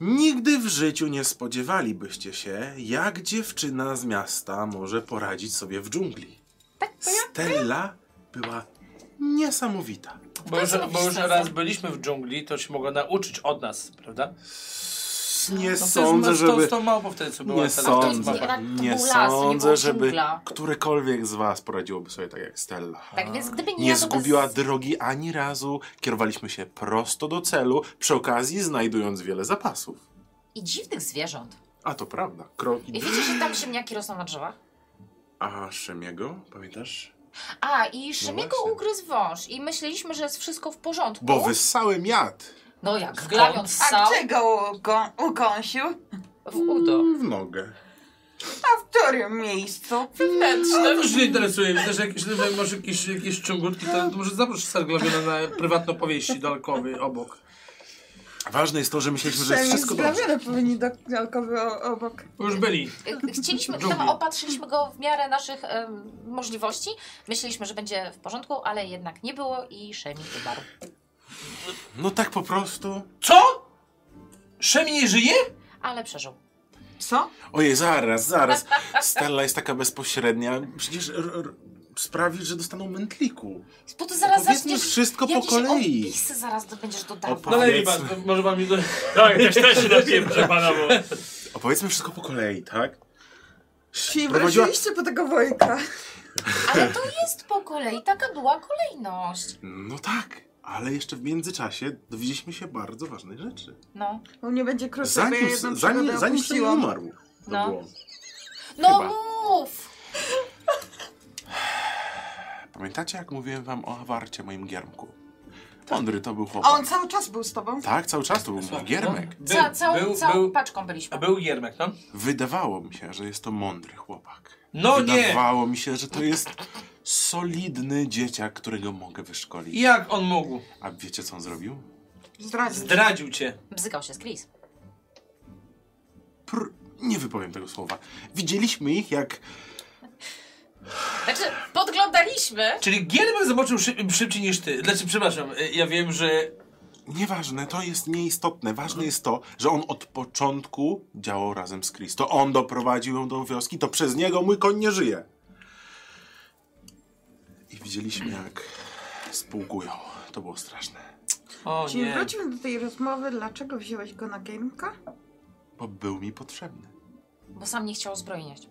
S4: Nigdy w życiu nie spodziewalibyście się, jak dziewczyna z miasta może poradzić sobie w dżungli.
S1: Tak,
S4: Stella była niesamowita.
S1: Bo już,
S6: Bardzo
S1: bo już
S6: lubisz
S1: raz byliśmy w dżungli, to się mogła nauczyć od nas, prawda?
S4: Nie
S1: No to jest
S4: No sądzę,
S1: z tą-
S4: żeby
S1: Z tą małpą wtedy, co była
S4: Nie
S1: ta-
S4: sądzę,
S1: ta- ta-
S6: to
S4: nie
S6: był las, nie
S4: sądzę,
S6: było
S4: żeby
S6: dżungla.
S4: którekolwiek z was poradziłoby sobie tak jak Stella.
S6: Tak więc gdyby nie,
S1: no
S4: Nie
S6: ja, to bez-
S4: zgubiła drogi ani razu, kierowaliśmy się prosto do celu, przy okazji znajdując wiele zapasów.
S6: I dziwnych zwierząt.
S4: A to prawda, kroki.
S6: I wiecie, że tam ziemniaki rosną na drzewach?
S4: A Szemiego, pamiętasz?
S6: A, i Szymiego
S4: No właśnie.
S6: ugryzł wąż i myśleliśmy, że jest wszystko w porządku.
S4: Bo wyssałem jad
S6: No jak
S1: Skąd?
S6: glawiąc
S5: A
S6: ssał
S5: gdzie go ugo- ukąsił?
S6: w udo.
S4: w nogę.
S5: A w którym miejscu?
S1: No to już nie interesuje, widzę, że jakieś, że masz jakieś, jakieś ciągutki, to może zaprosz Sarglawiona na prywatną powieści do Alkowy obok.
S4: Ważne jest to, że myśleliśmy, że jest
S5: Przynajmniej
S4: wszystko dobrze.
S5: zgrabione powinni do alkowy o- obok.
S1: Bo Już byli.
S6: Y, Chcieliśmy,
S1: Lubię.
S6: tam opatrzyliśmy go w miarę naszych em, możliwości. Myśleliśmy, że będzie w porządku, ale jednak nie było i Szemi umarł.
S4: No tak po prostu.
S1: Co? Szemi nie żyje?
S6: Ale przeżył.
S5: Co?
S4: Ojej, zaraz, zaraz. Stella jest taka bezpośrednia. Przecież r- r- sprawi, że dostaną mętliku.
S6: Bo to zaraz
S4: Powiedzmy
S6: zaczniesz...
S4: wszystko po
S6: jakieś
S4: kolei.
S6: Opisy zaraz do- będziesz dodawał.
S4: Opa-
S1: Dalej,
S4: Powiedzmy.
S1: Iwan, No, może wam...
S7: Tak, też, też się napiję, proszę pana, bo...
S4: Opowiedzmy wszystko po kolei, tak?
S5: Czyli
S4: Prowadziła-
S5: wróciliście po tego Wojka.
S6: Ale to jest po kolei, taka była kolejność.
S4: No tak, ale jeszcze w międzyczasie dowiedzieliśmy się bardzo ważnej rzeczy.
S6: No,
S5: Bo nie będzie krócej, bo ja
S4: Zanim,
S5: jedną
S4: zanim,
S5: przygodę
S4: zanim Szemi
S5: opuściłam.
S4: umarł. To
S6: No.
S4: było.
S6: no
S4: Chyba.
S6: mów!
S4: Pamiętacie, jak mówiłem wam o awarcie, moim giermku? Mądry to był chłopak.
S5: Tak. A on cały czas był z tobą?
S4: Tak, cały czas to był mój giermek.
S1: Był,
S6: Ca, całą
S1: był,
S6: całą
S1: był,
S6: paczką byliśmy.
S1: był giermek, no?
S4: Wydawało mi się, że jest to mądry chłopak.
S1: No nie!
S4: Wydawało mi się, że to jest solidny dzieciak, którego mogę wyszkolić.
S1: Jak on mógł?
S4: A wiecie, co on zrobił?
S5: Zdradził.
S1: Zdradził cię.
S6: Bzykał się z Chris.
S4: Pr... Nie wypowiem tego słowa. Widzieliśmy ich, jak
S6: Znaczy, podglądaliśmy.
S1: Czyli giermek zobaczył szy- szybciej niż ty. Znaczy, przepraszam, y, ja wiem, że
S4: Nieważne, to jest nieistotne. Ważne jest to, że on od początku działał razem z Chris. To on doprowadził ją do wioski, to przez niego mój koń nie żyje. I widzieliśmy, jak spółkują. To było straszne.
S1: O
S5: Czyli
S1: nie.
S5: wróćmy do tej rozmowy, dlaczego wziąłeś go na Game'ka?
S4: Bo był mi potrzebny.
S6: Bo sam nie chciał uzbrojniać.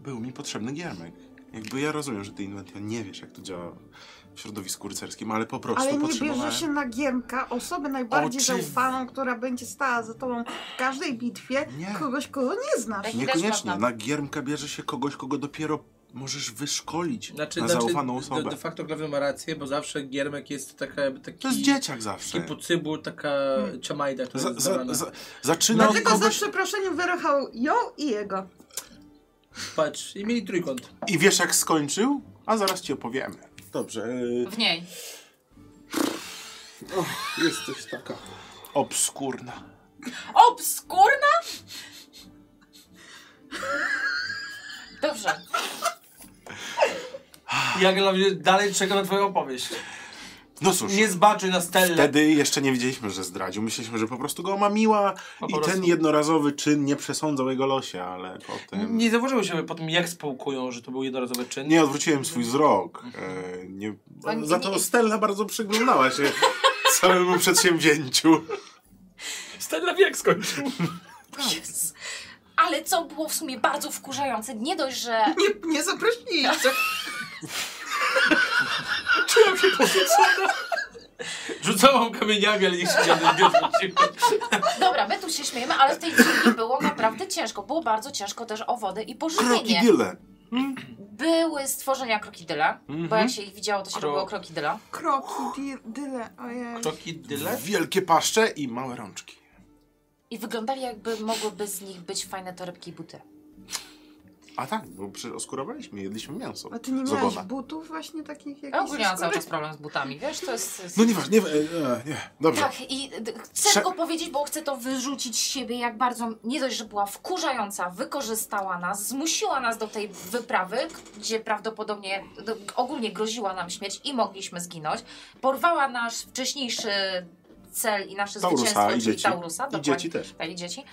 S4: Był mi potrzebny giermek. Jakby ja rozumiem, że ty, Inwentio, nie wiesz, jak to działa w środowisku rycerskim, ale po prostu
S5: Ale nie bierze
S4: potrzebowałem...
S5: się na Giermka osobę najbardziej
S4: Oczywi-
S5: zaufaną, która będzie stała za tobą w każdej bitwie,
S4: Nie.
S5: kogoś, kogo nie znasz.
S6: Tak. Też
S4: Niekoniecznie.
S6: można.
S4: Na giermka bierze się kogoś, kogo dopiero możesz wyszkolić
S1: Znaczy,
S4: na
S1: znaczy,
S4: zaufaną osobę.
S1: De, de facto Glawion ma rację, bo zawsze giermek jest taka, jakby taki...
S4: To jest dzieciak zawsze.
S1: Taki pucybu, taka ciamajda, która
S4: Za,
S1: jest
S4: za,
S1: za,
S4: za, zaczyna od
S5: Dlatego za
S4: No, kogoś...
S5: przeproszeniem wyrochał ją i jego.
S1: Patrz, i mieli trójkąt.
S4: I wiesz jak skończył? A zaraz ci opowiemy. Dobrze. Yy,
S6: W niej.
S4: jesteś taka obskurna.
S6: Obskurna? Dobrze.
S1: Jak dla mnie dalej czeka na twoją opowieść.
S4: No cóż,
S1: Nie zbaczy na stelę.
S4: wtedy jeszcze nie wiedzieliśmy, że zdradził. Myśleliśmy, że po prostu go omamiła
S1: po
S4: i
S1: prostu-
S4: ten jednorazowy czyn nie przesądzał jego losie, ale potem... Nie,
S1: Nie zauważyło się po tym, jak spółkują, że to był jednorazowy czyn.
S4: odwróciłem swój wzrok.
S6: Mhm.
S4: E, nie...
S6: Oni-
S4: Za to Stella bardzo przyglądała
S6: (laughs)
S4: się całemu przedsięwzięciu.
S2: Stella wiek skończył.
S6: Jezus. Ale co było w sumie bardzo wkurzające, nie dość, że
S5: Nie, nie zaprosiliście.
S1: Rzucałam kamieniami, ale jeszcze żaden nie odwrócił.
S6: Dobra, my tu się śmiejemy, ale w tej dżungli było naprawdę ciężko. Było bardzo ciężko też o wodę i pożywienie.
S4: Krokodyle.
S6: Były stworzenia krokidyla,
S4: Mhm.
S6: bo jak się ich widziało, to się
S1: Kro-
S6: robiło krokidyla.
S5: Kroki, di- dyle, ojej.
S1: Kroki dyle?
S4: Wielkie paszcze i małe rączki.
S6: I wyglądali jakby mogłyby z nich być fajne torebki i buty.
S4: A tak, bo przecież oskurowaliśmy, jedliśmy mięso.
S5: A ty nie
S4: z
S5: miałeś
S4: ogona.
S5: butów właśnie takich
S6: Ja
S5: jakichś?
S6: ogólnie No, mam cały
S5: skóry?
S6: czas problem z butami, wiesz, to jest... to jest-
S4: No nieważne, nie, e, nie, dobrze.
S6: Tak, i d- chcę
S4: Prze-
S6: tylko powiedzieć, bo chcę to wyrzucić z siebie, jak bardzo nie dość, że była wkurzająca, wykorzystała nas, zmusiła nas do tej wyprawy, gdzie prawdopodobnie do, ogólnie groziła nam śmierć i mogliśmy zginąć. Porwała nasz wcześniejszy cel i nasze
S4: Taurusa
S6: zwycięstwo,
S4: i
S6: czyli
S4: dzieci.
S6: Taurusa,
S4: I
S6: dokładnie.
S4: dzieci też.
S6: Tak, i dzieci.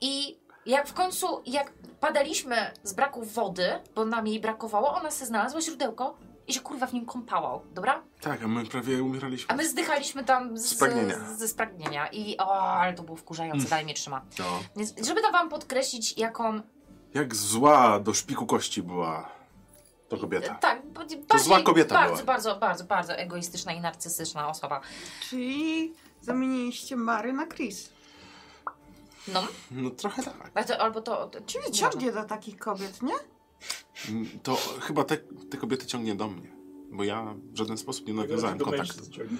S6: I jak w końcu, jak padaliśmy z braku wody, bo nam jej brakowało, ona se znalazła źródełko i się kurwa w nim kąpała, dobra?
S4: Tak, a my prawie umieraliśmy.
S6: A my zdychaliśmy tam z,
S4: Z pragnienia.
S6: z- ze spragnienia i o, ale to było wkurzające,
S3: Mm.
S6: dalej mnie trzyma.
S4: No.
S6: Więc żeby to wam podkreślić, jaką...
S4: Jak zła do szpiku kości była to kobieta.
S6: Tak, b- bardziej,
S4: zła kobieta
S6: bardzo,
S4: była.
S6: bardzo, bardzo, bardzo egoistyczna i narcystyczna osoba.
S5: Czyli zamieniliście Mary na Chris.
S6: No,
S4: No trochę tak.
S6: ale to- albo to... to
S5: Czyli
S6: nieważne.
S5: ciągnie do takich kobiet, nie?
S4: Mm, To chyba te, te kobiety ciągnie do mnie, bo ja w żaden sposób nie nawiązałem
S2: Do
S4: kontaktu.
S2: mężczyzn ciągnie.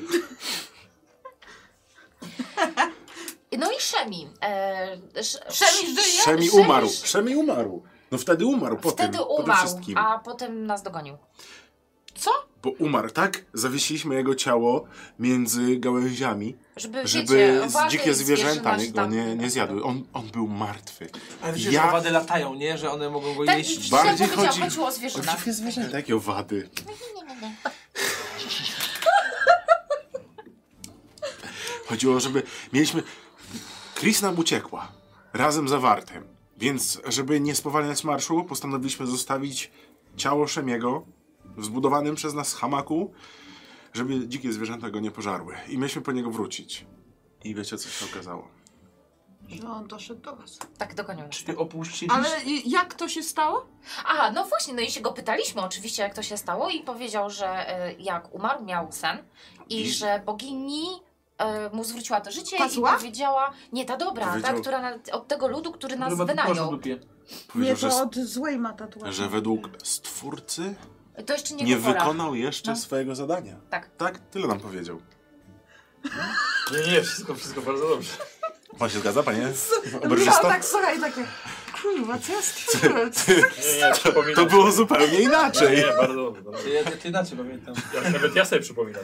S6: No i Szemi. E, sz,
S3: Szemi żyje?
S4: Szemi
S6: Szemi-
S4: umarł, Szemi umarł. No wtedy umarł po tym,
S6: Wtedy
S4: po tym
S6: umarł,
S4: wszystkim.
S6: a potem nas dogonił.
S4: Bo umarł, tak? Zawiesiliśmy jego ciało między gałęziami,
S6: Żeby,
S4: żeby
S6: wiecie,
S4: z-
S6: owady
S4: dzikie
S6: i
S4: zwierzęta
S6: zwierzynność
S4: go
S6: tam-
S4: nie, nie zjadły. On, on był martwy.
S1: Ale
S4: wiecie,
S1: wiecie,
S4: Ja- że
S1: że
S4: owady
S1: owady latają, nie? Że one mogą go
S6: Tak,
S1: jeść.
S6: i
S4: Bardziej
S6: bardziej chodzi...
S4: chodzi-
S6: chodziło o zwierzynach.
S4: Oczywiście zwierzęta, jakie owady. Chodziło, żeby mieliśmy... Chris nam uciekła, razem zawartym. Więc, żeby nie spowalniać marszu, postanowiliśmy zostawić ciało Szemiego w zbudowanym przez nas hamaku, żeby dzikie zwierzęta go nie pożarły. I mieliśmy po niego wrócić. I wiecie, co się okazało.
S5: Że on doszedł do was.
S6: Tak, dogonił nas.
S1: Czyli opuściliśmy.
S8: Ale i- jak to się stało?
S6: A, no właśnie, no i się go pytaliśmy oczywiście, jak to się stało i powiedział, że e, jak umarł, miał sen i,
S4: I-
S6: że bogini e, mu zwróciła to życie
S5: Ta
S6: i
S5: zła?
S6: powiedziała, nie ta dobra,
S4: Powiedział-
S6: ta, która na, od tego ludu, który nas wynajął.
S4: Powiedział,
S5: Nie,
S4: że,
S5: to od złej ma tatuaż.
S4: że według stwórcy
S6: To jeszcze nie,
S4: nie
S6: pora.
S4: wykonał jeszcze
S6: No.
S4: swojego zadania.
S6: Tak.
S4: Tak? Tyle nam powiedział.
S2: Nie, nie, wszystko, wszystko bardzo dobrze.
S4: Pan się zgadza, panie?
S5: Ja
S4: Oberżysta?
S5: tak, słuchaj, takie, kurwa, co ja stworzyłem?
S2: Nie, nie, przypominam
S4: (laughs) To
S2: sobie.
S4: było zupełnie inaczej.
S2: Nie, bardzo dobrze. Bardzo dobrze.
S1: Ja to inaczej pamiętam.
S2: Ja, nawet ja sobie przypominam.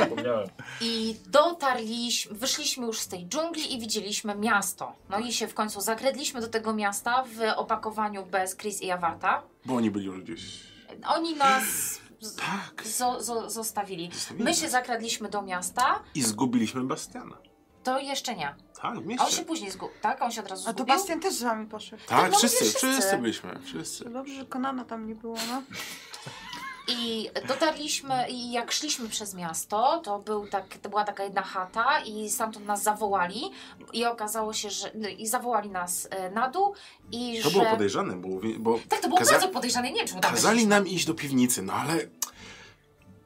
S2: Zapomniałem.
S6: I dotarliśmy, wyszliśmy już z tej dżungli i widzieliśmy miasto. No i się w końcu zakradliśmy do tego miasta w opakowaniu bez Chris i Awarta.
S4: Bo oni byli już gdzieś.
S6: Oni nas z-
S4: Tak.
S6: zo- zo- zostawili.
S4: Zostawili
S6: My
S4: nas.
S6: się zakradliśmy do miasta,
S4: I zgubiliśmy Bastiana.
S6: to jeszcze nie.
S4: Tak, w
S6: A on się
S4: mieście.
S6: później zgubił, tak? On się od razu
S5: A to
S6: zgubił?
S5: Bastian też z wami poszedł.
S6: tak,
S4: Tak,
S6: no
S4: wszyscy,
S6: mówię, wszyscy.
S4: wszyscy byliśmy, wszyscy.
S5: Dobrze, że Konana tam nie było, no.
S6: I dotarliśmy i jak szliśmy przez miasto, to, był tak, to była taka jedna chata i stamtąd nas zawołali i okazało się, że... no I zawołali nas e, na dół i
S4: To
S6: że...
S4: było podejrzane, bo, bo
S6: tak, to było
S4: kaza-
S6: bardzo podejrzane, nie wiem czemu tam
S4: kazali
S6: weszliśmy.
S4: nam iść do piwnicy, no ale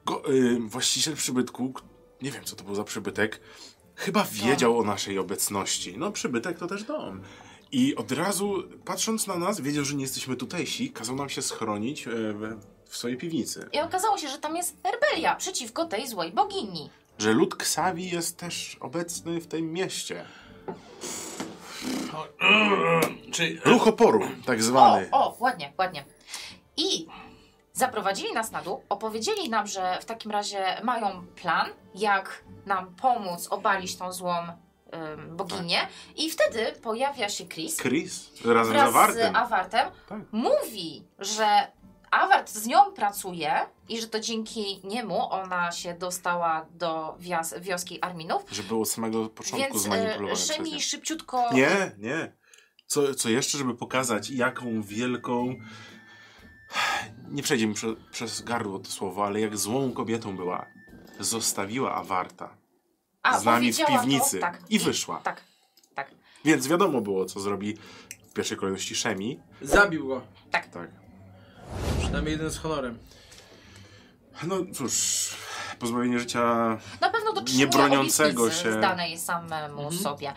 S4: go, y, właściciel przybytku, k- nie wiem co to był za przybytek, chyba wiedział o naszej obecności. No przybytek to też dom. I od razu, patrząc na nas, wiedział, że nie jesteśmy tutejsi, kazał nam się schronić y, we- w swojej piwnicy.
S6: I okazało się, że tam jest rebelia przeciwko tej złej bogini.
S4: że lud Ksawi jest też obecny w tym mieście.
S1: Czyli
S4: Ruch oporu, tak
S6: O,
S4: zwany.
S6: o, ładnie, ładnie. I zaprowadzili nas na dół, opowiedzieli nam, że w takim razie mają plan, jak nam pomóc obalić tą złą ym, boginię. I wtedy pojawia się Chris
S4: Tak. Chris razem z
S6: wraz
S4: Awartem.
S6: z Awartem.
S4: Tak.
S6: Mówi, że Awart z nią pracuje i że to dzięki niemu ona się dostała do wias- wioski Arminów.
S4: Że był od samego początku
S6: Więc
S4: zmanipulowany
S6: y,
S4: przez
S6: Szemi
S4: nie.
S6: szybciutko...
S4: Nie, nie. Co, co jeszcze, żeby pokazać, jaką wielką... Nie przejdzie mi prze, przez gardło to słowo, ale jak złą kobietą była. Zostawiła Awarta z nami w
S6: powiedziała to-
S4: piwnicy
S6: tak.
S4: i wyszła.
S6: Tak, tak.
S4: Więc wiadomo było, co zrobi w pierwszej kolejności Szemi.
S1: zabił go.
S4: Tak.
S1: Przynajmniej jeden z honorem.
S4: No cóż, pozbawienie życia
S6: Na pewno dotrzymuje
S4: Nie broniącego
S6: obietnicy
S4: się.
S6: zdanej samemu sobie.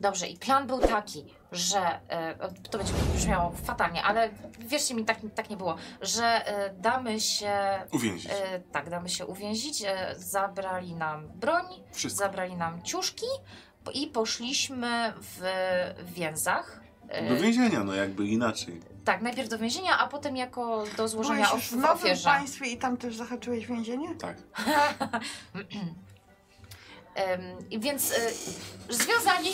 S6: Dobrze, i plan był taki, że e, to będzie brzmiało fatalnie, ale wierzcie mi, tak, tak nie było, że e, damy się.
S4: uwięzić.
S6: E, tak, damy się uwięzić. E, zabrali nam broń,
S4: Wszystko.
S6: zabrali nam ciuszki po- i poszliśmy w więzach. e,
S4: Do więzienia, no jakby inaczej.
S6: Tak, najpierw do więzienia, a potem jako do złożenia
S5: Byłeś
S6: of-
S5: już w
S6: w
S5: nowym
S6: ofierze.
S5: państwie i tam też zahaczyłeś więzienie?
S4: Tak.
S6: Em, i więc y, związani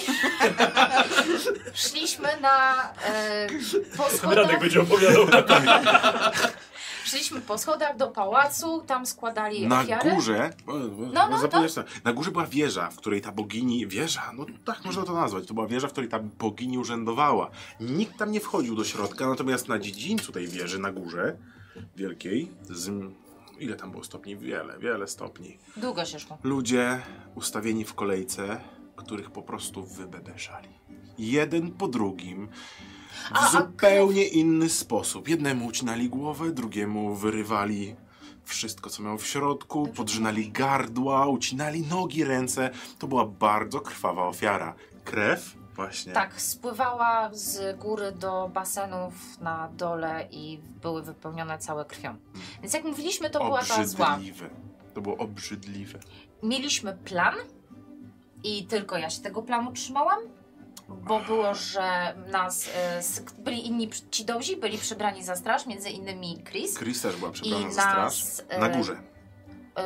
S6: (laughs) szliśmy na y, po schodach,
S7: Radek będzie opowiadał.
S6: szliśmy po schodach do pałacu, tam składali
S4: Na
S6: ofiary.
S4: górze, o, o,
S6: no, to-
S4: zapomniałem, że- na górze była wieża, w której ta bogini, wieża, no tak można to nazwać, to była wieża, w której ta bogini urzędowała. Nikt tam nie wchodził do środka, natomiast na dziedzińcu tej wieży, na górze wielkiej, z, ile tam było stopni? Wiele, wiele stopni.
S6: Długo się szło.
S4: Ludzie ustawieni w kolejce, których po prostu wybebeszali. Jeden po drugim. W
S6: A, a
S4: zupełnie inny sposób. Jednemu ucinali głowę, drugiemu wyrywali wszystko, co miał w środku, podrzynali gardła, ucinali nogi, ręce. To była bardzo krwawa ofiara. Krew? Właśnie.
S6: Tak, spływała z góry do basenów na dole i były wypełnione całe krwią. Więc jak mówiliśmy, to była ta zła.
S4: Obrzydliwe. To było obrzydliwe.
S6: Mieliśmy plan i tylko ja się tego planu trzymałam, bo było, że nas e, s- byli inni przy- ci dobrzy, byli przebrani za straż, między innymi Chris.
S4: Chris też była przebrana
S6: I
S4: za straż.
S6: nas,
S4: Na
S6: e,
S4: górze.
S6: E,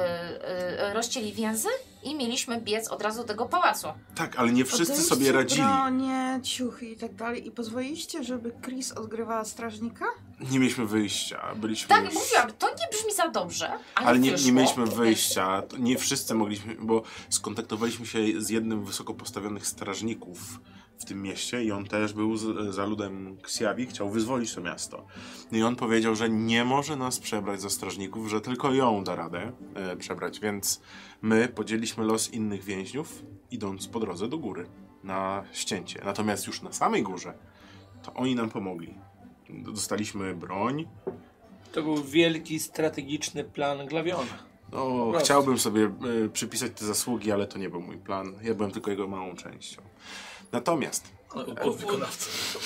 S6: e, rozcięli więzy i mieliśmy biec od razu do tego pałacu.
S4: Tak, ale nie wszyscy
S5: Odejście,
S4: sobie radzili.
S5: Bronie, ciuchy i tak dalej. I pozwoliliście, żeby Chris odgrywała strażnika?
S4: Nie mieliśmy wyjścia. Byliśmy
S6: Tak,
S4: już...
S6: mówiłam, to nie brzmi za dobrze, ale,
S4: Ale nie,
S6: wyszło.
S4: nie mieliśmy wyjścia. To Nie wszyscy mogliśmy, bo skontaktowaliśmy się z jednym wysoko postawionych strażników w tym mieście i on też był z, za ludem Ksiawi, chciał wyzwolić to miasto. No I on powiedział, że nie może nas przebrać za strażników, że tylko ją da radę e, przebrać, więc my podzieliśmy los innych więźniów, idąc po drodze do góry na ścięcie. Natomiast już na samej górze to oni nam pomogli. Dostaliśmy broń,
S1: To był wielki, strategiczny plan Glawiona.
S4: No,
S1: prostu.
S4: chciałbym sobie y, przypisać te zasługi, ale to nie był mój plan. Ja byłem tylko jego małą częścią. Natomiast,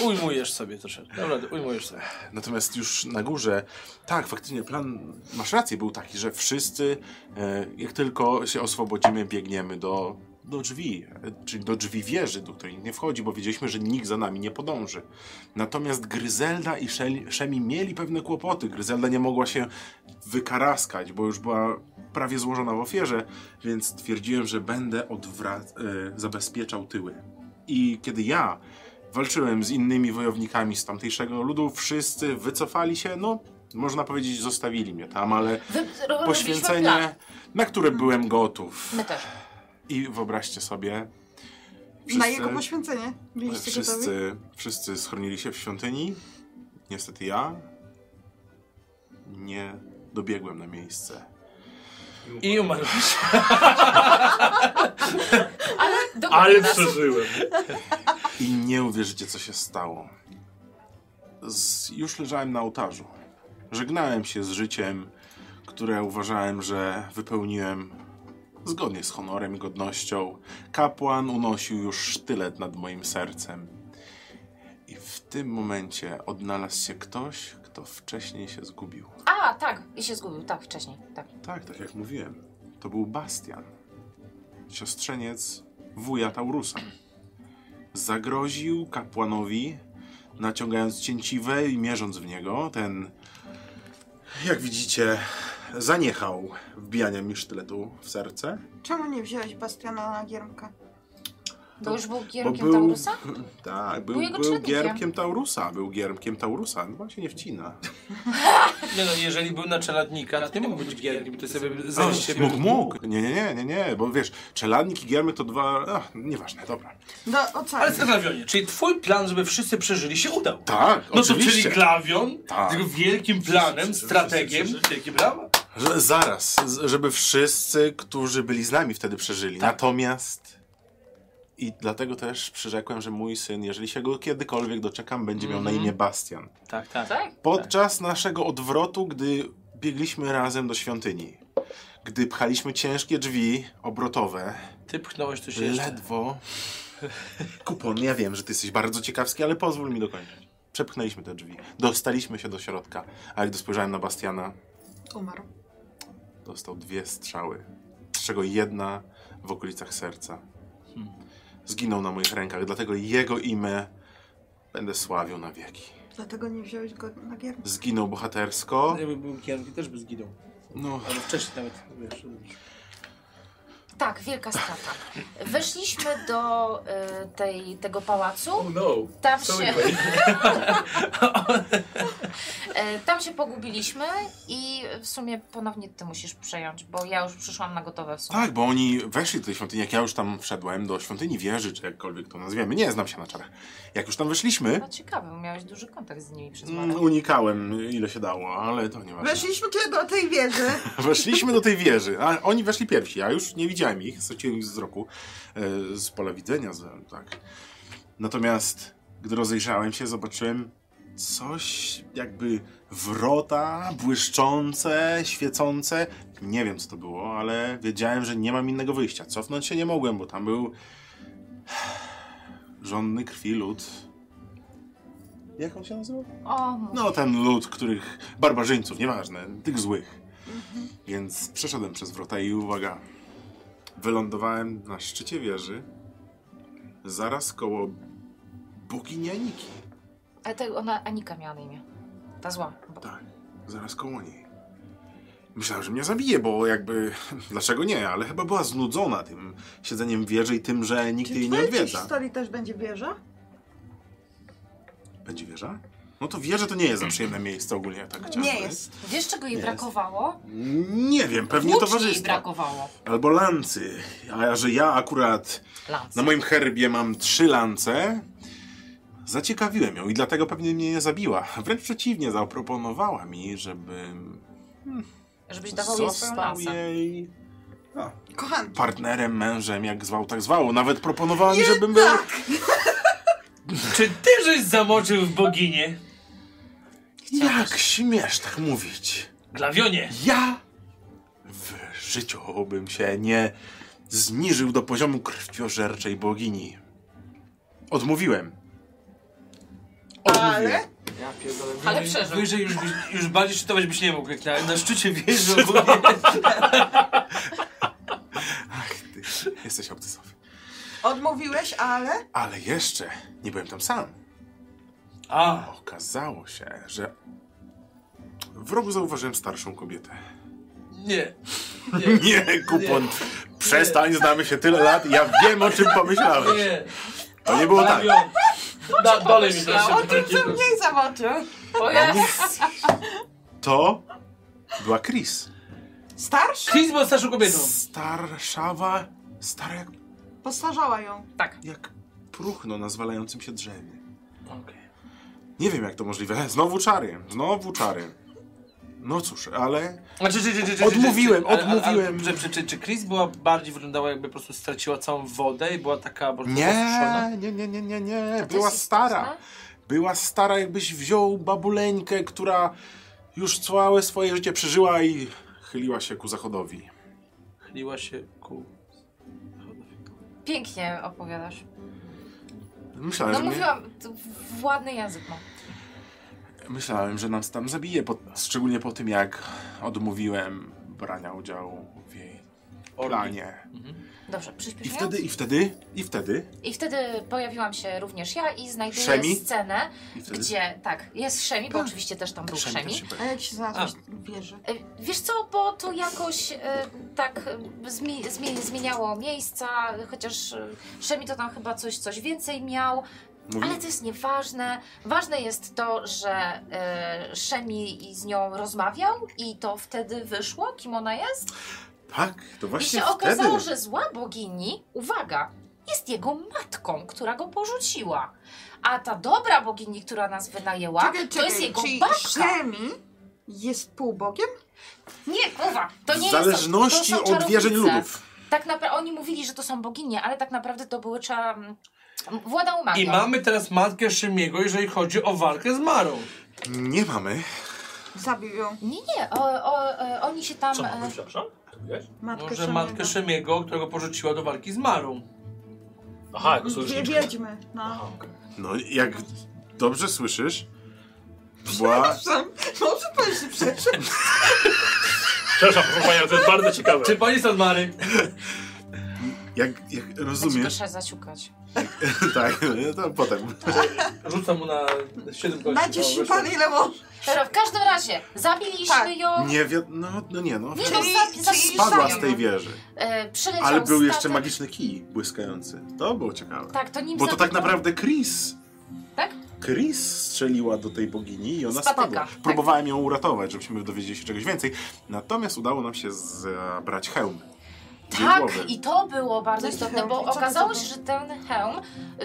S1: Ujmujesz sobie troszeczkę. Naprawdę, ujmujesz sobie.
S4: natomiast już na górze, tak, faktycznie plan, masz rację, był taki, że wszyscy, e, jak tylko się oswobodzimy, biegniemy do, do drzwi, e, czyli do drzwi wieży, do której nikt nie wchodzi, bo wiedzieliśmy, że nikt za nami nie podąży. Natomiast Gryzelda i Szeli- Szemi mieli pewne kłopoty. Gryzelda nie mogła się wykaraskać, bo już była prawie złożona w ofierze, więc twierdziłem, że będę odwra- e, zabezpieczał tyły. I kiedy ja walczyłem z innymi wojownikami z tamtejszego ludu, wszyscy wycofali się, no można powiedzieć zostawili mnie tam, ale
S6: Wy, ro, robiliśmy plan.
S4: poświęcenie, na które byłem gotów.
S6: My też.
S4: I wyobraźcie sobie,
S5: Na
S4: Wszyscy-
S5: jego poświęcenie. Byliście gotowi?
S4: Wszyscy, wszyscy schronili się w świątyni. Niestety ja nie dobiegłem na miejsce.
S1: I (laughs) umarłeś.
S6: Ale dokładnie
S7: Ale
S6: nas
S7: przeżyłem.
S4: I nie uwierzycie, co się stało. Z, już leżałem na ołtarzu. Żegnałem się z życiem, które uważałem, że wypełniłem zgodnie z honorem i godnością. Kapłan unosił już sztylet nad moim sercem. I w tym momencie odnalazł się ktoś, kto wcześniej się zgubił.
S6: A, tak, i się zgubił, tak, wcześniej, tak.
S4: Tak, tak jak mówiłem. To był Bastian. Siostrzeniec wuja Taurusa. Zagroził kapłanowi, naciągając cięciwe i mierząc w niego. Ten, jak widzicie, zaniechał wbijania mi sztyletu w serce.
S5: Czemu nie wziąłeś Bastiana na giermka?
S6: Bo już był
S4: Bo
S6: kierunkiem
S4: był,
S6: Taurusa?
S4: Tak, był,
S6: Był jego
S4: był,
S6: czynnikiem.
S4: giermkiem Taurusa. Był giermkiem Taurusa. No właśnie nie wcina.
S1: Nie no, jeżeli był na czeladnika, to nie mógł być gierkiem. Ty sobie
S4: O,
S1: zejść siebie.
S4: mógł, mógł. Nie, nie, nie, nie, nie, bo wiesz, czeladnik i giermek to dwa... Ach, nieważne, dobra.
S5: Do ocali.
S1: Ale co Glawionie, czyli twój plan, żeby wszyscy przeżyli, się udał.
S4: Tak,
S1: No to
S4: oczywiście.
S1: czyli Glawion,
S4: Tak.
S1: tylko wielkim planem, strategiem, wielkim brawa.
S4: Że, zaraz, z- żeby wszyscy, którzy byli z nami wtedy przeżyli. Natomiast. I dlatego też przyrzekłem, że mój syn, jeżeli się go kiedykolwiek doczekam, będzie miał na imię Bastian.
S1: Tak, tak.
S6: Tak?
S4: Podczas naszego odwrotu, gdy biegliśmy razem do świątyni, gdy pchaliśmy ciężkie drzwi obrotowe,
S1: Ty pchnąłeś tu się jeszcze.
S4: ledwo. Kupon, ja wiem, że ty jesteś bardzo ciekawski, ale pozwól mi dokończyć. Przepchnęliśmy te drzwi, dostaliśmy się do środka, a gdy spojrzałem na Bastiana,
S5: Umarł.
S4: dostał dwie strzały, z czego jedna w okolicach serca. Zginął na moich rękach, dlatego jego imię będę sławił na wieki.
S5: Dlatego nie wziąłeś go na gier.
S4: Zginął bohatersko.
S1: Jakby był Kianki, też by zginął.
S4: No,
S1: Albo wcześniej nawet, wiesz.
S6: Tak, wielka strata. Weszliśmy do y, tej, tego pałacu.
S2: Oh no.
S6: Tam
S2: So
S6: się,
S2: anyway.
S6: y, tam się pogubiliśmy i w sumie ponownie ty musisz przejąć, bo ja już przyszłam na gotowe w sumie.
S4: tak, bo oni weszli do tej świątyni, jak ja już tam wszedłem, do świątyni wieży, czy jakkolwiek to nazwiemy, nie znam się na czarach. Jak już tam weszliśmy,
S6: No ciekawe, bo miałeś duży kontakt z nimi przez
S4: Tak? mm,
S6: Marę.
S4: unikałem ile się dało, ale to nieważne.
S5: Weszliśmy tu do tej wieży.
S4: (laughs) Weszliśmy do tej wieży, a oni weszli pierwsi, ja już nie widziałem ich, straciłem ich z wzroku, e, z pola widzenia, z, tak. Natomiast, gdy rozejrzałem się, zobaczyłem coś jakby wrota, błyszczące, świecące. Nie wiem, co to było, ale wiedziałem, że nie mam innego wyjścia. Cofnąć się nie mogłem, bo tam był (sighs) żonny krwi lud. Jak on się nazywał?
S6: O, mój.
S4: No, ten lud, których. barbarzyńców, nieważne, tych złych. Więc przeszedłem przez wrota i uwaga. Wylądowałem na szczycie wieży, zaraz koło bogini Aniki.
S6: Ale to ona Anika miała na imię. Ta zła.
S4: Tak, zaraz koło niej. Myślałem, że mnie zabije, bo jakby. (laughs) Dlaczego nie? Ale chyba była znudzona tym siedzeniem w wieży i tym, że nikt
S5: Czy
S4: jej
S5: w
S4: nie
S5: twojej
S4: odwiedza.
S5: historii też będzie wieża?
S4: Będzie wieża? No to wieża to nie jest za przyjemne miejsce ogólnie, tak chciałem
S5: Nie
S4: powiedzieć.
S5: jest.
S6: Wiesz, czego jej
S4: Jest.
S6: brakowało?
S4: Nie wiem, pewnie
S6: Włóczni jej
S4: towarzystwa.
S6: brakowało.
S4: Albo lancy. A że ja akurat
S6: Lance.
S4: na moim herbie mam trzy lance, zaciekawiłem ją i dlatego pewnie mnie nie zabiła. Wręcz przeciwnie, zaproponowała mi, żebym
S6: Żebyś dawał jej
S4: został
S6: współpracę.
S4: jej
S5: Kochany.
S4: partnerem, mężem, jak zwał, tak zwał. Nawet proponowała mi, żebym był...
S6: tak!
S5: Jednak!
S1: Czy ty żeś zamoczył w boginie?
S4: Jak śmiesz tak mówić?
S1: Glawionie!
S4: Ja w życiu bym się nie zniżył do poziomu krwiożerczej bogini. Odmówiłem. Odmówiłem.
S5: Ale
S1: Ja pierdolę.
S6: Ale
S1: wyżej-
S6: przeżył.
S1: Wyżej już, byś- już bardziej szczytować byś nie mógł, jak na, na szczycie (laughs) wieży ogólnie.
S4: Ach, ty jesteś obcesowy.
S5: odmówiłeś, ale
S4: Ale jeszcze nie byłem tam sam.
S1: A,
S4: Okazało się, że w rogu zauważyłem starszą kobietę.
S1: nie.
S4: Nie, kupon. Przestań, znamy się tyle lat, ja wiem o czym pomyślałeś.
S1: Nie.
S4: To nie było tak.
S1: Glawion. Da, dalej mi to się
S5: o tym, co mniej zamoczył.
S6: O ja.
S4: To była Chris.
S5: Starszy?
S1: Chris był starszą kobietą.
S4: Starszawa, stara jak,
S5: Postarzała ją.
S6: Tak.
S4: jak próchno na zwalającym się drzewie.
S1: Okej.
S4: Nie wiem jak to możliwe. Znowu czary, znowu czary. No cóż, ale
S1: A Znaczy, czy, czy, czy, czy, czy,
S4: Odmówiłem,
S1: czy, czy, ale- ale-
S4: odmówiłem.
S1: Ale, czy, czy, czy Chris była bardziej wyglądała jakby po prostu straciła całą wodę i była taka po prostu osuszona?
S4: nie, nie, nie, nie, nie, nie.
S6: To
S4: Była
S6: jest
S4: stara.
S6: istotne?
S4: Była stara, jakbyś wziął babuleńkę, która już całe swoje życie przeżyła i chyliła się ku zachodowi.
S1: Chyliła się ku...
S6: Pięknie opowiadasz.
S4: Myślałem,
S6: No
S4: że mnie,
S6: mówiłam, to w- ładny język no. ma.
S4: myślałem, że nas tam zabije, po, szczególnie po tym, jak odmówiłem brania udziału w jej planie.
S6: Dobrze,
S4: I
S6: przyspieszając.
S4: wtedy, i wtedy, i wtedy,
S6: I wtedy pojawiłam się również ja i znajduję
S4: Szemi?
S6: scenę,
S4: i wtedy.
S6: gdzie tak, jest Szemi, bo
S4: Tak.
S6: oczywiście też tam był
S4: Szemi
S6: Szemi.
S4: też się
S5: A
S4: pojawił.
S5: jak się znalazłeś w wieży?
S6: E, Wiesz co, bo to jakoś e, tak e, zmi zmi zmieniało miejsca, chociaż e, Szemi to tam chyba coś, coś więcej miał,
S4: Mówi,
S6: ale to jest nieważne. Ważne jest to, że e, Szemi i z nią rozmawiał i to wtedy wyszło, kim ona jest.
S4: tak, to właśnie
S6: I się okazało,
S4: wtedy.
S6: że zła bogini, uwaga, jest jego matką, która go porzuciła. A ta dobra bogini, która nas wynajęła, to jest jego
S5: czy
S6: babka.
S5: Szemi jest półbogiem?
S6: Nie, kurwa, to nie
S4: w
S6: jest.
S4: zależności
S6: to są
S4: od wierzeń
S6: czarownice.
S4: ludów.
S6: Tak naprawdę oni mówili, że to są boginie, ale tak naprawdę to były cza... Włada umaga.
S1: I mamy teraz matkę Szymiego, jeżeli chodzi o walkę z Marą.
S4: Nie mamy.
S5: Zabił ją.
S6: Nie, nie, o, o, e, oni się tam...
S2: Co
S6: e,
S2: mówisz, przepraszam? Co mówiłeś?
S5: Matkę
S1: Może
S5: Szemiego.
S1: matkę Szymiego, którego porzuciła do walki z Marą.
S2: Aha, jako
S5: Dwie
S2: sojuszniczka.
S5: wiedźmy, no.
S2: Aha, okej.
S4: No, jak dobrze słyszysz, była...
S5: Przepraszam, może pan się przeszedł?
S7: Przepraszam, proszę Pani, ale to jest bardzo ciekawe.
S1: Czy pani jest od Mary?
S4: Jak, jak
S6: ja ci
S4: rozumiesz,
S6: Proszę zaciukać. Znaczy-
S4: (laughs) tak, to potem.
S1: Rzucam mu na 7 gości.
S5: Naciesz
S1: no,
S5: się
S1: weszło.
S5: pan ile może.
S6: Dobra, w każdym razie, zabiliśmy
S5: Tak.
S6: ją.
S4: Nie wi- no, no nie
S6: Nie, no,
S4: no.
S5: Czyli-
S6: zabi-
S5: czyli
S6: zabiliśmy
S4: Spadła
S6: ją.
S4: z tej wieży.
S6: E, przyleciał
S4: Ale był jeszcze
S6: statek.
S4: magiczny kij błyskający. To było ciekawe.
S6: Tak, to nim
S4: Bo to tak
S6: zabił-
S4: naprawdę Chris.
S6: Tak?
S4: Chris strzeliła do tej bogini i ona
S6: Spatyka,
S4: spadła.
S6: tak.
S4: Próbowałem ją uratować, żebyśmy dowiedzieli się czegoś więcej. Natomiast udało nam się zabrać hełm. z jej
S6: Tak,
S4: głowy.
S6: i to było bardzo
S5: Ten
S6: istotne,
S5: hełm,
S6: bo
S5: i co to
S6: okazało
S5: było?
S6: się, że ten hełm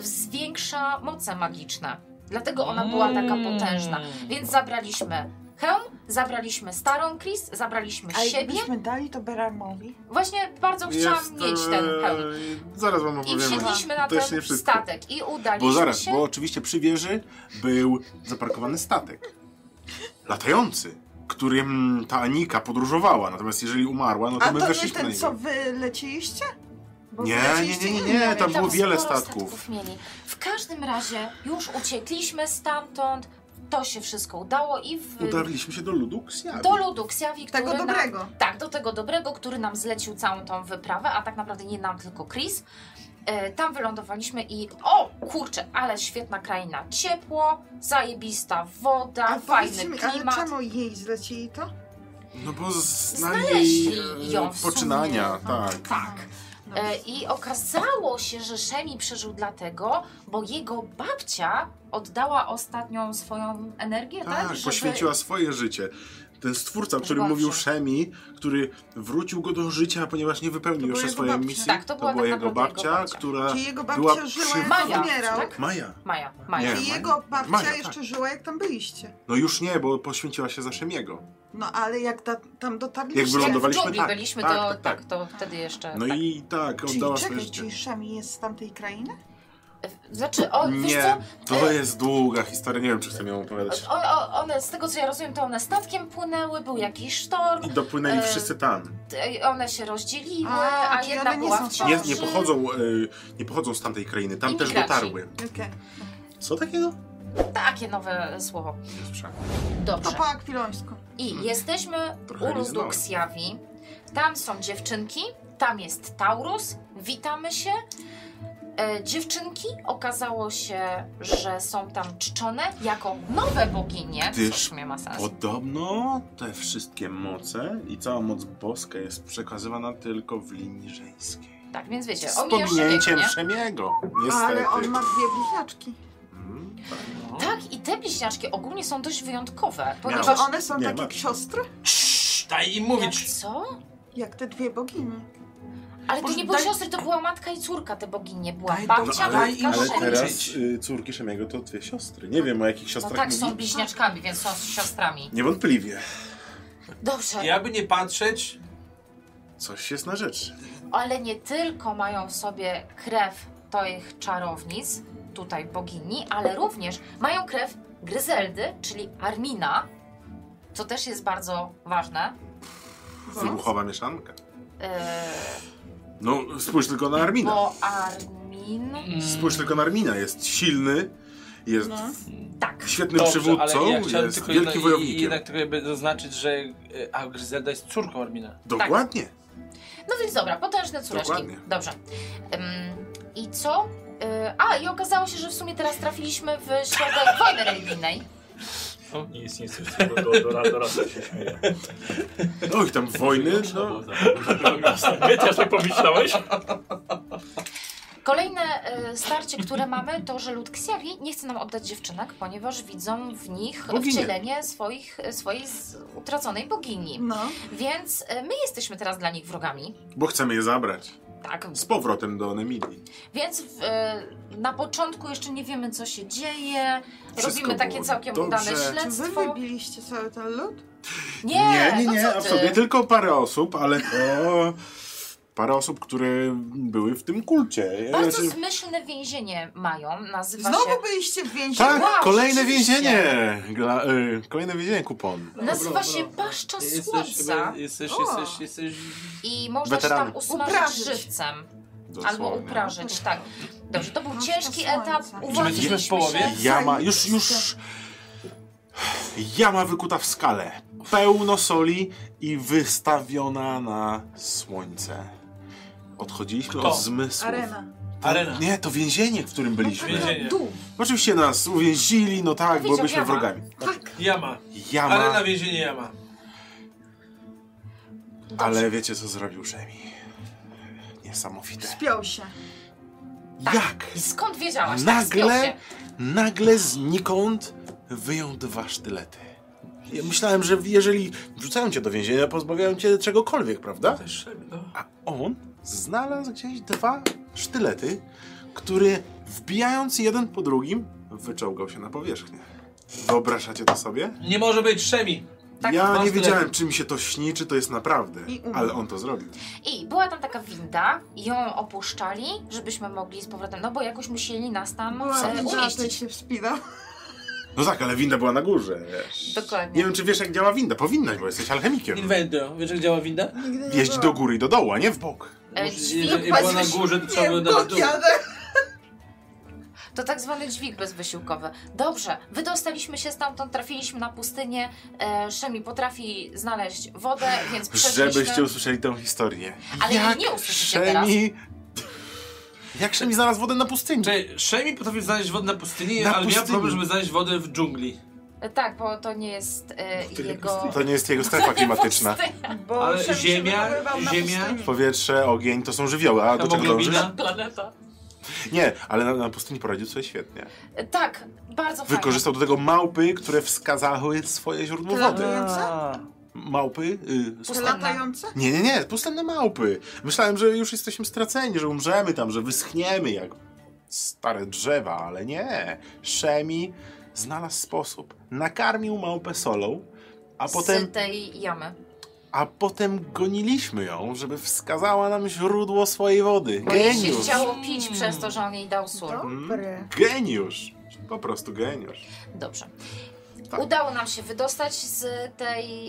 S6: zwiększa moce magiczne. Dlatego ona była
S5: Mm.
S6: taka
S1: Mm.
S6: potężna. Więc zabraliśmy hełm, zabraliśmy starą Chris, zabraliśmy
S5: A
S6: siebie.
S5: jakbyśmy dali to Beramowi?
S4: No
S6: Właśnie bardzo chciałam
S4: Jest,
S6: mieć ten hełm.
S4: e, Zaraz wam
S6: I
S4: opowiem.
S6: wsiedliśmy na
S4: To jeszcze
S6: ten
S4: nie wszystko.
S6: statek i udaliśmy
S4: Bo zaraz,
S6: się.
S4: bo oczywiście przy wieży był zaparkowany statek. Latający, którym ta Anika podróżowała. Natomiast jeżeli umarła, no to
S5: A
S4: my
S5: to nie
S4: weszliśmy na
S5: ten,
S4: niego.
S5: co wy lecieliście? Bo
S4: Nie,
S5: wy lecieliście
S4: nie, nie, nie,
S5: innym,
S4: tam
S5: więc-
S4: było wiele
S6: sporo
S4: statków.
S6: mieli. W każdym razie już uciekliśmy stamtąd, to się wszystko udało i w...
S4: Udarliśmy się do ludu Ksiabi.
S6: do ludu Ksiawi, który
S5: Tego
S6: nam
S5: dobrego.
S6: Tak, do tego dobrego, który nam zlecił całą tą wyprawę, a tak naprawdę nie nam, tylko Chris. E, Tam wylądowaliśmy i o kurczę, ale świetna kraina. Ciepło, zajebista woda,
S5: A
S6: fajny
S5: powiedzcie mi, ale
S6: klimat.
S5: czemu jej zlecili to?
S4: No bo znali
S6: Znaleźli
S4: jej, e,
S6: ją w sumie.
S4: poczynania, tak.
S6: Tak.
S5: No,
S6: E, I okazało się, że Szemi przeżył dlatego, bo jego babcia oddała ostatnią swoją energię, tak?
S4: Tak,
S6: żeby-
S4: poświęciła swoje życie. Ten stwórca, o którym
S6: Właśnie.
S4: mówił Szemi, który wrócił go do życia, ponieważ nie
S5: To
S4: wypełnił
S5: była
S4: jeszcze
S5: jego
S4: swojej
S5: babcia.
S4: misji.
S6: Tak, to była tak
S4: jego
S6: naprawdę jego
S4: babcia,
S6: babcia.
S4: która
S5: Czy jego
S4: była
S5: babcia żyła,
S4: przy-
S5: jak
S6: Maja,
S5: on umierał?
S6: tak?
S4: Maja.
S6: Maja, Maja.
S4: Nie,
S5: Czy
S4: Maja.
S5: jego babcia
S4: Maja, tak.
S5: jeszcze żyła, jak tam byliście?
S4: No już nie, bo poświęciła się za Szemiego.
S5: No ale jak ta, tam dotarliście...
S4: Jak
S6: Jak w
S4: wylądowaliśmy,
S6: dżungli
S4: tak,
S6: byliśmy,
S4: tak,
S6: to, tak,
S4: tak, tak.
S6: to wtedy jeszcze...
S4: No
S6: tak.
S4: i tak,
S5: Czyli
S4: oddała swoje
S5: czekaj,
S4: życie.
S5: czyli Szemi jest z tamtej krainy?
S6: Znaczy, o, wiesz co? E,
S4: Nie, to jest długa historia, nie wiem, czy chcę ją opowiadać.
S6: O, o, one, z tego co ja rozumiem, to one statkiem płynęły, był jakiś sztorm,
S4: I dopłynęli
S6: E,
S4: wszyscy tam.
S6: t- one się rozdzieliły, a,
S5: A, czyli
S6: jedna
S5: one nie
S6: była
S5: są
S6: w
S5: tam.
S6: ciąży.
S4: Nie, nie, pochodzą, e, nie pochodzą z tamtej krainy, tam też
S6: Imigranci.
S4: dotarły.
S5: Okej.
S4: Co takiego?
S6: Takie nowe słowo.
S4: Nie słyszałem.
S5: To
S6: Dobrze.
S5: No po akwilońsku.
S6: I jesteśmy
S4: Mm. Trochę
S6: u
S4: nie znałem.
S6: Luduksjawi. Tam są dziewczynki, tam jest Taurus, witamy się. E, dziewczynki okazało się, że są tam czczone jako nowe boginie, co w
S4: Gdyż
S6: sumie ma sens.
S4: Podobno te wszystkie moce i cała moc boska jest przekazywana tylko w linii żeńskiej.
S6: Tak, więc wiecie,
S4: Z
S6: oni jeszcze wiedzą,
S4: pominięciem
S6: nie?
S4: Szemiego, niestety.
S5: Ale on ma dwie bliźniaczki.
S4: Mm,
S6: Tak, i te bliźniaczki ogólnie są dość wyjątkowe,
S4: Miałam.
S5: Czy
S6: ponieważ...
S5: Znaczy, one są
S4: Nie,
S5: takie
S4: ma-
S5: jak siostry?
S1: Cii, Daj im
S6: Jak
S1: mówić.
S6: co?
S5: Jak te dwie bogini.
S6: Ale to
S1: Boże,
S6: nie były
S1: daj-
S6: siostry, to była matka i córka, te boginie. Była
S1: Daj-
S6: babcia,
S1: No, ale-
S6: matka,
S1: ale
S6: żona.
S1: teraz-
S4: y, córki Szemiego to dwie siostry. Nie wiem o jakich
S6: No
S4: siostrach
S6: tak, są
S4: mówi.
S6: bliźniaczkami, więc są siostrami.
S4: Niewątpliwie.
S6: Dobrze,
S1: Jakby nie patrzeć,
S4: Coś jest na rzeczy.
S6: ale nie tylko mają w sobie krew tych czarownic, tutaj bogini, ale również mają krew Gryzeldy, czyli Armina, co też jest bardzo ważne.
S5: No.
S4: Wybuchowa mieszanka.
S6: Yy,
S4: No, spójrz tylko na Armina.
S6: bo Armin...
S4: Spójrz tylko na Armina. Jest silny, jest
S5: No.
S6: Tak.
S4: świetnym
S1: dobrze,
S4: przywódcą,
S1: ale ja chciałem
S4: jest
S1: tylko
S4: wielkim
S1: jedno- i- I
S4: wojownikiem.
S1: jednak tylko jakby zaznaczyć, że e, a Gryzelda jest córką Armina.
S4: Dokładnie.
S6: No więc dobra, potężne córeczki.
S4: Dokładnie.
S6: Dobrze. Ym, I co? Y, a, i okazało się, że w sumie teraz trafiliśmy w środek (laughs) wojny religijnej.
S2: Nie jest nic do, do, do, do rasa się śmieje.
S4: Oj, tam wojny, no.
S7: Nie, też tak pomyślałeś?
S6: Kolejne y, starcie, które mamy, to że lud Ksiawi nie chce nam oddać dziewczynek, ponieważ widzą w nich
S4: Boginie.
S6: wcielenie swoich, e, swojej z, utraconej bogini.
S5: No.
S6: Więc y, my jesteśmy teraz dla nich wrogami.
S4: Bo chcemy je zabrać.
S6: Tak,
S4: Z powrotem do Nemidii.
S6: Więc w, e, na początku jeszcze nie wiemy, co się dzieje.
S4: Wszystko
S6: Robimy takie
S4: było
S6: całkiem
S4: dobrze.
S6: udane
S5: Czy wy
S6: śledztwo.
S5: wybiliście cały ten lud?
S6: Nie,
S4: nie, nie,
S6: no
S4: nie,
S6: co ty?
S4: absolutnie. Tylko parę osób, ale to... Parę osób, które były w tym kulcie. Ja
S6: Bardzo
S4: raczej-
S6: zmyślne więzienie mają, nazywa
S5: Znowu
S6: się...
S5: byliście w
S4: Tak,
S5: więzieniu?
S6: Wow,
S4: kolejne
S6: rzeczywiście.
S4: więzienie! Gla, y, kolejne więzienie kupon.
S6: Nazywa
S1: Dobra,
S6: się
S1: dobra.
S6: Paszcza
S1: Jesteś,
S6: No, Słońca
S1: chyba- jesteś,
S5: O.
S1: jesteś, jesteś...
S6: i można
S4: Weterany.
S6: się tam usmażyć
S5: Uprażyć.
S6: żywcem
S4: Dosłownie.
S6: albo uprażyć, tak. Dobrze, to był
S5: Paszcza
S6: ciężki
S5: Słońca.
S6: etap,
S5: Czy my
S6: uwalczyliśmy
S1: jesteśmy w połowie?
S6: się.
S4: Jama, już, już... Jama wykuta w skale. Pełno soli i wystawiona na słońce. Odchodziliśmy
S1: Kto?
S4: od zmysłów.
S5: Arena. Tak,
S1: Arena. No
S4: Nie, to więzienie, w którym byliśmy. No
S1: Więzienie.
S5: Dół.
S4: Oczywiście nas uwięzili, no tak, bo
S6: Powiedział
S4: byliśmy
S6: Jama.
S4: wrogami.
S5: Tak.
S1: Jama. Arena,
S4: Jama,
S1: więzienie, jama.
S4: ale wiecie co zrobił Szemi? Niesamowite.
S5: Spiął się.
S4: Jak?
S6: I skąd wiedziałaś? Tak, spiął
S4: Nagle,
S6: się.
S4: nagle znikąd wyjął dwa sztylety. Ja myślałem, że jeżeli wrzucają cię do więzienia, pozbawiają cię czegokolwiek, prawda?
S1: Też Szemi, no.
S4: A on znalazł gdzieś dwa sztylety, które wbijając jeden po drugim, wyczołgał się na powierzchnię. Wyobrażacie to sobie?
S1: Nie może być Szemi.
S4: ja
S1: dwa
S4: nie
S1: sztylety.
S4: wiedziałem, czy mi się to śni, czy to jest naprawdę,
S5: I umarł.
S4: ale on to zrobił.
S6: I była tam taka winda, ją opuszczali, żebyśmy mogli z powrotem, no bo jakoś musieli nas tam
S5: Była
S6: e,
S5: widza, to
S6: umieścić.
S5: się wspinał.
S4: No tak, ale winda była na górze, wiesz. Nie
S6: Dokładnie.
S4: wiem, czy wiesz, jak działa winda. Powinnaś, bo jesteś alchemikiem.
S1: Inwendio. Wiesz jak działa winda?
S5: Nigdy nie
S4: Jeździ
S5: była.
S4: do góry i do dołu, a nie w bok.
S6: E,
S1: Jeżeli
S6: dźwig
S1: była
S6: bez
S1: na
S6: wysiłku,
S1: górze, to trzeba było
S5: Nie,
S1: dać
S5: bok
S1: dół.
S5: jadę.
S6: to tak zwany dźwig bezwysiłkowy. Dobrze, wydostaliśmy się stamtąd, trafiliśmy na pustynię, e, Szemi potrafi znaleźć wodę, więc przeszliśmy...
S4: Żebyście usłyszeli tę historię.
S6: Ale jej nie usłyszycie teraz.
S4: Jak Szemi znalazł wodę na pustyni.
S1: Czekaj, Szemi potrafi znaleźć wodę na pustyni,
S4: Na
S1: ale miał
S4: pustyni.
S1: problem, żeby znaleźć wodę w dżungli.
S6: E, Tak, bo to nie jest e, jego...
S4: To nie jest jego strefa klimatyczna.
S5: Bo
S1: Ale
S5: Szem się
S1: ziemia,
S5: wydobywał na
S1: ziemia.
S5: pustyni.
S4: Powietrze, ogień to są żywioły, a do czego dążysz?
S1: Hemoglobina.
S6: Planeta.
S4: Nie, ale na, na pustyni poradził sobie świetnie.
S6: E, Tak, bardzo fajnie.
S4: Wykorzystał do tego małpy, które wskazały swoje źródło
S5: Tyle.
S4: wody. Małpy? Y,
S5: Te
S6: Pustynne.
S5: latające?
S4: nie, nie, nie, pustenne małpy. Myślałem, że już jesteśmy straceni, że umrzemy tam, że wyschniemy jak stare drzewa, ale nie. Szemi znalazł sposób. Nakarmił małpę solą, a potem
S6: Z tej jamy.
S4: A potem goniliśmy ją, żeby wskazała nam źródło swojej wody.
S6: Bo jej się
S4: Geniusz!
S6: chciało pić przez to, że on jej dał sól.
S5: Dobry.
S4: Geniusz! Po prostu geniusz.
S6: Dobrze.
S4: Tak.
S6: Udało nam się wydostać z tej.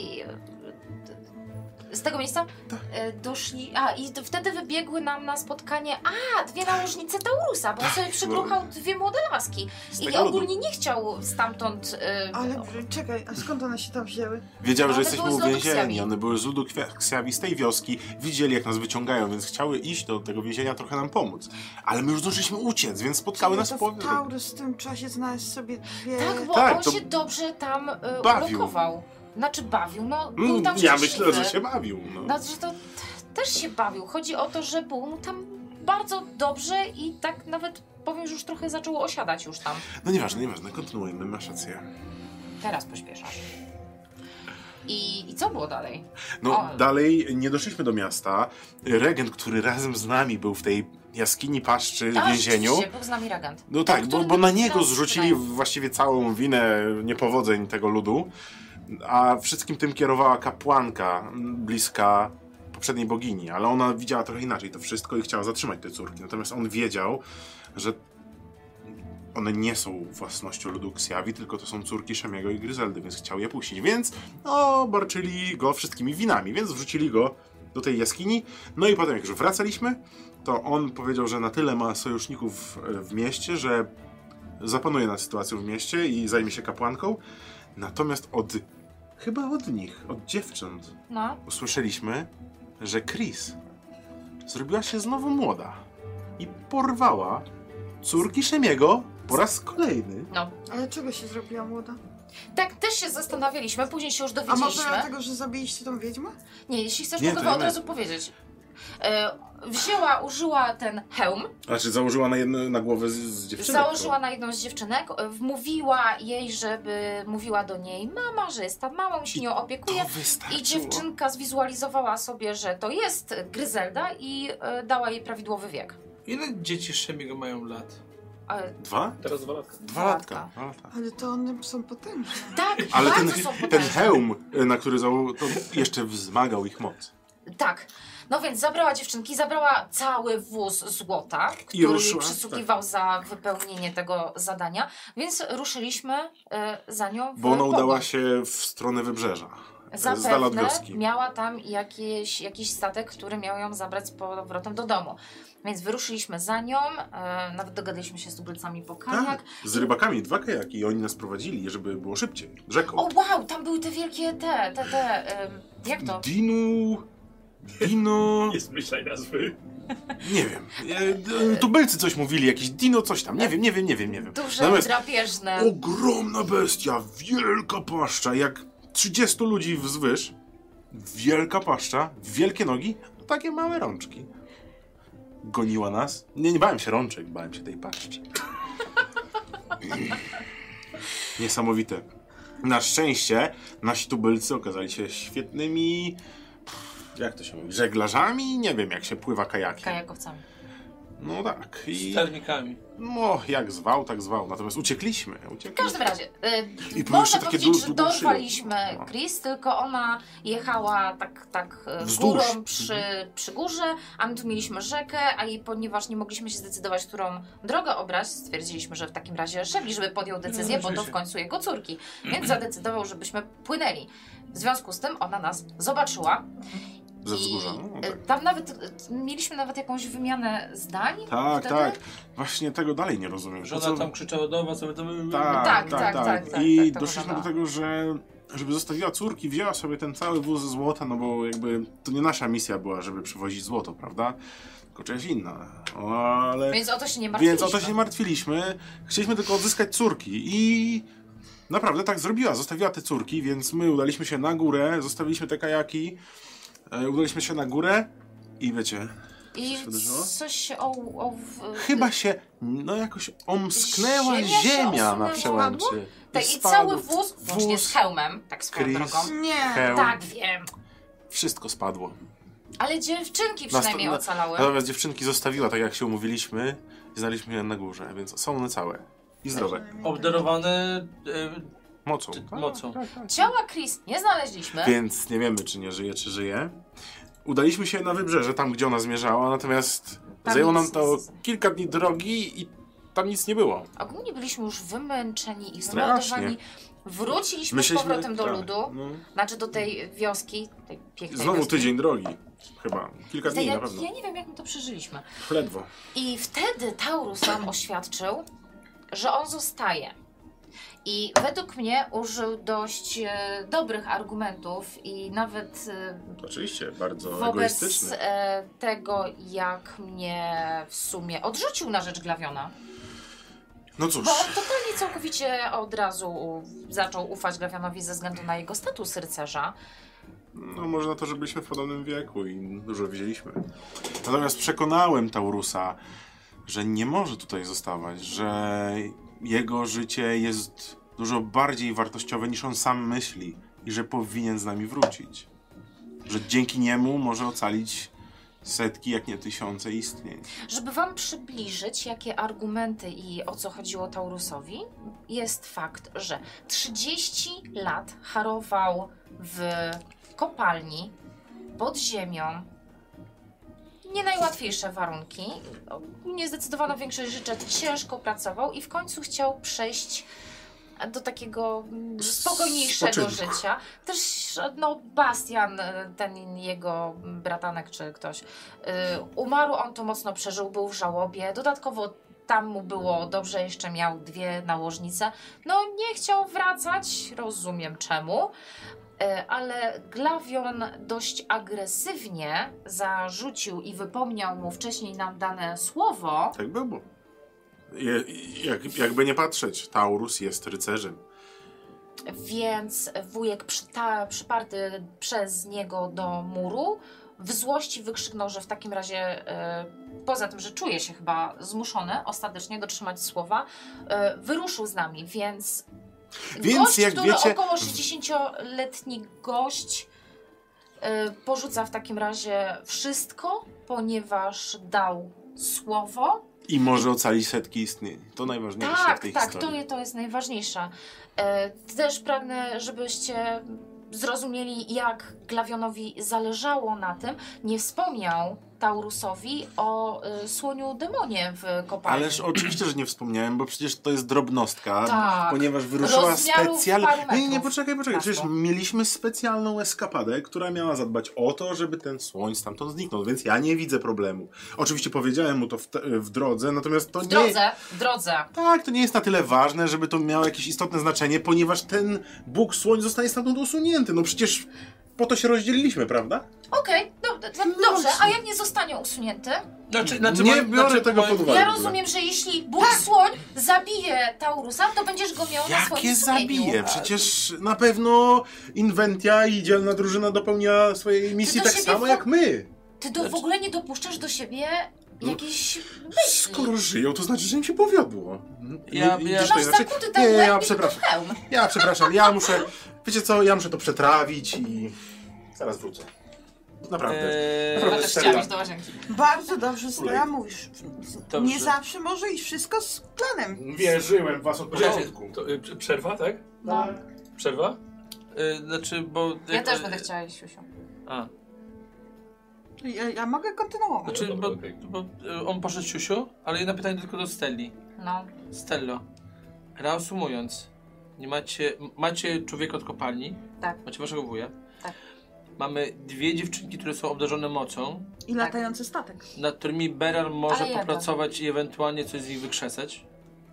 S6: Z tego miejsca?
S4: Tak.
S6: E, Doszli. A i d- wtedy wybiegły nam na spotkanie. A, dwie nałożnice Taurusa, bo on sobie przybruchał dwie młode laski.
S4: Tak, no. Z
S6: I
S4: tego lodu.
S6: ogólnie nie chciał stamtąd. e,
S5: Ale czekaj, a skąd one się tam wzięły?
S4: Wiedział, że
S6: One
S4: jesteśmy
S6: były z lodu
S4: uwięzieni.
S6: Ksiawi.
S4: One były z ludu Ksiawi z tej wioski. Widzieli, jak nas wyciągają, więc chciały iść do tego więzienia trochę nam pomóc. Ale my już zdążyliśmy uciec, więc spotkały nas
S5: To w
S4: w połowie. drogi.
S5: Taurus w tym czasie znalazł sobie dwie...
S6: Tak, bo
S4: tak,
S6: on
S4: to
S6: się dobrze tam e,
S4: bawił.
S6: ulokował. Znaczy bawił, no był
S4: Mm,
S6: tam
S4: ja
S6: szczęśliwy.
S4: myślę, że się bawił. No.
S6: Znaczy, to t- też się bawił. Chodzi o to, że było mu tam bardzo dobrze i tak nawet powiem, że już trochę zaczęło osiadać już tam.
S4: no nieważne, nieważne, kontynuujmy, masz rację.
S6: Teraz pośpieszasz. I, I co było dalej?
S4: No
S6: O.
S4: dalej nie doszliśmy do miasta. Regent, który razem z nami był w tej jaskini paszczy w
S6: A,
S4: więzieniu.
S6: rzeczywiście, Był z nami regent.
S4: No tak, bo,
S6: który
S4: bo na
S6: nam
S4: niego
S6: nas
S4: zrzucili
S6: wydaje.
S4: właściwie całą winę niepowodzeń tego ludu, a wszystkim tym kierowała kapłanka m, bliska poprzedniej bogini, ale ona widziała trochę inaczej to wszystko i chciała zatrzymać te córki. Natomiast on wiedział, że one nie są własnością ludu Ksjawi, tylko to są córki Szemiego i Gryzeldy, więc chciał je puścić. Więc no, barczyli go wszystkimi winami, więc wrzucili go do tej jaskini. No i potem, jak już wracaliśmy, to on powiedział, że na tyle ma sojuszników e, w mieście, że zapanuje nad sytuacją w mieście i zajmie się kapłanką. Natomiast od, chyba od nich, od dziewcząt,
S6: No,
S4: usłyszeliśmy, że Chris zrobiła się znowu młoda i porwała córki Szemiego po raz kolejny.
S6: no.
S5: Ale czego się zrobiła młoda?
S6: Tak, też się zastanawialiśmy, później się już
S5: A może
S6: dowiedzieliśmy.
S5: dlatego, że zabiliście tą wiedźmę?
S6: Nie, jeśli chcesz,
S4: Nie,
S6: mogę
S4: to
S6: wam
S4: nie
S6: od
S4: my.
S6: razu powiedzieć. E, wzięła, użyła ten hełm,
S4: Znaczy założyła na, jedno, na głowę z, z dziewczynek.
S6: Założyła na jedną z dziewczynek, e, wmówiła jej, żeby mówiła do niej mama, że jest ta mama, on się
S4: I
S6: nią opiekuje.
S4: To wystarczyło.
S6: I dziewczynka zwizualizowała sobie, że to jest Gryzelda i e, dała jej prawidłowy wiek.
S1: Ile dzieci Szemiego mają lat?
S6: E,
S4: Dwa?
S2: Teraz dwa latka.
S4: Dwa latka. Dwa latka.
S5: Ale to one są potężne.
S6: Tak,
S4: Ale ten,
S6: bardzo są
S4: ten
S6: potężne.
S4: hełm, y, na który założył, to jeszcze wzmagał ich moc.
S6: Tak. No więc zabrała dziewczynki, zabrała cały wóz złota, który jej
S4: ruszyła, tak.
S6: przysługiwał za wypełnienie tego zadania, więc ruszyliśmy e, za nią. W
S4: Bo ona
S6: pogoń.
S4: udała się w stronę wybrzeża. Z dala od
S6: Zapewne
S4: wioski.
S6: miała tam jakieś, jakiś statek, który miał ją zabrać z powrotem do domu. Więc wyruszyliśmy za nią, e, nawet dogadaliśmy się z tubylcami po kajak.
S4: Tak, z rybakami, dwa kajaki i oni nas prowadzili, żeby było szybciej. Rzeką.
S6: O wow, tam były te wielkie te, te, te, em, jak to?
S4: Dinu... Dino...
S7: Nie zmyślaj nazwy.
S4: Nie wiem. E, d- Tubylcy coś mówili, jakieś dino coś tam. Nie wiem, nie wiem, nie wiem, nie wiem.
S6: Tak. Duże,
S4: Natomiast
S6: drapieżne.
S4: ogromna bestia, wielka paszcza, jak 30 ludzi wzwyż. Wielka paszcza, wielkie nogi, a takie małe rączki. Goniła nas. Nie, nie bałem się rączek, bałem się tej paszczy. (laughs) Niesamowite. Na szczęście nasi tubylcy okazali się świetnymi, pff, jak to się mówi, żeglarzami? Nie wiem, jak się pływa kajakiem.
S6: Kajakowcami.
S4: No tak. I,
S1: Z termikami.
S4: no, jak zwał, tak zwał. Natomiast uciekliśmy. uciekliśmy.
S6: W każdym razie, y,
S4: I to jeszcze
S6: można
S4: takie
S6: powiedzieć,
S4: du-
S6: że
S4: długo
S6: dorwaliśmy
S4: szyją.
S6: Chris, tylko ona jechała tak, tak y,
S4: Wzdłuż. Mhm.
S6: górą przy, przy górze, a my tu mieliśmy rzekę, a i ponieważ nie mogliśmy się zdecydować, którą drogę obrać, stwierdziliśmy, że w takim razie Szewli, żeby
S4: No,
S6: podjął decyzję, bo to w
S1: oczywiście.
S6: końcu jego córki,
S4: Mhm.
S6: więc zadecydował, żebyśmy płynęli. W związku z tym ona nas zobaczyła
S4: Ze
S6: i
S4: wzgórza. No,
S6: y,
S4: tak.
S6: tam nawet y, mieliśmy nawet jakąś wymianę zdań.
S4: Tak,
S6: wtedy?
S4: tak. Właśnie tego dalej nie rozumiem. Po
S1: Żona
S4: co-
S1: tam krzyczała do was, aby to były...
S4: tak, tak, tak,
S6: tak, tak,
S4: I
S6: tak, to
S4: doszliśmy do
S6: wygląda.
S4: tego, że żeby zostawiła córki, wzięła sobie ten cały wóz złota, no bo jakby to nie nasza misja była, żeby przywozić złoto, prawda? Tylko czyjaś inna. O, Ale...
S6: Więc o to się nie martwiliśmy.
S4: Więc o to się nie martwiliśmy. Chcieliśmy tylko odzyskać córki i naprawdę tak zrobiła. Zostawiła te córki, więc my udaliśmy się na górę, zostawiliśmy te kajaki, e, udaliśmy się na górę i wiecie,
S6: I
S4: Coś wydarzyło?
S6: coś się o, o, w-
S4: chyba się no jakoś omsknęła
S6: Ziemia
S4: ziemia,
S6: się
S4: na
S6: osunęła?
S4: przełęczy.
S6: Tak, i
S4: spadł
S6: cały wóz, włącznie
S4: wóz,
S6: z hełmem, tak swoją
S4: Chris.
S6: drogą.
S5: Nie.
S4: hełm,
S6: Tak, wiem.
S4: wszystko spadło.
S6: Ale dziewczynki
S4: Na
S6: przynajmniej
S4: sto- na-
S6: ocalały.
S4: Natomiast dziewczynki zostawiła, tak jak się umówiliśmy, i znaliśmy je na górze, więc są one całe i zdrowe.
S1: Obdarowane y,
S4: Mocą.
S1: Czy-
S4: Tak,
S1: mocą.
S4: tak, tak.
S6: Ciała Chris nie znaleźliśmy.
S4: Więc nie wiemy, czy nie żyje, czy żyje. Udaliśmy się na wybrzeże, tam gdzie ona zmierzała, natomiast
S6: Tam
S4: zajęło
S6: nic-
S4: nam to kilka dni drogi i tam nic nie było.
S6: Ogólnie byliśmy już wymęczeni i
S4: Strasznie.
S6: zmordowani. Wróciliśmy z powrotem do
S4: tak,
S6: ludu,
S4: No.
S6: znaczy do tej wioski, tej pięknej
S4: Znowu
S6: wioski.
S4: tydzień drogi. Chyba. Kilka dni
S6: ja,
S4: na pewno.
S6: ja nie wiem, jak my to przeżyliśmy.
S4: Ledwo.
S6: I wtedy Taurus nam (clears throat) oświadczył, że on zostaje. I według mnie użył dość e, dobrych argumentów i nawet e,
S4: Oczywiście, bardzo
S6: wobec
S4: egoistyczny.
S6: e, tego, jak mnie w sumie odrzucił na rzecz Glawiona.
S4: No cóż,
S6: Bo on totalnie całkowicie od razu u- zaczął ufać Glawionowi ze względu na jego status rycerza.
S4: no może na to, że byliśmy w podobnym wieku i dużo widzieliśmy. Natomiast przekonałem Taurusa, że nie może tutaj zostawać, że jego życie jest dużo bardziej wartościowe niż on sam myśli i że powinien z nami wrócić. Że dzięki niemu może ocalić setki, jak nie tysiące istnień.
S6: Żeby wam przybliżyć, jakie argumenty i o co chodziło Taurusowi, jest fakt, że 30 lat harował w kopalni pod ziemią. Nie najłatwiejsze warunki. Niezdecydowana większość rzeczy ciężko pracował i w końcu chciał przejść do takiego mm, spokojniejszego
S4: Spoczynku.
S6: życia. Też no, Bastian, y, ten jego bratanek czy ktoś, Y, Umarł on to mocno przeżył, był w żałobie. Dodatkowo tam mu było dobrze, jeszcze miał dwie nałożnice. No nie chciał wracać, rozumiem czemu. Y, Ale Glawion dość agresywnie zarzucił i wypomniał mu wcześniej nam dane słowo.
S4: Tak było. Je, jak, jakby nie patrzeć, Taurus jest rycerzem.
S6: Więc wujek przyta, przyparty przez niego do muru w złości wykrzyknął, że w takim razie, e, poza tym, że czuje się chyba zmuszony ostatecznie dotrzymać słowa, e, wyruszył z nami, więc.
S4: Więc
S6: gość,
S4: jak
S6: który
S4: wiecie-
S6: około 60-letni gość e, porzuca w takim razie wszystko, ponieważ dał słowo.
S4: I może ocalić setki istnień. To najważniejsze
S6: Tak,
S4: w tej
S6: tak, to,
S4: historii.
S6: je- to jest najważniejsze. E, Też pragnę, żebyście zrozumieli, jak Glawionowi zależało na tym. Nie wspomniał Taurusowi o y, słoniu demonie w kopalni.
S4: (clears throat) Ależ oczywiście, że nie wspomniałem, bo przecież to jest drobnostka,
S6: Tak.
S4: ponieważ wyruszyła
S6: Rozmiaru
S4: specjalnie.
S6: paru metrów.
S4: Nie, nie, poczekaj, poczekaj.
S6: Jasne.
S4: Przecież mieliśmy specjalną eskapadę, która miała zadbać o to, żeby ten słoń stamtąd zniknął, więc ja nie widzę problemu. Oczywiście powiedziałem mu to w, te, w drodze, natomiast to
S6: W
S4: nie.
S6: drodze, w drodze.
S4: Tak, to nie jest na tyle ważne, żeby to miało jakieś istotne znaczenie, ponieważ ten Bóg Słoń zostanie stamtąd usunięty. No przecież po to się rozdzieliliśmy, prawda?
S6: Okej, no Dobrze, a jak nie zostanie usunięty?
S1: Znaczy,
S4: Nie
S1: moim-
S4: biorę tego pod uwagę.
S6: Ja
S4: Dobra.
S6: rozumiem, że jeśli Bóg Słoń zabije Taurusa, to będziesz go miał na swoim
S4: Jakie
S6: sumieniu.
S4: zabije? Przecież na pewno Inventia i dzielna drużyna dopełnia swojej misji
S6: do
S4: tak
S6: siebie
S4: samo
S6: w-
S4: jak my.
S6: Ty
S4: Znaczy-
S6: do, w ogóle nie dopuszczasz do siebie jakichś
S4: No.
S6: myśli.
S4: Skoro żyją, to znaczy, że im się powiodło.
S1: Ja-
S4: Nie-
S1: ja-
S4: widzisz,
S6: Masz
S4: to inaczej?
S6: zakuty
S4: znaczy- Nie,
S6: ten
S4: ja
S6: łeb
S4: przepraszam.
S6: pełn.
S4: Ja przepraszam, ja muszę. Wiecie co, ja muszę to przetrawić i. Zaraz wrócę. Naprawdę.
S1: Eee,
S4: Dobra.
S6: Chyba też chciałam iść do łazienki.
S5: Bardzo dobrze Stella mówisz.
S1: Dobrze.
S5: Nie zawsze może iść wszystko z planem.
S4: Wierzyłem w was od
S2: Poczekajcie, to,
S1: e,
S2: y, prze- przerwa, tak?
S6: No.
S2: Przerwa?
S1: eee, znaczy, bo...
S6: Ja też będę chciała iść, Siusiu.
S1: A,
S5: Ja, ja mogę kontynuować.
S4: No,
S1: znaczy,
S2: Dobra,
S1: bo,
S2: okej.
S1: bo e, on poszedł siusiu, ale jedno pytanie tylko do Stelli.
S6: No.
S1: Stello, reasumując, nie macie, m- macie człowieka od kopalni,
S6: Tak.
S1: macie waszego wuja,
S6: Tak.
S1: mamy dwie dziewczynki, które są obdarzone mocą,
S5: I latający statek.
S1: nad którymi Beran może
S6: Ale jaka?
S1: popracować i ewentualnie coś z nich wykrzesać.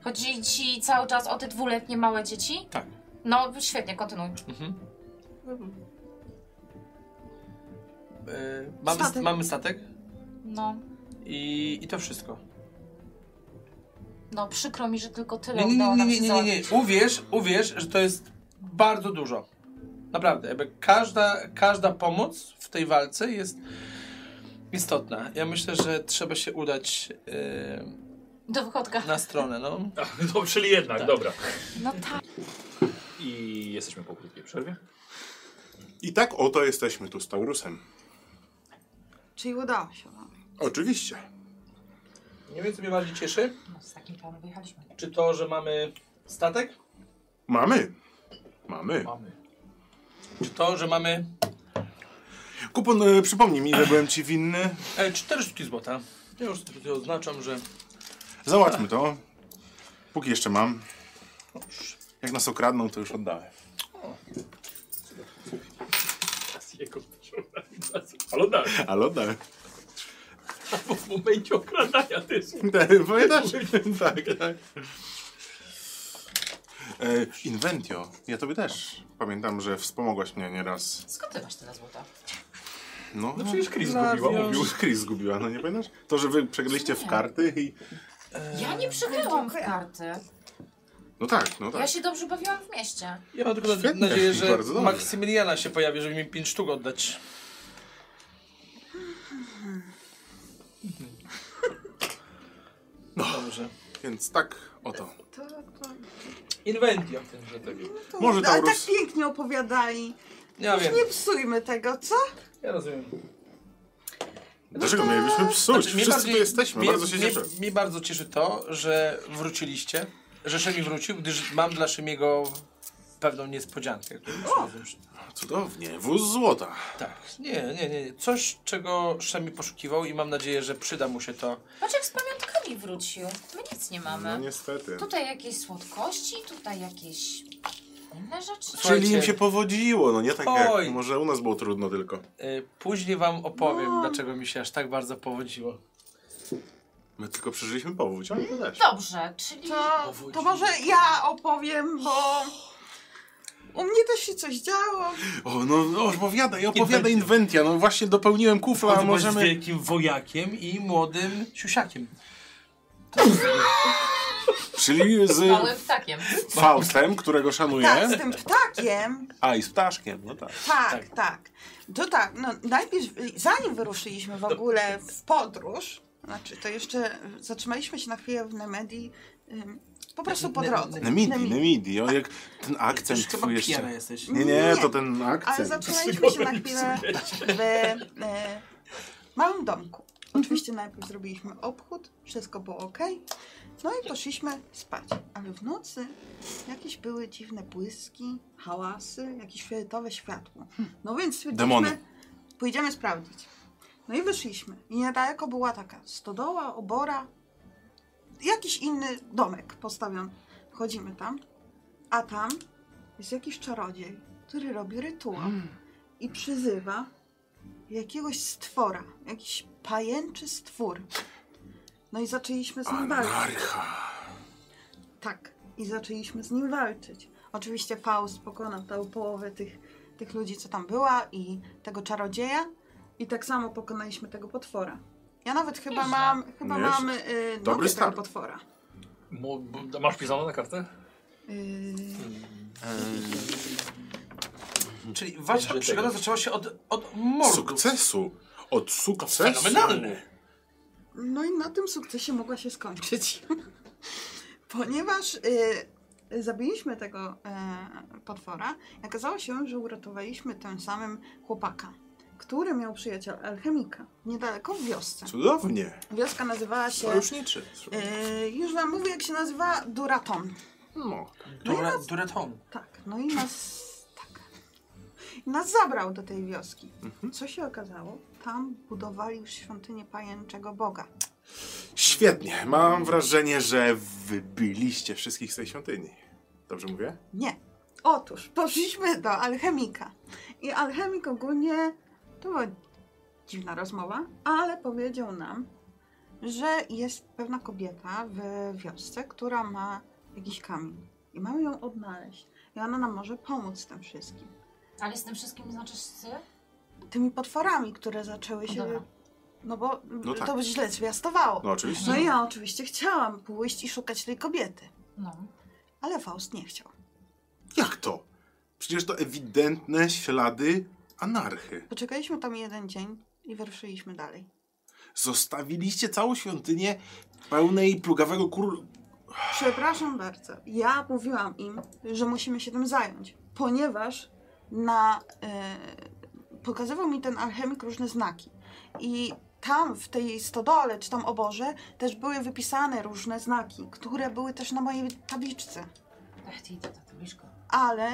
S6: Chodzi ci cały czas o te dwuletnie małe dzieci?
S1: Tak.
S6: No, świetnie, kontynuuj.
S1: Mhm. E, mamy,
S5: Statek.
S1: mamy statek
S6: No,
S1: i, i to wszystko.
S6: no przykro mi, że tylko tyle
S1: Nie, nie,
S6: udało
S1: nie,
S6: nam
S1: nie,
S6: się
S1: nie, nie, nie. Uwierz, uwierz, że to jest bardzo dużo. Naprawdę, jakby każda, każda pomoc w tej walce jest istotna. Ja myślę, że trzeba się udać e,
S6: Do wychodka.
S1: na stronę, no.
S2: No, czyli jednak, dobra.
S6: No tak.
S2: I jesteśmy po krótkiej przerwie.
S4: I tak oto jesteśmy tu z Taurusem.
S5: Czyli udało się wam.
S4: Oczywiście.
S1: Nie wiem, co mnie bardziej cieszy.
S6: No, z takim planem wyjechaliśmy.
S1: Czy to, że mamy statek?
S4: Mamy. Mamy.
S2: Mamy.
S1: Czy to, że mamy
S4: Kupon, e, przypomnij mi, ile byłem ci winny.
S1: e, cztery sztuki złota. Ja już tutaj oznaczam, że
S4: Załatwmy to. Póki jeszcze mam. Jak nas okradną, to już oddałem.
S2: Jego personalizacja. Ale dalej,
S4: Ale oddałem.
S2: bo w momencie okradania dysku.
S4: Tak, (laughs) Pamiętasz? tak, tak. E, Inventio, ja tobie też. Pamiętam, że wspomogłaś mnie nieraz.
S6: Skąd ty masz tyle złota?
S4: No,
S2: No przecież Chris
S1: Zawiąz-
S2: zgubiła, mówił.
S4: już Chris zgubiła, no nie pamiętasz? To, że wy przegraliście w karty i...
S1: Eee,
S6: Ja nie przegrałam w
S5: dziękuję.
S6: karty.
S4: No tak, no tak.
S6: Ja się dobrze bawiłam w mieście.
S1: ja mam tylko na-
S4: Świetnie,
S1: nadzieję, że
S4: bardzo dobrze.
S1: Maksymiliana się pojawi, żeby mi pięć sztuk oddać. No. Dobrze.
S4: Więc tak, oto.
S5: To, to...
S1: Inwendio.
S5: to
S4: Może
S5: ale
S4: Taurus-
S5: tak pięknie opowiadali.
S1: Ja wiem,
S5: Nie psujmy tego, co?
S1: ja rozumiem.
S4: Dlaczego mielibyśmy psuć?
S1: No tak. Znaczy, mnie
S4: Znaczy, Wszyscy tu jesteśmy,
S1: mnie-
S4: bardzo się
S1: mnie-
S4: cieszę.
S1: Mnie bardzo cieszy to, że wróciliście, że Szemi wrócił, gdyż mam dla Szemiego pewną niespodziankę. którą muszę wziąć.
S4: Cudownie, wóz złota.
S1: Tak, nie, nie, nie. nie. Coś, czego Szemi poszukiwał i mam nadzieję, że przyda mu się to.
S6: Patrz jak z pamiątkami wrócił. My nic nie
S4: No
S6: mamy.
S4: niestety.
S6: Tutaj jakieś słodkości, tutaj jakieś inne rzeczy.
S1: Słuchajcie.
S4: Czyli im się powodziło, no nie tak
S1: Oj.
S4: jak... Może u nas było trudno tylko.
S1: Y, Później wam opowiem, dlaczego mi się aż tak bardzo powodziło.
S4: My tylko przeżyliśmy powódź, ale to
S6: Tak.
S4: też.
S6: Dobrze, czyli...
S5: To, No, to może ja opowiem, bo u mnie też się coś działo.
S4: O, no no, opowiadaj, opowiadaj Inventia. No właśnie dopełniłem kufla, a
S1: Możemy... z
S4: możemy...
S1: wielkim wojakiem i młodym siusiakiem.
S4: Czyli z
S6: Małym ptakiem.
S4: Faustem, którego
S5: Tak,
S4: szanuję,
S5: z tym ptakiem.
S4: a i z ptaszkiem, no tak.
S5: Tak, tak. To tak, no najpierw, zanim wyruszyliśmy w ogóle w podróż, znaczy to jeszcze zatrzymaliśmy się na chwilę w Nemedii, ym, po prostu po
S1: Ne-
S5: drodze.
S4: Nemidi,
S5: Nemidii.
S4: Nemidi, o jak ten akcent
S1: Już chyba pijana
S4: twój jeszcze. Mhm.
S1: jesteś.
S4: Nie, nie, to ten
S5: Ale
S4: akcent.
S5: zatrzymaliśmy się na chwilę w e, małym domku. Oczywiście najpierw zrobiliśmy obchód, wszystko było ok. No i poszliśmy spać. Ale w nocy jakieś były dziwne błyski, hałasy, jakieś fioletowe światło. No więc stwierdziliśmy,
S4: Demony.
S5: pójdziemy sprawdzić. No i wyszliśmy. I niedaleko była taka stodoła, obora, jakiś inny domek postawiony. Wchodzimy tam, a tam jest jakiś czarodziej, który robi rytuał
S4: Mm.
S5: i przyzywa jakiegoś stwora, jakiś pajęczy stwór. No i zaczęliśmy z nim walczyć.
S4: Anarcha.
S5: Tak, i zaczęliśmy z nim walczyć. Oczywiście Faust pokonał tą połowę tych, tych ludzi, co tam była i tego czarodzieja. I tak samo pokonaliśmy tego potwora. Ja nawet chyba
S6: Nieźle.
S5: mam, chyba
S4: Nieźle.
S5: mam y,
S4: Dobry
S5: nogę tego
S4: start.
S5: potwora.
S2: Mo- bo- Masz pisane na kartę?
S5: Y,
S1: Czyli wasza
S2: Dobrze,
S1: przygoda
S2: tego.
S1: zaczęła się od, od mordów.
S4: Sukcesu! Od
S1: To
S4: sukcesu!
S1: fenomenalny.
S5: no i na tym sukcesie mogła się skończyć. (laughs) Ponieważ y, zabiliśmy tego y, potwora, i okazało się, że uratowaliśmy tym samym chłopaka, który miał przyjaciela alchemika niedaleko w wiosce.
S4: Cudownie!
S5: Wioska nazywała się.
S4: Sojuszniczy.
S5: Yy, już wam mówię, jak się nazywa Duraton.
S4: No.
S1: Dura, duraton.
S5: Tak, no i nas. Tak. I Nas zabrał do tej wioski. Co się okazało? Tam budowali już świątynię pajęczego boga.
S4: Świetnie. Mam wrażenie, że wybiliście wszystkich z tej świątyni. Dobrze mówię?
S5: Nie. Otóż poszliśmy do alchemika. I alchemik ogólnie. To była dziwna rozmowa, ale powiedział nam, że jest pewna kobieta w wiosce, która ma jakiś kamień. I mamy ją odnaleźć. I ona nam może pomóc w tym wszystkim.
S6: Ale z tym wszystkim znaczy, znaczysz sy?
S5: tymi potworami, które zaczęły się.
S6: Dobra.
S5: No bo
S4: No tak.
S5: to by źle zwiastowało.
S4: No oczywiście.
S5: No i ja oczywiście chciałam pójść i szukać tej kobiety,
S6: No.
S5: ale Faust nie chciał.
S4: Jak to? Przecież to ewidentne ślady anarchy.
S5: Poczekaliśmy tam jeden dzień i wyruszyliśmy dalej.
S4: Zostawiliście całą świątynię pełnej plugawego kur...
S5: Przepraszam bardzo, ja mówiłam im, że musimy się tym zająć, ponieważ na, e, pokazywał mi ten alchemik różne znaki i tam w tej stodole czy tam oborze też były wypisane różne znaki, które były też na mojej tabliczce.
S6: Ach, ty to ta tabliczka.
S5: Ale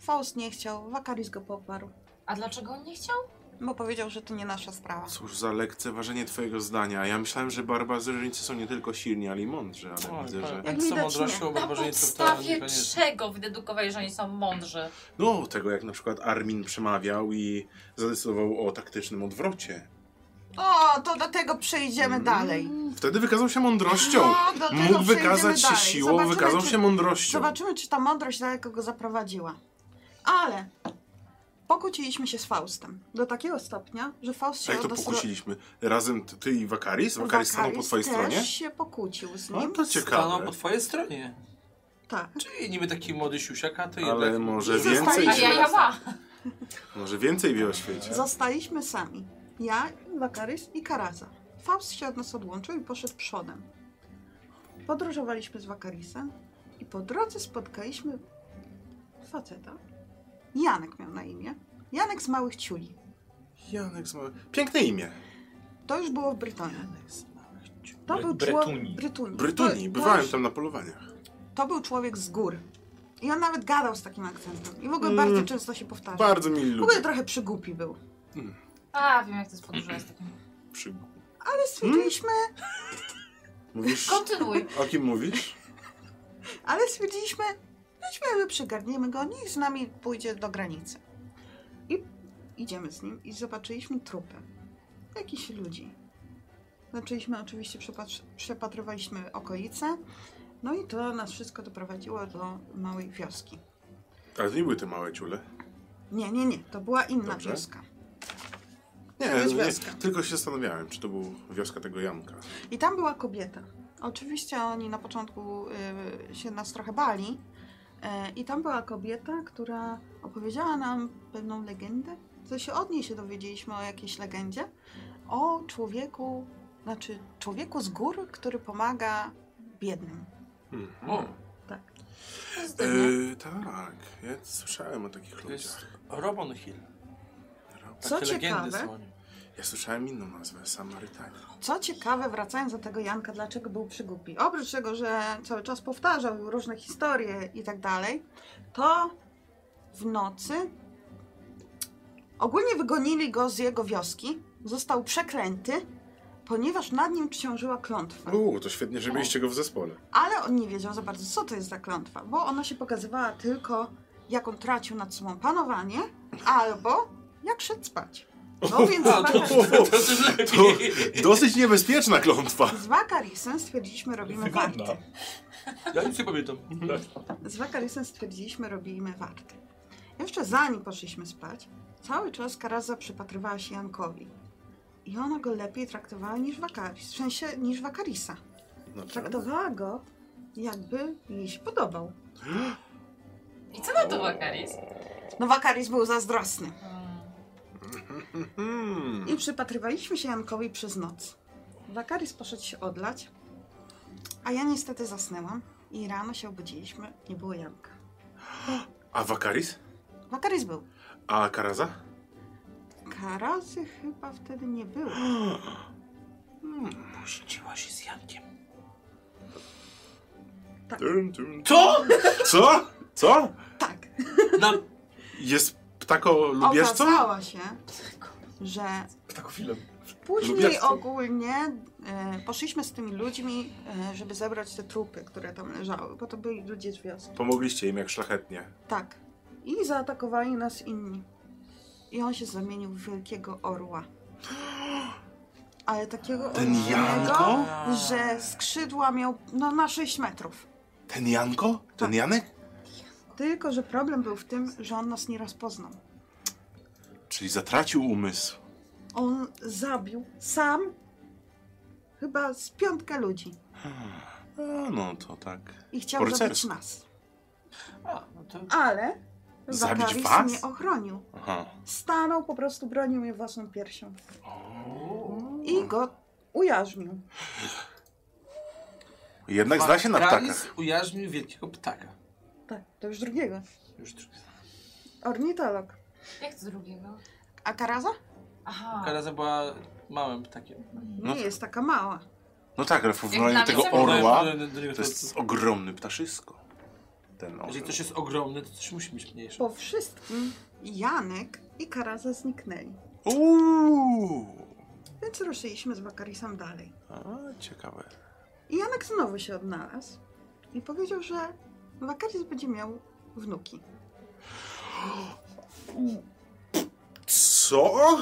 S5: Faust nie chciał, Wakaris go poparł,
S6: A dlaczego on nie chciał?
S5: bo powiedział, że to nie nasza sprawa.
S4: Cóż za lekceważenie twojego zdania. Ja myślałem, że barbarzyńcy są nie tylko silni, ale i mądrzy, ale
S1: Oj,
S4: widzę,
S1: tak.
S4: że...
S1: Jak
S5: widać,
S1: są
S5: nie.
S1: odrośli
S6: Na
S1: obarbarzyńców, to
S6: podstawie
S1: niekoniecznie.
S6: czego wydedukowałeś, że oni są mądrzy?
S4: No, tego jak na przykład Armin przemawiał i zadecydował o taktycznym odwrocie.
S5: O, to do tego przejdziemy dalej.
S4: Wtedy wykazał się mądrością.
S5: O, do tego
S4: Mógł
S5: No, przejdziemy
S4: wykazać się
S5: dalej.
S4: siłą,
S5: Zobaczymy,
S4: wykazał
S5: czy-
S4: się mądrością.
S5: Zobaczymy, czy ta mądrość daleko go zaprowadziła. Ale pokłóciliśmy się z Faustem do takiego stopnia, że Faust się
S4: Jak to
S5: odesra-
S4: pokłóciliśmy? Razem ty- ty i Wakaris? Wakaris stanął po twojej
S5: też
S4: stronie?
S5: się pokłócił z
S4: No
S5: nim.
S4: to
S1: Stanął
S4: ciekawe.
S1: po twojej stronie.
S5: Tak.
S1: Czyli niby taki młody siusiak, a to
S4: Ale
S1: jednak...
S4: może
S1: Zostaje-
S4: więcej
S6: A
S4: Idzie.
S6: ja, ja ma.
S4: Może więcej wie o świecie.
S5: Zostaliśmy sami. Ja, Wakarys i Karaza. Faust się od nas odłączył i poszedł przodem. Podróżowaliśmy z Wakarisem i po drodze spotkaliśmy faceta. Janek miał na imię. Janek z Małych Ciuli.
S4: Janek z mały... Piękne imię.
S5: To już było w Brytonii. To
S2: Bre-
S5: był
S2: Bretuni.
S5: człowiek... Brytuni.
S4: Brytunii,
S5: To- To,
S4: bywałem
S5: już-
S4: tam na polowaniach.
S5: to był człowiek z gór. I on nawet gadał z takim akcentem. I w ogóle
S4: Mm.
S5: bardzo często się powtarzał.
S4: Bardzo mili
S5: W
S4: ludzie.
S5: ogóle trochę przygłupi był.
S6: A, wiem jak to jest podróżować
S1: (clears throat)
S6: z takim.
S4: Przy...
S5: Ale stwierdziliśmy,
S4: Mówisz?
S6: Kontynuuj.
S4: O kim mówisz?
S5: Ale stwierdziliśmy, weźmy, że przygarniemy go, niech z nami pójdzie do granicy. I idziemy z nim i zobaczyliśmy trupy. Jakichś ludzi. Zaczęliśmy oczywiście, przepatr- przepatrywaliśmy okolice. No i to nas wszystko doprowadziło do małej wioski.
S4: Ale to nie były te małe ciule.
S5: Nie, nie, nie, to była inna
S4: Dobrze.
S5: wioska.
S4: Nie,
S5: To jest
S4: nie,
S5: wioska.
S4: tylko się zastanawiałem, czy to była wioska tego Janka.
S5: I tam była kobieta. Oczywiście oni na początku y, się nas trochę bali. Y, I tam była kobieta, która opowiedziała nam pewną legendę. Co się od niej się dowiedzieliśmy o jakiejś legendzie. O człowieku, znaczy człowieku z gór, który pomaga biednym.
S1: Hmm, O,
S5: Tak.
S4: Yy, tak, ja słyszałem o takich
S1: to jest
S4: ludziach.
S1: Robon Hill. Takie
S5: Co
S1: legendy
S5: ciekawe-
S1: są o nim.
S4: Ja słyszałem inną nazwę, Samarytanie.
S5: Co ciekawe, wracając do tego Janka, dlaczego był przygłupi? Oprócz tego, że cały czas powtarzał różne historie i tak dalej, to w nocy ogólnie wygonili go z jego wioski. Został przeklęty, ponieważ nad nim ciążyła klątwa.
S4: Uuu, to świetnie, że mieliście go w zespole.
S5: Ale on nie wiedział za bardzo, co to jest za klątwa, bo ona się pokazywała tylko, jak on tracił nad sobą panowanie, albo jak szedł spać.
S1: (laughs)
S5: No więc
S1: A, to,
S5: Wakaris-
S1: to, to tym lepiej.
S4: Dosyć niebezpieczna klątwa.
S5: z Wakarisem stwierdziliśmy, robimy
S7: Wygodna.
S5: warty.
S1: Ja nic nie pamiętam.
S5: Z Wakarysem stwierdziliśmy, robimy warty. Jeszcze zanim poszliśmy spać, Cały czas Karaza przypatrywała się Jankowi. I ona go lepiej traktowała niż Wakaris, w sensie niż Wakarisa.
S1: No
S5: Tak
S4: Naprawdę?
S5: Traktowała go, jakby jej się podobał.
S6: I co na to Wakaris?
S5: No Wakaris był zazdrosny.
S4: Hmm.
S5: I przypatrywaliśmy się Jankowi przez noc. Wakaris poszedł się odlać, a ja niestety zasnęłam i rano się obudziliśmy, nie było Janka.
S4: A Wakaris?
S5: Wakaris był.
S4: A Karaza?
S5: Karazy chyba wtedy nie było.
S1: Siedziła się z Jankiem.
S4: Tum, tum.
S1: Co?
S4: Co? Co?
S5: Tak,
S1: Na...
S4: Jest ptako lubieżco?
S5: okazało się, że
S7: Tak,
S1: Ptakofilem.
S5: Później
S4: Lubiawską.
S5: ogólnie e, poszliśmy z tymi ludźmi, e, żeby zebrać te trupy, które tam leżały, bo to byli ludzie z wioski.
S4: Pomogliście im jak szlachetnie.
S5: Tak. I zaatakowali nas inni. I on się zamienił w wielkiego orła. Ale takiego
S4: Ten
S5: olbrzymiego,
S4: Janko?
S5: że skrzydła miał no, na 6 metrów.
S4: Ten Janko? Ten Janek?
S5: Tylko, że problem był w tym, że on nas nie rozpoznał.
S4: Czyli zatracił umysł.
S5: On zabił sam chyba z piątkę ludzi.
S4: A, no to tak.
S5: I chciał
S4: Po
S5: zabić
S4: rycersku.
S5: nas.
S1: A, no to...
S5: Ale
S4: Zabić
S5: Wakaris
S4: was?
S5: mnie ochronił.
S4: Aha.
S5: Stanął, po prostu bronił mnie własną piersią. I go ujarzmił.
S4: Jednak zna się na
S1: Wakaris
S4: ptakach.
S1: ujarzmił wielkiego ptaka.
S5: Tak, to już drugiego.
S1: Już drugi.
S5: Ornitolog.
S6: Jak z drugiego?
S5: A Karaza?
S6: Aha.
S1: Karaza była małym ptakiem.
S5: Nie
S4: No tak.
S5: jest taka mała.
S4: No tak, ale w
S6: dla
S4: porównaniu
S6: mnie
S4: tego
S6: są-
S4: orła
S1: Do- do- do- do-
S4: no, to jest ogromny ptaszysko. Ten orzeł.
S1: Jeżeli coś jest ogromne, to coś musi być mniejsze.
S5: Po wszystkim Janek i Karaza zniknęli.
S4: Uuu.
S5: Więc ruszyliśmy z Bakarisem dalej.
S4: A, ciekawe.
S5: I Janek znowu się odnalazł i powiedział, że Bakaris będzie miał wnuki.
S4: Co?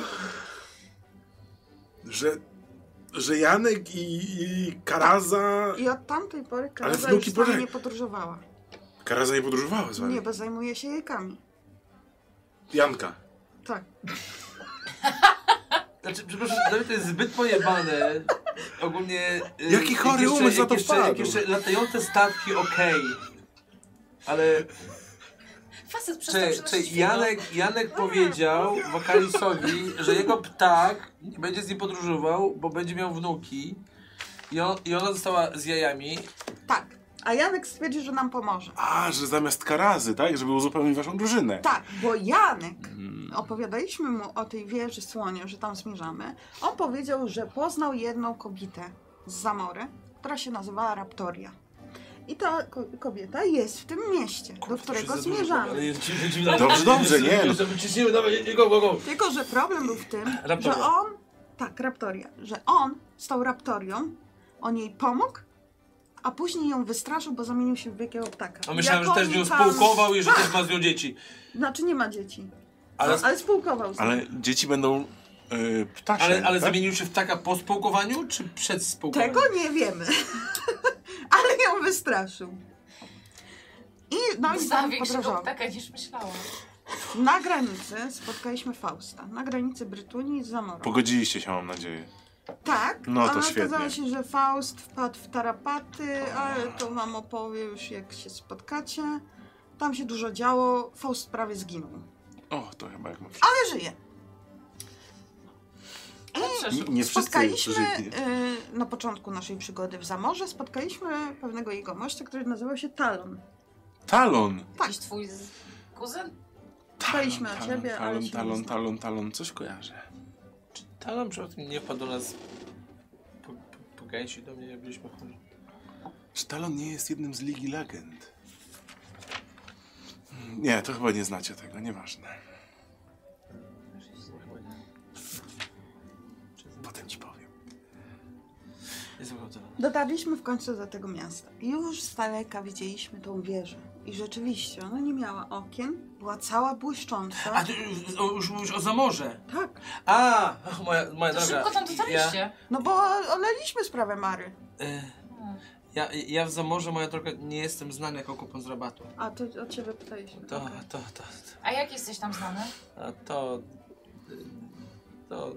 S4: Że, że Janek i, i Karaza...
S5: I od tamtej pory Karaza
S4: wnuki
S5: już z nami
S4: pożeg-
S5: nie podróżowała.
S4: Karaza nie podróżowała z wami.
S5: Nie, bo zajmuje się jajkami.
S4: Janka.
S5: Tak.
S1: Znaczy, przepraszam, dla mnie to jest zbyt pojebane. Ogólnie... y,
S4: Jaki
S1: jak
S4: chory
S1: jeszcze-
S4: umysł na
S1: jak
S4: to
S1: jeszcze,
S4: wpadł?
S1: jak jeszcze latające statki, okej. Ale
S6: Facet przestał
S1: czy,
S6: przynosić
S1: czy
S6: świnę.
S1: Janek, Janek powiedział wokalisowi, że jego ptak nie będzie z nim podróżował, bo będzie miał wnuki i, on, i ona została z jajami.
S5: Tak. A Janek stwierdził, że nam pomoże.
S4: A, że zamiast Karazy, tak? Żeby uzupełnić waszą drużynę.
S5: Tak, bo Janek,
S4: Mm.
S5: opowiadaliśmy mu o tej wieży słonia, że tam zmierzamy. On powiedział, że poznał jedną kobietę z Zamory, która się nazywała Raptoria. I ta ko- kobieta jest w tym mieście, do którego zmierzamy.
S4: Dobrze, dobrze, nie. no.
S2: Ciśnijmy, dawaj, go, go, go.
S5: Tylko, że problem był w
S1: (clears throat)
S5: tym, że
S1: Raptoria.
S5: on, tak, Raptoria, że on z tą Raptorią, on jej pomógł, a później ją wystraszył, bo zamienił się w wielkiego ptaka.
S1: A No, myślałem, że
S5: Jak
S1: też
S5: oni
S1: ją
S5: tam-
S1: spółkował i że też ma z nią dzieci.
S5: Znaczy nie ma dzieci,
S1: Ale,
S5: ale spółkował z
S4: Ale dzieci będą y, ptasie,
S1: ale, ale
S4: tak?
S1: zamienił się w taka po spółkowaniu, czy przed spółkowaniem?
S5: Tego nie wiemy. (laughs) Ale ją wystraszył. I no i
S6: Została
S5: tam
S6: większego
S5: podróżował.
S6: ptaka niż myślałam.
S1: Mm,
S5: Na granicy spotkaliśmy Fausta. Na granicy Brytunii z Zamorą.
S4: Pogodziliście się, mam nadzieję.
S5: tak,
S4: No to
S5: ale okazało
S4: świetnie.
S5: się, że Faust wpadł w tarapaty, ale to wam opowie już jak się spotkacie. Tam się dużo działo, Faust prawie zginął.
S4: O, to chyba jak ma
S5: Ale żyje.
S4: Nie,
S1: mm,
S4: nie
S5: Spotkaliśmy
S4: wszyscy żyli.
S5: y, na początku naszej przygody w Zamorze, spotkaliśmy pewnego jegomościa, który nazywał się Talon.
S4: Talon.
S1: mm.
S6: Jakiś twój z... kuzyn?
S5: Pytaliśmy o
S4: Talon,
S5: ciebie,
S4: talon,
S5: ale się nie
S4: Talon,
S5: znam.
S4: talon, talon, coś kojarzę.
S1: Talon przypadkiem nie wpadł do nas po, po, po gęsi do mnie, jak byliśmy chorzy.
S4: Czy Talon nie jest jednym z Ligi Legend? Hmm, Nie, to chyba nie znacie tego, nieważne.
S1: Chyba nie.
S4: Potem ci powiem.
S1: Nie słuchał Talona.
S5: Dotarliśmy w końcu do tego miasta. I Już z daleka widzieliśmy tą wieżę. I rzeczywiście, ona nie miała okien, była cała błyszcząca.
S1: A ty y, o- już mówisz o Zamorze.
S5: Tak,
S1: A, ach, moja, moja
S6: To
S1: droga.
S6: szybko tam dotarliście.
S1: Ja,
S6: Hmm.
S5: no bo oleliśmy sprawę Mary.
S1: y, Ja, ja w Zamorze, moja droga, nie jestem znany jako kupon z rabatu.
S5: A, to od ciebie pytaliśmy.
S4: Tak.
S1: To,
S5: okej.
S1: to, to, to,
S6: A jak jesteś tam znany?
S1: a to, y, to,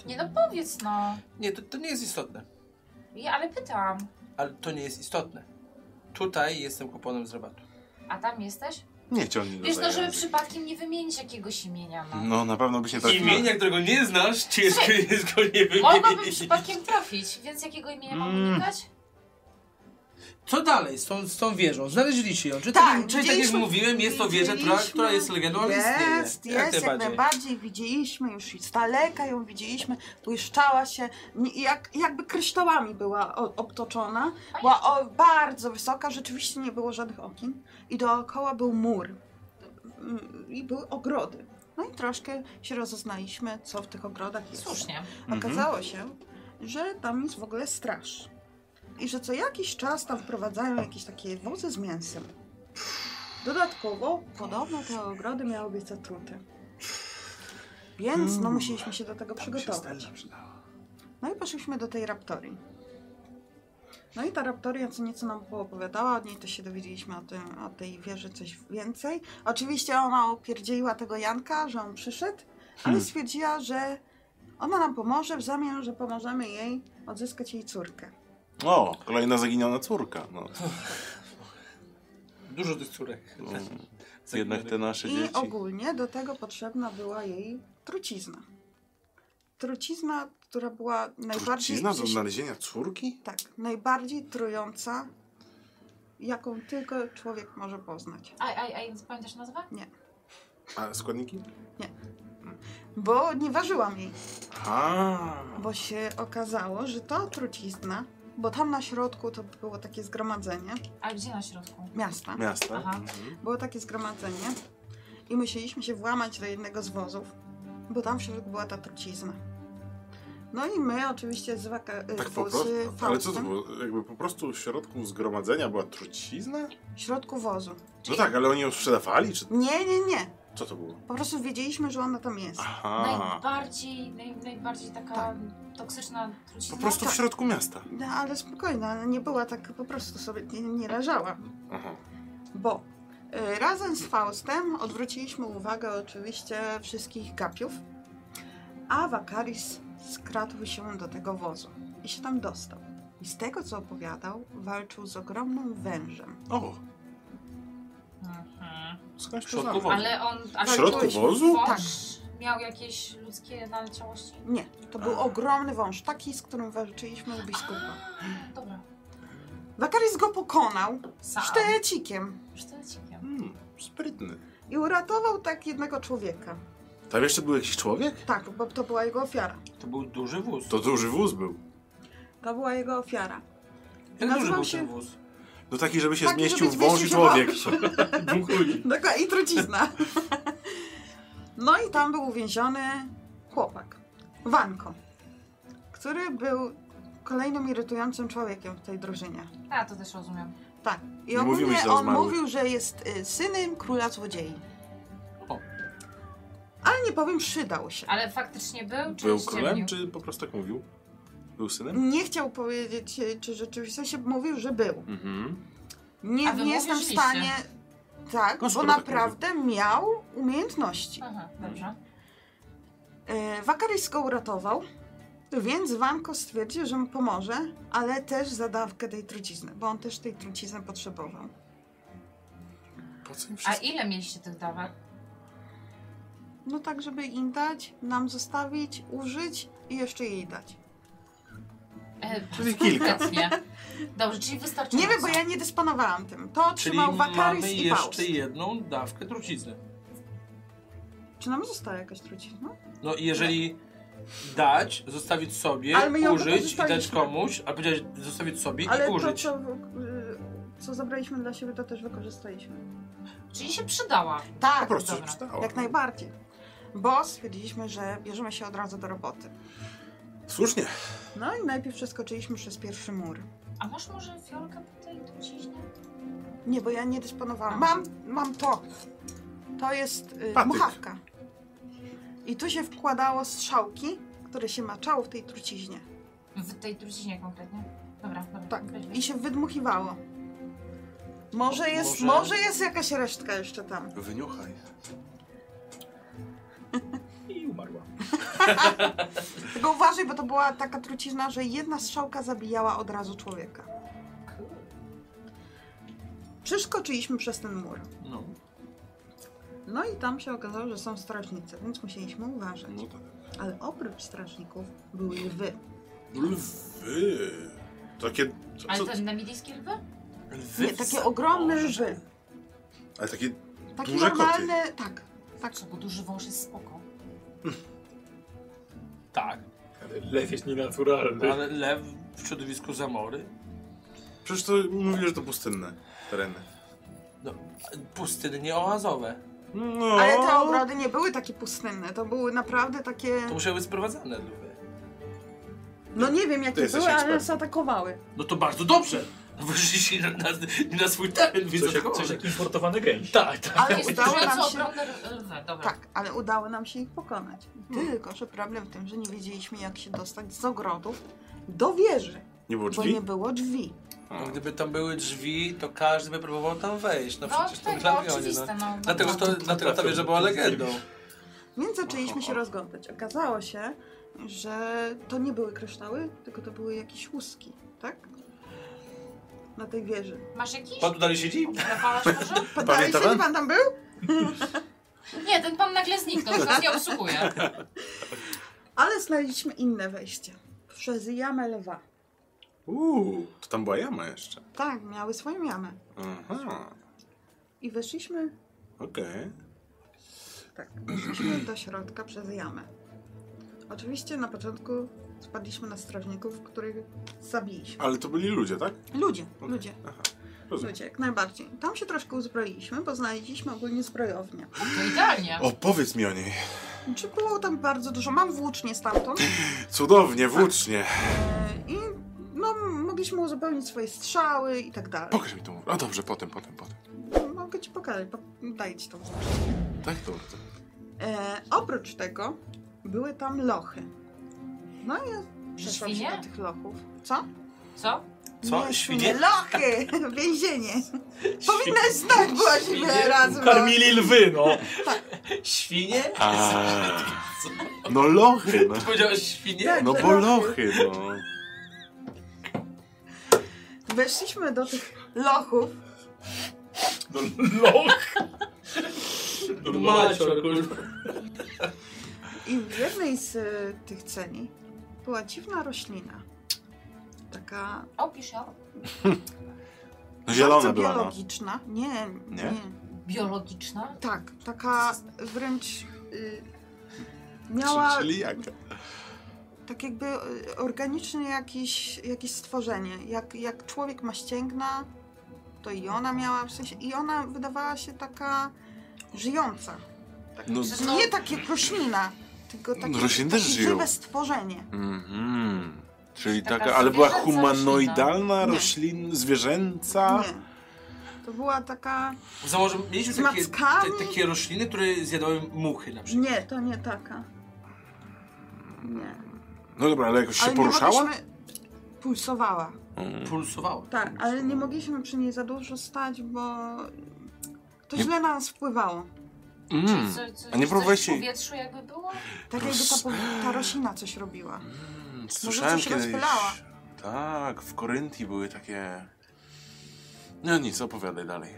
S1: to
S6: Nie no powiedz no.
S1: nie, to, to nie jest istotne,
S6: Ja ale pytam.
S1: ale to nie jest istotne. Tutaj jestem kuponem z rabatu.
S6: A tam jesteś?
S4: Nie ciągnij do
S6: Wiesz no,
S4: tego
S6: żeby
S4: języka.
S6: przypadkiem nie wymienić jakiegoś imienia,
S1: Mhm.
S6: no.
S4: No, na pewno byś nie trafił.
S1: Imienia, którego nie znasz, ciężko jest go nie
S6: Mogłabym
S1: wymienić.
S6: przypadkiem trafić, więc jakiego imienia mam
S7: Mm.
S6: unikać?
S1: Co dalej z tą, z tą wieżą? Znaleźliście ją. Czy
S5: Tak,
S1: tak, czyli tak jak
S5: widzieliśmy-
S1: mówiłem, jest to wieża, która,
S5: widzieliśmy.
S1: która jest legendą, ale istnieje.
S5: Jest, jest, jak najbardziej. Widzieliśmy już i z daleka ją widzieliśmy. Błyszczała się, ni- jak, jakby kryształami była o- obtoczona. Była o, bardzo wysoka, rzeczywiście nie było żadnych okien. I dookoła był mur. Mm, I były ogrody. No i troszkę się rozeznaliśmy, co w tych ogrodach jest.
S6: Słusznie.
S4: Mhm.
S5: Okazało się, że tam jest w ogóle straż. I że co jakiś czas tam wprowadzają jakieś takie wozy z mięsem. Dodatkowo, podobno te ogrody miały być zatrute. Więc no musieliśmy się do tego
S4: Hmm. Tam się
S5: przygotować.
S4: Stella przydała.
S5: No i poszliśmy do tej raptorii. No i ta raptoria co nieco nam poopowiadała, od niej też się dowiedzieliśmy o, tym, o tej wieży coś więcej. Oczywiście ona opierdzieliła tego Janka, że on przyszedł, ale
S4: Hmm.
S5: stwierdziła, że ona nam pomoże w zamian, że pomożemy jej odzyskać jej córkę.
S4: O, kolejna zaginiona córka.
S2: (laughs)
S4: No.
S1: Dużo tych córek.
S4: No, Jednak te nasze
S5: I
S4: dzieci.
S5: ogólnie do tego potrzebna była jej trucizna. Trucizna, która była najbardziej...
S4: Trucizna do znalezienia córki?
S5: Tak, najbardziej trująca, jaką tylko człowiek może poznać.
S6: Aj, aj, aj, pamiętasz nazwę?
S4: A składniki?
S5: Bo nie ważyłam jej,
S4: A.
S5: bo się okazało, że to trucizna, bo tam na środku to było takie zgromadzenie
S6: Ale gdzie na środku?
S5: miasta.
S4: Miasta.
S6: Aha.
S4: Mhm.
S5: Było takie zgromadzenie i musieliśmy się włamać do jednego z wozów, bo tam w środku była ta trucizna. No i my oczywiście z, waka- y,
S4: Tak
S5: z
S4: po prostu. Ale co to
S5: Faustem-
S4: było? Jakby po prostu w środku zgromadzenia była trucizna?
S5: w środku wozu.
S4: No tak, ale oni ją sprzedawali? Czy
S5: Nie, nie, nie.
S4: co to było?
S5: Po prostu wiedzieliśmy, że ona tam jest.
S4: Aha.
S6: Najbardziej, naj, najbardziej taka
S5: Tak.
S6: toksyczna
S4: Po
S6: trucizna.
S4: prostu w
S5: tak.
S4: środku miasta.
S5: No ale spokojna, ona nie była tak, po prostu sobie nie, nie leżała.
S4: Aha.
S5: Bo y, razem z Faustem odwróciliśmy uwagę oczywiście wszystkich gapiów, a Wakaris skradł się do tego wozu i się tam dostał. I z tego co opowiadał, walczył z ogromnym wężem.
S4: O,
S6: Mhm.
S4: skądś
S2: W
S4: to
S2: środku
S4: znamy.
S2: wozu.
S6: Ale on... Ale
S4: W środku
S6: jakiś
S4: wozu?
S6: wąż
S5: Tak.
S6: Miał jakieś ludzkie naleciałości?
S5: Nie, to był ogromny wąż, taki z którym walczyliśmy u biskupa.
S6: A, Dobra.
S5: Wakaris go pokonał
S6: Sam.
S5: sztylecikiem
S6: Sztylecikiem.
S4: Mm, sprytny.
S5: i uratował tak jednego człowieka.
S4: Tam jeszcze był jakiś człowiek?
S5: Tak, bo to była jego ofiara.
S1: To był duży wóz.
S4: To duży wóz był.
S5: To była jego ofiara.
S1: Jak duży
S5: nazywał
S1: był
S5: się-
S1: ten wóz?
S4: No taki, żeby się
S5: Taki,
S4: zmieścił
S5: żeby
S4: wąż i
S5: zmieścił
S4: człowiek.
S5: (laughs)
S7: Dwóch ludzi.
S5: Dokładnie, i
S6: (laughs)
S5: trucizna. No i tam był uwięziony chłopak, Wanko, który był kolejnym irytującym człowiekiem w tej drużynie.
S6: A, to też rozumiem.
S5: Tak. I
S4: Nie
S5: ogólnie
S4: mówimy źle o
S5: on
S4: zmarłych.
S5: mówił, że jest y, synem króla złodziei.
S1: O.
S5: Ale nie powiem, przydał się.
S6: Ale faktycznie był, czy
S4: Był
S6: ściemnił?
S4: królem, czy po prostu tak mówił? Był synem?
S5: Nie chciał powiedzieć, y, czy rzeczywiście w sensie mówił, że był.
S4: Mhm.
S5: Nie,
S6: A wy
S5: nie jestem w
S6: mówiliście.
S5: stanie. Tak,
S4: No,
S5: bo
S4: skoro tak
S5: naprawdę miał umiejętności.
S6: Aha,
S4: Mm.
S6: dobrze.
S5: E, Wakaris go uratował, więc Wanko stwierdził, że mu pomoże, ale też za dawkę tej trucizny, bo on też tej trucizny potrzebował.
S4: Po co im
S6: A
S4: wszystko?
S6: ile mieliście tych dawek?
S5: No tak, żeby im dać, nam zostawić, użyć i jeszcze jej dać.
S6: E,
S4: Czyli
S6: (laughs)
S4: kilka.
S6: Obecnie. Dobrze, czyli wystarczy.
S5: Nie wiem, bo ja nie dysponowałam tym. To
S1: Czyli
S5: otrzymał Wakaris
S1: mamy
S5: i Faust.
S1: jeszcze jedną dawkę trucizny.
S5: Czy nam została jakaś trucizna?
S1: No i jeżeli dać, zostawić sobie,
S5: Ale my ją
S1: użyć i dać
S5: wykorzystaliśmy.
S1: komuś, a powiedziałeś zostawić sobie
S5: Ale
S1: i
S5: to,
S1: użyć.
S5: co, y, co zabraliśmy dla siebie, to też wykorzystaliśmy.
S6: Czyli się przydała.
S4: Po
S5: Tak,
S4: prostu się
S6: Dobra.
S4: przydało.
S5: jak najbardziej. Bo stwierdziliśmy, że bierzemy się od razu do roboty.
S4: Słusznie.
S5: No i najpierw przeskoczyliśmy przez pierwszy mur.
S6: A masz może fiolkę po tej truciźnie?
S5: Nie, bo ja nie dysponowałam.
S6: A.
S5: Mam, mam to. To jest y,
S4: Patyk.
S5: muchawka. I tu się wkładało strzałki, które się maczało w tej truciźnie.
S6: W tej No, truciźnie konkretnie? Dobra, dobra.
S5: Tak.
S6: weźmy.
S5: I się wydmuchiwało. Może jest,
S1: Może-
S5: może... jest jakaś resztka jeszcze tam.
S4: Wyniuchaj.
S2: I umarła.
S5: Tylko uważaj, bo to była taka trucizna, że jedna strzałka zabijała od razu człowieka. Przeskoczyliśmy przez ten mur.
S1: No.
S5: No i tam się okazało, że są strażnicy, więc musieliśmy uważać.
S4: No tak.
S5: Ale oprócz strażników były lwy.
S4: Lwy. No Takie... Co,
S6: Ale
S4: co,
S6: to namidyjskie lwy?
S1: Lwy
S5: Nie,
S1: w
S5: takie
S1: zaborze.
S5: ogromne lwy.
S4: ale takie...
S5: Takie
S4: Duże koty.
S5: normalne, tak. Tak,
S6: Patrzę, bo duży wąż jest spoko.
S1: Tak.
S7: Ale lew jest nienaturalny.
S1: Ale lew w środowisku zamory?
S4: Przecież to mówili, że to pustynne tereny.
S1: Pustynnie oazowe.
S4: No...
S5: Ale te ogrody nie były takie pustynne, to były naprawdę takie...
S1: To musiały być sprowadzane lwy.
S5: No nie wiem
S4: Ty
S5: jakie
S4: jesteś
S5: były, ale
S4: ekspertem.
S5: nas atakowały.
S1: No to bardzo dobrze. (laughs) Wyszliście na, na, na swój teren, więc
S2: Coś jak,
S1: zachowane.
S2: coś jak importowany gęś.
S1: Tak, tak.
S5: Ale
S6: Jest
S5: udało nam się...
S6: ogromne lwy, dobra.
S5: Tak, ale udało nam się ich pokonać. Tylko, że problem w tym, że nie wiedzieliśmy jak się dostać z ogrodów do wieży,
S4: Nie było
S5: bo
S4: drzwi?
S5: nie było drzwi.
S1: No, gdyby tam były drzwi, to każdy by próbował tam wejść. No
S6: No,
S1: przecież to
S6: tego,
S1: Glabionie,
S6: oczywiste,
S1: no.
S6: no.
S1: Dlatego, to, dlatego ta wieża była legendą.
S5: Więc zaczęliśmy się
S4: Ohoho.
S5: rozglądać. Okazało się, że to nie były kryształy, tylko to były jakieś łuski, tak? Na tej wieży.
S6: Masz jakiś?
S1: Pan tu dalej siedzi?
S6: Napalasz może?
S5: Pytali się,
S4: Pamiętam?
S5: czy pan tam był?
S6: Nie, ten pan nagle zniknął, że nas nie obsługuje.
S5: Ale znaleźliśmy inne wejście. Przez jamę lwa.
S4: Uuu, to tam była jama jeszcze.
S5: Tak, miały swoją jamę.
S4: Aha,
S5: I weszliśmy,
S4: okej.
S5: tak, weszliśmy do środka przez jamę. Oczywiście na początku spadliśmy na strażników, których zabiliśmy.
S4: Ale to byli ludzie, tak?
S5: Ludzie,
S4: Okej.
S5: ludzie,
S4: Aha, rozumiem.
S5: ludzie, jak najbardziej. Tam się troszkę uzbroiliśmy, bo znaleźliśmy ogólnie zbrojownię.
S6: To idealnie.
S4: Opowiedz mi o niej.
S5: Czy było tam bardzo dużo? Mam włócznie stamtąd.
S4: Cudownie, włócznie.
S5: E, I no, mogliśmy uzupełnić swoje strzały i tak dalej.
S4: Pokaż mi tą. A dobrze, potem, potem, potem.
S5: Mogę ci pokazać, po- daję ci tą znaczkę.
S4: Tak, dobrze.
S5: E, oprócz tego były tam lochy. No i ja przeszłam się
S6: Świnie?
S5: do tych lochów. Co?
S6: Co?
S1: Co?
S5: Nie,
S1: Świnie?
S5: Lochy! (laughs) Więzienie. Powinnaś znać, byłaś wiele razy. w lochach.
S7: Karmili lwy, no.
S1: Świnie?
S4: (laughs) No lochy, no.
S1: Powiedziałeś świnie?
S5: Tak,
S4: No
S5: że
S4: bo
S5: lochy.
S4: lochy, no.
S5: Weszliśmy do tych lochów.
S7: Loch.
S1: Macior, kurwa.
S5: I w jednej z y, tych celi była dziwna roślina. Taka
S6: Opisz ją.
S4: No zielona
S5: bardzo
S4: była, no.
S5: biologiczna. Nie,
S4: Nie?
S5: nie,
S6: Biologiczna?
S5: Tak, taka wręcz y, miała
S4: Czyli jaka?
S5: tak jakby y, organiczny jakiś, jakieś stworzenie. Jak, jak człowiek ma ścięgna, to i ona miała w sensie, i ona wydawała się taka żyjąca.
S4: No,
S6: Zresztą-
S5: Nie takie roślina, tylko takie
S4: No, rośliny też
S5: takie
S4: żyją.
S5: żywe stworzenie.
S4: mhm. Czyli
S6: Taka
S4: taka, ale była
S6: zwierzęca
S4: humanoidalna,
S5: Nie.
S4: roślin, zwierzęca.
S5: Nie. To była taka...
S1: Założę, mieliśmy takie,
S5: Zmackami?
S1: te, takie rośliny, które zjadały muchy na przykład.
S5: Nie, to nie taka. Nie.
S4: No dobra, ale jakoś się
S5: Ale nie
S4: poruszała?
S5: mogliśmy- Pulsowała.
S4: Mm.
S1: Pulsowały.
S5: Tak, ale nie mogliśmy przy niej za dużo stać, bo to
S4: Nie-
S5: źle na nas wpływało.
S1: Hmm.
S4: Mm.
S6: Czy co-
S4: A nie
S6: coś
S4: próbowałeś
S6: w
S4: jej-
S6: powietrzu jakby było?
S1: (laughs)
S5: Tak jakby ta,
S4: Roz-
S5: po- ta roślina coś robiła.
S4: Mm, Słyszałem
S5: coś
S4: kiedyś.
S5: rozpylała.
S4: Tak, w Koryntii były takie. No nic, opowiadaj dalej.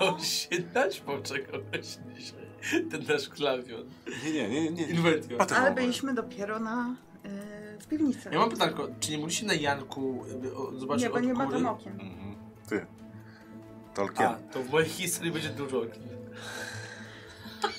S1: On się naćpał czegoś dzisiaj. Ten nasz klawion.
S4: Nie, nie, nie, nie. nie.
S1: Inwentio.
S4: A to
S5: Ale
S4: było.
S5: byliśmy dopiero na y, w piwnicy.
S1: Ja mam pytanko, czy nie mogliście na Janku y, o, zobaczyć
S5: nie, bo
S1: od
S5: nie ma
S1: góry?
S5: tam okien.
S4: Mhm. Ty. Tolkien.
S1: A, to w mojej historii będzie dużo okien.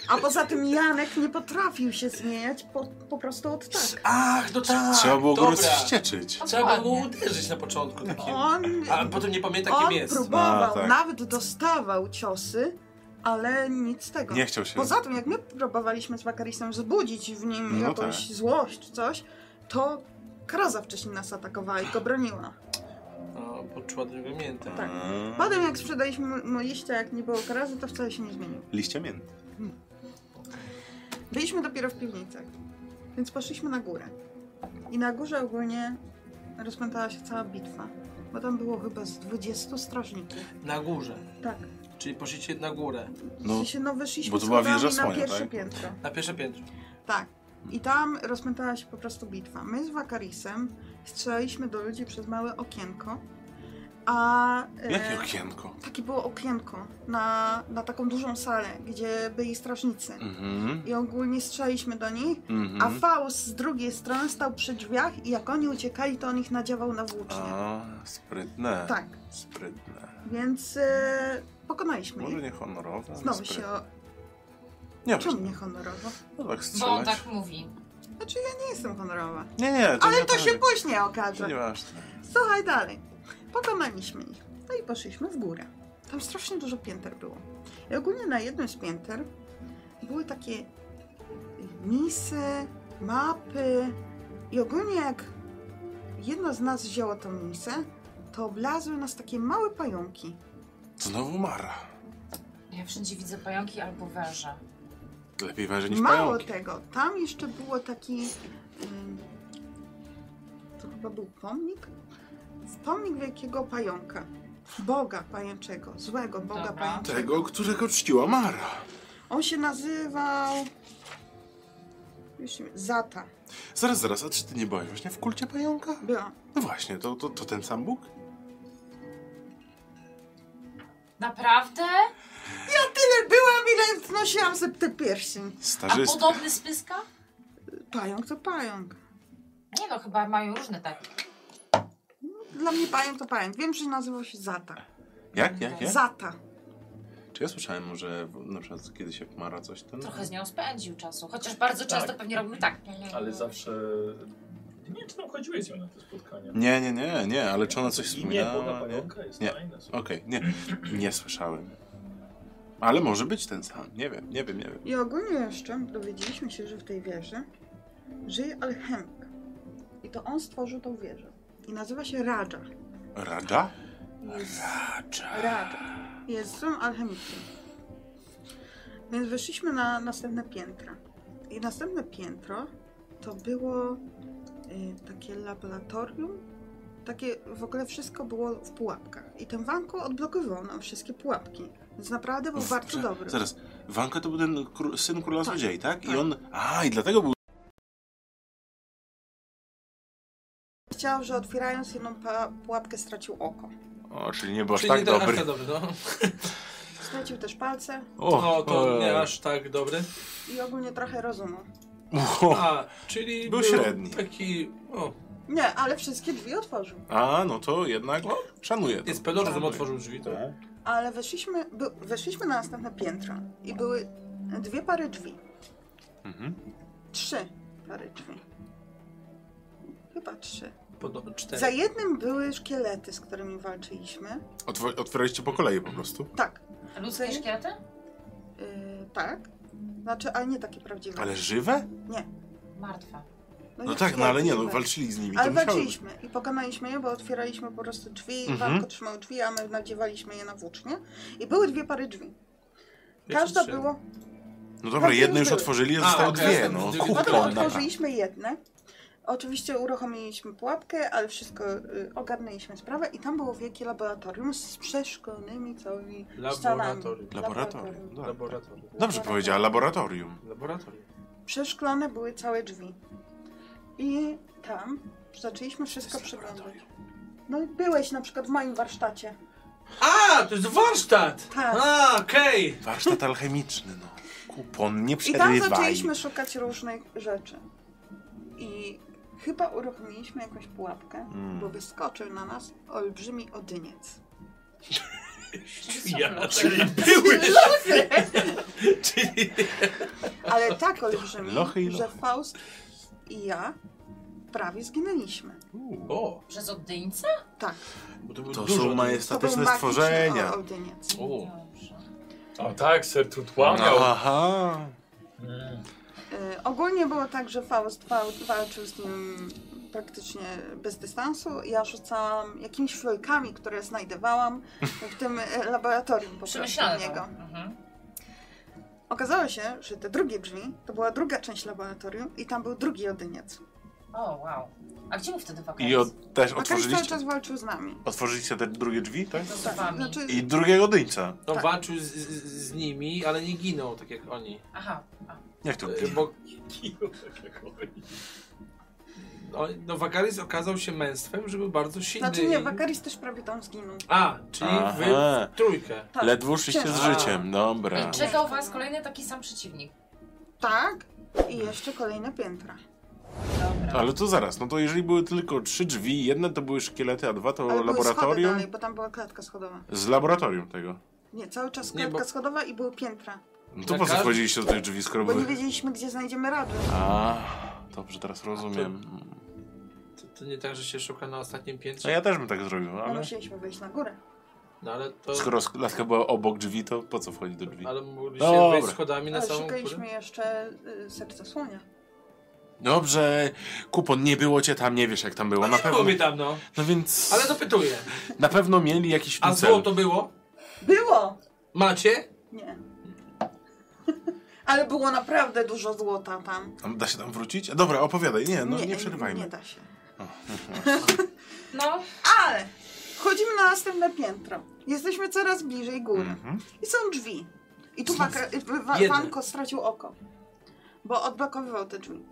S5: A poza tym Janek nie potrafił się zmieniać po, po prostu od tak.
S1: Ach, no tak.
S4: Trzeba było go
S1: dobra.
S5: No
S4: rozwścieczyć.
S1: Trzeba było go
S6: Dokładnie.
S1: uderzyć na początku takim.
S5: On,
S1: A potem nie pamięta
S5: No. on
S1: kim jest. No,
S5: próbował,
S4: A, tak.
S5: nawet dostawał ciosy, ale nic z tego.
S4: Nie chciał się.
S5: Poza tym, jak my próbowaliśmy z Wakarisem wzbudzić w nim
S4: No
S5: jakąś złość czy coś, to Kroza wcześniej nas atakowała i go broniła.
S1: No, poczuła drugie miętę.
S5: tak.
S4: Mm.
S5: Potem jak sprzedaliśmy mu liście, jak nie było Krozy, to wcale się nie zmienił.
S4: Liście mięty.
S5: Byliśmy dopiero w piwnicach, więc poszliśmy na górę. I na górze ogólnie rozpętała się cała bitwa. Bo tam było chyba z 20 strażników.
S1: Na górze.
S5: Tak.
S1: Czyli poszliście na górę,
S5: No, w
S4: No,
S5: sensie, no wyszliśmy
S4: bo to była
S5: schodami
S4: wieża
S5: na
S4: słonia,
S5: pierwsze
S4: tak?
S5: piętro.
S1: na pierwsze piętro.
S5: Tak. I tam rozpętała się po prostu bitwa. My z Wakarisem strzelaliśmy do ludzi przez małe okienko, a... e,
S4: jakie okienko?
S5: Takie było okienko na, na taką dużą salę, gdzie byli strażnicy.
S4: Mhm,
S5: I ogólnie strzelaliśmy do nich, a
S4: mhm.
S5: Faust z drugiej strony stał przy drzwiach i jak oni uciekali, to on ich nadziewał na włócznie.
S4: A, sprytne.
S5: Tak,
S4: Sprytne.
S5: więc e, pokonaliśmy
S4: Może
S5: ich.
S4: niehonorowe, ale
S5: Znowu się
S4: sprytne.
S5: o...
S4: Nie,
S5: Czemu
S4: właśnie,
S5: nie honorowo?
S4: no tak
S6: Bo on
S4: strzelać.
S6: tak mówi.
S5: Znaczy ja nie jestem honorowa.
S4: Nie, nie, to
S5: Ale
S4: nie
S5: to
S4: tak.
S5: się później
S4: To
S5: okaże.
S4: nieważne.
S5: Słuchaj dalej. Pokonaliśmy ich. No i poszliśmy w górę. Tam strasznie dużo pięter było. I ogólnie na jednym z pięter były takie misy, mapy. I ogólnie jak jedno z nas wzięło tą misę, to oblazły nas takie małe pająki.
S4: Znowu Mara.
S6: Ja wszędzie widzę pająki albo węże.
S4: Lepiej węże niż
S5: Mało
S4: pająki.
S5: tego, tam jeszcze było taki. ym, To chyba był pomnik? Pomnik wielkiego pająka. Boga pajęczego, złego Boga
S6: Dobra.
S5: pajęczego.
S4: Tego, którego czciła Mara.
S5: On się nazywał. Już nie- Zata.
S4: Zaraz, zaraz, a czy ty nie byłaś właśnie w kulcie pająka?
S5: Była.
S4: No właśnie, to, to, to ten sam Bóg?
S6: Naprawdę?
S5: Tyle byłam, ile znosiłam sobie te pierścień.
S6: A
S4: Starzysta.
S6: podobny spyska?
S5: Pająk to pająk.
S6: Nie no, chyba mają różne tak. takie.
S5: Dla mnie pająk to pająk. Wiem, że nazywał się Zata.
S4: Jak, jak, jak?
S5: Zata.
S4: Czy ja słyszałem może w- na przykład kiedyś jak Mara coś ten...
S6: Trochę z nią spędził czasu. Chociaż bardzo często
S2: Tak.
S6: pewnie robił tak.
S2: Ale zawsze... Nie wiem, czy tam chodziłeś z nią na te spotkania.
S4: Nie, nie, nie, nie, ale czy ona coś
S2: I nie, Boga
S4: wspominała? Nie,
S2: Pająka jest
S4: Nie.
S7: (laughs)
S2: fajna. słuchaj.
S4: Okej, (clears throat) nie, nie słyszałem. Ale może być ten sam, nie wiem, nie wiem, nie wiem.
S5: I ogólnie jeszcze dowiedzieliśmy się, że w tej wieży żyje alchemik. I to on stworzył tą wieżę. I nazywa się Raja.
S4: Raja?
S5: Jest,
S4: Raja.
S5: Raja. Jest złym alchemikiem. Więc wyszliśmy na następne piętra. I następne piętro to było y, takie laboratorium. Takie w ogóle wszystko było w pułapkach. I tym wanku odblokowywał nam wszystkie pułapki. Więc naprawdę był bardzo
S4: Prze-
S5: dobry.
S4: Zaraz, Wanka to był ten kró- syn króla
S5: Tak,
S4: złodziei, tak? I
S5: tak.
S4: on... A, i dlatego był...
S5: Chciał, że otwierając jedną pa- pułapkę stracił oko.
S4: O, czyli nie byłaś
S1: Czyli
S4: tak
S1: nie tak-
S4: dobry.
S1: Aż tak dobry, no.
S5: Stracił też palce
S1: no to
S4: ej.
S1: nie aż tak dobry.
S5: i ogólnie trochę rozumu.
S4: Uho.
S1: A, czyli
S4: Był średni.
S1: Taki, o,
S5: Nie, ale wszystkie drzwi otworzył.
S4: A, no to jednak szanuję to.
S1: jest pedofil,
S4: Szanuję.
S1: otworzył drzwi. To.
S4: Tak.
S5: Ale weszliśmy, by, weszliśmy na następne piętro i były dwie pary drzwi.
S4: Mhm.
S5: Trzy pary drzwi. Chyba trzy.
S1: Podobno cztery.
S5: Za jednym były szkielety, z którymi walczyliśmy.
S4: Otw- otwieraliście po kolei po prostu.
S5: Tak,
S6: Ludzkie szkielety?
S5: yy, tak. Znaczy, ale nie takie prawdziwe.
S4: Ale żywe?
S6: Martwe.
S4: No
S5: nie
S4: tak, no ale nie, no
S5: prawdziwe.
S4: walczyli z nimi.
S5: Ale
S4: to musiały być.
S5: walczyliśmy i pokonaliśmy je, bo otwieraliśmy po prostu drzwi,
S4: Mhm.
S5: mhm. Wanko trzymał drzwi, a my nadziewaliśmy je na włócznie. I były dwie pary drzwi.
S1: Jeszcze
S5: Każda
S1: trzy.
S5: było,
S4: No dobra,
S5: Walczyli
S4: jedne
S5: z
S4: już
S5: tyłu.
S4: otworzyli, a
S1: A,
S4: zostało
S1: okej,
S4: dwie,
S1: ja
S4: no.
S1: jestem-
S4: Kurde,
S5: potem
S4: dobra.
S5: otworzyliśmy jedne. Oczywiście uruchomiliśmy pułapkę, ale wszystko y, ogarnęliśmy sprawę i tam było wielkie laboratorium z przeszklonymi całymi ścianami.
S1: Laboratorium.
S4: Laboratorium. dobra.
S1: Laboratorium.
S4: Dobrze powiedziała, laboratorium.
S1: Laboratorium.
S5: Przeszklone były całe drzwi. I tam zaczęliśmy wszystko
S4: Jest
S5: przeglądać.
S4: laboratorium.
S5: No i byłeś na przykład w moim warsztacie.
S1: A, to jest warsztat!
S5: Tak.
S1: A, okej.
S4: Warsztat alchemiczny, no. Kupon nie
S5: I tam
S4: przerywaj.
S5: zaczęliśmy szukać różnych rzeczy. I chyba uruchomiliśmy jakąś pułapkę,
S4: Mm.
S5: bo wyskoczył na nas olbrzymi odyniec.
S2: No.
S1: Ja, czyli
S5: (laughs)
S1: były.
S4: (laughs)
S1: czyli...
S5: Ale tak olbrzymi,
S4: Lochy i
S5: że
S4: lochy.
S5: Faust i ja prawie zginęliśmy.
S4: Uuu.
S1: O,
S6: Przez oddyńca?
S5: Tak,
S1: bo to, było
S4: To
S1: dużo.
S5: no,
S1: no.
S4: są
S5: to był
S4: majestatyczne
S5: magiczny
S4: stworzenia.
S5: o- odyniec.
S1: O.
S6: Dobrze.
S7: A tak, ser tutłamał.
S4: No. Aha.
S7: Mm.
S5: Y, ogólnie było tak, że Faust wa- walczył z nim praktycznie bez dystansu. Ja rzucałam jakimiś fiolkami, które znajdowałam w tym e, laboratorium po prostu
S6: Przemyślane to.
S5: niego.
S6: Mhm.
S5: Okazało się, że te drugie drzwi to była druga część laboratorium i tam był drugi odyniec.
S6: O, wow. A gdzie my wtedy wakacje?
S4: I od, też
S5: Makaris tak cały
S4: otworzyliście,
S5: czas walczył z nami.
S4: otworzyliście te drugie drzwi, tak?
S6: Z
S5: Tak,
S6: wami.
S5: znaczy,
S4: I drugiego dyńca.
S1: No
S5: Tak.
S1: walczył z, z, z nimi, ale nie ginął tak jak oni.
S6: Aha. A.
S4: Jak to?
S1: E, Bo
S7: tak
S1: o- no Wakaris okazał się męstwem, żeby bardzo silny.
S5: znaczy nie,
S1: i-
S5: Wakaris też prawie tam zginął.
S1: A, czyli wy
S4: Aha.
S1: w trójkę.
S5: Tak.
S4: Ledwo szliście z
S1: Ciężko.
S4: życiem, dobra.
S6: I czekał was kolejny taki sam przeciwnik.
S5: Tak. I jeszcze kolejne piętra.
S6: Dobra.
S4: Ale to zaraz, no to jeżeli były tylko trzy drzwi, jedne to były szkielety, a dwa to
S5: Ale były schody
S4: laboratorium.
S5: dalej, bo tam była klatka schodowa.
S4: Z laboratorium tego.
S5: Nie, cały czas
S1: Nie,
S5: klatka
S1: bo-
S5: schodowa i były piętra.
S4: No to
S1: Na
S4: po co
S1: każdy-
S4: wchodziliście do tych drzwi, skoro
S5: Bo nie
S4: były...
S5: wiedzieliśmy, gdzie znajdziemy rady.
S4: A, dobrze, teraz rozumiem.
S1: To, to nie tak, że się szuka na ostatnim
S4: No
S1: piętrze.
S4: ja też bym tak zrobił,
S5: Ale
S4: ale...
S5: musieliśmy wejść na górę.
S1: No ale to.
S4: Skoro klatka była obok drzwi, to po co wchodzić do drzwi?
S1: Ale mogliście
S4: Dobra.
S1: wejść schodami na
S5: Ale
S1: samą
S5: szukaliśmy
S1: górę.
S5: jeszcze y, serca słonia.
S4: Dobrze, kupon, nie było cię tam, nie wiesz jak tam było, na pewno.
S1: Było mi tam, no.
S4: No więc...
S1: Ale dopytuję.
S4: Na pewno mieli jakiś w
S1: A
S4: tym cel.
S1: złoto było?
S5: Było!
S1: Macie?
S5: Nie. (laughs) Ale było naprawdę dużo złota tam.
S4: A Da się tam wrócić? A Dobra, opowiadaj. Nie, no nie,
S5: Nie
S4: przerywajmy.
S5: da się.
S6: No,
S5: Ale chodzimy na następne piętro. Jesteśmy coraz bliżej góry.
S4: Mhm.
S5: I są drzwi. I tu wakra- y, wa-
S1: Jedne.
S5: Wanko stracił oko, bo odblokowywał te drzwi.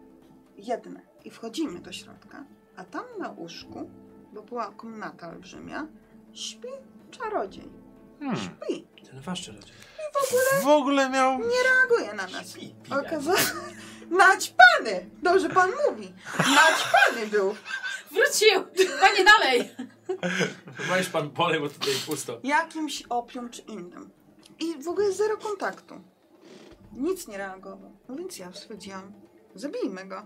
S5: Jedne. I wchodzimy do środka, a tam na łóżku, bo była komnata olbrzymia, śpi czarodziej.
S4: Hmm.
S5: Śpi.
S1: Ten wasz czarodziej.
S4: W ogóle miał...
S5: Reaguje na nas. Okazało (laughs) Naćpany! Dobrze pan mówi. Naćpany był.
S6: wrócił! Panie, dalej!
S1: Weź pan pole, bo tutaj pusto.
S5: jakimś opium czy innym. I w ogóle zero kontaktu. Nic nie reagował. No więc ja stwierdziłam, zabijmy go.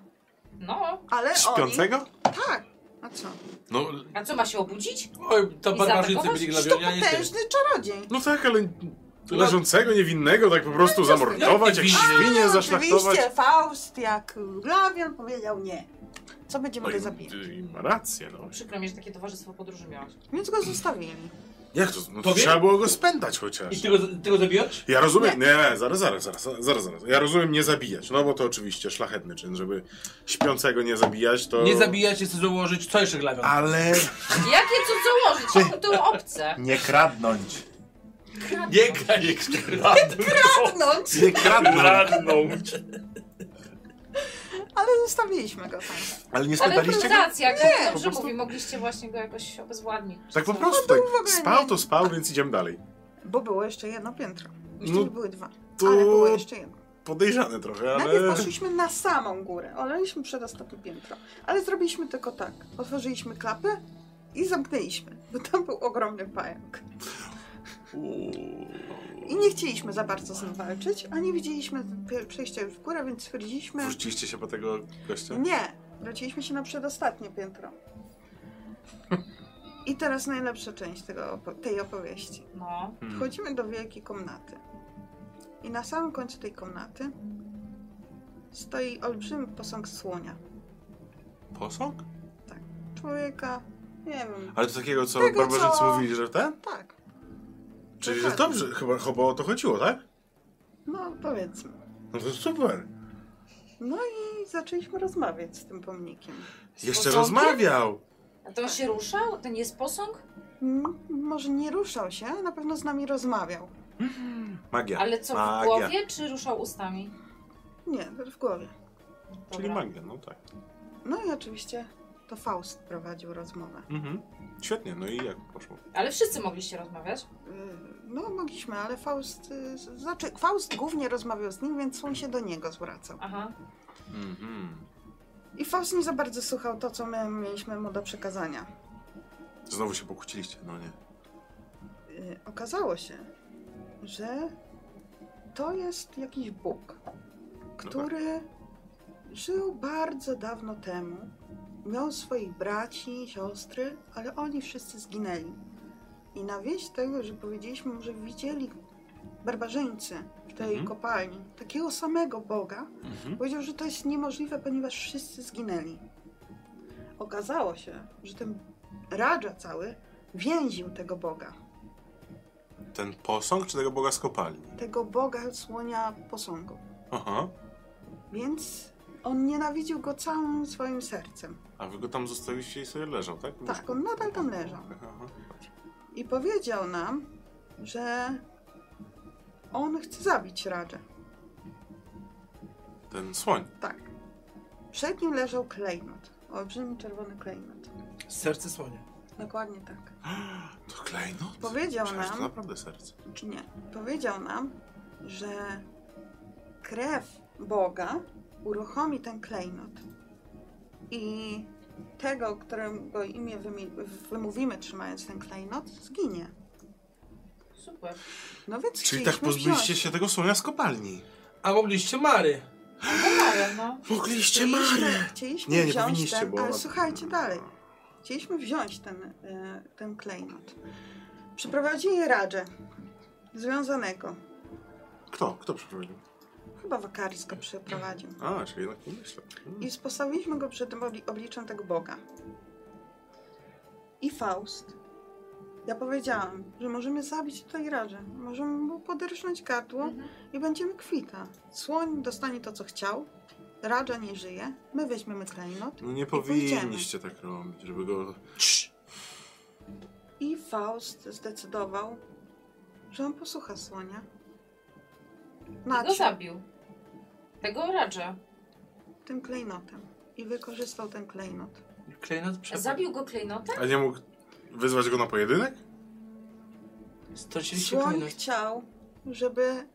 S6: No,
S5: Ale oni...
S4: Śpiącego?
S5: Tak. A co?
S4: No,
S6: a co, ma się obudzić?
S1: Oj, to
S6: I
S1: barbarzycy
S6: zaatakować?
S1: byli
S5: Przecież
S1: glawioni,
S5: to
S1: a nie ty.
S5: potężny czarodziej.
S4: no tak, ale leżącego, niewinnego, tak po prostu zamordować, jak
S1: Nie,
S4: świnie zaszlachtować.
S5: Oczywiście Faust jak Glawion powiedział nie. Co będziemy
S4: No
S5: go
S4: i,
S5: zabijać?
S4: i ma rację, no.
S6: Przykro mi, że takie towarzystwo podróży miałaś.
S5: Więc go zostawili.
S4: Jak to? No, to
S1: Powiem?
S4: trzeba było go spętać chociaż.
S1: I ty go, ty go zabijasz?
S4: Ja rozumiem, nie, zaraz, zaraz, zaraz, zaraz, zaraz. Ja rozumiem nie zabijać, no bo to oczywiście szlachetny czyn, żeby śpiącego nie zabijać, to...
S1: Nie zabijać, chcę założyć. Co jeszcze glawion?
S4: Ale
S6: Jakie co
S4: (laughs)
S6: założyć? To było obce.
S4: nie kradnąć.
S2: Nie graj, nie kradną.
S5: Padnąć!
S4: Nie kradnąć.
S2: Kradną.
S5: Ale zostawiliśmy go tam.
S4: Ale nie
S6: Ale
S4: spętaliście go?
S6: improwizacja, jak nie,
S4: po
S6: dobrze
S4: prostu-
S6: mówi, mogliście właśnie go jakoś obezwładnić.
S4: Tak po
S6: Co?
S4: prostu,
S5: No
S4: tak
S5: to w ogóle
S4: spał
S5: nie-
S4: to spał, więc idziemy dalej.
S5: Bo było jeszcze jedno piętro. Jeszcze
S4: No
S5: nie były dwa.
S4: To
S5: Ale było jeszcze jedno.
S4: podejrzane trochę, ale...
S5: Najpierw poszliśmy na samą górę, olaliśmy przedostatnie piętro, ale zrobiliśmy tylko tak. Otworzyliśmy klapę i zamknęliśmy, bo tam był ogromny pająk.
S4: Uuu.
S5: I nie chcieliśmy za bardzo z nim walczyć, a nie widzieliśmy pie- przejścia już w górę, więc stwierdziliśmy...
S4: Wróciliście się po tego gościa?
S5: Nie, wróciliśmy się na przedostatnie piętro. I teraz najlepsza część tego, opo- tej opowieści.
S6: No,
S4: Hmm.
S5: Wchodzimy do wielkiej komnaty. I na samym końcu tej komnaty stoi olbrzymi posąg słonia.
S4: Posąg?
S5: człowieka, nie wiem.
S4: Ale to takiego, co
S5: Tego,
S4: barbarzycy
S5: co-
S4: mówili, że ten?
S5: Tak,
S4: Czyli, że
S5: Dokładnie.
S4: dobrze, chyba, chyba o to chodziło, tak?
S5: no powiedzmy.
S4: No to super.
S5: No i zaczęliśmy rozmawiać z tym pomnikiem.
S4: Jeszcze
S6: posągiem?
S4: rozmawiał.
S6: a to on się ruszał? To nie jest posąg?
S5: M- może nie ruszał się, a na pewno z nami rozmawiał.
S4: Magia.
S6: Ale co, w
S4: magia.
S6: głowie czy ruszał ustami?
S5: Nie, w głowie.
S6: Dobra.
S4: Czyli magia, no tak.
S5: No i oczywiście to Faust prowadził rozmowę.
S4: Mhm. Świetnie, no i jak poszło?
S6: Ale wszyscy mogliście rozmawiać?
S5: Yy, No mogliśmy, ale Faust, yy, z- znaczy Faust głównie rozmawiał z nim, więc on się do niego zwracał.
S6: Aha.
S4: Mhm.
S5: I Faust nie za bardzo słuchał to, co my mieliśmy mu do przekazania.
S4: Znowu się pokłóciliście, no nie.
S5: Yy, Okazało się, że to jest jakiś Bóg,
S4: No
S5: który żył bardzo dawno temu. Miał swoich braci, siostry, ale oni wszyscy zginęli. I na wieść tego, że powiedzieliśmy mu, że widzieli barbarzyńcy w tej
S4: Mhm.
S5: kopalni takiego samego Boga,
S4: Mhm.
S5: powiedział, że to jest niemożliwe, ponieważ wszyscy zginęli. Okazało się, że ten Radża cały więził tego Boga.
S4: Ten posąg czy tego boga z kopalni?
S5: tego boga słonia posągu.
S4: Aha.
S5: Więc On nienawidził go całym swoim sercem.
S4: A wy go tam zostawiliście i sobie leżał, tak? W
S5: Tak,
S4: łóżku?
S5: on nadal tam leżał.
S4: Aha, dobrze.
S5: I powiedział nam, że on chce zabić Radżę.
S4: Ten słoń.
S5: Tak. Przed nim leżał klejnot. Olbrzymi czerwony klejnot.
S1: Serce słonia.
S5: Dokładnie tak.
S4: To klejnot?
S5: Powiedział
S4: Przecież to
S5: nam-
S4: naprawdę serce.
S5: Czy nie? Powiedział nam, że krew Boga uruchomi ten klejnot. I tego, którego imię wymi- wymówimy, trzymając ten klejnot, zginie.
S6: Super.
S5: No więc
S4: Czyli tak
S5: chcieliśmy
S4: pozbyliście
S5: wziąć-
S4: się tego słonia z kopalni.
S1: A mogliście Mary.
S6: Pomagałem, no.
S4: Mogliście
S5: Chcieliśmy, chcieliśmy
S4: Nie, nie
S5: wziąć
S4: powinniście,
S5: ten,
S4: bo-
S5: ale słuchajcie dalej. Chcieliśmy wziąć ten, e, ten klejnot. Przyprowadzili Radżę, związanego.
S4: Kto? Kto przeprowadził?
S5: Chyba Wakaris go przeprowadził.
S4: A, czyli jednak nie myślę. Hmm.
S5: I postawiliśmy go przed obli- obliczem tego Boga. I Faust. Ja powiedziałam, że możemy zabić tutaj Radżę. Możemy mu poderżnąć gardło i będziemy kwita. Słoń dostanie to, co chciał. Radża nie żyje. My weźmiemy klejnot.
S4: No nie
S5: pójdziemy.
S4: powinniście tak robić, żeby go...
S5: I Faust zdecydował, że on posłucha słonia.
S6: I go
S5: Nadszedł
S6: zabił. Tego radzę.
S5: tym klejnotem i wykorzystał ten klejnot.
S1: Klejnot przepadł.
S6: Zabił go
S5: Tak.
S6: klejnotem?
S4: A nie mógł wyzwać go na pojedynek?
S1: Straciliście
S5: Słoń
S1: klejnot.
S5: chciał, żeby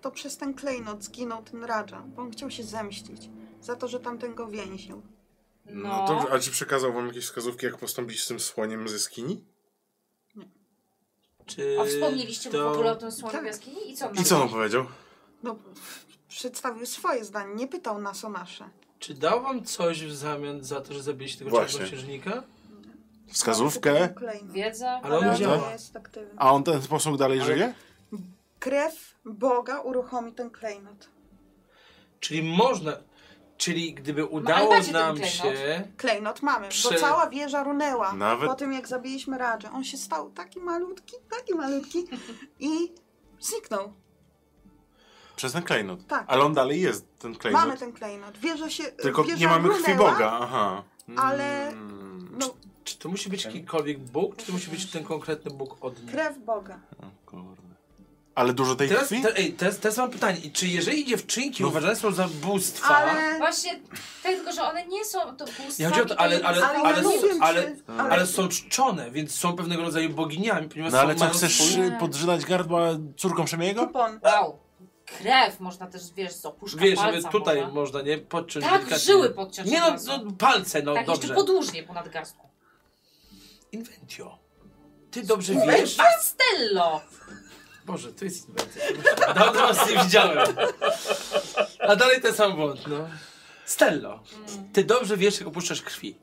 S5: to przez ten klejnot zginął ten Radża, bo on chciał się zemścić za to, że tamten go więził.
S6: No.
S4: dobrze, a czy przekazał wam jakieś wskazówki, jak postąpić z tym słoniem ze skini?
S1: Czy
S6: A wspomnieliście mu
S1: to-
S6: w ogóle o tym słoniu
S5: Tak.
S6: w jaskini? I co on
S4: I co on powiedział?
S5: No, przedstawił swoje zdanie, nie pytał nas o nasze.
S1: Czy dał wam coś w zamian za to, że zabiliście tego
S4: Właśnie.
S1: czarnoksiężnika?
S4: Wskazówkę?
S5: Klejnot.
S6: Wiedzę,
S1: Ale on
S5: Ale on
S1: działa.
S5: nie jest aktywny.
S4: A on ten posąg dalej
S1: Ale-
S4: żyje?
S5: Krew Boga uruchomi ten klejnot.
S1: Czyli można... Czyli gdyby
S6: ale
S1: udało
S6: macie ten
S1: nam
S6: klejnot.
S1: się...
S5: Klejnot mamy,
S1: Prze-
S5: bo cała wieża runęła
S4: Nawet-
S5: po tym, jak zabiliśmy Radżę. On się stał taki malutki, taki malutki i zniknął.
S4: Przez ten klejnot.
S5: Tak.
S4: Ale on dalej jest, ten klejnot.
S5: Mamy ten klejnot. Wieża się
S4: Tylko
S5: wieża
S4: nie mamy krwi
S5: runęła.
S4: Boga, aha. Mm.
S5: ale- No,
S1: Czy to musi być jakikolwiek Bóg, czy to musi być ten konkretny Bóg od niej?
S5: krew Boga.
S4: O kurde. Ale dużo tej
S1: Teraz,
S4: krwi?
S1: te, ej, teraz, teraz mam pytanie. I Czy jeżeli dziewczynki
S4: No.
S1: uważane są za bóstwa...
S5: Ale...
S6: Właśnie, tak tylko, że one nie są to bóstwa.
S1: Nie chodzi o to, ale- ale-
S5: Ale, ja
S1: ale-
S5: nie wiem,
S1: ale-
S5: czy...
S4: ale-
S1: Ale są czczone, więc są pewnego rodzaju boginiami, ponieważ
S4: No ale
S1: są
S4: co,
S1: mają
S4: chcesz
S1: swój-
S4: y, podrzynać gardła córką
S1: no,
S4: No Szemiego?
S5: Kupon.
S6: Wow. Krew można też, wiesz, z opuszka
S1: Wiesz,
S6: palca
S1: żeby tutaj
S6: można.
S1: można, nie? Podciąć
S6: Tak,
S1: delikatnie.
S6: żyły podciąć.
S1: Nie no,
S6: bardzo.
S1: no palce, no
S6: tak,
S1: dobrze.
S6: jeszcze podłużnie ponad garstką.
S1: Inventio. Ty dobrze wiesz?
S6: Wiesz, Pastello!
S1: Boże, to jest inwencja. Dawno was nie widziałem. A dalej ten sam błąd, no. Stello,
S6: Mm.
S1: ty dobrze wiesz, jak opuszczasz krwi.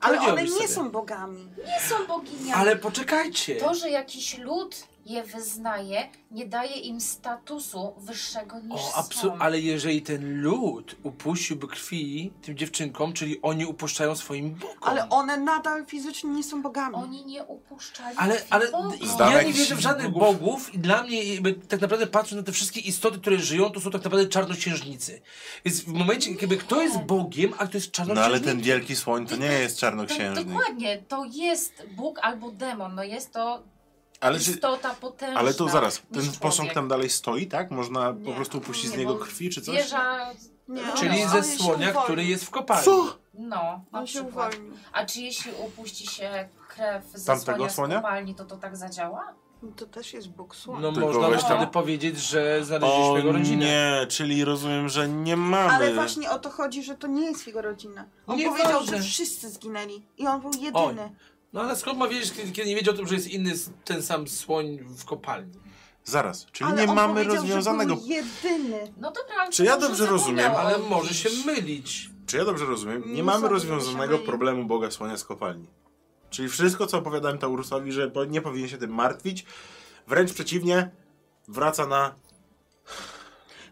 S5: ale one
S1: Powiedziałbyś
S5: nie
S1: sobie.
S5: są bogami.
S6: Nie są boginiami.
S1: Ale poczekajcie.
S6: To, że jakiś lud je wyznaje, nie daje im statusu wyższego niż
S1: O,
S6: są.
S1: absu- ale jeżeli ten lud upuściłby krwi tym dziewczynkom, czyli oni upuszczają swoim bogom.
S5: Ale one nadal fizycznie nie są bogami.
S6: Oni nie upuszczali
S1: Ale,
S6: krwi
S1: ale
S6: Bogu.
S4: Zdane
S1: ja nie
S4: jakichś
S1: wierzę w żadnych bogów. i dla mnie jakby, tak naprawdę patrząc na te wszystkie istoty, które żyją, to są tak naprawdę czarnoksiężnicy. Więc w momencie, kiedy kto jest Bogiem, a kto jest
S4: No ale
S1: czarnoksiężnikiem,
S4: ten wielki słoń to nie jest
S6: To,
S4: czarnoksiężnik.
S6: dokładnie, to jest Bóg albo demon, no jest to
S4: Ale, czy,
S6: istota potężna.
S4: ale to zaraz,
S6: niż
S4: ten
S6: człowiek.
S4: posąg tam dalej stoi, tak? Można po
S5: Nie.
S4: prostu upuścić z
S6: Nie,
S4: niego
S6: bo
S4: krwi czy coś?
S6: Wieża,
S5: Nie,
S1: czyli
S5: one-
S1: ze
S5: one się
S1: słonia,
S5: uwolnią.
S1: który jest w kopalni.
S4: Co?
S6: no, na
S5: On się
S6: przykład.
S5: uwolnił.
S6: A czy jeśli upuści się krew ze
S4: Tamtego
S6: słonia, z
S4: słonia?
S6: kopalni, to to tak zadziała?
S5: No To też jest Bóg słoń.
S1: No
S4: Tylko
S1: można by
S4: weź
S6: tam-
S1: wtedy powiedzieć, że znaleźliśmy
S4: O
S1: jego rodzinę.
S4: nie, czyli rozumiem, że nie mamy.
S5: Ale właśnie o to chodzi, że to nie jest jego rodzina. On
S1: Nie
S5: powiedział,
S1: ważne.
S5: że wszyscy zginęli i on był jedyny.
S1: No ale skąd ma wiedzieć, kiedy, kiedy nie wiedział o tym, że jest inny s- ten sam słoń w kopalni?
S4: Zaraz, czyli
S5: Ale
S4: nie
S5: on
S4: mamy
S5: powiedział, że
S4: rozwiązanego.
S5: był jedyny.
S6: No dobra.
S4: Czy ja
S6: może
S4: dobrze rozumiem?
S6: zapomniałam.
S1: Ale może się mylić.
S4: Czy ja dobrze rozumiem? Nie
S5: Nie
S4: mamy
S5: sądzę,
S4: rozwiązanego
S5: żeby się
S4: problemu Boga Słonia z kopalni. Czyli wszystko, co opowiadałem Taurusowi, że po- nie powinien się tym martwić, wręcz przeciwnie, wraca na.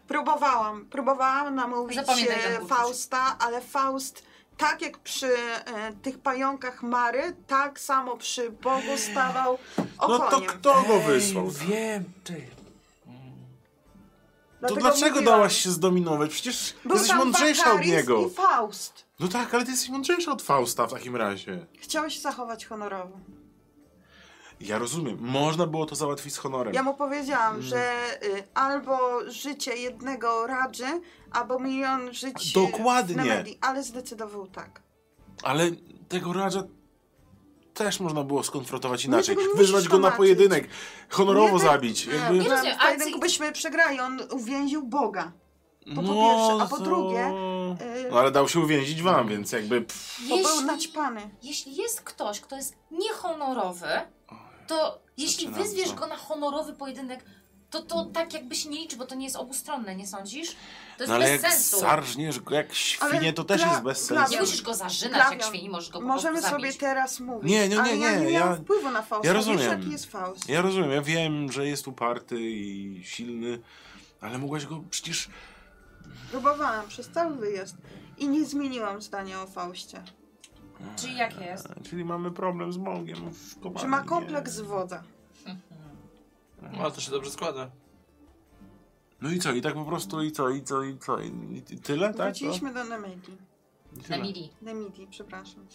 S5: Próbowałam, próbowałam namówić
S6: Zapamiętaj ten
S5: e,
S6: uczuć.
S5: Fausta, ale Faust tak jak przy e, tych pająkach Mary, tak samo przy Bogu stawał
S4: No to
S5: okoniem.
S4: kto go wysłał?
S1: Ej, wiem, ty.
S4: To
S5: Dlatego
S4: dlaczego
S5: mówiłam.
S4: dałaś się zdominować? Przecież
S5: Był
S4: jesteś
S5: tam
S4: mądrzejsza od
S5: Bakaris
S4: niego.
S5: i Faust.
S4: No tak, ale ty jesteś mądrzejsza od Fausta w takim razie.
S5: Chciał się zachować honorowo.
S4: Ja rozumiem, można było to załatwić z honorem.
S5: Ja mu powiedziałam,
S4: Mm.
S5: że y, albo życie jednego radży, albo milion żyć y,
S4: Dokładnie.
S5: w Nemedii. Ale zdecydował tak.
S4: Ale tego Radża też można było skonfrontować inaczej.
S5: No tego nie
S4: Wyzwać
S5: musisz
S4: go na
S5: tłumaczyć.
S4: pojedynek, honorowo
S5: Nie, tak-
S4: zabić. Jakby...
S6: nie
S5: Że
S6: rozumiem,
S5: w
S6: ale
S5: pojedynku
S6: ci-
S5: byśmy przegrali, on uwięził Boga. To po pierwsze, a po
S4: no, to-
S5: drugie, y,
S4: No ale dał się uwięzić wam, więc jakby... Pff,
S5: bo był
S6: Jeśli,
S5: naćpany.
S6: jeśli jest ktoś, kto jest niehonorowy, to jeśli
S4: zaczynam
S6: wyzwiesz
S4: to. Hmm.
S6: go na honorowy pojedynek, to to tak jakby się nie liczy, bo to nie jest obustronne, nie sądzisz? To jest
S4: no ale
S6: bez
S4: jak
S6: sensu.
S4: zarżniesz go jak świnie, to też
S5: dla-
S4: jest bez
S5: dla-
S6: Nie
S4: sensu.
S6: musisz go zarzynać jak
S5: Klawian,
S6: świni, możesz go po
S5: Możemy
S6: prostu
S5: sobie
S6: zabić.
S5: teraz mówić.
S4: Nie, nie, nie,
S5: ale ja
S4: nie,
S5: nie miałam
S4: ja-
S5: wpływu na Fausta.
S4: ja
S5: Wiesz,
S4: rozumiem.
S5: jaki jest Faust.
S4: Ja rozumiem, ja wiem, że jest uparty i silny, ale mogłaś go przecież...
S5: Próbowałam przez cały wyjazd i nie zmieniłam zdania o Faustie.
S6: Czyli jak jest?
S4: Czyli mamy problem z Mągiem w kopalni.
S5: Czy ma kompleks wodza?
S1: No, ale to się dobrze składa.
S4: No i co, i tak po prostu, i co, i co, i co, i i tyle, tak? To?
S5: Wróciliśmy do Nemedii.
S4: I
S6: Na
S4: tyle.
S6: mili.
S5: Nemidii, przepraszam.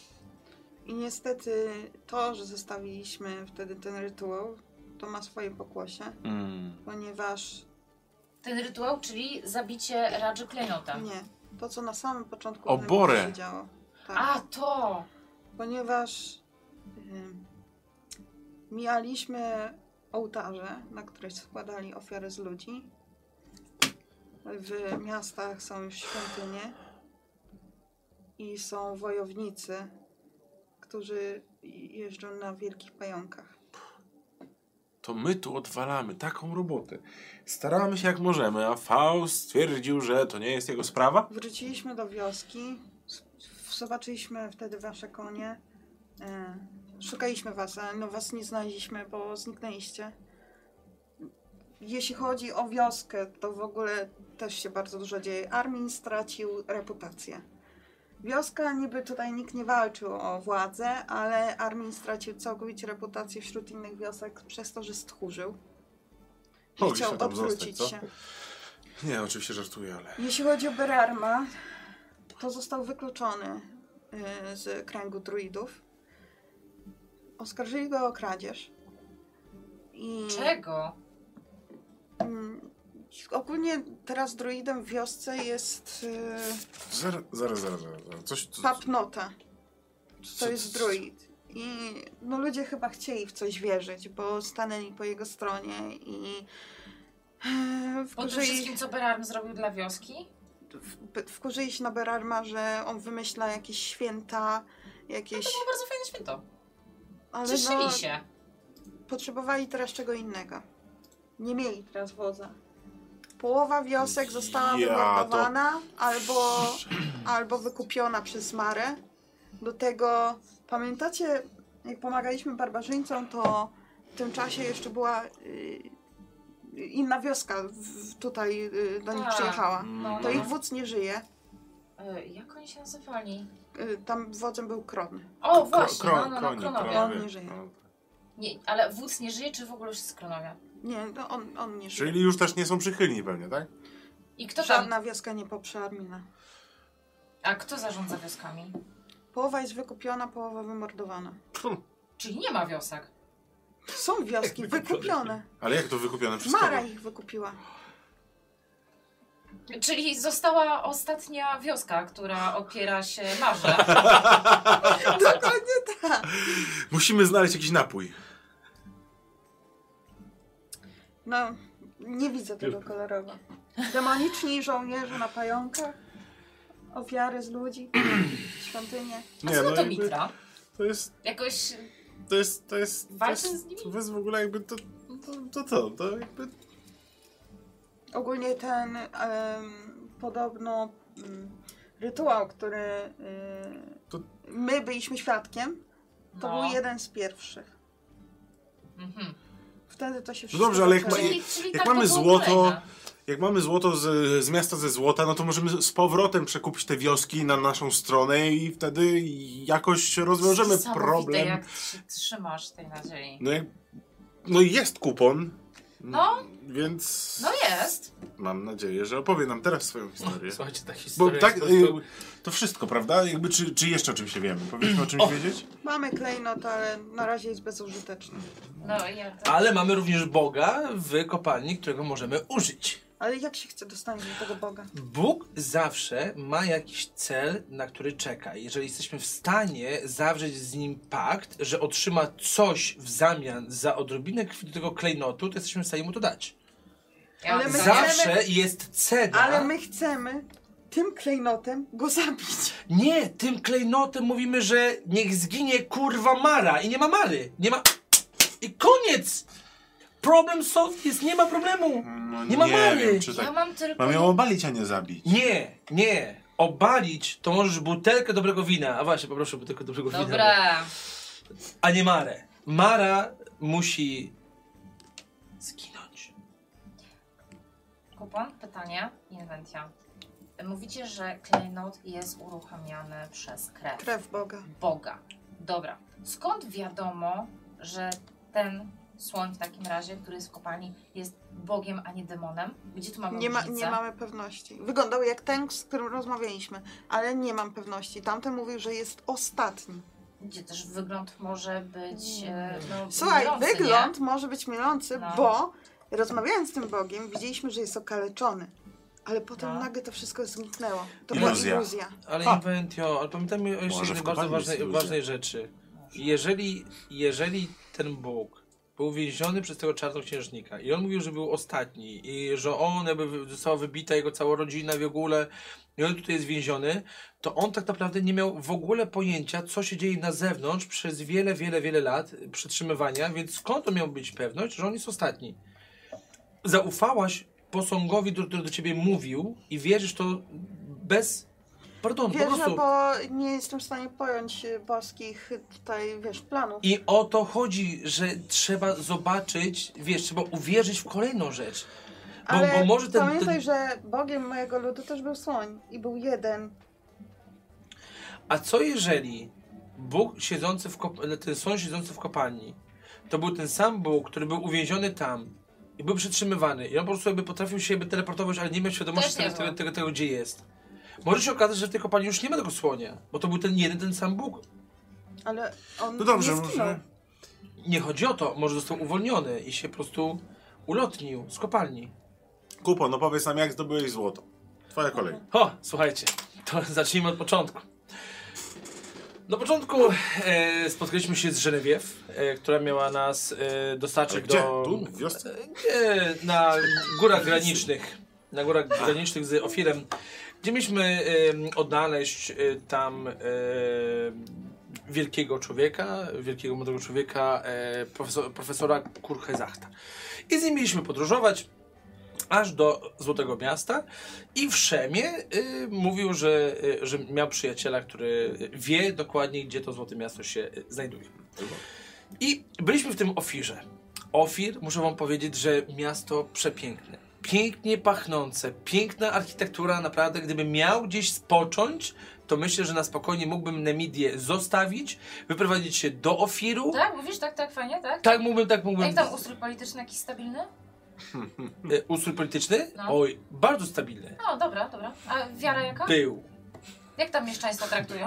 S5: I niestety to, że zostawiliśmy wtedy ten rytuał, to ma swoje pokłosie,
S4: Mm.
S5: ponieważ
S6: Ten rytuał, czyli zabicie Radży klejnotem.
S5: nie. To, co na samym początku
S4: Tak. O
S5: w Nemidii
S4: Borę.
S5: się działo. Tak.
S6: A, to!
S5: ponieważ ym, mijaliśmy ołtarze, na których składali ofiary z ludzi. W miastach są już świątynie i są wojownicy, którzy jeżdżą na wielkich pająkach.
S4: to my tu odwalamy taką robotę. Staramy się jak możemy, a Faust stwierdził, że to nie jest jego sprawa.
S5: Wróciliśmy do wioski, s- zobaczyliśmy wtedy wasze konie. E, Szukaliśmy was, ale no was nie znaleźliśmy, bo zniknęliście. Jeśli chodzi o wioskę, to w ogóle też się bardzo dużo dzieje. Armin stracił reputację. Wioska niby tutaj nikt nie walczył o władzę, ale Armin stracił całkowicie reputację wśród innych wiosek przez to, że stchórzył. I
S4: Mogliśmy
S5: Chciał
S4: tam zostać,
S5: odwrócić
S4: co?
S5: się.
S4: Nie, oczywiście żartuję, ale...
S5: Jeśli chodzi o Berarma, to został wykluczony y, z kręgu druidów. Oskarżyli go o kradzież. I
S6: Czego?
S5: mm, ogólnie teraz druidem w wiosce jest y,
S4: Zaraz, zaraz, zaraz, zaraz. zaraz. Coś, co,
S5: papnota.
S4: co-
S5: To jest druid. I no, ludzie chyba chcieli w coś wierzyć, bo stanęli po jego stronie i yy,
S6: Po tym
S5: wkurzyli,
S6: wszystkim, co Berarm zrobił dla wioski?
S5: w- wkurzyli się na Berarma, że on wymyśla jakieś święta, jakieś...
S6: To było bardzo fajne święto.
S5: Ale
S6: Cieszyli
S5: no,
S6: się.
S5: potrzebowali teraz czego innego. Nie mieli teraz wodza. Połowa wiosek została
S4: Ja,
S5: wymordowana albo, albo wykupiona przez Marę. Do tego, pamiętacie, jak pomagaliśmy barbarzyńcom, to w tym czasie jeszcze była y, inna wioska w, tutaj y, do nich
S6: Tak.
S5: przyjechała.
S4: Mm,
S6: No,
S5: To
S6: no.
S5: ich wódz nie żyje.
S6: Y, Jak oni się nazywali?
S5: Y, tam wodzem był Kron.
S6: O,
S4: Kro,
S6: właśnie,
S4: kro,
S6: no, no, no,
S4: kroni,
S6: kronowie.
S5: kronowie.
S4: kronowie.
S5: On żyje.
S4: No.
S6: Nie, ale wódz nie żyje, czy w ogóle już jest kronowie?
S5: Nie, no on, on nie żyje.
S4: Czyli już też nie są przychylni pewnie, tak?
S6: I kto tam?
S5: Żadna wioska nie poprze Armina.
S6: A kto zarządza wioskami?
S5: Połowa jest wykupiona, połowa wymordowana.
S6: Czyli nie ma wiosek.
S5: Są
S4: (laughs)
S5: wioski wykupione.
S4: Ale jak to wykupione przez
S5: Mara
S4: kogo?
S5: ich wykupiła.
S6: Czyli została ostatnia wioska, która opiera się
S4: (laughs)
S6: marze.
S5: (laughs) Dokładnie tak.
S4: Musimy znaleźć jakiś napój.
S5: No, nie widzę tego kolorowo. Demoniczni żołnierze na pająkach, ofiary z
S4: (clears throat)
S5: ludzi, świątynie.
S6: A co to
S4: no jakby
S6: Mitra?
S4: to jest,
S6: Jakoś
S4: to jest, to jest, to
S6: Walczy
S4: jest,
S6: z nimi?
S4: to jest w ogóle jakby to, to, to, to, to jakby
S5: Ogólnie ten em, podobno mm, rytuał, który y,
S4: To-
S5: my byliśmy świadkiem, to
S6: No.
S5: był jeden z pierwszych.
S6: Mhm.
S5: Wtedy to się
S4: No
S5: wszystko
S4: dobrze, ale jak
S5: zaczęło.
S4: ma-
S6: Czyli, czyli
S4: jak
S6: tak
S4: mamy
S6: to było
S4: złoto-
S6: kolejne.
S4: Jak mamy złoto z, z miasta ze złota, no to możemy z powrotem przekupić te wioski na naszą stronę i wtedy jakoś rozwiążemy
S6: Niesamowite,
S4: problem.
S6: jak się trzymasz tej nadziei.
S4: No, jak, no jest kupon.
S6: No,
S4: Więc
S6: No jest.
S4: mam nadzieję, że opowie nam teraz swoją historię.
S2: Słuchajcie, ta
S4: Bo
S2: historia
S4: tak,
S2: jest po
S4: y,
S2: prostu...
S4: to wszystko, prawda? Jakby czy, czy jeszcze o czymś nie wiemy? Powinniśmy o czymś wiedzieć?
S5: Mamy klejnot, ale na razie jest bezużyteczny.
S6: No ja to...
S1: Ale mamy również Boga w kopalni, którego możemy użyć.
S5: Ale jak się chce dostać do tego Boga?
S1: Bóg zawsze ma jakiś cel, na który czeka. Jeżeli jesteśmy w stanie zawrzeć z nim pakt, że otrzyma coś w zamian za odrobinę krwi- tego klejnotu, to jesteśmy w stanie mu to dać.
S6: Ja
S5: Ale
S6: mam
S5: my
S6: za-
S5: chcemy-
S1: Zawsze jest cena.
S5: Ale my chcemy tym klejnotem go zabić. (laughs)
S1: Nie, tym klejnotem mówimy, że niech zginie kurwa Mara i nie ma Mary. Nie ma... I koniec! Problem solved jest, nie ma problemu.
S4: No,
S1: Nie ma Mary.
S4: wiem, czy
S6: Ja
S4: tak.
S6: mam tylko...
S4: Mam ją obalić, a nie zabić.
S1: Nie, nie. Obalić to możesz butelkę dobrego wina. A właśnie, poproszę butelkę dobrego wina.
S6: Dobra.
S1: A nie Marę. Mara musi zginąć.
S6: Kupon, pytanie, inwencja. Mówicie, że klejnot jest uruchamiany przez krew.
S5: Krew Boga.
S6: Boga. Dobra. Skąd wiadomo, że ten słoń w takim razie, który jest w kopalni, jest Bogiem, a nie demonem? Gdzie tu mamy
S5: Nie, ma,
S6: różnicę?
S5: nie mamy pewności. Wyglądał jak ten, z którym rozmawialiśmy, ale nie mam pewności. Tamten mówił, że jest ostatni.
S6: Gdzie też wygląd może być. e, No,
S5: Słuchaj,
S6: mylący, nie?
S5: wygląd może być mylący,
S6: No.
S5: bo rozmawiając z tym Bogiem, widzieliśmy, że jest okaleczony. Ale potem
S6: No.
S5: nagle to wszystko zniknęło. To
S4: Iluzja.
S5: była iluzja.
S1: Ale
S4: Ha.
S1: Inventio, ale pamiętajmy o jeszcze
S4: Może w
S1: jednej bardzo
S4: kopalni
S1: ważnej,
S4: jest iluzja.
S1: ważnej rzeczy. Jeżeli, jeżeli ten Bóg był więziony przez tego czarnoksiężnika i on mówił, że był ostatni i że on jakby wy- została wybita jego cała rodzina w ogóle i on tutaj jest więziony, to on tak naprawdę nie miał w ogóle pojęcia, co się dzieje na zewnątrz przez wiele, wiele, wiele lat przetrzymywania, więc skąd on miał być pewność, że on jest ostatni? Zaufałaś posągowi, do- który do ciebie mówił i wierzysz to bez... Pardon, po
S5: Wierzę,
S1: prostu...
S5: bo nie jestem w stanie pojąć y, boskich y, tutaj, wiesz, planów.
S1: I o to chodzi, że trzeba zobaczyć, wiesz, trzeba uwierzyć w kolejną rzecz. Bo,
S5: Ale
S1: bo może ten,
S5: pamiętaj,
S1: ten...
S5: że Bogiem mojego ludu też był słoń i był jeden.
S1: A co jeżeli Bóg siedzący w kop... ten sąd siedzący w kopalni, to był ten sam Bóg, który był uwięziony tam i był przetrzymywany i on po prostu jakby potrafił się jakby teleportować, ale nie miał świadomości
S6: Też nie
S1: tego, tego,
S6: wiem.
S1: tego, tego, gdzie jest. Może się okazać, że w tej kopalni już nie ma tego słonia, bo to był ten jeden, ten sam Bóg.
S5: Ale on
S4: No dobrze,
S5: nie zginął.
S4: może.
S1: Nie chodzi o to, może został uwolniony i się po prostu ulotnił z kopalni.
S8: Kupo, no powiedz nam, jak zdobyłeś złoto. Twoja kolej.
S1: O, słuchajcie, to (laughs) zacznijmy od początku. Na początku e, spotkaliśmy się z Żenewiew, e, która miała nas e,
S4: Ale
S1: dostarczyć
S4: gdzie?
S1: do...
S4: Tu? W wiosce?
S1: E, na górach granicznych. Na górach granicznych z Ofirem, gdzie mieliśmy em, odnaleźć e, tam e, wielkiego człowieka, wielkiego młodego człowieka, e, profesor, profesora Kurhezachta. I z nim mieliśmy podróżować aż do Złotego Miasta i w Szemie y, mówił, że, y, że miał przyjaciela, który wie dokładnie, gdzie to Złote Miasto się y, znajduje. I byliśmy w tym Ofirze. Ofir, muszę wam powiedzieć, że miasto przepiękne. Pięknie pachnące, piękna architektura, naprawdę, gdybym miał gdzieś spocząć, to myślę, że na spokojnie mógłbym Nemidię zostawić, wyprowadzić się do Ofiru.
S6: Tak, mówisz tak, tak, fajnie, tak?
S1: Tak mógłbym, tak
S6: A
S1: mógłbym.
S6: Jak tam ustrój polityczny jakiś stabilny?
S1: E, Ustrój polityczny?
S6: No.
S1: Oj, bardzo stabilny.
S6: No dobra, dobra. A wiara jaka?
S1: Był.
S6: Jak tam mieszczaństwo traktują?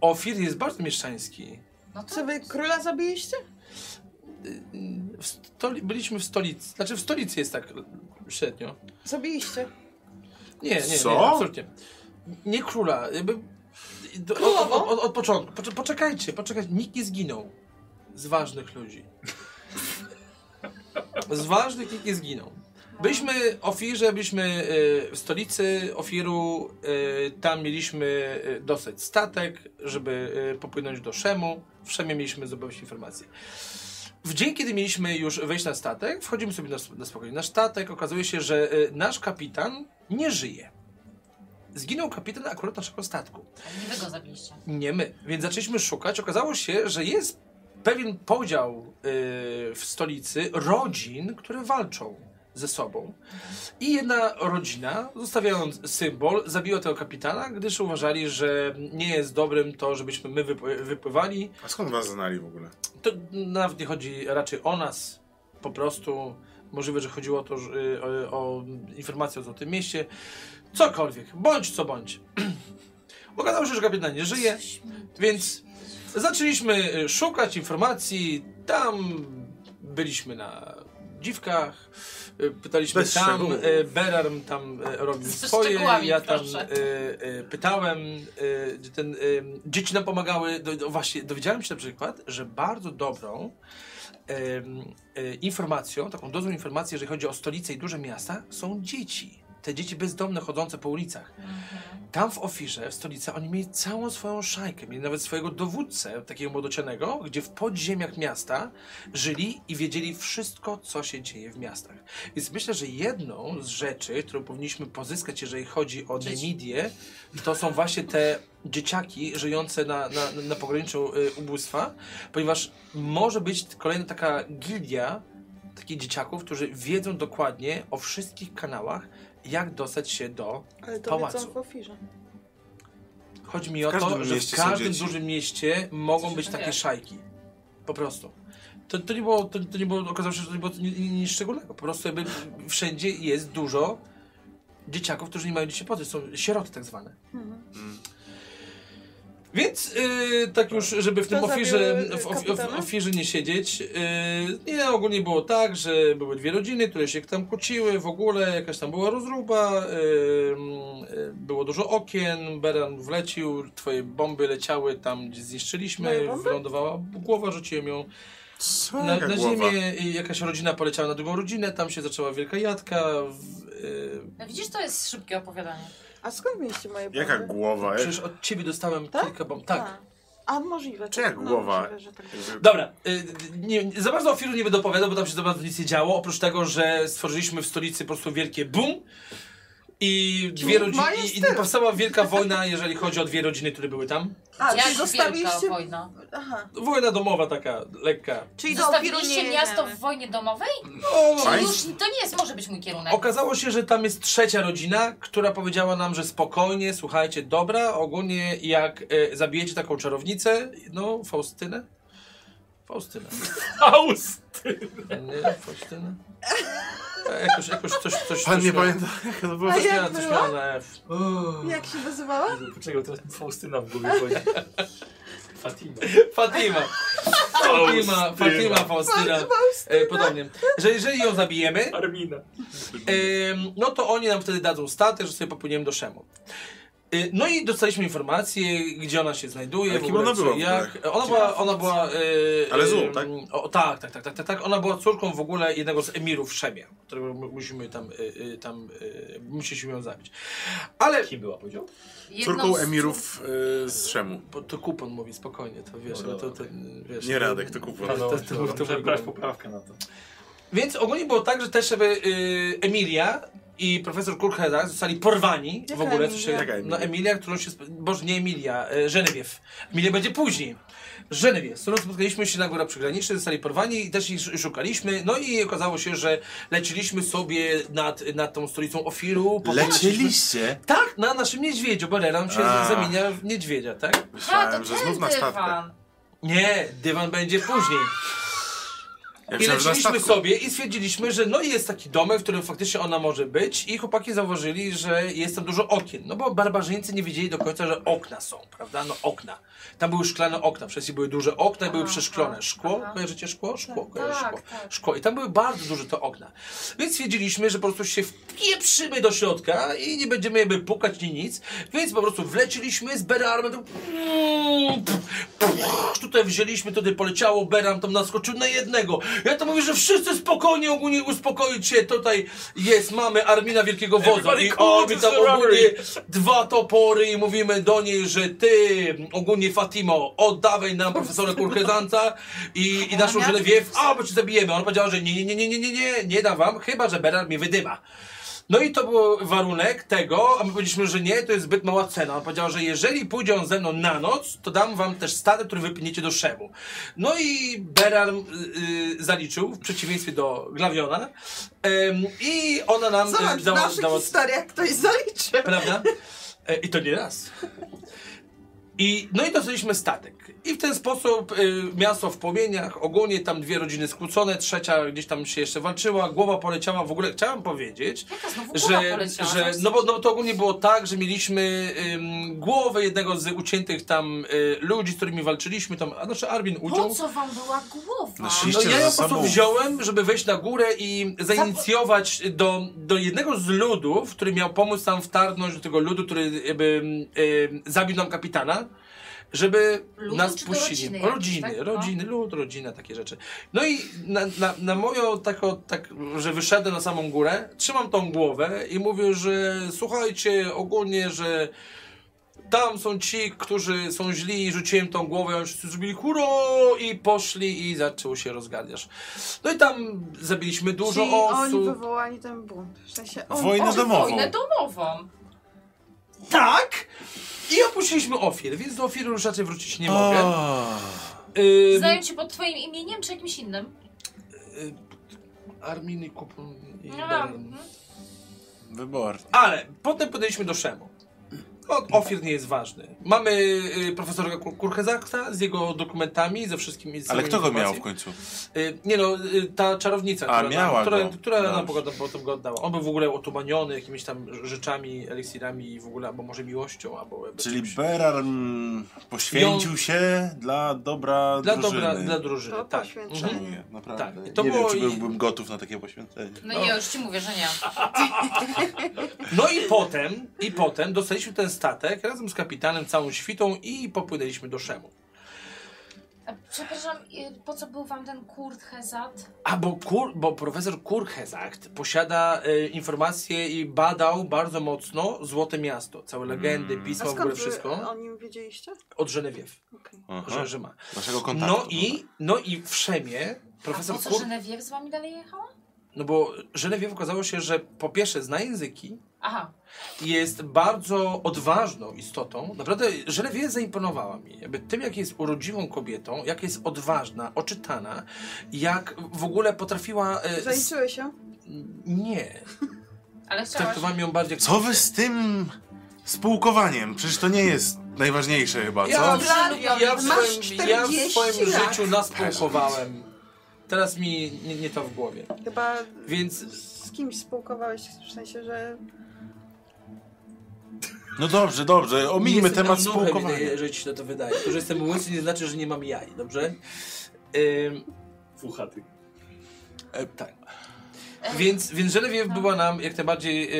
S1: Ofir jest bardzo mieszczański.
S6: No to
S5: Czy wy króla zabiliście?
S1: W stoli- byliśmy w stolicy. Znaczy w stolicy jest tak średnio.
S5: Zabiliście.
S1: Nie, nie, nie,
S4: Co?
S1: absolutnie. Nie króla. Jakby... do- Od, od, od, od początku. Poczek- Poczekajcie, poczekajcie. Nikt nie zginął. Z ważnych ludzi. Z ważnych nikt nie zginął. Byliśmy w Ofirze, byliśmy e, w stolicy Ofiru. e, Tam mieliśmy e, dostać statek, żeby e, popłynąć do Szemu. W Szemie mieliśmy zdobyć informacje. W dzień, kiedy mieliśmy już wejść na statek, wchodzimy sobie na, na spokojnie na statek. Okazuje się, że e, nasz kapitan nie żyje. Zginął kapitan akurat naszego statku.
S6: nie wy go zabiliście.
S1: Nie my. Więc zaczęliśmy szukać. Okazało się, że jest pewien podział y, w stolicy rodzin, które walczą ze sobą. I jedna rodzina, zostawiając symbol, zabiła tego kapitana, gdyż uważali, że nie jest dobrym to, żebyśmy my wypły- wypływali.
S4: A skąd was znali w ogóle?
S1: To nawet nie chodzi raczej o nas. Po prostu Możliwe, że chodziło o to, że, y, o, o informację o Złotym Mieście. Cokolwiek, bądź co bądź. (clears throat) Okazało się, że kapitan nie żyje, więc zaczęliśmy y, szukać informacji. Tam byliśmy na dziwkach, y, pytaliśmy
S8: Bez
S1: tam,
S8: szczegółów.
S1: y, Berarm tam y,
S6: (laughs)
S1: robił
S6: Z
S1: swoje,
S6: szczegółami,
S1: ja tam
S6: proszę.
S1: y, y, pytałem, y, gdzie ten, y, dzieci nam pomagały. Do, do, właśnie dowiedziałem się na przykład, że bardzo dobrą em, e, informacją, taką dozą informacji, jeżeli chodzi o stolice i duże miasta, są dzieci. Te dzieci bezdomne chodzące po ulicach.
S6: Mhm.
S1: Tam w Ofirze, w stolicy, oni mieli całą swoją szajkę. Mieli nawet swojego dowódcę, takiego młodocianego, gdzie w podziemiach miasta żyli i wiedzieli wszystko, co się dzieje w miastach. Więc myślę, że jedną z rzeczy, którą powinniśmy pozyskać, jeżeli chodzi o Nemidię, to są właśnie te dzieciaki żyjące na, na, na pograniczu y, ubóstwa, ponieważ może być kolejna taka gildia takich dzieciaków, którzy wiedzą dokładnie o wszystkich kanałach, jak dostać się do
S5: Ale to
S1: Pałacu.
S5: wiedzą w ofirze.
S1: Chodzi mi o
S8: każdym
S1: to, że w
S8: mieście są
S1: każdym
S8: dzieci.
S1: dużym mieście
S5: Znaczy,
S1: mogą być takie
S6: dzieje?
S1: szajki. Po prostu. To, to nie było, to, to nie było, okazało się, że to nie było nic, nic szczególnego. Po prostu jakby wszędzie jest dużo dzieciaków, którzy nie mają dzisiaj poty, są sieroty tak zwane.
S5: Mhm.
S1: Więc yy, tak już, żeby w
S5: Kto
S1: tym ofirze,
S5: zabił,
S1: w,
S5: y,
S1: of,
S5: kapitana?
S1: w ofirze nie siedzieć, yy, nie, ogólnie było tak, że były dwie rodziny, które się tam kłóciły, w ogóle jakaś tam była rozruba, yy, yy, było dużo okien, Beran wlecił, twoje bomby leciały tam, gdzie zniszczyliśmy,
S5: Moje bomby? Tak.
S1: wylądowała głowa, rzuciłem ją
S8: Co?
S1: na,
S8: Jaka
S1: na
S8: głowa?
S1: ziemię, i jakaś rodzina poleciała na drugą rodzinę, tam się zaczęła wielka jadka, w, yy,
S6: No widzisz, to jest szybkie opowiadanie.
S5: A skąd mieliście moje bomby?
S8: Jaka głowa? Jak...
S1: przecież od ciebie dostałem
S5: Tak?
S1: kilka bomb, tak.
S5: A, a możliwe.
S8: Czy jak
S5: tak,
S8: głowa?
S5: możliwe, że tak było.
S1: Dobra, y, nie, nie- za bardzo o Firu nie będę opowiadał, bo tam się za bardzo nic nie działo, oprócz tego, że stworzyliśmy w stolicy po prostu wielkie boom i dwie
S5: Boom,
S1: rodziny,
S5: jest
S1: i, i
S5: tyle.
S1: powstała wielka wojna, jeżeli chodzi o dwie rodziny, które były tam.
S5: A,
S6: Jak
S5: czyli zostawiliście...
S6: wielka wojna.
S5: Aha.
S1: Wojna domowa taka, lekka.
S5: Czyli do Ofiru nie
S6: Zostawiliście
S5: jedziemy.
S6: miasto w wojnie domowej?
S1: No,
S6: Czy już to nie jest, może być mój kierunek.
S1: Okazało się, że tam jest trzecia rodzina, która powiedziała nam, że spokojnie, słuchajcie, dobra, ogólnie jak e, zabijecie taką czarownicę, no, Faustynę? Faustynę.
S7: Aus!
S1: Nie, Faustynę? E, Jakoś, jakoś coś, coś...
S8: Pan
S1: coś
S8: nie
S1: miał-
S8: pamięta, jak to było?
S5: A
S1: Coś
S5: jak
S1: miała, coś
S5: była?
S1: miała na F.
S5: Jak się nazywała?
S7: Poczekaj, teraz mi Faustyna w głowie chodzi. Fatima.
S1: Fatima. Fatima, Fatima Faustyna. E, podobnie. Że jeżeli ją zabijemy,
S7: Armina.
S1: Ym, no to oni nam wtedy dadzą statę, że sobie popłyniemy do Szemu. Y, No i dostaliśmy informację, gdzie ona się znajduje,
S8: Ale
S1: w
S8: kim
S1: ogóle,
S8: ona
S1: co
S8: była
S1: i
S8: w
S1: jak. Ona była, ona była... y,
S8: Ale
S1: y,
S8: złą, tak?
S1: O, tak, tak, tak, tak, tak, tak. Ona była córką w ogóle jednego z emirów w Szemie, którego mu- musimy tam, y, y, tam y, musieliśmy ją zabić. Ale...
S7: Kim była, powiedział?
S6: Jedną
S8: Córką
S6: z-
S8: emirów y, z Szemu.
S1: Bo to kupon mówi, spokojnie, to wiesz,
S7: No
S1: ale to
S7: dobra.
S1: ten, wiesz...
S8: Nie Radek, to kupon.
S7: No, no,
S1: to-
S7: to,
S1: to-
S7: to,
S1: to-
S7: muszę brać poprawkę na to.
S1: Więc ogólnie było tak, że też jakby y, Emilia i profesor Kurkheda zostali porwani w
S5: Jaka
S1: ogóle.
S5: Emilia?
S1: Się,
S8: Jaka Emilia?
S1: No Emilia, którą się... sp- Boże, nie Emilia, y, Żenewiew. Emilia będzie później. Żenewiew, z którą spotkaliśmy się na górach przygranicznych, zostali porwani i też ich sz- szukaliśmy. No i okazało się, że leciliśmy sobie nad, nad tą stolicą Ofiru. po-
S8: Lecieliście?
S1: Tak, na naszym niedźwiedziu, bo Renan się
S8: A.
S1: zamienia w niedźwiedzia, tak?
S6: A, to
S8: Myślałem, że znów
S6: ten
S8: na statkę.
S6: dywan.
S1: Nie, dywan będzie później.
S8: Ja
S1: I
S8: myślałem, że na
S1: leciliśmy
S8: statku.
S1: sobie i stwierdziliśmy, że no i jest taki domek, w którym faktycznie ona może być i chłopaki zauważyli, że jest tam dużo okien, no bo barbarzyńcy nie wiedzieli do końca, że okna są, prawda, no okna. Tam były szklane okna, wcześniej były duże okna i były
S6: Aha,
S1: przeszklone. Szkło,
S6: aha.
S1: kojarzycie szkło? Szkło, kojarzy
S6: tak,
S1: szkło.
S6: tak.
S1: Szkło i tam były bardzo duże te okna. Więc stwierdziliśmy, że po prostu się wpieprzymy do środka i nie będziemy jakby pukać ni nic, więc po prostu wleciliśmy z Berarmem, to Puch, tutaj wzięliśmy, tutaj poleciało, Beram tam naskoczył na jednego. Ja to mówię, że wszyscy spokojnie, ogólnie uspokoić się, tutaj jest, mamy Armina Wielkiego Wodza i
S7: Everybody cool,
S1: oni
S7: this
S1: tam
S7: is a
S1: ogólnie
S7: robbery.
S1: dwa topory i mówimy do niej, że ty, ogólnie Fatimo, oddawaj nam profesora Kurkedanta i, i naszą żonę wiew, a bo cię zabijemy. Ona powiedziała, że nie, nie, nie, nie, nie, nie, nie, nie da wam, chyba, że Beram mnie wydyma. No i to był warunek tego, a my powiedzieliśmy, że nie, to jest zbyt mała cena. On powiedział, że jeżeli pójdzie on ze mną na noc, to dam wam też statę, który wypniecie do Szemu. No i Beran y, y, zaliczył, w przeciwieństwie do Glawiona. Em, I ona nam
S5: Zobacz,
S1: y,
S5: w
S1: dała,
S5: naszych
S1: dała
S5: historiach ktoś zaliczy.
S1: prawda? E, I to nie raz. I, no i dostaliśmy statek. I w ten sposób y, miasto w płomieniach, ogólnie tam dwie rodziny skłócone, trzecia gdzieś tam się jeszcze walczyła, głowa poleciała. W ogóle chciałem powiedzieć,
S6: Jaka znowu głowa
S1: że,
S6: poleciała? tak.
S1: że no bo no, to ogólnie było tak, że mieliśmy ym, głowę jednego z uciętych tam y, ludzi, z którymi walczyliśmy, tam, a znaczy Armin
S6: Po
S1: uciął.
S6: co wam była głowa?
S1: No
S8: Szliście
S1: ja ją
S8: za
S1: po prostu
S8: sobą.
S1: wziąłem, żeby wejść na górę i zainicjować do, do jednego z ludów, który miał pomóc nam wtargnąć do tego ludu, który jakby em, zabił nam kapitana, żeby
S6: Ludu
S1: nas
S6: czy to
S1: puścili.
S6: rodziny jakieś,
S1: rodziny,
S6: tak? No.
S1: rodziny, lud, rodzina, takie rzeczy. No i na, na, na moją taką, tak, że wyszedłem na samą górę, trzymam tą głowę i mówię, że słuchajcie, ogólnie, że tam są ci, którzy są źli i rzuciłem tą głowę, oni wszyscy zrobili huro i poszli i zaczął się rozgardiasz. No i tam zabiliśmy dużo
S5: Czyli oni
S1: osób.
S5: wywołali ten bunt. W sensie on,
S8: Wojnę
S6: O,
S8: domową.
S6: Wojnę domową.
S1: Tak! I opuściliśmy Ofir, więc do Ofiru już raczej wrócić nie mogę.
S8: A,
S1: Ym,
S6: Znają cię pod twoim imieniem czy jakimś innym?
S1: y, Armin i Kupon i
S6: No,
S1: Beren.
S6: mhm.
S8: Wybornie.
S1: Ale potem podejśmy do Szemu. O, Ofir nie jest ważny. Mamy y, profesora Kur- Kurchezakta z jego dokumentami, ze wszystkimi. z
S8: Ale
S1: samymi
S8: kto go miał w
S1: informacjami.
S8: końcu?
S1: Y, Nie no, y, ta czarownica,
S8: A,
S1: która,
S8: miała
S1: nam, która,
S8: go.
S1: która nam
S8: Dobrze.
S1: pogodę, potem go oddała. On był w ogóle otumaniony jakimiś tam rz- rzeczami, eliksirami i w ogóle, albo może miłością, albo... jakby
S8: Czyli
S1: czymś.
S8: Berar mm, poświęcił się dla dobra
S1: dla
S8: drużyny.
S1: dobra, dla drużyny,
S5: To
S1: tak.
S5: poświęcenie.
S1: Mhm.
S8: Szanuję, naprawdę.
S1: Tak, i
S8: to
S1: to
S8: nie wiem,
S1: było
S8: czy
S1: i-
S8: byłbym gotów na takie poświęcenie.
S6: No nie, już ci mówię, że nie.
S1: No i potem, i potem dostaliśmy ten statek razem z kapitanem, całą świtą i popłynęliśmy do Szemu.
S6: A, Przepraszam, y, po co był wam ten kurt Hezat?
S1: A bo, kur, bo profesor Kurchezakt posiada e, informacje i badał bardzo mocno Złote Miasto, całe legendy,
S5: A
S8: Mm.
S1: pisma, w ogóle
S5: skąd y, wy
S1: wszystko
S5: o nim wiedzieliście?
S1: od Żenewiew,
S5: Okej.
S8: Aha,
S1: że, że ma.
S8: naszego kontaktu.
S1: No i, no i w Szemie
S6: Profesor
S1: profesor
S6: A po co
S1: Kur...
S6: Genevieve z wami dalej jechała?
S1: No bo Genevieve okazało się, że po pierwsze zna języki,
S6: Aha,
S1: jest bardzo odważną istotą. Naprawdę Genevieve zaimponowała mi. Jakby tym, jak jest urodziwą kobietą, jak jest odważna, oczytana, jak w ogóle potrafiła... E, s-
S5: Zaliczyły się?
S1: nie.
S6: ale chciałaś...
S1: Traktowałem ją bardziej...
S8: Co wy z tym spółkowaniem? Przecież to nie jest najważniejsze chyba, co?
S1: Ja, w-
S5: Flavio,
S1: ja, w
S5: masz
S1: swoim, ja w
S5: 40
S1: swoim
S5: lat.
S1: życiu naspółkowałem. Teraz mi nie, nie to w głowie.
S5: Chyba
S1: Więc
S5: z kimś spółkowałeś, w sensie, że
S8: No dobrze, dobrze, ominijmy
S1: Jestem
S8: temat
S1: eunuchem,
S8: spółkowania.
S1: Jeżeli ci się to wydaje. To, że jestem łysy nie znaczy, że nie mam jaj, dobrze? Ym,
S7: Fuchaty.
S1: e, tak. Więc, więc Genevieve była nam jak najbardziej yy,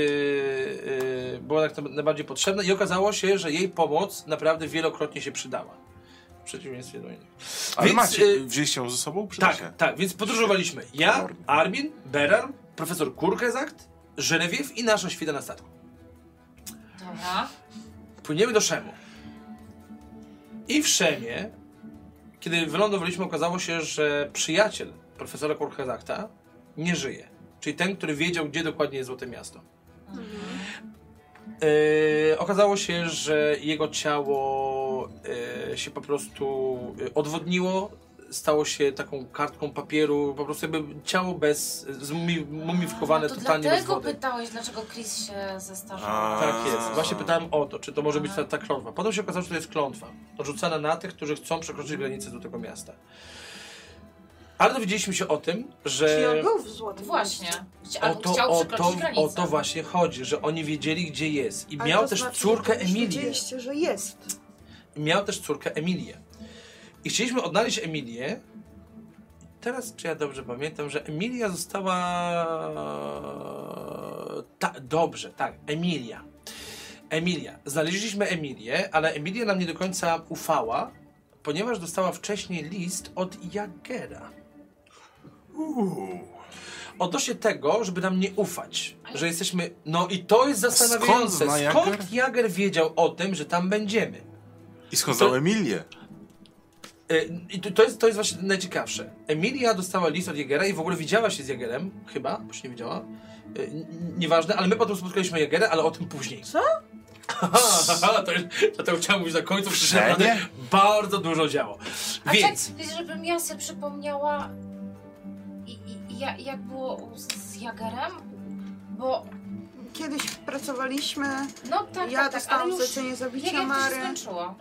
S1: yy, była jak najbardziej potrzebna i okazało się, że jej pomoc naprawdę wielokrotnie się przydała. W przeciwieństwie do innych.
S8: Ale
S1: Więc,
S8: macie,
S1: y,
S8: wzięliście ją ze sobą? Przyda się.
S1: Tak, tak, więc podróżowaliśmy. Ja,
S8: Kolornie.
S1: Armin, Berar, profesor Kurkezakt, Genevieve i nasza świta na statku.
S6: Dobra.
S1: Płyniemy do Szemu. I w Szemie, kiedy wylądowaliśmy, okazało się, że przyjaciel profesora Kurkezakta nie żyje. Czyli ten, który wiedział, gdzie dokładnie jest Złote Miasto.
S6: Mhm.
S1: Yy, okazało się, że jego ciało yy, się po prostu yy, odwodniło, stało się taką kartką papieru, po prostu jakby ciało bez, e, zmumi, mumifikowane
S6: to
S1: totalnie bez
S6: dlatego
S1: wody.
S6: pytałeś, dlaczego Chris się zestarzał.
S8: A.
S1: Tak jest. Właśnie pytałem o to, czy to może być ta, ta klątwa. Potem się okazało, że to jest klątwa. Rzucana na tych, którzy chcą przekroczyć granicę do tego miasta. Ale dowiedzieliśmy się o tym,
S5: Czyli
S1: że
S5: on był w złotym.
S6: Właśnie.
S1: o
S6: Albo
S1: to,
S6: chciał
S1: o,
S6: przekroczyć
S1: to,
S6: granicę.
S1: o to właśnie chodzi, że oni wiedzieli, gdzie jest. I
S5: Ale
S1: miał
S5: to
S1: też
S5: znaczy, że
S1: córkę
S5: już
S1: Emilię.
S5: Wiedzieliście, że jest.
S1: Miał też córkę Emilię. I chcieliśmy odnaleźć Emilię. Teraz, czy ja dobrze pamiętam, że Emilia została. Ta, dobrze, tak, Emilia. Emilia. Znaleźliśmy Emilię, ale Emilia nam nie do końca ufała, ponieważ dostała wcześniej list od Jagera. Odnośnie tego, żeby nam nie ufać, że jesteśmy. No i to jest zastanawiające.
S8: zna Jager?
S1: Skąd Jager wiedział o tym, że tam będziemy?
S8: I skąd znał
S1: To-
S8: Emilię?
S1: E, I to, to, jest, to jest właśnie najciekawsze. Emilia dostała list od Jagera i w ogóle widziała się z Jagerem, chyba, bo się nie widziała. E, n- nieważne, ale my potem spotkaliśmy Jagera, ale o tym później.
S5: Co?
S1: (laughs) to, dlatego chciałem mówić na końcu, przecież
S8: Wszędzie?
S1: naprawdę bardzo dużo działo.
S6: A
S1: Więc,
S6: tak, żebym ja sobie przypomniała, i, i, i ja- jak było z, z Jagerem, bo
S5: Kiedyś pracowaliśmy,
S6: no tak, tak, tak,
S5: ja
S6: ale
S5: dostałam
S6: już
S5: zlecenie zabicia
S6: Jager to się
S5: Mary.
S6: skończyło.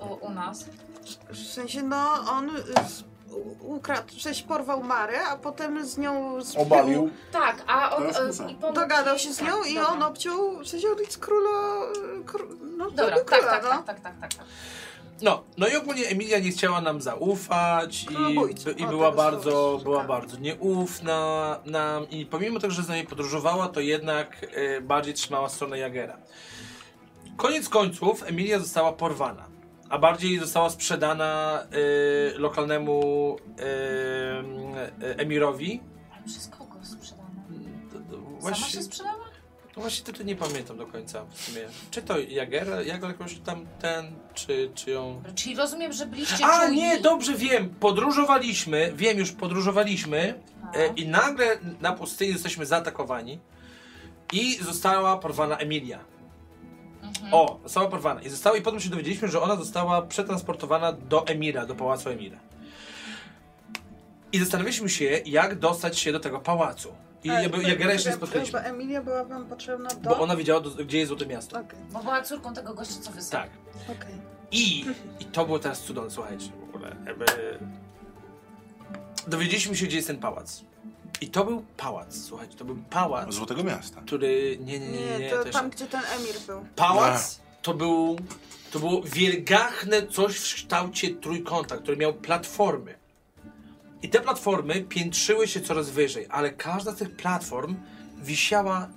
S6: u, u nas.
S5: W sensie, no on y, z, u- ukradł, w sensie porwał Marę, a potem z nią z
S8: Obawił.
S6: Tak, a on...
S4: Teraz
S6: e,
S4: muszę.
S6: i pomógł
S5: Dogadał
S6: ci-
S5: się z
S6: tak,
S5: nią i
S6: dobra.
S5: on obciął, w sensie on jest króla, y, kró, no
S6: Dobra,
S5: był
S6: tak,
S5: króla,
S6: tak,
S5: no.
S6: tak, tak, tak, tak, tak.
S1: No, no i ogólnie Emilia nie chciała nam zaufać
S6: No,
S5: Królobójcą.
S1: i, i
S5: O,
S1: była
S5: tego
S1: bardzo,
S5: słowa
S1: była
S5: szukałam.
S1: bardzo nieufna nam i pomimo tego, że z nami podróżowała, to jednak e, bardziej trzymała stronę Jagera. Koniec końców Emilia została porwana, a bardziej została sprzedana e, lokalnemu e, e, emirowi.
S6: Ale przez kogo sprzedano?
S1: To- to
S6: Sama się
S1: Właśnie,
S6: sprzedała?
S1: to właśnie tytuł nie pamiętam do końca w sumie. Czy to Jagera, Jager jakoś tam ten, czy, czy ją...
S6: Czyli rozumiem, że byliście
S1: A
S6: czujni.
S1: nie, dobrze wiem, podróżowaliśmy, wiem już, podróżowaliśmy
S6: No.
S1: e, i nagle na pustyni zostaliśmy zaatakowani i została porwana Emilia.
S6: Mhm.
S1: O, została porwana i została i potem się dowiedzieliśmy, że ona została przetransportowana do Emira, do pałacu Emira. I zastanawialiśmy się, jak dostać się do tego pałacu. I
S5: Ale
S1: jakby
S5: tutaj
S1: Jagera jeszcze nie
S5: poczekaj,
S1: spotkaliśmy,
S5: Chyba Emilia była wam potrzebna do...
S1: bo ona wiedziała, do, gdzie jest Złote Miasto.
S5: Okej,
S6: Bo była córką tego gościa, co wysłał.
S1: Tak.
S5: okej.
S1: I, i to było teraz cudowne, słuchajcie, w ogóle. Jakby... Dowiedzieliśmy się, gdzie jest ten pałac. I to był pałac, słuchajcie, to był pałac,
S8: Złotego Miasta.
S1: który... Nie, nie, nie, nie,
S5: No. Nie,
S1: nie
S5: to
S1: też...
S5: tam, gdzie ten Emir był.
S1: Pałac to był... To było wielgachne coś w kształcie trójkąta, który miał platformy. I te platformy piętrzyły się coraz wyżej, ale każda z tych platform wisiała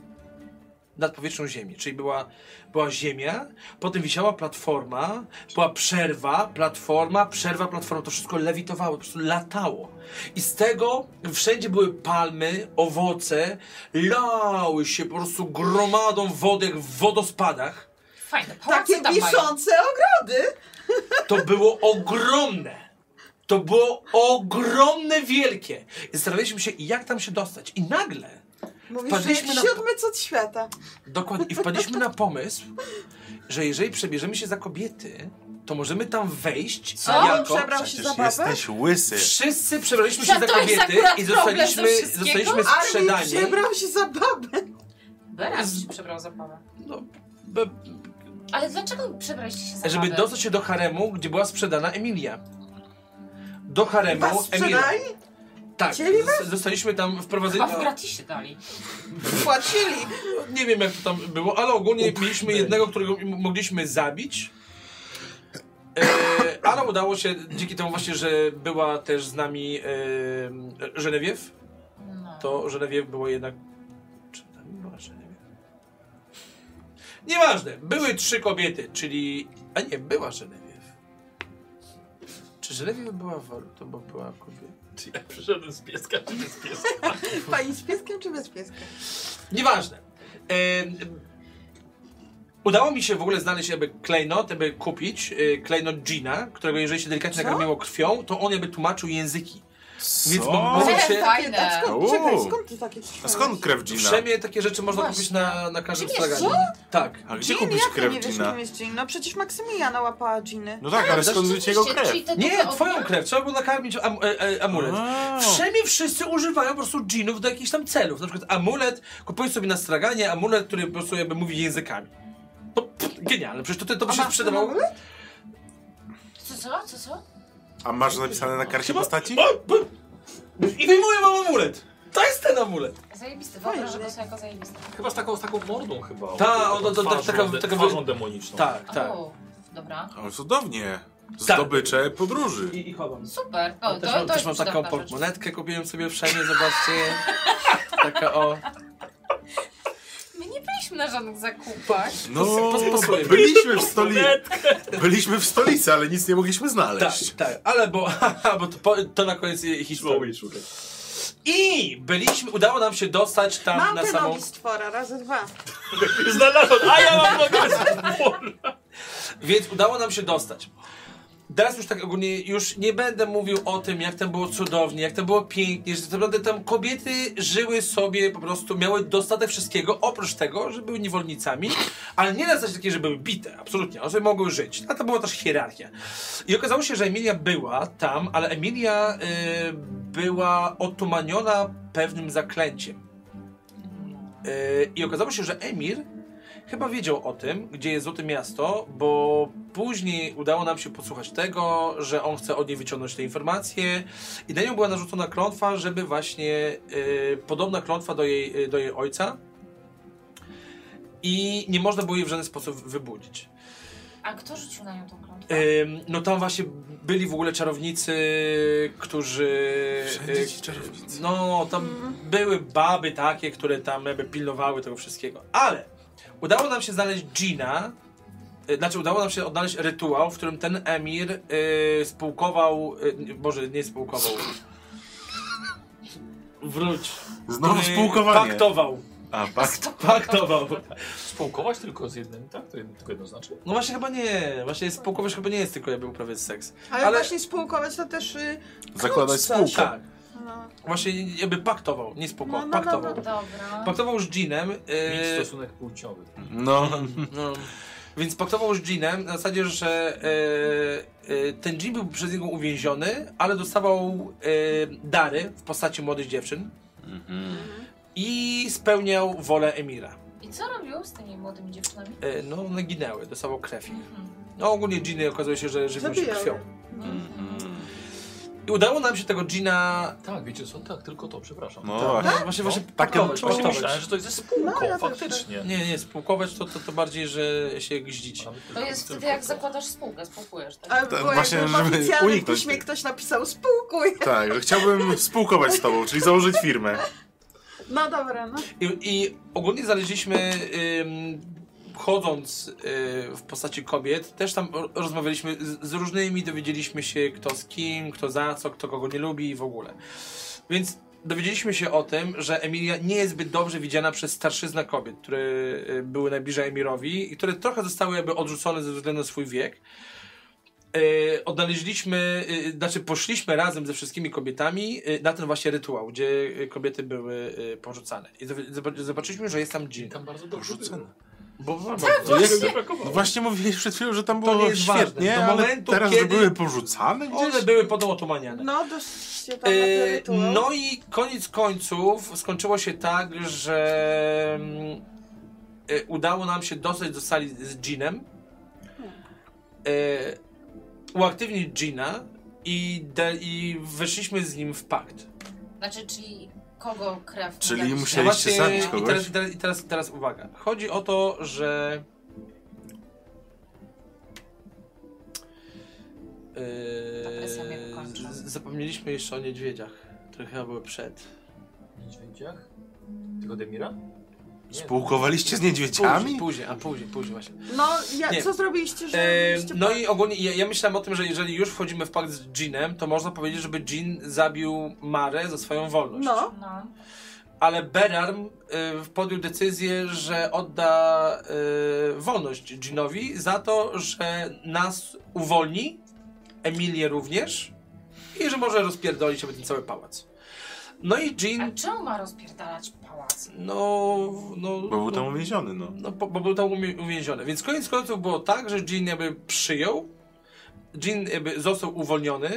S1: nad powierzchnią Ziemi. Czyli była, była Ziemia, potem wisiała platforma, była przerwa, platforma, przerwa, platforma. To wszystko lewitowało, po prostu latało. I z tego wszędzie były palmy, owoce, lały się po prostu gromadą wody jak w wodospadach.
S6: Fajne, pałace
S5: Takie
S6: tam mają.
S5: wiszące ogrody!
S1: To było ogromne. To było ogromne, wielkie. I zastanawialiśmy się, jak tam się dostać. I nagle,
S5: Mówisz, że
S1: Wpadliśmy
S5: jak
S1: na-
S5: siódmy cud świata.
S1: dokładnie, i wpadliśmy na pomysł, że jeżeli przebierzemy się za kobiety, to możemy tam wejść
S6: Co?
S1: jako...
S5: Przebrał się za
S8: Przecież
S5: babę?
S8: jesteś łysy.
S1: Wszyscy przebraliśmy się
S6: Że
S1: za
S6: to jest
S1: kobiety
S6: akurat
S1: i
S6: problem ze
S1: zostaliśmy,
S6: wszystkiego?
S1: zostaliśmy
S5: Ale
S1: sprzedani.
S5: przebrał się za babę.
S6: Beraz się przebrał za babę.
S1: No, be-
S6: Ale dlaczego przebraliście się za
S1: żeby
S6: babę?
S1: dostać się do haremu, gdzie była sprzedana Emilia. Do haremu
S5: Was
S1: Emilia.
S5: sprzedali?
S1: Tak,
S5: Chcieli
S1: zosta- zostaliśmy tam wprowadzeni.
S6: Chyba w gratisie dali.
S5: Płacili.
S1: Nie wiem, jak to tam było, ale ogólnie mieliśmy jednego, którego m- mogliśmy zabić. E, ale udało się dzięki temu właśnie, że była też z nami e, Żenewiew.
S6: No.
S1: To Żenewiew było jednak. Czy tam była Żenewiew? Nieważne, były trzy kobiety, czyli. A nie, była Żenewiew. Czy Żenewiew była wol? To bo była kobieta.
S7: Czy ja przyszedłem z pieska, czy nie z pieska?
S5: Pani z pieskiem czy bez pieska?
S1: Nieważne. Em, udało mi się w ogóle znaleźć jakby klejnot, jakby kupić e, klejnot Gina, którego jeżeli się delikatnie
S5: Co?
S1: nakarmiło krwią, to on jakby tłumaczył języki. Więc
S8: Co?
S1: mogę
S6: Ale
S1: się...
S6: fajne.
S5: A skąd,
S8: Uuu.
S5: czekaj, skąd ty takie
S8: A skąd krew
S1: W
S8: Gina?
S1: Szemie takie rzeczy można
S6: Właśnie.
S1: kupić na, na każdym
S6: Czy wiesz
S1: straganie. Tak.
S8: A gdzie
S5: Gin,
S8: kupisz
S5: jak ty
S8: krew
S5: nie wiesz,
S8: Gina?
S5: kim jest Gin? No przecież Maksymiliana łapała Giny.
S8: No tak, ale skąd wiecie jego krew?
S6: Czyli te
S1: Nie,
S6: duchy ognia?
S1: twoją krew. Trzeba było nakarmić am, e, e, amulet.
S8: A.
S1: W Szemie wszyscy używają po prostu dżinów do jakichś tam celów. Na przykład amulet, kupuj sobie na straganie amulet, który po prostu jakby mówi językami. To, pff, genialne, przecież to, to by
S5: A
S1: się
S5: masz ten
S1: sprzedawało.
S5: amulet?
S6: Co, co, co, co?
S8: A masz napisane na karcie postaci?
S1: I wyjmuję wam amulet. To jest ten amulet.
S6: Zajebisty, wyobrażę
S5: Fajne.
S6: go sobie jako zajebisty.
S2: Chyba z taką, z taką mordą chyba.
S1: Ta, o, to- to-
S2: Twarzą
S1: taka-
S2: de-
S1: taka-
S2: twarzą demoniczną.
S1: Tak, tak.
S6: O, dobra.
S8: O, cudownie.
S1: Tak.
S8: Zdobycze podróży.
S1: I, i chowam.
S6: Super. O,
S1: O,
S6: to,
S1: też
S6: to
S1: mam, też
S6: jest
S1: mam taką
S6: cudowna rzecz.
S1: portmonetkę, kupiłem sobie w szemie, zobaczcie. Taka o.
S6: My nie byliśmy na żadnych zakupach.
S8: No,
S1: Pos- pos- posłuchaj.
S8: byliśmy w stolicy. Byliśmy w stolicy, ale nic nie mogliśmy
S1: Tak,
S8: znaleźć.
S1: tak, ale bo, (laughs) haha, bo to, po- to na koniec je-
S7: Słowy
S1: historii.
S7: szukać.
S1: I byliśmy, udało nam się dostać tam
S5: Mam
S1: na
S5: te
S1: samą.
S5: nogi stwora, razy dwa.
S7: Znalazłem, a ja mam nogę z dwór.
S1: Więc udało nam się dostać. Teraz już tak ogólnie, już nie będę mówił o tym, jak tam było cudownie, jak tam było pięknie, że tak naprawdę tam kobiety żyły sobie po prostu, miały dostatek wszystkiego, oprócz tego, że były niewolnicami, ale nie na zasadzie takiej, że były bite, absolutnie, one sobie mogły żyć. A to była też hierarchia. I okazało się, że Emilia była tam, ale Emilia y, była otumaniona pewnym zaklęciem. Y, I okazało się, że Emir Chyba wiedział o tym, gdzie jest Złote Miasto, bo później udało nam się posłuchać tego, że on chce od niej wyciągnąć te informacje i na nią była narzucona klątwa, żeby właśnie y, podobna klątwa do jej, y, do jej ojca i nie można było jej w żaden sposób wybudzić.
S6: A kto rzucił na nią tą klątwę?
S1: Ym, no tam właśnie byli w ogóle czarownicy, którzy...
S8: Tak. E,
S4: Wszędzie ci
S1: y,
S4: czarownicy.
S1: No, tam
S5: Mhm.
S1: były baby takie, które tam jakby pilnowały tego wszystkiego. Ale udało nam się znaleźć Gina, y, znaczy udało nam się odnaleźć rytuał, w którym ten emir y, spółkował, y, Boże, nie spółkował. Wróć.
S4: No,
S8: Znowu
S1: Y,
S8: spółkowanie.
S1: Paktował.
S8: A, pakt.
S1: Paktował.
S2: Spółkować tylko z jednym, tak? To jedno, tylko jedno znaczy?
S1: No właśnie chyba nie, właśnie spółkować chyba nie jest tylko jakby uprawiać seks.
S5: Ale,
S1: Ale-
S5: właśnie spółkować to też... y,
S8: Zakładać
S5: Krótca,
S8: spółkę.
S1: Tak.
S5: No,
S1: Właśnie jakby paktował, nie spoko,
S5: No, no, no,
S1: paktował.
S5: no.
S6: Dobra.
S1: Paktował z Jeanem,
S2: Mieć
S1: e,
S2: stosunek płciowy.
S8: No,
S1: no, więc paktował z Jeanem na zasadzie, że e, e, ten Jean był przez niego uwięziony, ale dostawał e, dary w postaci młodych dziewczyn i spełniał wolę Emira.
S6: I co robił z tymi młodymi dziewczynami?
S1: E, no, one ginęły, dostawał krew ich. No ogólnie Jeany okazuje się, że żywią się
S5: Zabijały.
S1: krwią.
S5: no.
S8: hmm.
S1: I udało nam się tego Jeana...
S2: Tak, wiecie co? Tak, tylko to, przepraszam.
S8: no
S2: tak.
S8: właśnie.
S1: Właśnie, właśnie
S8: Takie
S1: paktować,
S2: Właśnie
S1: paktować.
S2: myślałem, że to jest spółką,
S5: No, ja też
S2: faktycznie.
S1: Nie, nie, spółkować to, to, to bardziej, że się gździć.
S2: Nawet
S6: To
S2: tylko-
S6: jest wtedy
S2: tylko
S6: jak
S2: to.
S6: zakładasz spółkę, spółkujesz. Tak?
S5: Ale było
S8: właśnie,
S5: jakby
S8: żeby
S5: w oficjalnym
S8: uniknąć
S5: piśmie
S8: tego.
S5: ktoś napisał spółkuj.
S8: Tak, że chciałbym spółkować z tobą, czyli założyć firmę.
S5: No dobra, no.
S1: I, i ogólnie znaleźliśmy, ym, chodząc y, w postaci kobiet, też tam ro- rozmawialiśmy z, z różnymi, dowiedzieliśmy się kto z kim, kto za co, kto kogo nie lubi i w ogóle. Więc dowiedzieliśmy się o tym, że Emilia nie jest zbyt dobrze widziana przez starszyznę kobiet, które y, były najbliżej Emirowi i które trochę zostały jakby odrzucone ze względu na swój wiek. E, odnaleźliśmy, e, znaczy poszliśmy razem ze wszystkimi kobietami e, na ten właśnie rytuał, gdzie e, kobiety były e, porzucane. I zob- zob- zobaczyliśmy, że jest tam dżin.
S2: Tam bardzo dobrze było.
S8: Porzucone.
S1: Bo, bo,
S8: No,
S4: Tak,
S8: To jak-
S2: Nie brakowało.
S8: No właśnie mówiłeś przed chwilą, że tam
S1: To nie
S8: było
S1: jest
S8: świetnie,
S1: ważne. Do
S8: ale
S1: momentu,
S8: teraz, że
S1: kiedy-
S8: były porzucane gdzieś?
S1: one były potem otumaniane.
S5: No, dosyć tam na ten
S1: E,
S5: rytuał.
S1: no i koniec końców skończyło się tak, że mm, e, udało nam się dostać do sali z dżinem. E, uaktywnić dżina i, de- i weszliśmy z nim w pakt.
S6: Znaczy, czyli kogo krew
S8: Czyli
S6: mówiliście?
S8: musieli-
S1: No
S8: Chcieliście zabić
S1: i
S8: kogoś?
S1: teraz, i, teraz, i, teraz, i teraz uwaga. Chodzi o to, że.
S6: Ta
S1: Yy,
S6: presja mnie wykończy.
S1: z- zapomnieliśmy jeszcze o niedźwiedziach, które chyba były przed.
S2: W niedźwiedziach? Tylko Demira? Nie.
S8: Spółkowaliście z
S1: Później,
S8: niedźwiedziami?
S1: później, a później, później właśnie.
S5: No, ja,
S1: Nie.
S5: co zrobiliście, że...
S1: E,
S5: mieliście
S1: no
S5: plan?
S1: i ogólnie ja, ja myślałem o tym, że jeżeli już wchodzimy w pakt z Jeanem, to można powiedzieć, żeby Jean zabił Marę za swoją wolność.
S5: No,
S6: No.
S1: Ale Berarm y, podjął decyzję, że odda y, wolność Ginowi za to, że nas uwolni, Emilię również, i że może rozpierdolić sobie ten cały pałac. No i Jean,
S6: A czemu ma rozpierdalać pałac?
S1: no... no
S8: Bo był
S1: no,
S8: tam uwięziony, no.
S1: no, bo, bo był tam umie- uwięziony. Więc koniec końców było tak, że Jean jakby przyjął, Jean jakby został uwolniony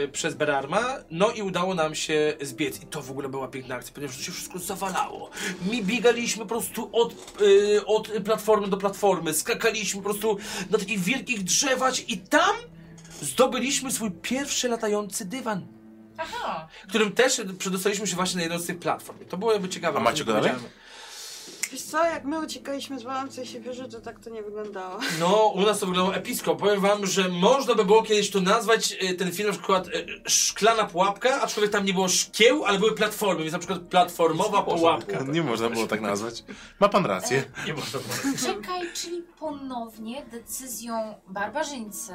S1: yy, przez Berarma, no i udało nam się zbiec. I to w ogóle była piękna akcja, ponieważ to się wszystko zawalało. My biegaliśmy po prostu od, yy, od platformy do platformy, skakaliśmy po prostu na takich wielkich drzewach i tam zdobyliśmy swój pierwszy latający dywan.
S5: No.
S6: Aha.
S1: Którym też przedostaliśmy się właśnie na jedną z tych platform. I To było jakby ciekawe.
S8: A macie go dalej?
S5: wiesz co, jak my uciekaliśmy z łamce i się wierzy, to tak to nie wyglądało.
S1: No, u nas to wyglądało epicko. Powiem wam, że można by było kiedyś to nazwać e, ten film na przykład e, Szklana Pułapka, aczkolwiek tam nie było szkieł, ale były platformy, więc na przykład Platformowa Pułapka.
S8: Nie można było tak nazwać. Ma pan rację.
S2: Nie można było.
S6: Czekaj, czyli ponownie decyzją barbarzyńcy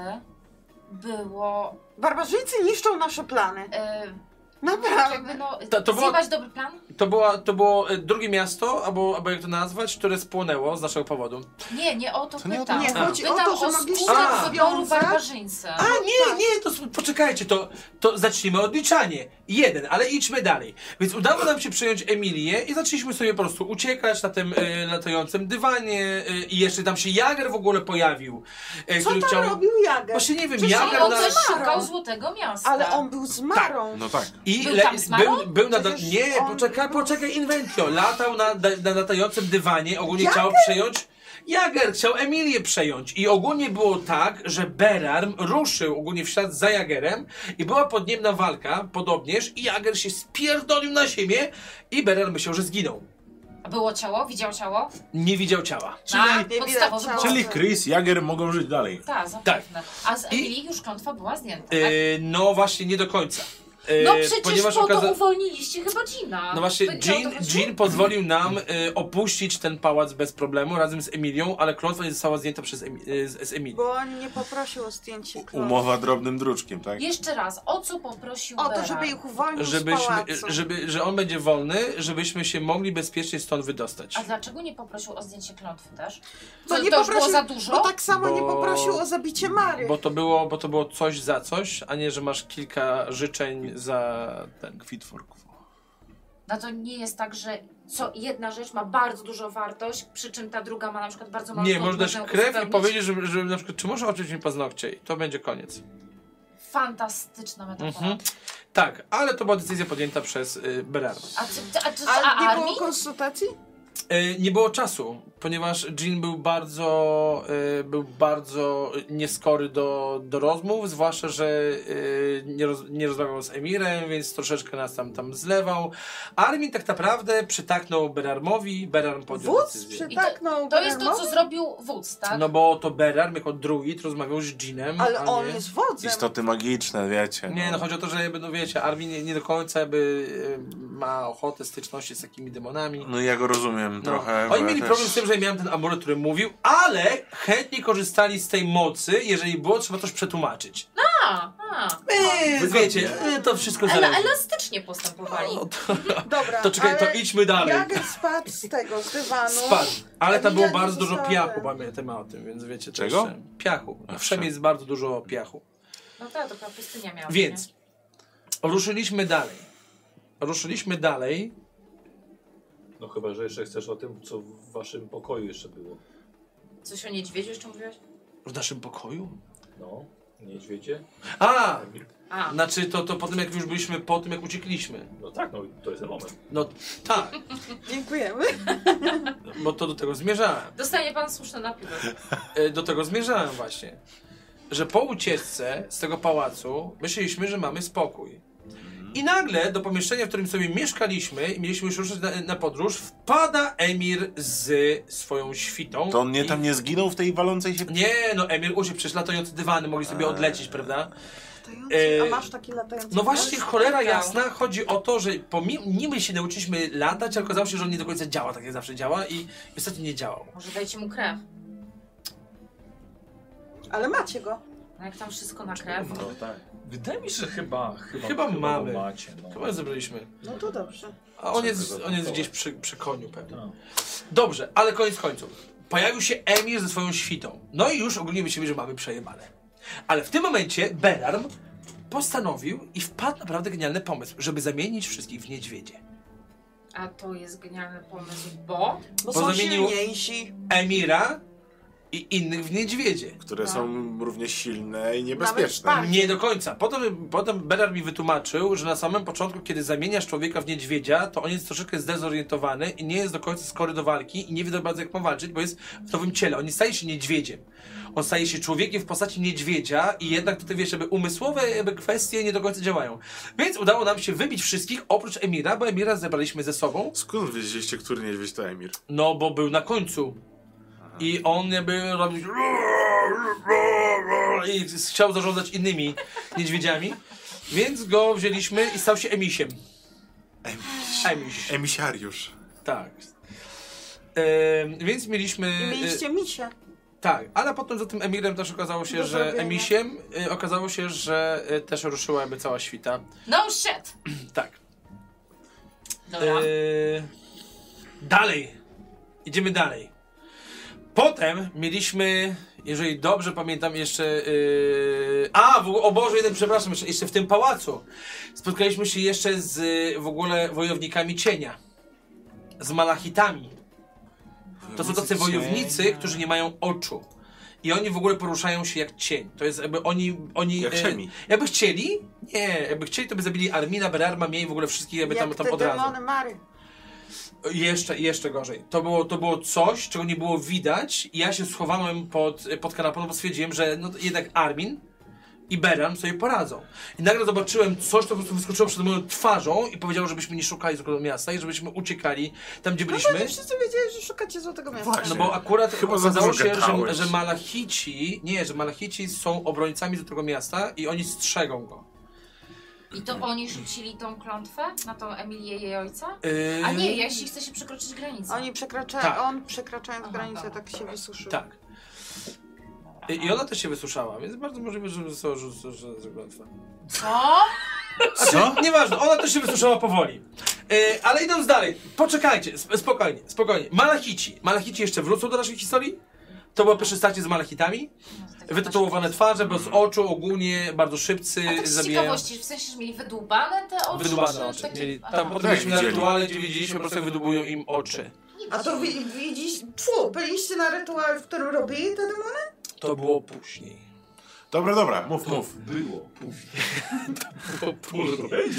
S6: było
S5: Barbarzyńcy niszczą nasze plany.
S6: e,
S5: Naprawdę.
S6: jakby no,
S1: To- to było-
S6: zjebać dobry plan?
S1: To, była, to było e, drugie miasto, albo, albo jak to nazwać, które spłonęło z naszego powodu.
S6: Nie, nie o to,
S8: To nie o to
S6: pytam.
S5: Nie, chodzi o
S6: pytam
S5: to, że
S6: o
S5: mogliście
S6: skutek
S1: A.
S6: wyboru
S5: nawiązać-
S6: barbarzyńcy.
S1: A
S5: No tak.
S1: nie, nie, to s- poczekajcie, to, to zacznijmy odliczanie. Jeden, ale idźmy dalej. Więc udało nam się przejąć Emilię i zaczęliśmy sobie po prostu uciekać na tym e, latającym dywanie e, i jeszcze tam się Jager w ogóle pojawił. E,
S5: Co tam robił Jager?
S1: Właśnie nie wiem,
S5: Przecież
S1: Jager
S5: on
S6: on
S1: na...
S5: też
S6: też
S5: Marą.
S6: szukał złotego miasta.
S5: Ale on był z Marą.
S8: No tak.
S1: I
S6: Był
S1: le-
S6: tam Smarło?
S1: był, był na do-
S5: Przecież
S1: Nie,
S5: on
S1: poczekaj,
S5: był-
S1: poczekaj, Inventio. Latał na, da- na latającym dywanie, ogólnie
S5: Jager?
S1: chciał przejąć. Jager chciał Emilię przejąć. I ogólnie było tak, że Berarm ruszył ogólnie w ślad za Jagerem i była pod nim na walka, podobnież, i Jager się spierdolił na ziemię i Berarm myślał, że zginął.
S6: A było ciało? Widział ciało?
S1: Nie widział ciała.
S5: nie
S6: Czyli,
S5: widać ciała.
S6: Czyli...
S8: Czyli Chris, Jager mogą żyć dalej.
S6: Tak, zapewne. A z Emilii już klątwa była zdjęta, tak?
S1: E, no właśnie, nie do końca. E,
S6: No przecież po to
S1: okaza-
S6: uwolniliście chyba Gina.
S1: No właśnie,
S6: Wy-
S1: Jean,
S6: to chodzi?
S1: Jean pozwolił nam y, opuścić ten pałac bez problemu razem z Emilią, ale klątwa nie została zdjęta przez Emi- y, z, z Emilii.
S5: Bo on nie poprosił o zdjęcie klonu.
S8: Umowa drobnym druczkiem, tak?
S6: Jeszcze raz, o co poprosił
S5: O to,
S6: Bera?
S5: żeby ich uwolnił z
S1: Żebyśmy,
S5: pałacu.
S1: żeby, że on będzie wolny, żebyśmy się mogli bezpiecznie stąd wydostać.
S6: A dlaczego nie poprosił o zdjęcie klątwy też?
S5: Bo
S6: Co,
S5: No nie
S6: to już było
S5: poprosił-
S6: za dużo?
S5: Bo tak samo nie
S1: Bo-
S5: poprosił o zabicie Mary.
S1: Bo to, było, bo to było coś za coś, a nie, że masz kilka życzeń za ten.
S8: Kwit for quo.
S6: No to nie jest tak, że co jedna rzecz ma bardzo dużą wartość, przy czym ta druga ma na przykład bardzo małą
S1: Nie, możesz dać
S6: ją
S1: krew i
S6: uzupełnić?
S1: powiedzieć, żeby, żeby na przykład, czy możesz oczyć mi paznokcie i to będzie koniec.
S6: Fantastyczna metafora.
S1: Mhm. Tak, ale to była decyzja podjęta przez y, Berarda.
S6: A, ty, a, ty, a,
S5: Ale nie
S6: Armin?
S5: było konsultacji?
S1: E, Nie było czasu, ponieważ Jean był bardzo, e, był bardzo nieskory do, do rozmów, zwłaszcza, że e, nie, roz, nie rozmawiał z Emirem, więc troszeczkę nas tam, tam zlewał. Armin tak naprawdę przytaknął Berarmowi, Berarm podjął
S5: Wóz
S1: decyzję.
S5: przytaknął
S6: To jest to,
S5: Bermowi?
S6: co zrobił wódz, tak?
S1: No bo to Berarm jako druid rozmawiał z Jeanem,
S5: Ale
S1: No, a
S5: on
S1: nie...
S5: jest wodzem.
S8: Istoty magiczne, wiecie.
S1: Nie, no chodzi o to, że jakby, no wiecie, Armin nie, nie do końca jakby e, ma ochotę styczności z takimi demonami.
S8: No ja go rozumiem
S1: No.
S8: trochę.
S1: Oni
S8: bo
S1: mieli
S8: ja
S1: problem
S8: też-
S1: z tym, że ja miałem ten amulet, który mówił, ale chętnie korzystali z tej mocy, jeżeli było, trzeba coś przetłumaczyć.
S6: A, a.
S5: No
S1: Yy, wiecie, yy, to wszystko
S6: Ele,
S1: zależy.
S6: elastycznie postępowali.
S1: No, to,
S5: Dobra,
S1: to czekaj, to
S5: ale no.
S1: idźmy dalej.
S5: Jager spadł z tego, z dywanu.
S1: Spadł. Ale tam było
S5: Emilia nie
S1: bardzo dużo
S5: została.
S1: piachu, pamiętam o tym, więc wiecie. to
S8: Czego?
S1: jeszcze- Piachu.
S8: A,
S1: Wszem
S8: wszem.
S1: jest bardzo dużo piachu.
S6: No tak, to taka pustynia miała.
S1: Więc ruszyliśmy dalej. Ruszyliśmy dalej.
S2: No chyba, że jeszcze chcesz o tym, co w waszym pokoju jeszcze było.
S6: nie? Coś o niedźwiedziu jeszcze mówiłaś?
S1: W naszym pokoju?
S2: No, niedźwiedzie.
S1: A!
S6: A,
S1: Znaczy, to, to po tym, jak już byliśmy, po tym, jak uciekliśmy.
S2: No tak, no to jest ten moment.
S1: No tak,
S5: Dziękujemy.
S1: bo to do tego zmierzałem.
S6: dostanie pan słuszne napiwek.
S1: E, do tego zmierzałem właśnie. Że po ucieczce z tego pałacu myśleliśmy, że mamy spokój. I nagle do pomieszczenia, w którym sobie mieszkaliśmy i mieliśmy już ruszyć na, na podróż, wpada Emir z swoją świtą.
S8: To on nie
S1: I-
S8: tam nie zginął w tej walącej się...
S1: Nie, no Emir uciekł, przecież latające dywany mogli sobie odlecieć, prawda?
S5: Latający.
S1: E,
S5: A masz taki latający
S1: No właśnie, cholera
S6: Tak.
S1: jasna, chodzi o to, że pomimo niby się nauczyliśmy latać, ale okazało się, że on nie do końca działa tak jak zawsze działa i niestety nie działał.
S6: Może dajcie mu krew.
S5: dywans? Ale macie go.
S6: No jak tam wszystko na krew.
S8: tak.
S2: Wydaje mi się, że chyba, chyba,
S1: Chyba
S2: go
S1: mamy.
S2: macie. No.
S1: Chyba zebraliśmy.
S5: No to dobrze.
S1: A on jest, on jest gdzieś przy, przy koniu pewnie.
S2: Tak.
S1: Dobrze, ale koniec końców. Pojawił się Emir ze swoją świtą. No i już ogólnie myślimy, że mamy przejebane. Ale w tym momencie Berarm postanowił i wpadł naprawdę genialny pomysł, żeby zamienić wszystkich w niedźwiedzie.
S6: A to jest genialny pomysł, bo...
S1: Bo
S5: Bo, są
S1: zamienił-
S5: silniejsi.
S1: Emira i innych w niedźwiedzie.
S8: Które
S6: Tak.
S8: są równie silne i niebezpieczne.
S4: Tak.
S5: Nawet
S1: Nie do końca. Potem, potem Berar mi wytłumaczył, że na samym początku, kiedy zamieniasz człowieka w niedźwiedzia, to on jest troszeczkę zdezorientowany i nie jest do końca skory do walki i nie wie do bardzo jak ma walczyć, bo jest w nowym ciele. On nie staje się niedźwiedziem. On staje się człowiekiem w postaci niedźwiedzia i jednak tutaj wiesz, jakby umysłowe jakby kwestie nie do końca działają. Więc udało nam się wybić wszystkich oprócz Emira, bo Emira zebraliśmy ze sobą,
S8: Skąd wiedzieliście, który niedźwiedź to Emir?
S1: no bo był na końcu. I on jakby robił i chciał zarządzać innymi niedźwiedziami, więc go wzięliśmy i stał się emisiem.
S8: (laughs)
S1: Emiś.
S8: Emisariusz.
S1: Tak. Em, więc mieliśmy. e,
S5: I mieliście misia.
S1: Tak, ale potem za tym Emirem też okazało się,
S5: Do
S1: że
S5: zrobienia.
S1: Emisiem y, okazało się, że y, też ruszyła jakby cała świta.
S6: No shit!
S1: Tak.
S6: Dobra.
S1: Eee, dalej. Idziemy dalej. Potem mieliśmy, jeżeli dobrze pamiętam, jeszcze. Yy, a, w, o Boże, jeden, przepraszam, jeszcze, jeszcze w tym pałacu. Spotkaliśmy się jeszcze z y, w ogóle wojownikami cienia. Z malachitami. To są tacy wojownicy, którzy nie mają oczu. I oni w ogóle poruszają się jak cień. To jest jakby oni... oni
S8: Jak
S1: e,
S8: Szemi.
S1: Jakby chcieli? Nie. Jakby chcieli, to by zabili Armina, Berarma, mnie i w ogóle wszystkich jakby tam,
S5: Jak
S1: tam
S5: te
S1: od razu.
S5: demony Mary.
S1: Jeszcze, jeszcze gorzej. To było, to było coś, czego nie było widać i ja się schowałem pod, pod kanapą, bo stwierdziłem, że no, to jednak Armin i Beran sobie poradzą. I nagle zobaczyłem coś, co po prostu wyskoczyło przed moją twarzą i powiedziało, żebyśmy nie szukali złotego miasta i żebyśmy uciekali tam, gdzie byliśmy.
S5: My wszyscy wiedzieli, że szukacie Złotego Miasta.
S8: Właśnie.
S1: No bo akurat
S8: Chyba za
S1: okazało
S8: dużo
S1: się, że,
S8: gadałeś.
S1: że Malachici, nie, że Malachici są obrońcami tego miasta i oni strzegą go.
S6: I to oni rzucili tą klątwę na tą Emilię i jej ojca?
S1: Yy,
S6: A nie, jeśli chce się przekroczyć granicę.
S5: Oni przekraczają,
S1: Tak.
S5: on przekraczając
S6: Aha,
S5: granicę
S6: dobra.
S5: tak się wysuszył.
S1: Tak. I, I ona też się wysuszała, więc bardzo możliwe, że została rzucona.
S6: Co?
S1: Co? Nieważne, ona też się wysuszała powoli. E, ale idąc dalej, poczekajcie, sp- spokojnie, spokojnie. Malachici. Malachici jeszcze wrócą do naszej historii? To było pierwsze starcie z malachitami.
S6: No to tak
S1: Wytatuowane
S6: właśnie.
S1: twarze, bez oczu, ogólnie, bardzo szybcy,
S6: A tak z
S1: zabijają.
S6: ciekawości, tak w sensie, że mieli wydłubane te oczy?
S1: Wydłubane
S6: czy
S1: oczy.
S6: takie-
S1: Mieli,
S6: Aha.
S1: tam potem byliśmy na
S8: widzieli.
S1: rytuale, gdzie widzieliśmy po prostu, jak wydubują im oczy.
S5: A to wi- widzisz, czu, byliście na rytuale, w którym robili te demony?
S1: To było później.
S8: Dobra, dobra, mów, mów.
S7: Było.
S1: To później.
S8: (laughs)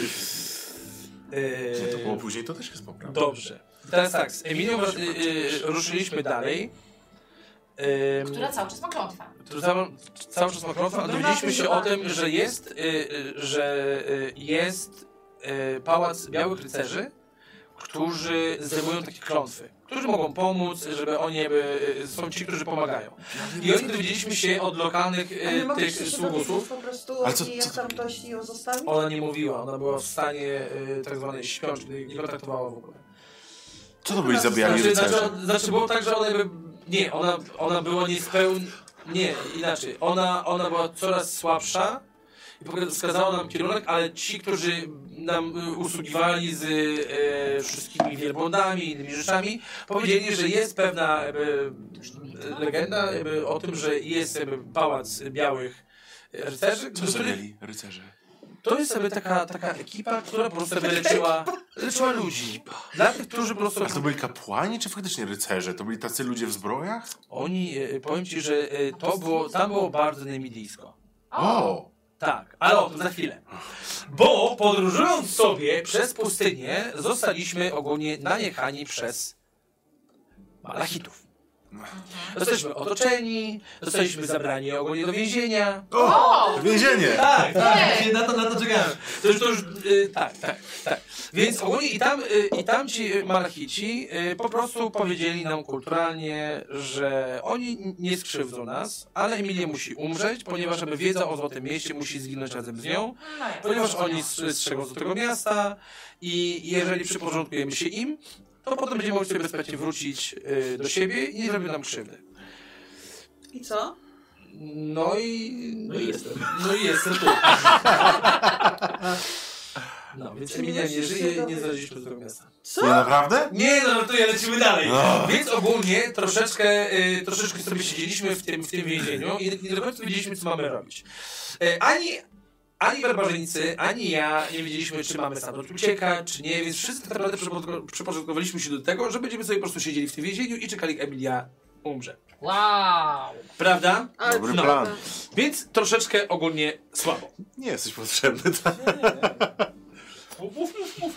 S8: Że to
S1: E,
S8: było później, to też jest poprawne.
S1: Dobrze. Teraz tak, z Emilią wr- y, y, ruszyliśmy dalej. Em,
S6: Która cały czas ma klątwę.
S1: To cały, cały czas ma klątwę, a dowiedzieliśmy się o tym, że jest, y, y, że y, jest y, pałac białych rycerzy, którzy zdejmują takie klątwy, którzy mogą pomóc, żeby oni jakby, y, są ci, którzy pomagają. I oni dowiedzieliśmy się od lokalnych
S5: A nie
S1: y, tych
S5: mogliście się dowiedzieć
S1: sługusów.
S5: po prostu
S8: Ale co-
S5: i jak
S8: co-
S5: tam ktoś ją zostawił?
S1: Ona nie mówiła, ona była w stanie y, tak zwanej śpiączki, nie kontaktowała w ogóle.
S8: Co to byli zabijani
S1: Znaczy, znaczy,
S8: rycerze?
S1: znaczy było tak, że ona jakby, nie, ona, ona była niespełna, nie, inaczej, ona, ona była coraz słabsza i poka- wskazała nam kierunek, ale ci, którzy nam y, usługiwali z y, wszystkimi wielbłądami i innymi rzeczami, powiedzieli, że jest pewna jakby, legenda jakby, o tym, że jest jakby, pałac białych rycerzy,
S8: Co
S1: do których
S8: zrobili rycerze?
S1: to jest sobie taka, taka ekipa, która po prostu leczyła, leczyła ludzi. Dla tych, którzy po prostu
S8: A to byli kapłani, czy faktycznie rycerze? To byli tacy ludzie w zbrojach?
S1: Oni, e, powiem ci, że e, to było, tam było bardzo nemidyjsko.
S8: O!
S1: Tak, ale o tym za chwilę. Bo podróżując sobie przez pustynię, zostaliśmy ogólnie najechani przez malachitów. Mhm. Zostaliśmy otoczeni, zostaliśmy zabrani ogólnie do więzienia.
S8: O! Więzienie!
S1: Tak, tak, się na to, na to czekałem. To już, to już y, tak, tak, tak. Więc ogólnie i tam, y, i tam ci malachici y, po prostu powiedzieli nam kulturalnie, że oni nie skrzywdzą nas, ale Emilia musi umrzeć, ponieważ aby wiedza o Złotym Mieście musi zginąć razem z nią,
S6: No jest.
S1: ponieważ oni s- strzegą Złotego Miasta i jeżeli przyporządkujemy się im, to potem będziemy mogli sobie bezpiecznie wrócić y, do siebie i nie zrobią nam krzywdy.
S5: I co?
S1: No i...
S7: No i jestem.
S1: (laughs) No i jestem tu. No, więc Emilia nie żyje i nie znaleźliśmy tego miasta.
S8: Nie, naprawdę?
S1: Nie, no to ja lecimy dalej.
S8: No.
S1: Więc ogólnie troszeczkę, y, troszeczkę sobie siedzieliśmy w tym, w tym więzieniu i nie do końca wiedzieliśmy, co mamy robić. Y, ani, ani barbarzyńcy, ani ja nie wiedzieliśmy, czy mamy stamtąd uciekać, czy nie, więc wszyscy tak naprawdę przyporządko- przyporządkowaliśmy się do tego, że będziemy sobie po prostu siedzieli w tym więzieniu i czekali, jak Emilia umrze.
S6: Wow.
S1: Prawda?
S5: Ale
S8: Dobry
S1: no.
S8: plan.
S1: Więc troszeczkę ogólnie słabo.
S8: Nie jesteś potrzebny, tak?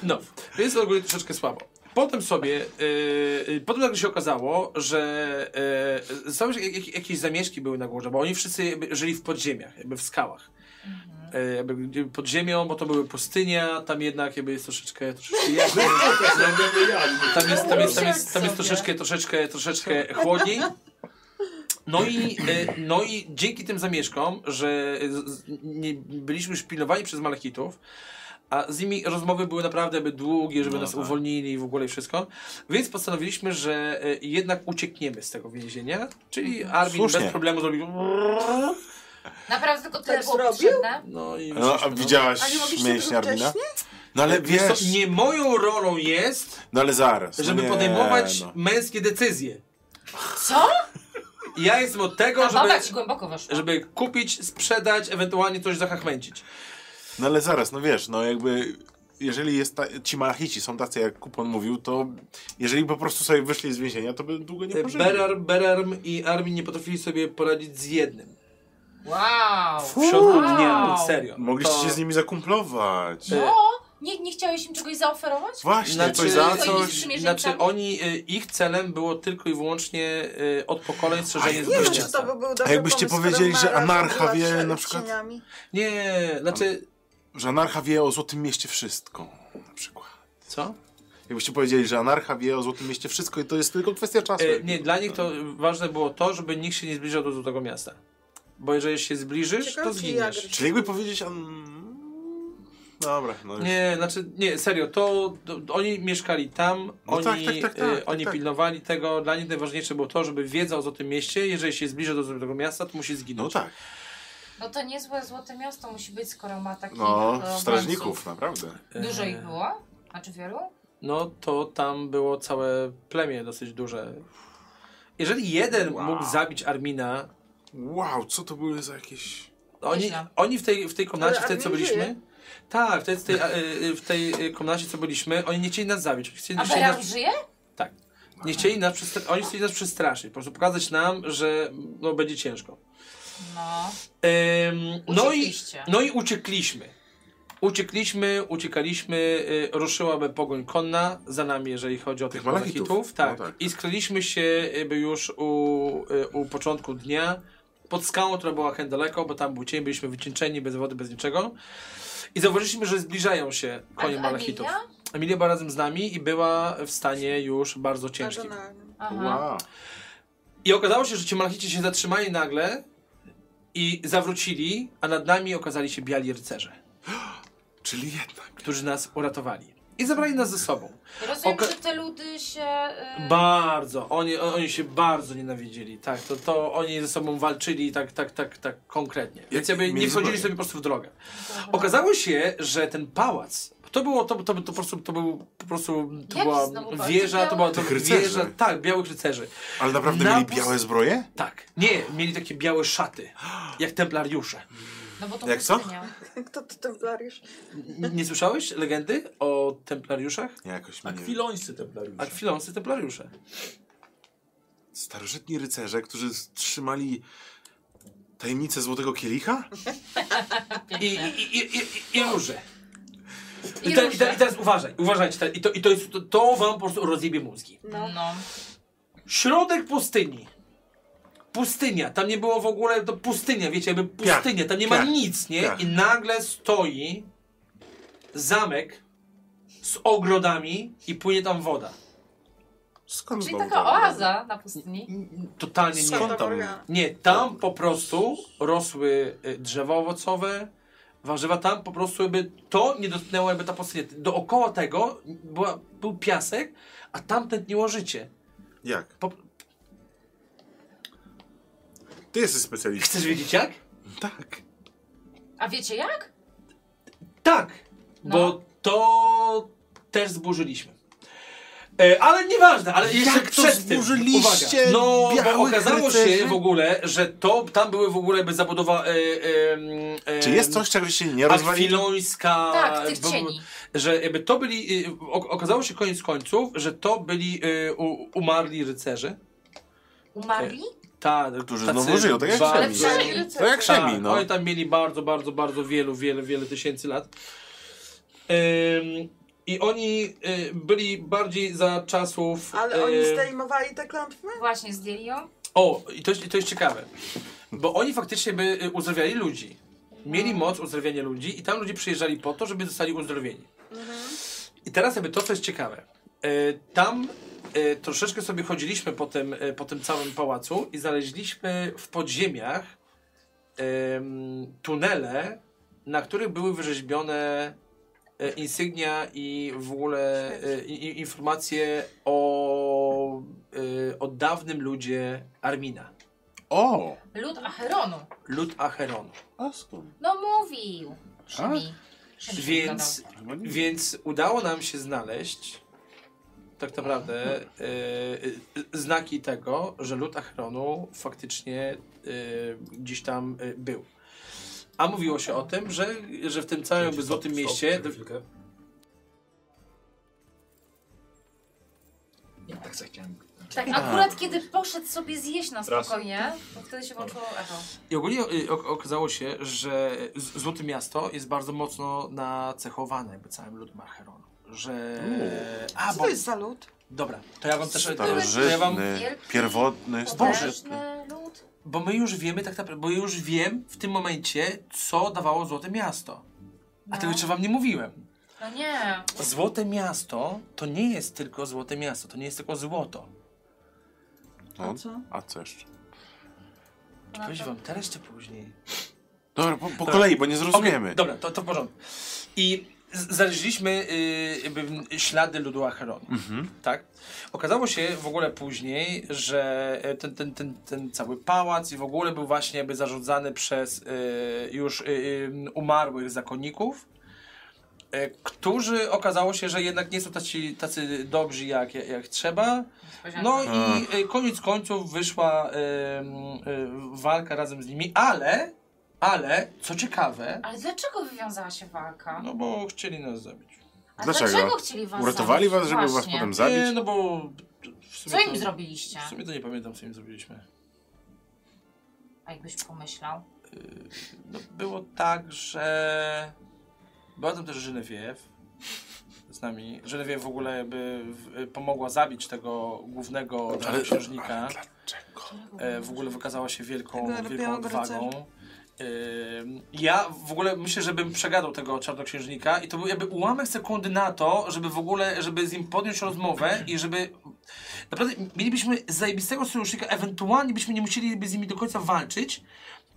S1: No, więc ogólnie troszeczkę słabo. Potem sobie, yy, yy, potem nagle się okazało, że yy, są jak, jak, jakieś zamieszki były na górze, bo oni wszyscy jakby żyli w podziemiach, jakby w skałach. Yy, jakby gdzie- pod ziemią, bo to były pustynia, tam jednak jakby jest troszeczkę, troszeczkę jasno. Tak. Tam jest, tam jest, tam jest, tam jest troszeczkę, troszeczkę, troszeczkę chłodniej. No i, e, no i dzięki tym zamieszkom, że z- z- nie, byliśmy już pilnowani przez malachitów, a z nimi rozmowy były naprawdę jakby długie, żeby
S8: No
S1: nas
S8: tak.
S1: uwolnili i w ogóle i wszystko. Więc postanowiliśmy, że e, jednak uciekniemy z tego więzienia. Czyli Armin
S8: Mhm. Słusznie.
S1: bez problemu zrobił.
S6: Naprawdę tylko tyle
S5: Tak
S6: było
S5: zrobił?
S6: potrzebne?
S1: No i
S8: No, a
S1: wyszliśmy,
S8: widziałaś
S5: A nie mogliście
S8: mięśnie
S5: tego
S8: Armina?
S5: wcześniej?
S8: No ale
S1: Wiesz co,
S8: wiesz,
S1: nie moją rolą jest,
S8: no ale zaraz. no
S1: żeby
S8: nie,
S1: podejmować
S8: no.
S1: męskie decyzje.
S6: Co?
S1: Ja jestem od
S6: Ta
S1: tego, żeby,
S6: baba ci głęboko weszła.
S1: żeby kupić, sprzedać, ewentualnie coś zahachmęcić.
S8: No ale zaraz, no wiesz, no jakby jeżeli jest ta, ci malachici są tacy, jak Kupon mówił, to jeżeli po prostu sobie wyszli z więzienia, to by długo nie pożyli.
S1: E, Berar, Berarm i Armin nie potrafili sobie poradzić z jednym.
S6: Wow!
S1: W środku dnia,
S6: Wow.
S1: serio.
S8: Mogliście
S1: To-
S8: się z nimi zakumplować.
S1: E,
S6: Nie, nie chciałeś im czegoś zaoferować?
S8: Właśnie,
S1: Znaczy-
S8: coś za
S1: Coś
S8: coś.
S6: Przymierzeńcami?
S1: Znaczy oni, y, ich celem było tylko i wyłącznie y, od pokoleń strzeżenie
S5: Nie wiem,
S1: zbyt
S5: czy to by był
S8: A
S5: dobry
S8: jakbyście
S5: pomysł,
S8: powiedzieli,
S5: skoro
S8: że
S5: Mara
S8: Amarcha
S5: była
S8: wie
S5: trze-
S8: na przykład-
S5: cieniami.
S1: Nie, znaczy...
S8: Że anarcha wie o Złotym Mieście wszystko, na przykład.
S1: Co? E,
S8: Jakbyście powiedzieli, że anarcha wie o Złotym Mieście wszystko i to jest tylko kwestia czasu.
S1: E, nie, dla nich to ważne było to, żeby nikt się nie zbliżał do Złotego Miasta. Bo jeżeli się zbliżysz,
S5: Ciekawe,
S1: to
S5: czy
S1: zginiesz.
S5: Jagr-
S8: Czyli jakby powiedzieć... An... Dobra, no już.
S1: Nie, znaczy, nie, serio, to, to oni mieszkali tam,
S8: No
S1: oni,
S8: tak, tak, tak, tak,
S1: e,
S8: tak,
S1: oni
S8: tak.
S1: pilnowali tego, dla nich najważniejsze było to, żeby wiedział o tym mieście, jeżeli się zbliży do tego miasta, to musi
S8: No
S1: zginąć.
S8: tak,
S6: No to niezłe złote miasto musi być, skoro ma takich
S8: no,
S6: e,
S8: strażników, naprawdę.
S6: obrońców. Dużo
S1: E,
S6: ich było? Znaczy wielu?
S1: No to tam było całe plemię dosyć duże. Jeżeli jeden mógł zabić Armina,
S8: Wow, co to były za jakieś...
S1: Oni,
S6: Nieźle.
S1: oni w tej, w tej komnacie,
S5: Ale
S1: wtedy co
S5: Armin żyje.
S1: byliśmy. Tak, wtedy w tej, a, y, y, w tej y, komnacie, co byliśmy, oni nie chcieli nas zabić. Chcieli,
S6: A
S1: chcieli
S6: Beran
S1: nas,
S6: żyje?
S1: nie chcieli nas przestra- oni chcieli nas przestraszyć, po prostu pokazać nam, że no, będzie ciężko.
S6: No.
S1: Ym, no, i,
S6: Uciekliście.
S1: no i uciekliśmy. Uciekliśmy, uciekaliśmy, y, ruszyłaby pogoń konna za nami, jeżeli chodzi o tych,
S8: Tych
S1: malachitów.
S8: malachitów.
S1: Tak.
S8: No tak.
S1: I skryliśmy się jakby już u, y, u początku dnia pod skałą, która była chęt daleko, bo tam był cień, byliśmy wycieńczeni, bez wody, bez niczego. I zauważyliśmy, że zbliżają się konie
S6: A-
S1: malachitów.
S6: Emilia?
S1: Emilia była razem z nami i była w stanie już bardzo ciężkim.
S5: Agonalnym.
S6: Aha.
S8: Wow.
S1: I okazało się, że ci malachici się zatrzymali nagle i zawrócili, a nad nami okazali się biali rycerze,
S8: Czyli jednak.
S1: którzy nas uratowali. I zabrali nas ze sobą.
S6: Rozumiem,
S1: Oka-
S6: że te ludy się... y,
S1: Bardzo. Oni, oni się bardzo nienawidzili. Tak, to, to oni ze sobą walczyli tak, tak, tak, tak konkretnie. Więc jakby nie
S8: mieli
S1: wchodzili
S8: zbroję.
S1: sobie po prostu w drogę. Okazało się, że ten pałac. To było, to, to, to po prostu, to był po prostu, to
S6: Jaki
S1: była
S6: znowu pałac?
S1: wieża, to była to
S8: Tych rycerzy.
S1: wieża, tak, białych rycerzy.
S8: Ale naprawdę
S1: Na
S8: mieli
S1: pus-
S8: białe zbroje?
S1: Tak, nie, mieli takie białe szaty, jak templariusze.
S6: No bo to
S8: Jak co?
S6: pustynia.
S5: Kto to templariusz?
S1: N- Nie słyszałeś legendy o templariuszach?
S8: Nie, jakoś
S2: Tak,
S8: mnie nie...
S7: Akwilońscy templariusze.
S1: Akwilonscy templariusze.
S8: Starożytni rycerze, którzy trzymali tajemnicę Złotego Kielicha?
S1: I, i, i, i, i, i róże. I,
S6: I
S1: te, i,
S6: róże.
S1: te, I teraz uważaj, uważajcie. Te, I, to, i to, jest, to, to wam po prostu rozjebie mózgi.
S5: No.
S6: No.
S1: Środek pustyni. Pustynia, tam nie było w ogóle, to pustynia, wiecie, jakby pustynia, tam nie ma
S8: piach,
S1: nic, nie?
S8: piach.
S1: I nagle stoi zamek z ogrodami i płynie tam woda.
S8: Skąd
S6: Czyli
S8: wam
S6: taka
S8: to?
S6: oaza na pustyni.
S1: Totalnie nie.
S8: Skąd tam?
S1: Nie, tam po prostu rosły y, drzewa owocowe, warzywa, tam po prostu jakby to nie dotknęło jakby ta pustynia. Dookoła tego była, był piasek, a tam tętniło życie.
S8: Jak?
S1: Po-
S8: Ty jesteś specjalistą.
S1: Chcesz wiedzieć jak?
S8: Tak.
S6: A wiecie jak?
S1: Tak,
S6: No.
S1: bo to też zburzyliśmy. E, ale nieważne, ale jeszcze
S8: to
S1: przed tym,
S8: zburzyliście
S1: uwaga, no bo
S8: białych
S1: okazało się
S8: rycerzy?
S1: w ogóle, że to, tam były w ogóle jakby zabudowa e, e, e,
S8: Czy jest coś, czego się nie rozwali?
S1: akwilońska,
S6: Tak, tych
S1: bo-
S6: cieni.
S1: że jakby to byli, y, o- okazało się koniec końców, że to byli y, u, umarli rycerze.
S6: Umarli?
S1: Ta,
S8: Którzy
S1: tacy
S8: znowu żyją, tak jak
S1: bardzo-
S6: Ale przeżyli.
S8: To jak
S1: tak,
S8: Szemi, no.
S1: Oni tam mieli bardzo, bardzo, bardzo wielu, wiele, wiele tysięcy lat. Ym, I oni y, byli bardziej za czasów...
S5: Ale oni
S1: y,
S5: zdejmowali te klątwy?
S6: Właśnie, zdjęli ją.
S1: O, i to, jest- i to jest ciekawe. Bo oni faktycznie by y, uzdrawiali ludzi. Mieli moc uzdrawiania ludzi i tam ludzie przyjeżdżali po to, żeby zostali uzdrowieni. I teraz jakby to, co jest ciekawe. Y, Tam y, troszeczkę sobie chodziliśmy po tym, y, po tym całym pałacu i znaleźliśmy w podziemiach em, tunele, na których były wyrzeźbione e, insygnia i w ogóle e, i, i informacje o, e, o dawnym ludzie Armina.
S8: O!
S6: Lud Acheronu.
S1: Lud Acheronu.
S8: A skąd?
S6: No mówił. Szymi. Szymi
S1: Tak? Więc,
S8: Chyba nie.
S1: więc udało nam się znaleźć tak naprawdę e, e, znaki tego, że lud Acheronu faktycznie e, gdzieś tam e, był. A mówiło się o tym, że, że w tym całym jakby złotym mieście
S7: Stop, chwilkę.
S2: tak chciałem.
S6: Tak, akurat kiedy poszedł sobie zjeść na
S2: Raz.
S6: spokojnie, to wtedy się włączyło echo.
S1: I ogólnie y, ok- okazało się, że Z- Złote Miasto jest bardzo mocno nacechowane jakby całym ludem Archeronu. Że... A,
S5: Co
S1: bo...
S5: to jest za lud?
S1: Dobra, to ja wam też... To ja wam,
S4: Starożytny, pierwotny,
S1: Boże.
S6: Potężny lud.
S1: bo my już wiemy tak naprawdę, bo już wiem w tym momencie, co dawało Złote Miasto. A tego jeszcze wam nie mówiłem.
S6: No nie.
S1: Złote Miasto to nie jest tylko Złote Miasto, to nie jest tylko złoto.
S4: No,
S5: A co?
S4: a co jeszcze?
S6: No
S1: Powiedz
S6: to-
S1: wam teraz czy później?
S4: Dobra, po, po kolei, bo nie zrozumiemy.
S1: Tak. Okej, dobra, to, to w porządku. I z- znaleźliśmy y, jakby m, ślady ludu Acheronu, tak? Okazało się w ogóle później, że e, ten, ten, ten, ten cały pałac i w ogóle był właśnie jakby zarządzany przez y, już y, y, umarłych zakonników, y, którzy okazało się, że jednak nie są tacy, tacy dobrzy jak, jak, jak trzeba. No i y, koniec końców wyszła y, y, walka razem z nimi, ale, ale, co ciekawe,
S6: Ale dlaczego wywiązała się walka?
S1: no bo chcieli nas zabić.
S6: A
S4: Dlaczego?
S6: dlaczego? chcieli was
S4: Uratowali
S6: zabić?
S4: was, żeby was
S6: Właśnie.
S4: potem zabić?
S1: Nie, no bo... w sumie
S6: Co im
S1: to-
S6: zrobiliście?
S1: W sumie to nie pamiętam, co im zrobiliśmy.
S6: A jakbyś pomyślał.
S1: No, było tak, że... Była tam też Genevieve z nami. Genevieve w ogóle jakby w, pomogła zabić tego głównego księżnika. E, w ogóle wykazała się wielką,
S5: Tego
S1: wielką
S5: białego
S1: odwagą. Ym, Ja w ogóle myślę, żebym przegadał tego czarnoksiężnika i to był jakby ułamek sekundy na to, żeby w ogóle, żeby z nim podjąć rozmowę i żeby... Naprawdę mielibyśmy zajebistego sojusznika, ewentualnie byśmy nie musieli z nimi do końca walczyć,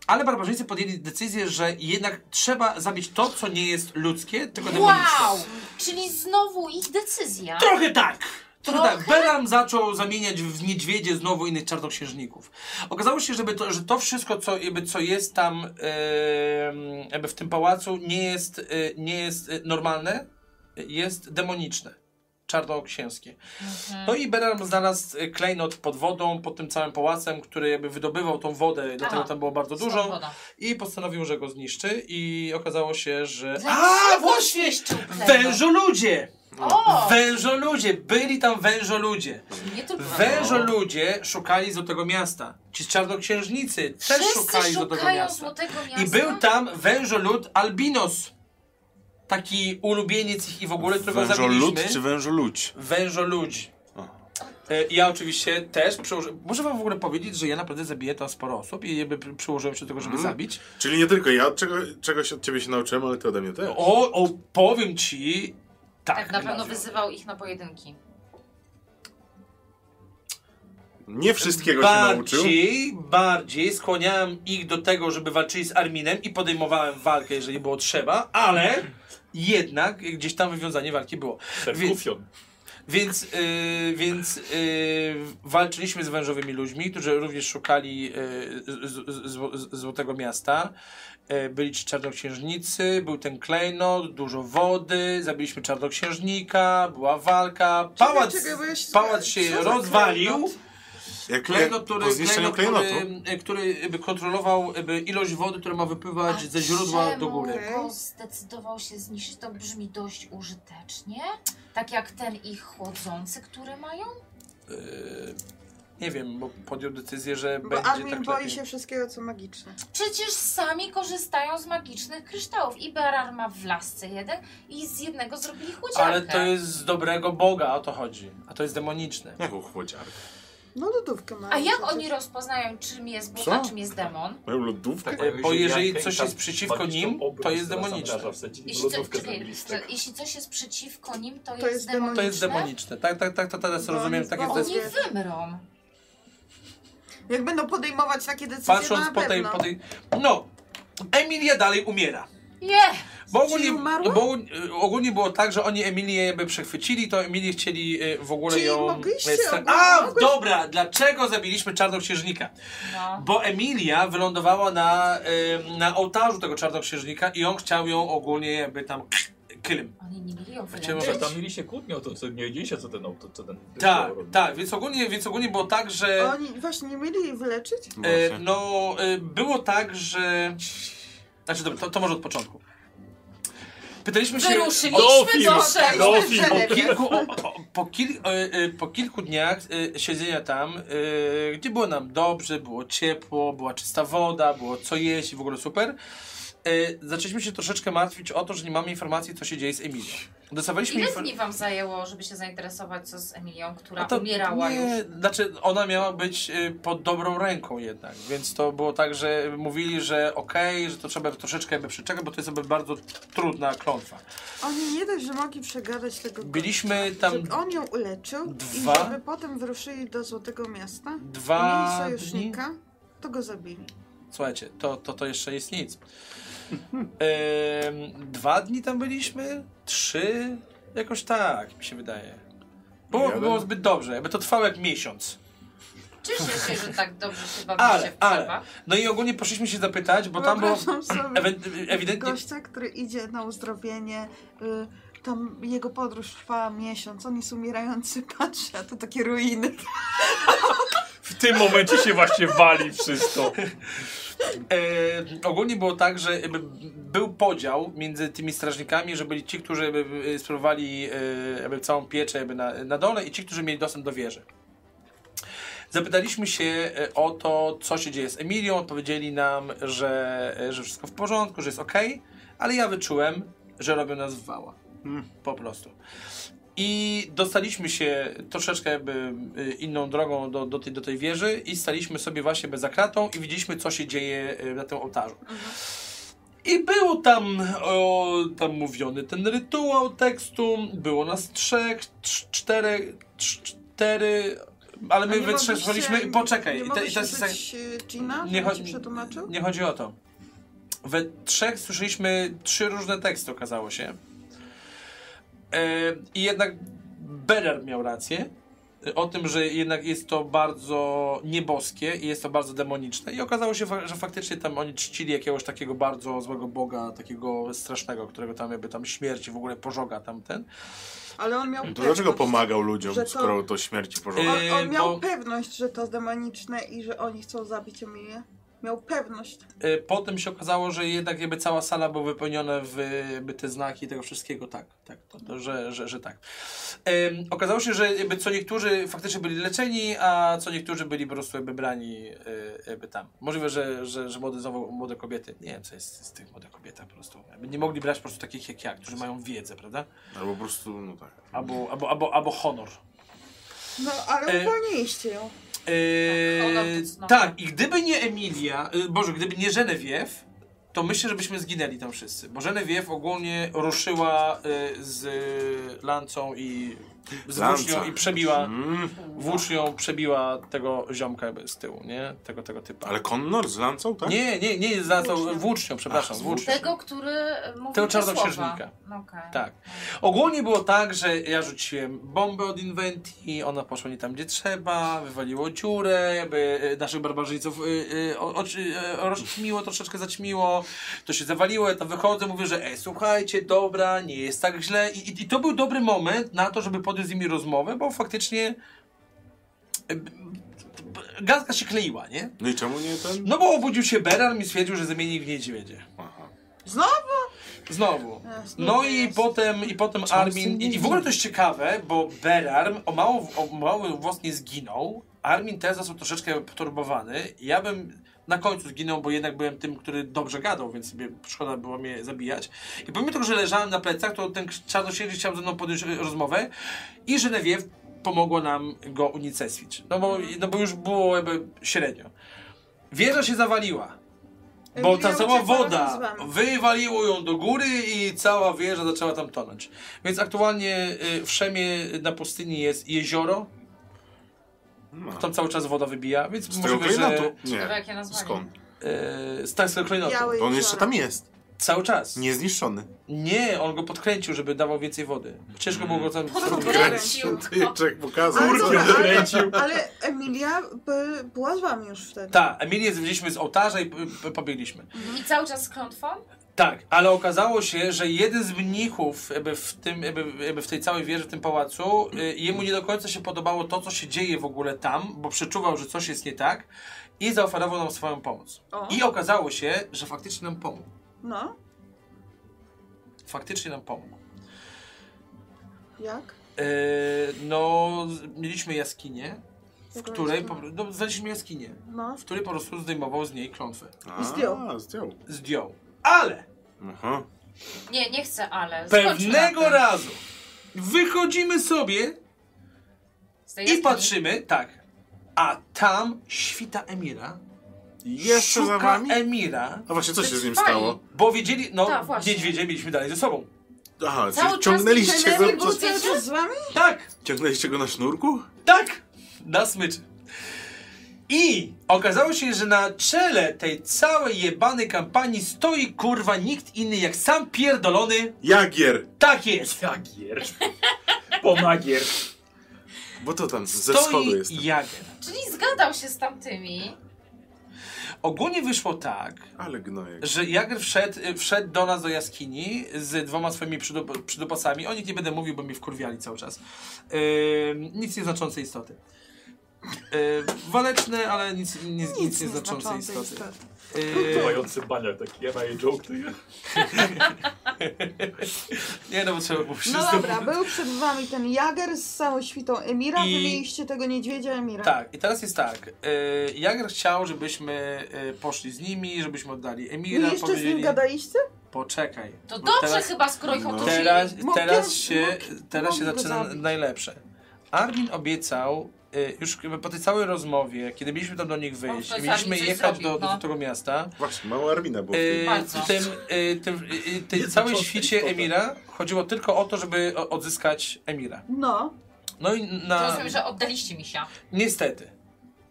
S1: ale barbarzyńcy podjęli decyzję, że jednak trzeba zabić to, co nie jest ludzkie, tylko demoniczne.
S6: Wow! Czyli znowu ich decyzja.
S1: Trochę tak! Trochę
S6: Trochę?
S1: tak. Beram zaczął zamieniać w niedźwiedzie znowu innych czarnoksiężników. Okazało się, żeby to, że to wszystko, co, jakby, co jest tam em, jakby w tym pałacu, nie jest, y, nie jest y, normalne, y, jest demoniczne. Czarnoksięskie. No i Beram znalazł y, klejnot pod wodą, pod tym całym pałacem, który jakby wydobywał tą wodę, dlatego tam było bardzo dużo. I postanowił, że go zniszczy i okazało się, że... A, właśnie! Wężo ludzie!
S6: O!
S1: Wężo ludzie! Byli tam wężo ludzie!
S6: Nie tylko
S1: Wężo ludzie szukali złotego miasta. Ci czarnoksiężnicy też
S6: Wszyscy
S1: szukali złotego
S6: szukają
S1: miasta.
S6: złotego miasta.
S1: I był tam wężolud albinos. Taki ulubieniec ich i w ogóle, którego
S4: Wężolud
S1: zabiliśmy.
S4: czy wężoludź?
S1: Wężoludzi. E, Ja oczywiście też przyłożyłem. Muszę wam w ogóle powiedzieć, że ja naprawdę zabiję tam sporo osób i jakby przy- przyłożyłem się do tego, żeby
S4: Mhm.
S1: zabić.
S8: Czyli nie tylko ja od czego, czegoś od ciebie się nauczyłem, ale ty ode mnie też.
S1: No, O, o powiem ci. Tak,
S6: Tak, na pewno
S1: Elazio.
S6: wyzywał ich na pojedynki.
S8: Nie wszystkiego się nauczył.
S1: Bardziej, bardziej skłaniałem ich do tego, żeby walczyli z Arminem i podejmowałem walkę, jeżeli było trzeba, ale jednak gdzieś tam wywiązanie walki było. Więc,
S2: Serkufion.
S1: więc, yy, więc yy, walczyliśmy z wężowymi ludźmi, którzy również szukali yy, z, z, z, z Złotego Miasta. Yy, byli ci czarnoksiężnicy, był ten klejnot, dużo wody, zabiliśmy czarnoksiężnika, była walka, pałac,
S5: czekaj, bo ja się
S1: pałac
S5: zgadzam. Co
S1: się
S5: za
S1: rozwalił.
S5: klejnot?
S8: Jak,
S1: Klejnot,
S8: jak,
S1: który,
S8: po zniszczeniu
S1: klejnot,
S8: klejnotu.
S1: który, e, który jakby kontrolował jakby ilość wody, która ma wypływać ze źródła do góry.
S6: Czemu go zdecydował się zniszczyć? To brzmi dość użytecznie. Tak jak ten ich chłodzący, który mają?
S1: Nie wiem, bo podjął decyzję, że
S5: Bo
S1: będzie
S5: Armin
S1: tak
S5: boi
S1: lepiej.
S5: się wszystkiego, co magiczne.
S6: Przecież sami korzystają z magicznych kryształów. I Berar ma w lasce jeden i z jednego zrobili chłodziarkę.
S1: Ale to jest z dobrego Boga, o to chodzi. A to jest demoniczne.
S8: Jaką chłodziarkę?
S5: No lodówkę ma.
S6: A jak oni rozpoznają, czym jest Bóg, a
S8: Co?
S6: czym jest demon?
S8: Moją lodówkę?
S2: Tak,
S1: e, Bo jeżeli
S2: jak
S1: coś
S2: tam
S1: jest przeciwko
S2: walić,
S1: nim,
S2: obrót
S1: to jest
S2: teraz
S1: demoniczne.
S2: zamraża, wsadzić w
S6: Jeśli, co,
S2: lodówkę
S6: czekaj,
S2: zrobić,
S6: to,
S2: tak.
S6: jeśli coś jest przeciwko nim, to,
S5: To
S6: jest
S5: jest demon-
S6: demoniczne.
S1: To jest demoniczne. Tak, tak, tak, to teraz
S5: Bo
S1: rozumiem.
S5: oni
S1: Tak jest, to jest,
S6: Oni wymrą.
S5: Jak będą podejmować takie decyzje,
S1: patrząc
S5: na
S1: po tej,
S5: pewno.
S1: po tej... No, Emilia dalej umiera.
S6: Nie!
S1: Bo ogólnie,
S5: Czyli umarła?
S1: bo y, ogólnie było tak, że oni Emilię jakby przechwycili, to Emilię chcieli y, w ogóle
S5: Czyli
S1: ją...
S5: mogliście
S1: y, stra-
S5: ogólnie-
S1: A,
S5: mogłeś-
S1: dobra, dlaczego zabiliśmy czarnoksiężnika?
S6: No.
S1: Bo Emilia wylądowała na, y, na ołtarzu tego czarnoksiężnika i on chciał ją ogólnie jakby tam kylm.
S6: Oni nie mieli ją
S1: Chciałem-
S2: Że
S6: wylęczyć.
S2: tam mieli się kłótnią, to co nie wiedzieliście, co ten auto, co ten.
S1: Tak,
S2: robi.
S1: tak, więc ogólnie, więc ogólnie było tak, że...
S5: Oni właśnie nie mieli jej wyleczyć?
S1: E, no, e, było tak, że. Znaczy, dobra, to, to może od początku. Pytaliśmy się
S6: Wyruszyliśmy
S5: No,
S6: do
S5: Dofil.
S6: szeregu.
S5: Dofil.
S1: po
S6: no,
S1: kilku, o, o, po, kil, e, e, po kilku dniach e, siedzenia tam, e, gdzie było nam dobrze, było ciepło, była czysta woda, było co jeść, i w ogóle super, e, zaczęliśmy się troszeczkę martwić o to, że nie mamy informacji, co się dzieje z Emilią. Dostawaliśmy
S6: Ile
S1: infor-
S6: dni wam zajęło, żeby się zainteresować, co z Emilią, która
S1: A to
S6: umierała
S1: nie,
S6: już?
S1: Znaczy, ona miała być y, pod dobrą ręką jednak, więc to było tak, że mówili, że okej, że to trzeba troszeczkę jakby przeczekać, bo to jest jakby bardzo trudna klątwa.
S5: Oni nie dość, że mogli przegadać tego
S1: Byliśmy tam
S5: Żeby on ją uleczył
S1: dwa-
S5: i żeby potem wyruszyli do Złotego Miasta i
S1: dwa
S5: mieli
S1: dni.
S5: sojusznika, to go zabili.
S1: Słuchajcie, to, to, to jeszcze jest nic. Ym, dwa dni tam byliśmy, trzy, jakoś tak mi się wydaje. Było,
S8: Ja
S1: było
S8: bym-
S1: zbyt dobrze, jakby to trwało jak miesiąc.
S6: Cieszę się, że tak dobrze się
S1: Ale,
S6: bawicie w
S1: ale.
S6: przerwach.
S1: No i ogólnie poszliśmy się zapytać, bo tam było
S5: Wyobrażam sobie
S1: ewen- ewidentnie
S5: gościa, który idzie na uzdrowienie, y, tam jego podróż trwa miesiąc, on jest umierający, (laughs) patrzy, a to takie ruiny.
S7: W tym momencie się właśnie wali wszystko.
S1: E, ogólnie było tak, że jakby był podział między tymi strażnikami, że byli ci, którzy jakby e, sprawowali e, jakby całą pieczę jakby na, na dole i ci, którzy mieli dostęp do wieży. Zapytaliśmy się e, o to, co się dzieje z Emilią. Odpowiedzieli nam, że, e, że wszystko w porządku, że jest ok, ale ja wyczułem, że robią nas w wała. Po prostu. I dostaliśmy się troszeczkę jakby y, inną drogą do, do, tej, do tej wieży i staliśmy sobie właśnie jakby za kratą i widzieliśmy, co się dzieje y, na tym ołtarzu.
S5: Mhm.
S1: I był tam, o, tam mówiony ten rytuał tekstu, było nas trzech, trz- czterech, trz- cztery, ale my
S5: A nie
S1: we trzech
S5: mogliście-
S1: szliśmy, poczekaj,
S5: Nie
S1: i te- i
S5: mogłeś
S1: teraz jest tak-
S5: użyć y, Gina,
S1: Nie
S5: nie
S1: chodzi-
S5: chodzi... przetłumaczył?
S1: nie chodzi o to. We trzech słyszeliśmy trzy różne teksty, okazało się. E, I jednak Beller miał rację e, o tym, że jednak jest to bardzo nieboskie i jest to bardzo demoniczne. I okazało się, fa- że faktycznie tam oni czcili jakiegoś takiego bardzo złego boga, takiego strasznego, którego tam jakby tam śmierci, w ogóle pożoga tamten.
S5: Ale on miał
S4: No To dlaczego
S5: pewność.
S4: pomagał ludziom,
S5: że to-
S4: skoro to śmierci pożąda?
S5: On,
S1: no, E,
S5: on miał
S1: bo-
S5: pewność, że to demoniczne i że oni chcą zabić Emilię. Miał pewność.
S1: E, Potem się okazało, że jednak jakby cała sala była wypełniona w jakby te znaki tego wszystkiego, tak, tak, to, to, że, że, że tak. Em, okazało się, że jakby co niektórzy faktycznie byli leczeni, a co niektórzy byli po prostu jakby brani e, jakby tam. Możliwe, że, że, że młode, znowu młode kobiety, nie wiem co jest z tych młodych kobiet po prostu, jakby nie mogli brać po prostu takich jak ja, którzy mają wiedzę, prawda?
S4: Albo po prostu, no tak.
S1: Albo, albo, albo, albo honor.
S5: No, ale
S1: E,
S5: uwolniliście ją.
S1: Eee,
S6: Ona w cudzysłowie.
S1: tak, i gdyby nie Emilia, y, Boże, gdyby nie Genevieve, to myślę, żebyśmy zginęli tam wszyscy. Bo Genevieve ogólnie ruszyła y, z y, lancą i z włócznią
S4: Lanca.
S1: i przebiła,
S4: Mm,
S1: włócznią przebiła tego ziomka jakby z tyłu, nie? Tego, tego typa.
S4: ale Connor z lancą, tak?
S1: Nie, nie, nie z lancą,
S5: Włócznią.
S1: włócznią, przepraszam,
S4: z
S1: włócznią.
S6: Tego, który mówił
S1: Tego
S6: te
S1: czarnoksiężnika.
S6: słowa. No Okej.
S1: Tak. Ogólnie było tak, że ja rzuciłem bombę od Inventi, ona poszła nie tam gdzie trzeba, wywaliło dziurę, jakby e, naszych barbarzyńców y, y, o- oczy- e, rozćmiło, troszeczkę zaćmiło, to się zawaliło, ja tam wychodzę, mówię, że ej, słuchajcie, dobra, nie jest tak źle I, i, i to był dobry moment na to, żeby podjąć z nimi rozmowę, bo faktycznie e, b- b- gadka się kleiła, nie?
S4: No i czemu nie ten?
S1: No bo obudził się Beran i stwierdził, że zamieni w niedźwiedzie.
S4: Aha.
S1: Znowu.
S5: E,
S1: No i
S5: jest.
S1: potem, i potem Armin. I, I w ogóle to jest ciekawe, bo Berarm o mało, o mało własnie zginął. Armin też został troszeczkę poturbowany. Ja bym na końcu zginął, bo jednak byłem tym, który dobrze gadał, więc sobie szkoda było mnie zabijać. I pomimo tego, że leżałem na plecach, to ten czarnosiedzi chciał ze mną podjąć e, rozmowę i Genevieve pomogło nam go unicestwić. No bo, no bo już było jakby średnio. Wieża się zawaliła. Bo ta
S5: Emilia
S1: cała
S5: uciekła
S1: woda
S5: razem z wami.
S1: wywaliło ją do góry i cała wieża zaczęła tam tonąć. Więc aktualnie y, w Szemie y, na pustyni jest jezioro,
S4: No.
S1: tam cały czas woda wybija, więc
S4: Z tego
S1: możliwe, że
S4: klejnotu?
S6: Ciekawe,
S4: Nie.
S6: jakie nazwanie.
S4: Skąd?
S1: y, z tańskiego klejnotu.
S5: Białe
S4: To on
S5: jezioro.
S4: jeszcze tam jest.
S1: Cały czas. Nie.
S4: Niezniszczony.
S1: on go podkręcił, żeby dawał więcej wody. Ciężko było go tam...
S6: Podkręcił.
S4: Ty Jęczek pokazał.
S5: Ale, dobra,
S4: Kurde.
S5: ale, ale Emilia by, była z wami już wtedy.
S1: Tak, Emilię zwiedziliśmy z ołtarza i y, y, pobiegliśmy.
S5: Mhm.
S6: I cały czas z klątwą?
S1: Tak, ale okazało się, że jeden z mnichów jakby w, tym, jakby, jakby w tej całej wieży, w tym pałacu, y, jemu nie do końca się podobało to, co się dzieje w ogóle tam, bo przeczuwał, że coś jest nie tak i zaoferował nam swoją pomoc.
S5: O.
S1: I okazało się, że faktycznie nam pomógł.
S5: No.
S1: faktycznie nam pomógł.
S5: Jak?
S1: E, no, z- mieliśmy jaskinię, w
S5: Jaką
S1: której. Po,
S5: jaskinię?
S1: no, znaleźliśmy jaskinię,
S5: No.
S1: w której po prostu zdejmował z niej klątwę.
S4: A,
S5: zdjął.
S4: zdjął.
S1: Zdjął. Ale
S4: Aha.
S6: Nie, nie chcę, ale. skończmy na
S1: pewnego
S6: tym.
S1: razu wychodzimy sobie
S6: Z tej
S1: i
S6: jaskini.
S1: patrzymy, tak. A tam świta Emira.
S4: Jeszcze
S1: szuka e-
S4: za wami?
S1: Emira,
S4: A właśnie, co się z nim
S6: Fajnie.
S4: stało?
S1: bo wiedzieli, no,
S6: Tak, właśnie.
S1: niedźwiedzie mieliśmy dalej ze sobą.
S4: Aha,
S6: Cały
S4: czyli
S6: czas
S4: ciągnęliście
S6: ten
S5: Był
S4: go,
S6: Był
S5: cały
S6: zdjęty?
S5: czas z wami?
S1: Tak!
S4: ciągnęliście go na sznurku?
S1: Tak! Na smyczy. I okazało się, że na czele tej całej jebanej kampanii stoi kurwa nikt inny jak sam pierdolony.
S4: Jagier!
S1: Tak E. jest!
S2: Jagier. Pomagier.
S4: Bo to tam ze schodu
S1: Stoi
S4: jest.
S1: Jager.
S6: Czyli zgadał się z tamtymi.
S1: Ogólnie wyszło tak,
S4: Ale gnojek.
S1: że Jager wszedł, y, wszedł do nas do jaskini z dwoma swoimi przydop- przydopasami. O nich nie będę mówił, bo mi wkurwiali cały czas. Yy, nic nieznaczące istoty. Yy, waleczne, ale nic, nic, nic, nieznaczące istoty.
S6: No
S1: Yy,
S2: Płający baniak taki, ja i joke to ja.
S1: nie no, bo trzeba było
S5: No
S1: wszystko
S5: dobra, był przed wami ten Jager z całą świtą Emira,
S1: I-
S5: I... wy mieliście tego niedźwiedzia Emira.
S1: Tak, i teraz jest tak. Yy, Jager chciał, żebyśmy y, poszli z nimi, żebyśmy oddali
S5: Wy
S1: Emira.
S5: No jeszcze z nim
S1: powiedzieli-
S5: gadaliście?
S1: Poczekaj.
S6: To
S1: bo
S6: dobrze
S1: No teraz- no.
S6: chyba, skoro ich otoczyli.
S1: Teraz,
S5: Mogę-
S1: teraz się,
S5: mogę-
S1: teraz się
S5: mogę go
S1: zaczyna
S5: zabić.
S1: najlepsze. Armin obiecał, y, już chyba po tej całej rozmowie, kiedy mieliśmy tam do nich wyjść,
S6: to
S1: i mieliśmy
S6: sami coś
S1: jechać do,
S6: zrobił,
S1: do
S6: no.
S1: tego miasta,
S4: Właśnie, mała Armina była w
S1: y,
S4: tej...
S6: Bardzo.
S1: w tym, y, tym, y, y, tej
S2: Jest
S1: całej
S2: zaczątek
S1: świcie
S2: istota.
S1: Emira chodziło tylko o to, żeby o- odzyskać Emira.
S5: No.
S1: No i
S6: To
S1: na...
S6: rozumiem, że oddaliście mi się.
S1: Niestety.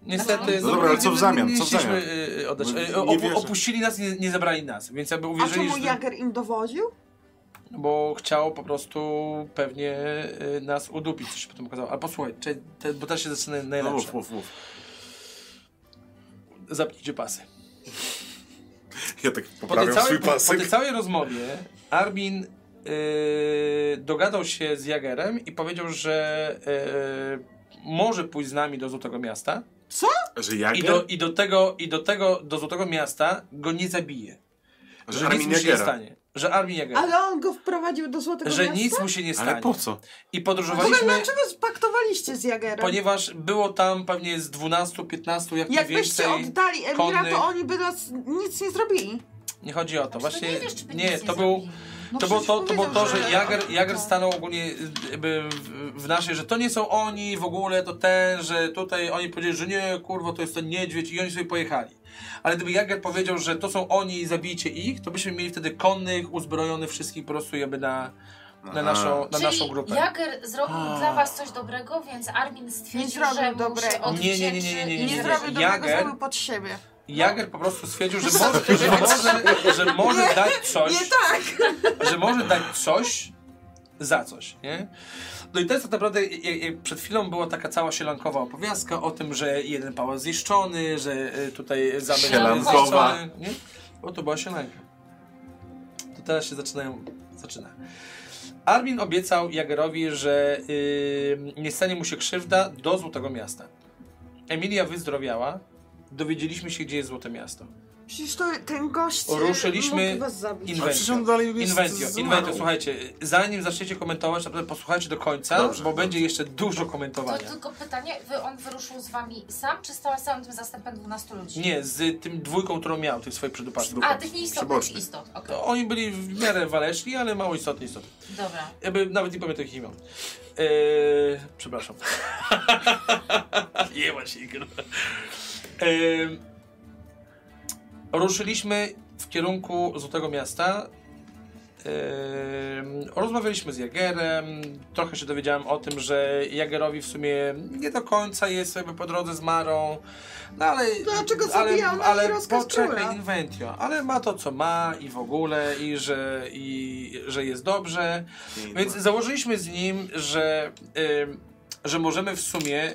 S1: Niestety.
S4: No dobra, ale co w
S1: nie-
S4: zamian?
S1: Nie, nie
S4: Co w zamian?
S1: chcieliśmy, y, y, oddać.
S4: No,
S1: Y,
S4: nie
S1: opu-
S4: wierzę.
S1: opuścili nas i nie, nie zabrali nas, więc jakby
S5: A
S1: uwierzyli,
S5: czemu
S1: że...
S5: Jager im dowodził?
S1: No bo chciał po prostu pewnie y, nas udupić, co się potem okazało. A posłuchaj, czy, te, bo teraz się zaczyna
S4: No
S1: najlepsze.
S4: mów, mów, mów.
S1: Zapnijcie pasy.
S4: Ja tak
S1: Po tej,
S4: poprawiam
S1: całej,
S4: swój
S1: po, po tej
S4: pasek.
S1: całej rozmowie Armin y, dogadał się z Jagerem i powiedział, że y, może pójść z nami do Złotego Miasta
S4: Że
S1: i do,
S4: Jagier?
S1: i do tego, i do tego, do Złotego Miasta go nie zabije.
S4: Że
S1: nic
S4: Armin
S1: mu się nie
S4: Jagiera.
S1: stanie. Że Armin Jagera.
S5: Ale on go wprowadził do Złotego
S1: Że
S5: Miasta?
S1: nic mu się nie stanie.
S4: Ale po co?
S1: I
S5: Słuchaj,
S1: podróżowaliśmy...
S5: dlaczego spaktowaliście z Jagerem?
S1: Ponieważ było tam pewnie z 12, 15, jak nie
S5: Jakbyście
S1: więcej.
S5: oddali Emira,
S1: konnych.
S5: to oni by nas nic nie zrobili.
S1: Nie chodzi o to. Właśnie
S6: nie No, wiesz, czy by
S1: nie,
S6: nic
S1: to
S6: nie
S1: był
S6: zrobili.
S5: No
S1: to było
S5: przecież
S1: to, to, było to
S5: powiedział,
S1: że Jager, Jager
S5: No.
S1: stanął ogólnie jakby w, w naszej, że to nie są oni w ogóle, to ten, że tutaj oni powiedzieli, że nie, kurwa, to jest ten niedźwiedź i oni sobie pojechali. Ale gdyby Jager powiedział, że to są oni i zabijcie ich, to byśmy mieli wtedy konnych, uzbrojonych wszystkich po prostu jakby na, na,
S4: Aha.
S1: naszą, na
S6: Czyli
S1: naszą grupę.
S6: Jager zrobił
S1: A.
S6: dla was coś dobrego, więc Armin stwierdził,
S5: zrobił
S6: że mu
S5: dobrego.
S6: się
S1: Nie, nie, nie, nie, nie,
S6: odwdzięczy
S1: nie,
S6: i
S5: Nie,
S1: nie.
S5: zrobił dobrego,
S1: Jager-
S5: zrobił pod siebie.
S1: Jager po prostu stwierdził,
S5: (laughs)
S1: że może, że może, że może dać coś.
S5: Nie tak!
S1: że może dać coś za coś, nie? No i to jest tak naprawdę, je- je- przed chwilą była taka cała sielankowa opowiastka o tym, że jeden pałac zniszczony, że y, tutaj zamek
S4: Sielankowa.
S1: zniszczony, nie? Bo to była sielanka. To teraz się zaczynają, zaczyna. Armin obiecał Jagerowi, że y, nie stanie mu się krzywda do Złotego Miasta. Emilia wyzdrowiała, dowiedzieliśmy się, gdzie jest Złote Miasto.
S5: Przecież to ten gość e,
S1: Ruszyliśmy
S5: mógł was zabić.
S1: in-
S4: Ale przecież on dalej jest
S1: Inwentio,
S4: z-
S1: inwentio, słuchajcie, zanim zaczniecie komentować, naprawdę posłuchajcie do końca,
S4: Dobrze,
S1: bo
S4: dobrze.
S1: będzie jeszcze dużo
S6: To
S1: komentowania.
S6: tylko pytanie, wy on wyruszył z wami sam, czy stał z całym tym zastępem 12 ludzi?
S1: Nie, z tym dwójką, którą miał, tych swoich przedupaszków.
S6: A, tych nieistotnych
S4: Przybocznych.
S6: istot, okej,
S1: To oni byli w miarę waleczni, ale mało istotni istotni.
S6: dobra.
S1: Jakby nawet nie pamiętam ich imion. Eee, przepraszam. (laughs) nie ma się kurwa. Eee, Ruszyliśmy w kierunku Złotego Miasta. Eee, rozmawialiśmy z Jagerem. Trochę się dowiedziałem o tym, że Jagerowi w sumie nie do końca jest jakby po drodze z Marą. No ale.
S5: Dlaczego zabijał
S1: ale,
S5: na
S1: ale
S5: jej rozkaz króla?
S1: poczekaj, Inventio. Ale ma to, co ma i w ogóle, i że, i, że jest dobrze. Więc założyliśmy z nim, że, ym, że możemy w sumie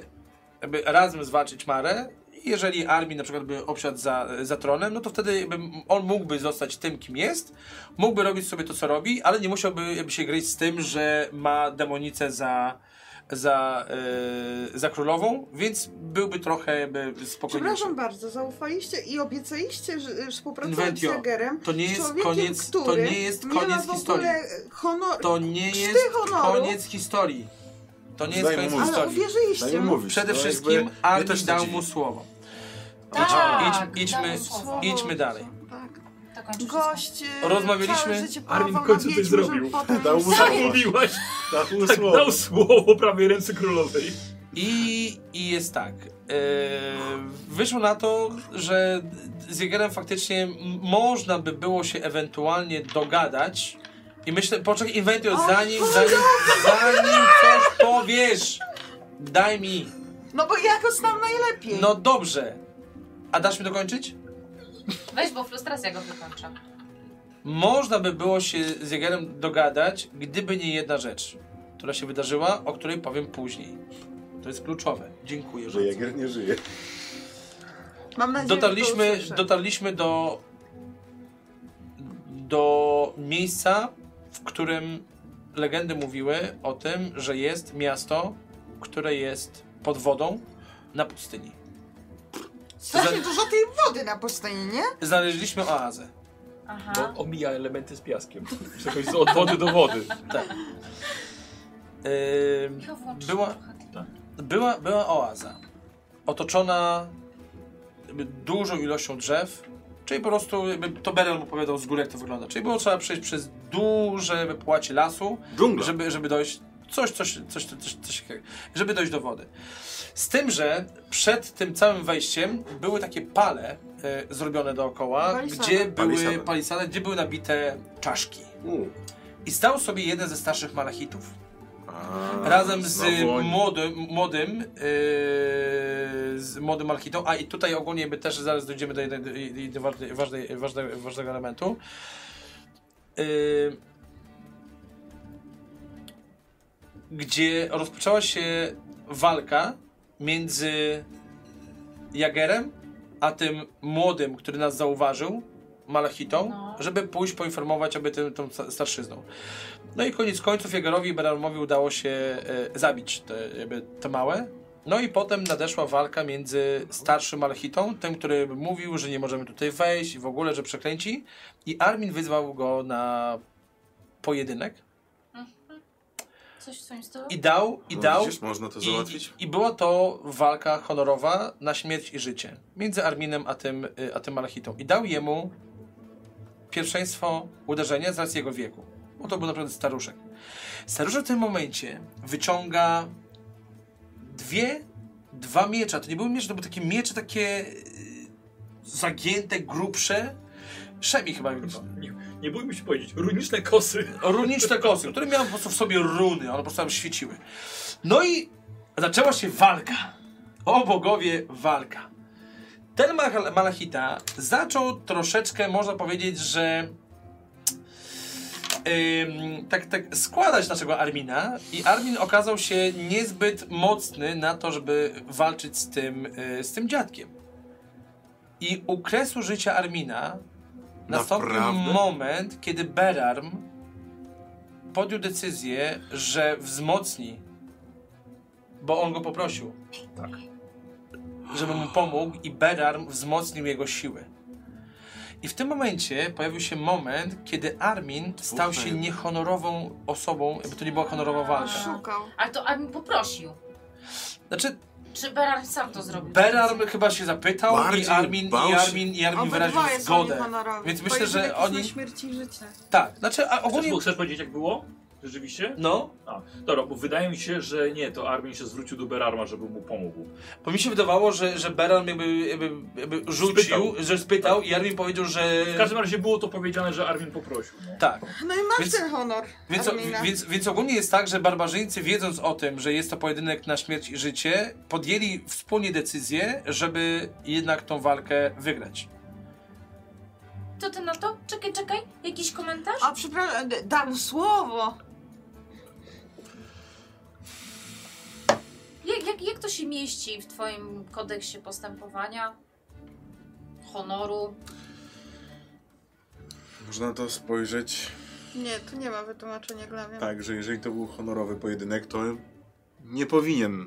S1: jakby razem zwalczyć Marę. Jeżeli Armin na przykład by obsiadł za, za tronem, no to wtedy jakby m- on mógłby zostać tym, kim jest, mógłby robić sobie to, co robi, ale nie musiałby jakby się gryźć z tym, że ma demonicę za, za, e, za królową, więc byłby trochę jakby spokojniejszy.
S5: Przepraszam bardzo, zaufaliście i obiecaliście, że że współpracować z
S1: Inventio,
S5: Jagerem.
S1: To nie
S5: z
S1: jest
S5: człowiekiem,
S1: koniec, to
S5: który
S1: nie jest
S5: nie ma
S1: koniec
S5: w
S1: historii.
S5: ogóle honor...
S1: To nie
S5: krzty
S1: jest
S5: honoru.
S1: koniec historii. To nie jest
S8: Daj mu
S1: koniec
S8: mówić.
S5: Ale
S1: historii.
S5: uwierzyliście
S8: Daj
S5: mu.
S8: mówić.
S1: Przede
S8: no jakby
S1: wszystkim
S8: mnie też
S1: Armin
S8: to
S1: dał
S8: dziwi.
S1: mu
S8: (laughs)
S1: słowo.
S6: Tak,
S1: idź- idźmy-
S6: dałam słowo.
S1: Idźmy dalej.
S5: Tak.
S6: To kończy wszystko.
S5: Gość... e,
S1: Rozmawialiśmy.
S7: Armin w końcu coś zrobił.
S8: Dał mu
S5: słowo.
S8: słowo.
S7: Mówiłaś,
S8: Dał mu
S7: tak
S8: słowo.
S7: dał słowo prawie ręce królowej.
S1: I, i jest tak. Eee, wyszło na to, że z Jagerem faktycznie m- można by było się ewentualnie dogadać. I myślę, poczekaj, Inventio, zanim, zanim, zanim coś powiesz, daj mi.
S5: No bo ja go znam najlepiej.
S1: No dobrze. A dasz mi dokończyć?
S6: Weź, bo frustracja go wykończa.
S1: Można by było się z Jagerem dogadać, gdyby nie jedna rzecz, która się wydarzyła, o której powiem później. To jest kluczowe. Dziękuję.
S8: Że
S1: bardzo.
S8: Jager nie żyje.
S5: Mam nadzieję, że to
S1: dotarliśmy,
S5: usłyszę.
S1: dotarliśmy do, do miejsca, w którym legendy mówiły o tym, że jest miasto, które jest pod wodą na pustyni.
S5: Strasznie
S1: Za-
S5: dużo tej wody na pustyni, nie?
S1: Znaleźliśmy oazę.
S6: Aha.
S7: Bo omija elementy z piaskiem. Przechodzi z od wody do wody.
S1: Tak. Ym,
S6: Ja włączę
S1: Była-
S6: trochę.
S1: Była, była oaza. Otoczona jakby dużą ilością drzew. Czyli po prostu, jakby to Beren opowiadał z góry, jak to wygląda. Czyli było trzeba przejść przez duże jakby płacie lasu,
S8: Dżungla.
S1: żeby, żeby dojść. Coś, coś, coś, coś, coś, coś takiego, żeby dojść do wody. Z tym, że przed tym całym wejściem były takie pale e, zrobione dookoła,
S5: Palisady.
S1: gdzie były
S8: Palisady.
S1: palisady, gdzie były nabite czaszki.
S8: U.
S1: I stał sobie jeden ze starszych malachitów.
S8: A,
S1: Razem z
S8: znowu oni.
S1: młodym, młodym, yy, z młodym Malchitą, a i tutaj ogólnie my też zaraz dojdziemy do jednej, do jednej ważnej, ważnej, ważnej, ważnego elementu. Yy, gdzie rozpoczęła się walka między Jagerem, a tym młodym, który nas zauważył, Malachitą,
S6: No.
S1: żeby pójść poinformować obie tym, tą sta- starszyzną. No i koniec końców Jagerowi i Beramowi udało się e, zabić te, jakby, te małe. No i potem nadeszła walka między starszym Malachitą, tym, który mówił, że nie możemy tutaj wejść i w ogóle, że przeklęci. I Armin wyzwał go na pojedynek
S6: Coś w swoim stylu?
S1: i dał, i
S8: No
S1: dał.
S8: Widzisz, można to
S1: I,
S8: załatwić.
S1: I była to walka honorowa na śmierć i życie między Arminem a tym, y, a tym Malachitą. I dał jemu pierwszeństwo uderzenia z racji jego wieku. Bo to był naprawdę staruszek. Staruszek w tym momencie wyciąga dwie, dwa miecza. To nie były miecze, to były takie miecze takie y, zagięte, grubsze. Szemi chyba.
S7: Nie, nie bójmy się powiedzieć, runiczne kosy.
S1: Runiczne kosy, które miały po prostu w sobie runy, one po prostu tam świeciły. No i zaczęła się walka. O bogowie, walka. Ten Mal- Malachita zaczął troszeczkę, można powiedzieć, że ym, tak, tak składać naszego Armina i Armin okazał się niezbyt mocny na to, żeby walczyć z tym, y, z tym dziadkiem. I u kresu życia Armina nastąpił
S8: Naprawdę?
S1: moment, kiedy Berarm podjął decyzję, że wzmocni, bo on go poprosił, żeby mu pomógł i Berarm wzmocnił jego siły. I w tym momencie pojawił się moment, kiedy Armin stał się
S8: jedno.
S1: niehonorową osobą, bo to nie była honorowa walka.
S5: Szukał.
S6: Ale to Armin poprosił.
S1: Znaczy,
S6: Czy Berarm sam to zrobił?
S1: Berarm chyba się zapytał i
S8: Bardziej
S1: Armin,
S8: bał
S1: i
S8: się.
S1: Armin, i Armin wyraził
S5: Obydwoje są
S1: zgodę.
S5: niehonorowi.
S1: Więc myślę, że
S5: Pojedynek jest
S1: oni-
S5: na śmierć i życie.
S1: Tak, znaczy a
S7: Chcesz,
S1: ogólnie...
S7: chcesz powiedzieć jak było? Rzeczywiście?
S1: No,
S7: A, dobra, bo wydaje mi się, że nie, to Armin się zwrócił do Berarma, żeby mu pomógł.
S1: bo mi się wydawało, że, że Berarm jakby, jakby, jakby rzucił,
S7: Spytał.
S1: że spytał i Armin powiedział, że...
S7: W każdym razie było to powiedziane, że Armin poprosił. No.
S1: Tak.
S5: No i masz
S1: Więc-
S5: ten honor.
S1: Więc,
S5: Armina.
S1: więc, więc ogólnie jest tak, że barbarzyńcy, wiedząc o tym, że jest to pojedynek na śmierć i życie, podjęli wspólnie decyzję, żeby jednak tą walkę wygrać.
S6: To ty na to? Czekaj, czekaj. Jakiś komentarz?
S5: A przepraszam, d- dam słowo.
S6: Jak, jak, jak to się mieści w twoim kodeksie postępowania? Honoru?
S8: Można to spojrzeć
S1: Tak.
S5: Nie, tu nie ma wytłumaczenia dla mnie.
S8: tak, że jeżeli to był honorowy pojedynek, to nie powinien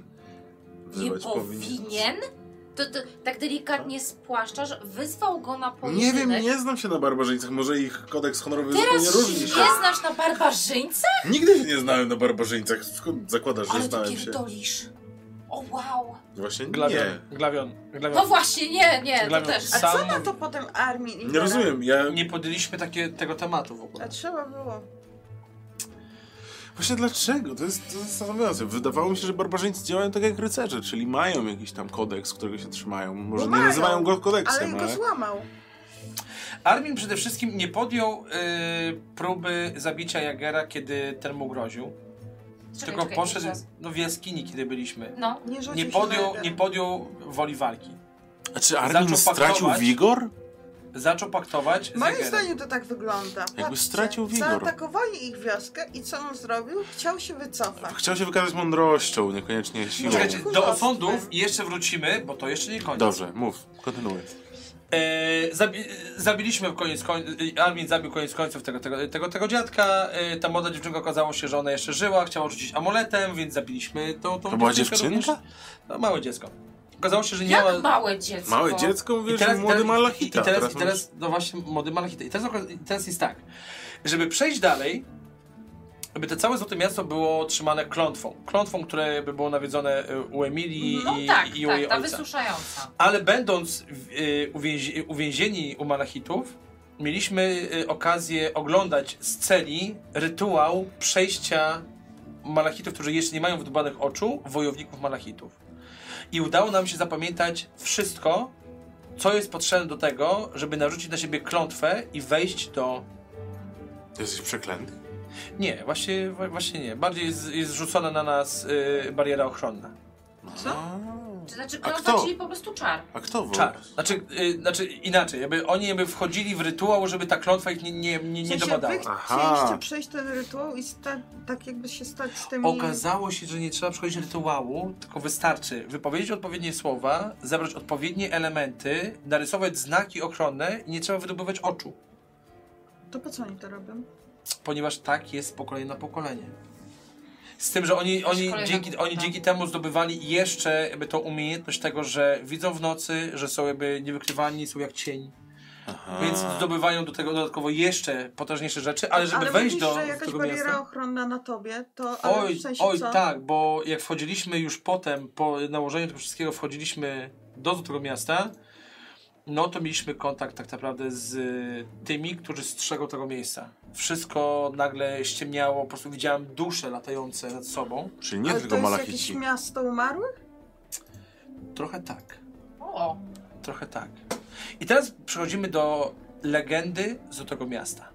S6: Nie
S8: wzywać.
S6: powinien? To, to tak delikatnie spłaszczasz, wyzwał go na
S8: Nie
S6: pojedynek.
S8: wiem, nie znam się na barbarzyńcach. Może ich kodeks honorowy
S6: Teraz
S8: zupełnie różni
S6: się nie
S8: się.
S6: znasz na barbarzyńca?
S8: Nigdy się nie znałem na barbarzyńcach. Skąd zakładasz, że
S6: Ale ty
S8: znałem się?
S6: pierdolisz. O wow.
S8: Właśnie nie.
S1: Glawion, glawion, glawion.
S6: No właśnie, nie, nie, to
S1: Glawion
S6: też.
S5: A co
S1: sam
S5: na to potem armii? i
S8: Nie
S5: teraz?
S8: rozumiem, ja...
S1: nie podjęliśmy takie, tego tematu w
S5: A
S1: ogóle.
S5: trzeba było.
S8: Właśnie dlaczego? To jest, to jest zastanawiające. Wydawało mi się, że barbarzyńcy działają tak jak rycerze, czyli mają jakiś tam kodeks, którego się trzymają. Może
S5: No
S8: nie
S5: mają,
S8: nazywają go
S5: Ale
S1: Tak
S8: kodeksem,
S5: go
S8: ale...
S5: złamał.
S1: Armin przede wszystkim nie podjął y, próby zabicia Jagera, kiedy ten mu groził.
S6: Czekaj,
S1: tylko
S6: czekaj,
S1: poszedł
S6: jeszcze raz.
S1: no, w jaskini, kiedy byliśmy.
S6: No,
S5: Nie, rzucił
S1: Nie
S5: się
S1: podjął,
S5: na-
S1: nie podjął woli walki.
S8: A czy
S1: Zaczął
S8: Armin stracił
S1: paktować.
S8: wigor?
S1: Zaczął paktować z
S5: Moim
S1: Jagerem.
S5: zdaniem to tak wygląda. Patrzcie,
S8: stracił wigor.
S5: Zaatakowali ich wioskę i co on zrobił? Chciał się
S1: No,
S5: wycofać.
S8: Chciał się wykazać mądrością, niekoniecznie siłą.
S1: Czekajcie, do
S5: Kurwa,
S1: osądów
S5: super.
S1: jeszcze wrócimy, bo to jeszcze nie koniec.
S8: Dobrze, mów, kontynuuj.
S1: E, zabi zabiliśmy w koniec końców, Armin zabił koniec końców tego, tego, tego, tego dziadka, e, ta młoda dziewczynka okazało się, że ona jeszcze żyła, chciała rzucić amuletem, więc zabiliśmy tą, tą
S8: To była
S1: dziewczynkę
S8: dziewczynka?
S1: również. No, małe dziecko. Okazało się, że nie
S6: jak
S1: ma...
S6: małe dziecko.
S8: Małe dziecko,
S1: I
S8: mówisz,
S1: teraz,
S8: młody
S1: i-
S8: malachita.
S1: I teraz, i
S8: mówisz-
S1: teraz no właśnie, młody malachita. I teraz, oka- I teraz jest tak, żeby przejść dalej, aby to całe Złote Miasto było trzymane klątwą. Klątwą, które by było nawiedzone e, u Emilii
S6: No
S1: i,
S6: tak,
S1: i u
S6: tak,
S1: jej
S6: ta
S1: ojca.
S6: wysuszająca.
S1: Ale będąc w- y, uwięzi, uwięzieni u Malachitów, mieliśmy y, okazję oglądać z celi rytuał przejścia Malachitów, którzy jeszcze nie mają wydbanych oczu, wojowników Malachitów. I udało nam się zapamiętać wszystko, co jest potrzebne do tego, żeby narzucić na siebie klątwę i wejść do.
S8: Jesteś przeklęty?
S1: Nie, właśnie, wa- właśnie nie. Bardziej jest, jest rzucona na nas y, bariera ochronna.
S8: Co?
S6: To znaczy,
S8: A
S6: klątwa,
S8: kto?
S6: czyli po prostu czar.
S8: A kto w
S1: Czar. Znaczy, y, znaczy inaczej, jakby oni jakby wchodzili w rytuał, żeby ta klątwa ich nie, nie, nie, nie
S5: W sensie
S1: dobadała.
S5: Wy
S8: Aha.
S5: chcieliście przejść ten rytuał i sta- tak jakby się stać z tymi...
S1: Okazało się, że nie trzeba przechodzić rytuału, tylko wystarczy wypowiedzieć odpowiednie słowa, zabrać odpowiednie elementy, narysować znaki ochronne i nie trzeba wydobywać oczu,
S5: To po co oni to robią?
S1: ponieważ tak jest z pokolenia na pokolenie. Z tym, że oni, oni,
S6: kolejna
S1: dzięki,
S6: głupota.
S1: oni dzięki temu zdobywali jeszcze jakby tą umiejętność tego, że widzą w nocy, że są jakby niewykrywani, są jak cień,
S8: Aha.
S1: więc zdobywają do tego dodatkowo jeszcze potężniejsze rzeczy, ale żeby
S5: ale
S1: wejść
S5: mówisz,
S1: do
S5: że
S1: do
S5: jakaś
S1: tego
S5: bariera
S1: miasta...
S5: ochronna na tobie, to... Ale
S1: Oj,
S5: w sensie
S1: oj
S5: co?
S1: tak, bo jak wchodziliśmy już potem, po nałożeniu tego wszystkiego, wchodziliśmy do tego miasta, no to mieliśmy kontakt tak naprawdę z y, tymi, którzy strzegą tego miejsca. Wszystko nagle ściemniało, po prostu widziałem dusze latające nad sobą.
S8: Czyli nie
S5: ale
S8: tylko
S5: to jest jakieś
S8: malachici.
S5: miasto umarłych?
S1: Trochę tak,
S6: O,
S1: trochę tak. I teraz przechodzimy do legendy z tego miasta.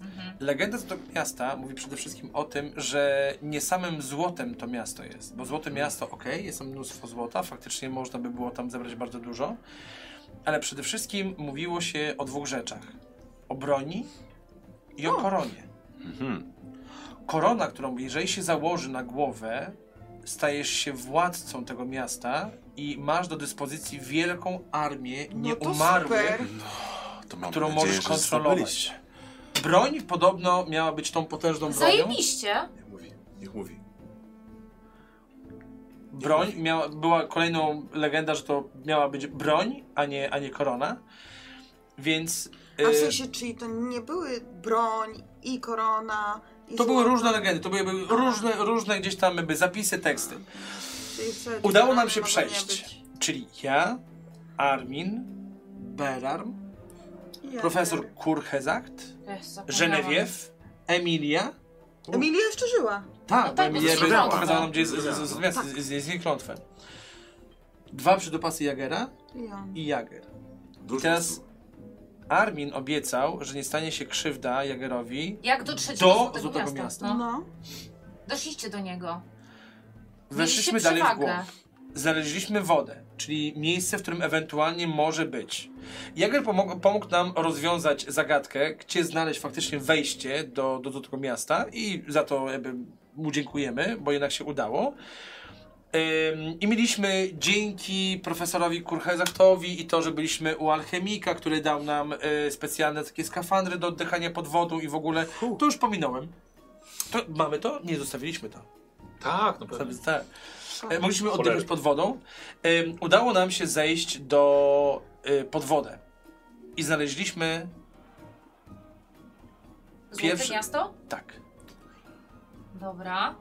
S6: mhm.
S1: Legenda z tego miasta mówi przede wszystkim o tym, że nie samym złotem to miasto jest. Bo złote
S5: Mhm.
S1: miasto, okej, jest tam mnóstwo złota, faktycznie można by było tam zebrać bardzo dużo. Ale przede wszystkim mówiło się o dwóch rzeczach: o broni i o koronie.
S8: Mhm.
S1: Korona, którą jeżeli się założy na głowę, stajesz się władcą tego miasta i masz do dyspozycji wielką armię
S5: No to
S1: nieumarłych,
S5: super.
S8: To mam
S1: którą
S8: nadzieję,
S1: możesz
S8: że
S1: kontrolować.
S8: zdobyliście.
S1: Broń podobno miała być tą potężną bronią.
S6: Zajebiście.
S8: Niech mówi, niech mówi.
S1: broń, miała, była kolejną legenda, że to miała być broń, a nie, a nie korona. Więc
S5: A w
S1: y,
S5: sensie, czyli to nie były broń i korona... I
S1: to były
S5: złoto,
S1: różne legendy, to były jakby różne, różne gdzieś tam jakby zapisy, teksty.
S5: czyli sobie
S1: Udało nam
S5: korony
S1: się
S5: mogą nie
S1: przejść.
S5: być.
S1: Czyli ja, Armin, Berarm,
S5: Ja
S1: profesor
S5: wiem.
S1: Kurhezacht,
S6: Ech, zapomniałam.
S1: Genevieve, Emilia.
S5: Emilia jeszcze żyła.
S1: Tak, bo
S6: tak,
S1: Emilia
S6: bo
S1: Berarm
S6: zrobiła.
S1: pokazała nam, gdzie jest z- z- z- z- z- z- z- klątwę. Dwa przydopasy Jagera
S5: I on.
S1: i Jager.
S8: Dużo
S1: teraz-
S8: osób.
S1: Armin obiecał, że nie stanie się krzywda Jagerowi,
S6: Jak dotrzeć
S1: Do
S6: do Złotego,
S1: Złotego
S6: Miasta?
S1: Miasta.
S6: No.
S5: No.
S6: Doszliście do niego.
S1: Weszliśmy
S6: Mieliście
S1: dalej w głąb.
S6: przewagę.
S1: Znaleźliśmy wodę, czyli miejsce, w którym ewentualnie może być. Jager pomógł, pomógł nam rozwiązać zagadkę, gdzie znaleźć faktycznie wejście do, do, do tego miasta i za to jakby mu dziękujemy, bo jednak się udało. Ym, I mieliśmy dzięki profesorowi Kurhezachtowi i to, że byliśmy u alchemika, który dał nam y, specjalne takie skafandry do oddychania pod wodą i w ogóle. To już pominąłem. To, mamy to? Nie zostawiliśmy to.
S2: Tak, no pewnie.
S1: Tam- Tak. E, Mogliśmy oddychać pod wodą. Ym, Udało nam się zejść do y, pod wodę. I znaleźliśmy
S6: Złote
S1: Pierwszy-
S6: miasto?
S1: tak.
S6: Dobra.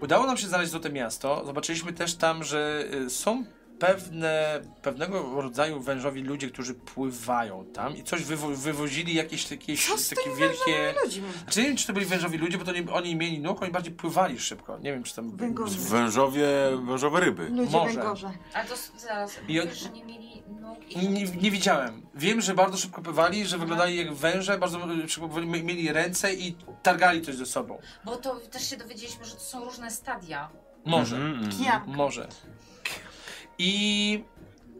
S1: Udało nam się znaleźć to miasto. Zobaczyliśmy też tam, że y, są pewne, pewnego rodzaju wężowi ludzie, którzy pływają tam i coś wywo wywozili, jakieś, jakieś
S5: Co z
S1: takie
S5: tymi
S1: wielkie...
S5: Ludzi mi.
S1: Znaczy, nie wiem, czy to byli wężowi ludzie, bo to nie, oni mieli nóg, oni bardziej pływali szybko. Nie wiem, czy tam...
S5: Węgorzy.
S8: Wężowie, wężowe ryby.
S5: Ludzie
S1: Może.
S5: węgorze.
S6: A to s- zaraz,
S1: I od-
S6: mówisz, że nie mieli nóg i...
S1: Nie, nie, nie widziałem. Wiem, że bardzo szybko pływali, że wyglądali jak węże, bardzo y, szybko pływali, mi- mieli ręce i targali coś ze sobą.
S6: Bo to też się dowiedzieliśmy, że to są różne stadia.
S1: Może.
S4: Mhm.
S8: Mhm,
S5: Kijak.
S1: Może. I,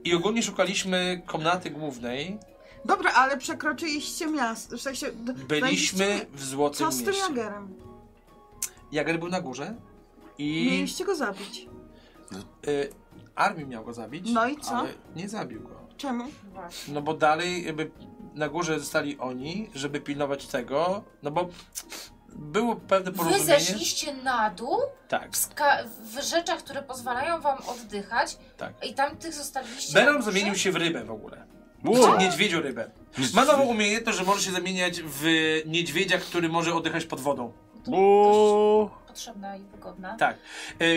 S1: I ogólnie szukaliśmy komnaty głównej.
S5: Dobra, ale przekroczyliście miasto. W sensie, d-
S1: Byliśmy
S5: znaleźliście-
S1: w Złotym
S5: Co z tym
S1: Mieście.
S5: Jagerem?
S1: Jager był na górze i
S5: Mieliście go zabić.
S1: y, Armin miał go zabić.
S5: No i co?
S1: Ale nie zabił go.
S5: Czemu?
S1: No bo dalej jakby na górze zostali oni, żeby pilnować tego, no bo było pewne
S6: Wy
S1: porozumienie.
S6: zeszliście na dół
S1: Tak.
S6: w, ska- w rzeczach, które pozwalają wam oddychać
S1: Tak.
S6: i tam tych zostawiliście... na
S1: Beram
S6: górze?
S1: zamienił się w rybę w ogóle.
S8: Wow.
S1: Niedźwiedzią rybę. Ma nową umiejętność, że może się zamieniać w niedźwiedzia, który może oddychać pod wodą.
S8: Wow.
S6: Potrzebna i wygodna.
S1: Tak.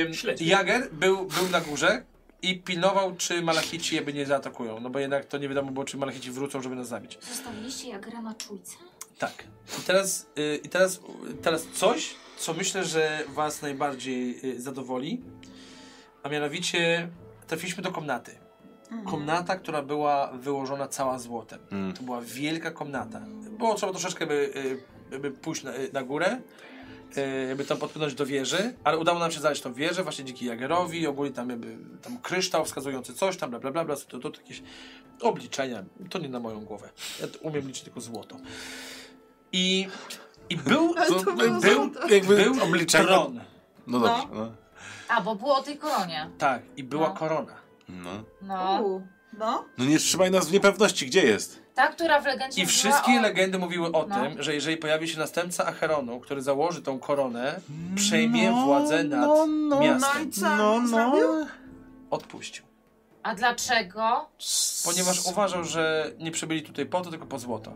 S1: Ym,
S2: Śledź.
S1: Jager był, był na górze i pilnował, czy malachici jakby nie zaatakują. No bo jednak to nie wiadomo było, czy malachici wrócą, żeby nas zabić.
S6: Zostawiliście Jagera na czujce?
S1: Tak. I teraz, y, i teraz, teraz coś, co myślę, że was najbardziej y, zadowoli, a mianowicie trafiliśmy do komnaty.
S5: Mhm.
S1: Komnata, która była wyłożona cała złotem.
S8: Mm.
S1: To była wielka komnata. Było trzeba troszeczkę by, y, by pójść na, y, na górę, y, by tam podpłynąć do wieży, ale udało nam się znaleźć tą wieżę, właśnie dzięki Jagerowi, ogólnie tam jakby tam kryształ wskazujący coś tam, bla bla bla, bla to, to, to jakieś obliczenia. To nie na moją głowę. Ja to umiem liczyć tylko złoto. I, i był,
S5: Ale to
S8: To
S5: było
S8: był
S5: złoto.
S8: jakby
S1: był
S8: obliczenie.
S1: tron.
S8: No dobrze. No.
S6: A, bo było o tej koronie.
S1: Tak, i była
S6: No.
S1: korona.
S8: No.
S6: No.
S5: U, No,
S8: no nie trzymaj nas w niepewności, gdzie jest.
S6: Ta, która w legendzie
S1: I
S6: była
S1: wszystkie
S6: o...
S1: legendy mówiły o
S6: No.
S1: tym, że jeżeli pojawi się następca Acheronu, który założy tą koronę, przejmie władzę nad
S8: no, no,
S5: no
S1: miastem.
S5: i co? No, Zrobił?
S1: Odpuścił.
S6: A dlaczego?
S1: Ponieważ uważał, że nie przybyli tutaj po to, tylko po złoto.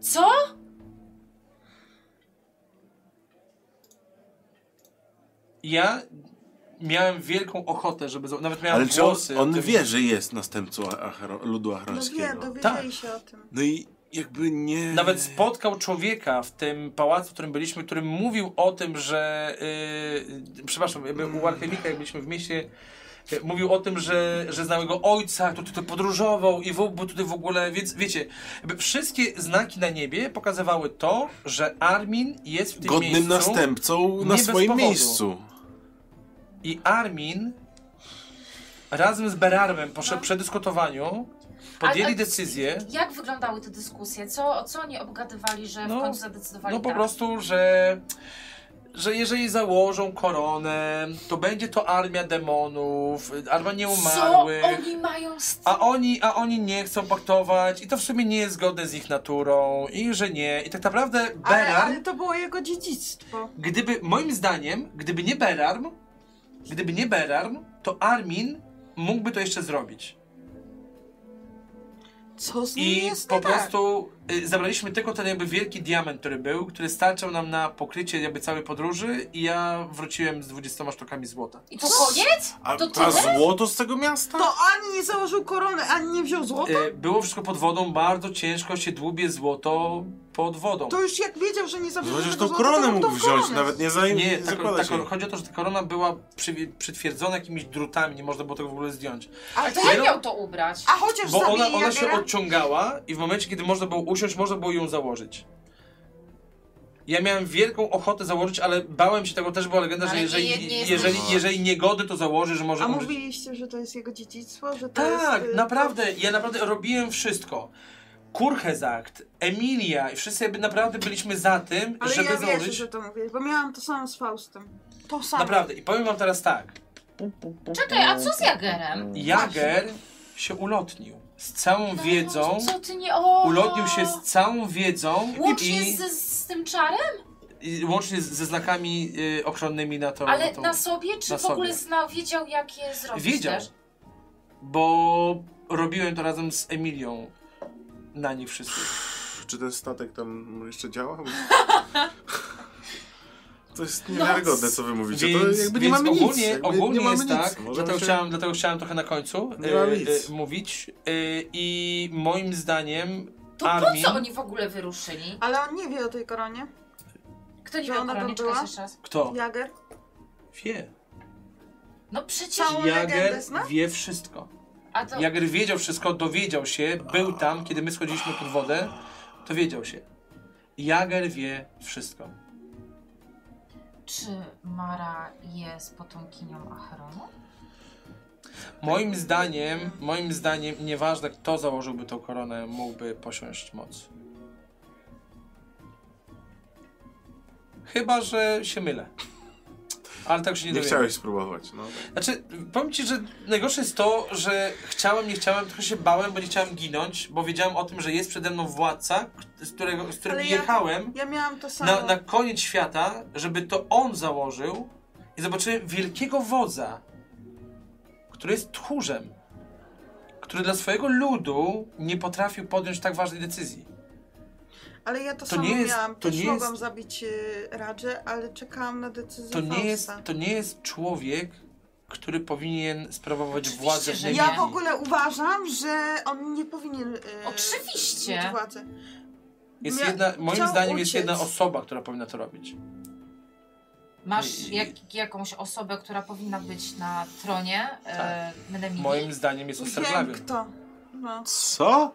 S6: Co?
S1: Ja miałem wielką ochotę, żeby... zo- Nawet miałem
S8: Ale czy on,
S1: włosy. o
S8: on
S1: tym-
S8: wie, że jest następcą Achero, ludu
S5: no wie,
S8: achrońskiego?
S1: Tak.
S5: dowiedzieli się o tym.
S8: No i jakby nie...
S1: Nawet spotkał człowieka w tym pałacu, w którym byliśmy, który mówił o tym, że. Yy, przepraszam, jakby u Alchemika, jak byliśmy w mieście. yy, Mówił o tym, że, że znał jego ojca, który tutaj podróżował i w, był tutaj w ogóle, więc wiecie, jakby wszystkie znaki na niebie pokazywały to, że Armin jest w tym
S8: Godnym
S1: miejscu
S8: następcą
S1: nie
S8: na
S1: bez
S8: swoim
S1: powodu.
S8: miejscu.
S1: i Armin razem z Berarmem po prze- przedyskutowaniu podjęli
S6: A- a-
S1: decyzję,
S6: Jak wyglądały te dyskusje? Co, o co oni obgadywali, że
S1: No,
S6: w końcu zadecydowali
S1: No po
S6: tak?
S1: prostu, że, że jeżeli założą koronę, to będzie to armia demonów, armia
S6: Co
S1: nieumarłych.
S6: oni mają z
S1: A oni, a oni nie chcą paktować i to w sumie nie jest zgodne z ich naturą i że nie. I tak naprawdę
S5: Ale,
S1: Berarm,
S5: ale to było jego dziedzictwo.
S1: gdyby, moim zdaniem, gdyby nie Berarm, gdyby nie Berarm, to Armin mógłby to jeszcze zrobić.
S5: Co z nim
S1: I
S5: jest
S1: po
S5: nie tak?
S1: prostu y, zabraliśmy tylko ten jakby wielki diament, który był, który starczał nam na pokrycie jakby całej podróży i ja wróciłem z 20 sztukami złota.
S6: I to koniec?
S8: A,
S6: To
S8: a
S6: tyle?
S8: złoto z tego miasta?
S5: To ani nie założył korony, ani nie wziął złota?
S1: Y, było wszystko pod wodą, bardzo ciężko się dłubie złoto pod wodą.
S5: To już jak wiedział, że nie założył
S8: Przecież tą
S5: tego złota, to
S8: koronę
S5: mu tą
S8: mógł wziąć,
S5: koronę.
S8: nawet nie zanim
S1: Nie,
S8: nie
S1: ta,
S8: zakłada
S1: ta,
S8: się.
S1: kor- chodzi o to, że ta korona była przy, przytwierdzona jakimiś drutami, nie można było tego w ogóle zdjąć.
S5: Ale
S6: To
S5: to...
S1: Nie,
S6: jak
S1: no.
S6: miał to ubrać?
S5: A chociaż
S1: Bo
S5: zabili
S1: ona, ona się
S5: Jagera?
S1: odciągała i w momencie, kiedy można było usiąść, można było ją założyć. Ja miałem wielką ochotę założyć, ale bałem się tego, też była legenda,
S6: Ale
S1: że
S6: nie-
S1: jeżeli,
S6: nie jesteś-
S1: jeżeli, jeżeli niegody, to założysz, może
S5: A
S1: umrzeć.
S5: mówiliście, że to jest jego dziedzictwo, że to
S1: Tak,
S5: jest... y,
S1: naprawdę, ja naprawdę robiłem wszystko. Kurhezakt, Emilia i wszyscy jakby naprawdę byliśmy za tym,
S5: Ale
S1: żeby
S5: ja wierzę,
S1: założyć.
S5: że to tak. mówiłeś, bo miałam to samo z Faustem. To samo.
S1: Naprawdę, i powiem wam teraz tak.
S6: Czekaj, a co z
S1: No,
S6: Jagerem?
S1: Jager się ulotnił z
S5: No,
S1: całą wiedzą.
S6: No, Co ty nie... O!
S1: Ulotnił się z całą wiedzą
S6: Łącznie
S1: i
S6: z, z tym czarem?
S1: i łącznie z- ze znakami y, ochronnymi na to.
S6: Ale
S1: no to...
S6: na sobie, czy
S1: na
S6: w ogóle
S1: sobie.
S6: znał, wiedział jak je zrobić
S1: Wiedział,
S6: też?
S1: bo robiłem to razem z Emilią na nich wszystkich.
S4: Czy ten statek tam jeszcze działa? To jest
S6: No,
S4: niewiarygodne, co wy mówicie. to
S1: Więc,
S4: jakby nie
S1: więc
S4: mamy
S1: ogólnie,
S4: nic. Jakby
S1: ogólnie
S4: nie mamy
S1: jest
S4: nic.
S1: tak,
S4: Możemy
S1: dlatego,
S4: się-
S1: chciałem, dlatego chciałem trochę na końcu y,
S4: Nie mamy nic.
S1: mówić y, i moim zdaniem
S6: To
S1: Armin...
S6: po co oni w ogóle wyruszyli?
S5: Ale on nie wie o tej koronie.
S6: Kto nie
S5: Że
S6: miał
S5: ona tam
S6: kroniczka
S5: była?
S6: jeszcze raz?
S1: Kto?
S5: Jager.
S1: Wie.
S6: No przecież,
S5: Całą legendę
S1: Jager
S5: zna?
S1: wie wszystko.
S6: a to...
S1: Jager wiedział wszystko, dowiedział się, był tam, kiedy my schodziliśmy pod wodę, to wiedział się. Jager wie wszystko.
S6: Czy Mara jest potomkinią Acheronu?
S1: Moim zdaniem, moim zdaniem, nieważne kto założyłby tą koronę, mógłby posiąść moc. Chyba, że się mylę. Ale tak się nie,
S4: Nie
S1: dowiem.
S4: chciałeś spróbować. No.
S1: Znaczy, powiem ci, że najgorsze jest to, że chciałem, nie chciałem, trochę się bałem, bo nie chciałem ginąć, bo wiedziałem o tym, że jest przede mną władca, k- z którego, z którym
S5: Ale ja-
S1: jechałem
S5: Ja miałam to samo.
S1: na, na koniec świata, żeby to on założył i zobaczyłem wielkiego wodza, który jest tchórzem, który dla swojego ludu nie potrafił podjąć tak ważnej decyzji.
S5: Ale ja to,
S1: to
S5: samo
S1: nie jest-
S5: miałam.
S1: to
S5: Też
S1: nie
S5: mogłam
S1: jest-
S5: zabić y, Radżę, ale czekałam na decyzję
S1: To nie, jest,
S5: Fausta.
S1: to nie jest człowiek, który powinien sprawować
S6: Oczywiście,
S1: władzę
S6: że
S1: w
S6: nie.
S1: Nemilii.
S5: Ja w ogóle uważam, że on nie powinien. y,
S6: Oczywiście.
S5: mieć władzy.
S1: Jest
S5: mia-
S1: jedna, moim
S5: chciał
S1: zdaniem jest
S5: uciec.
S1: jedna osoba, która powinna to robić.
S6: Masz
S1: I-
S6: jak, jakąś osobę, która powinna być na tronie e, Menemili?
S1: Tak. Moim zdaniem jest
S5: Wiem
S1: Osterglawion.
S5: kto. No.
S4: Co?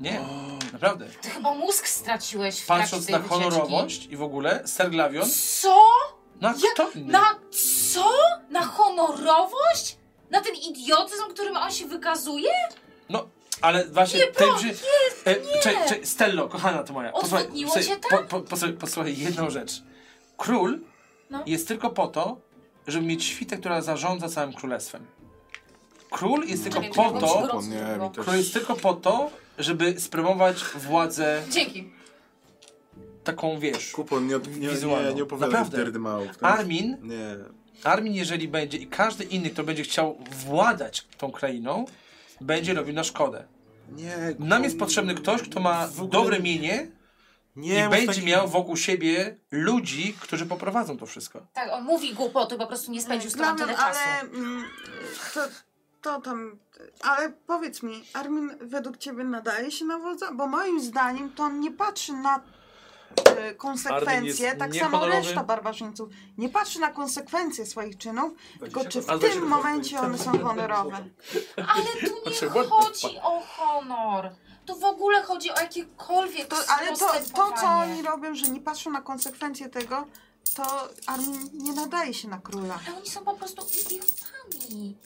S1: Nie, naprawdę.
S6: Ty chyba mózg straciłeś w
S1: Patrząc
S6: trakcie
S1: na
S6: tej wycieczki.
S1: honorowość i w ogóle, Serglawion,
S6: Co?
S1: na
S6: Ja- no
S1: kto inny?
S6: Na co? Na honorowość? Na ten idiotyzm, którym on się wykazuje?
S1: Ale właśnie nie, tej brzy... e,
S6: nie. tak?
S1: Czekaj, czekaj, Stello, kochana to moja.
S6: Odwodniło
S1: posłuchaj,
S6: cię
S1: po, po, posłuchaj, posłuchaj jedną rzecz. Król
S6: No.
S1: jest tylko po to, żeby mieć świtę, która zarządza całym królestwem. Król jest
S6: Czekaj,
S1: tylko po
S6: czekaj, bo mi
S1: to,
S6: gorąco
S4: Nie,
S6: zrobiło.
S4: mi też-
S1: król jest tylko po to, żeby sprawować władzę
S6: Dzięki.
S1: taką, wiesz...
S4: Kupon, nie, od- nie, nie,
S1: Wizualną.
S4: nie opowiadaj
S1: Naprawdę.
S4: derdymałów. tam-
S1: Armin
S4: tak? Nie.
S1: Armin, jeżeli będzie i każdy inny, kto będzie chciał władać tą krainą, będzie robił na szkodę.
S4: Nie.
S1: Nam jest
S4: Kupon,
S1: potrzebny ktoś, kto ma
S4: w ogóle-
S1: dobre mienie
S4: Nie,
S1: i
S4: mów
S1: będzie
S4: takich-
S1: miał wokół siebie ludzi, którzy poprowadzą to wszystko.
S6: Tak, on mówi głupoty, po prostu nie spędził z tobą
S5: Glawion,
S6: tyle czasu.
S5: ale mm, to, to tam. Ale powiedz mi, Armin według ciebie nadaje się na wodza? Bo moim zdaniem to on nie patrzy na e,
S1: Armin
S5: konsekwencje,
S1: jest
S5: tak samo
S1: niehonorowy.
S5: reszta barbarzyńców. Nie patrzy na konsekwencje swoich czynów, tylko czy
S1: A
S5: w
S1: dwadzieścia
S5: tym momencie one są honorowe.
S6: Ale tu nie chodzi o honor. Tu w ogóle chodzi o jakiekolwiek
S5: To, ale to, to, co
S6: postępowanie.
S5: oni robią, że nie patrzą na konsekwencje tego, to Armin nie nadaje się na króla.
S6: Ale oni są po prostu idiotami.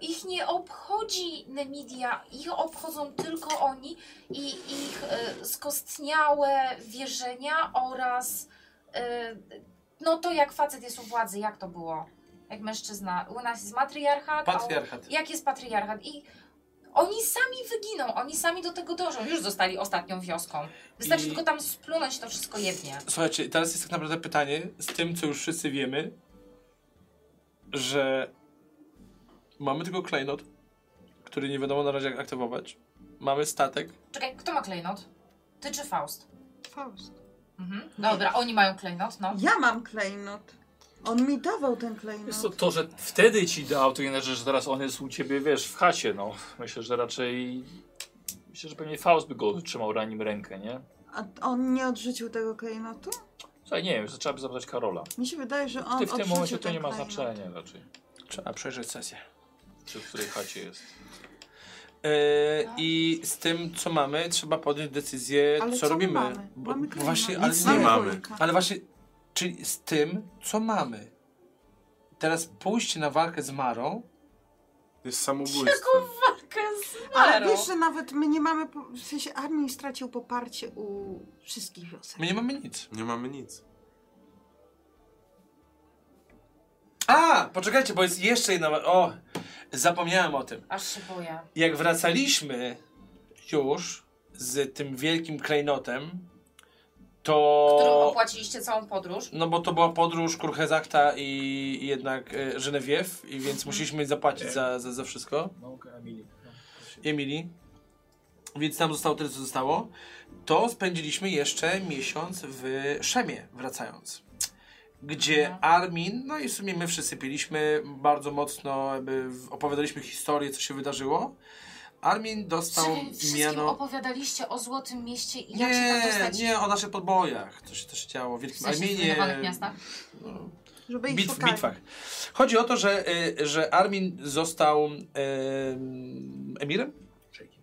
S6: Ich nie obchodzi Nemidia, ich obchodzą tylko oni i ich e, skostniałe wierzenia oraz e, no to jak facet jest u władzy, jak to było? Jak mężczyzna. U nas jest matriarchat, a u
S1: Patriarchat.
S6: jak jest patriarchat i oni sami wyginą, oni sami do tego dążą. Już zostali ostatnią wioską. Wystarczy
S1: I-
S6: tylko tam splunąć to wszystko jednie.
S1: Słuchajcie, teraz jest tak naprawdę pytanie z tym, co już wszyscy wiemy, że mamy tylko klejnot, który nie wiadomo na razie jak aktywować. Mamy statek.
S6: Czekaj, kto ma klejnot? Ty czy Faust?
S5: Faust.
S6: Mhm. Dobra, oni mają klejnot, no.
S5: Ja mam klejnot. On mi dawał ten
S2: Jest to,
S5: klejnot.
S2: to, że wtedy ci dał, to inna rzecz, że teraz on jest u ciebie, wiesz, w chacie, no. Myślę, że raczej... Myślę, że pewnie Faust by go trzymał na nim rękę, nie?
S5: A on nie odrzucił tego klejnotu?
S2: Słuchaj, nie wiem, trzeba by zapytać Karola.
S5: Mi się wydaje, że on
S2: Ty, w tym
S5: odrzucił
S2: momencie to
S5: ten no.
S2: nie ma
S5: klejnot.
S2: znaczenia raczej,
S1: Trzeba przejrzeć sesję.
S2: czy w której chacie jest.
S1: Yy, I z tym, co mamy, trzeba podjąć decyzję,
S5: Ale
S1: co
S5: co my
S1: robimy.
S5: mamy?
S1: Bo-
S5: Mamy
S1: bo
S5: klejnot.
S1: właśnie, ale
S4: Nic
S1: nie,
S4: nie
S1: ma.
S4: mamy.
S5: Kulka.
S1: Ale właśnie, czyli z tym, co mamy. Teraz pójść na walkę z Marą,
S4: To jest samobójstwo.
S5: Ale wiesz, że nawet my nie mamy, po- w sensie armii stracił poparcie u wszystkich wiosek.
S1: my nie mamy nic.
S4: Nie mamy nic.
S1: A, poczekajcie, bo jest jeszcze jedna. wa- O, zapomniałem o tym.
S6: Aż się boję.
S1: jak wracaliśmy już z tym wielkim klejnotem,
S6: którą
S1: to...
S6: opłaciliście całą podróż.
S1: No bo to była podróż Kurhezakta i i jednak e, Genevieve, i więc musieliśmy zapłacić za, za, za wszystko.
S2: No, okej, Emily. No,
S1: i Emilii. Więc tam zostało tyle, co zostało. To spędziliśmy jeszcze miesiąc w Szemie, wracając.
S6: Mhm.
S1: Gdzie Armin, no i w sumie my wszyscy piliśmy bardzo mocno, jakby w- opowiadaliśmy historię, co się wydarzyło. Armin dostał
S6: Czy wy wszystkim
S1: miano.
S6: opowiadaliście o Złotym Mieście i jak się tam
S1: Nie,
S6: dostać?
S1: nie, o naszych podbojach, co się też działo w
S6: W
S1: Wielkim
S6: sensie w
S1: Arminie.
S6: zrujnowanych miastach.
S1: No,
S5: Żeby ich
S1: Bitw, w
S5: szukali.
S1: bitwach. Chodzi o to, że, y, że Armin został em, emirem?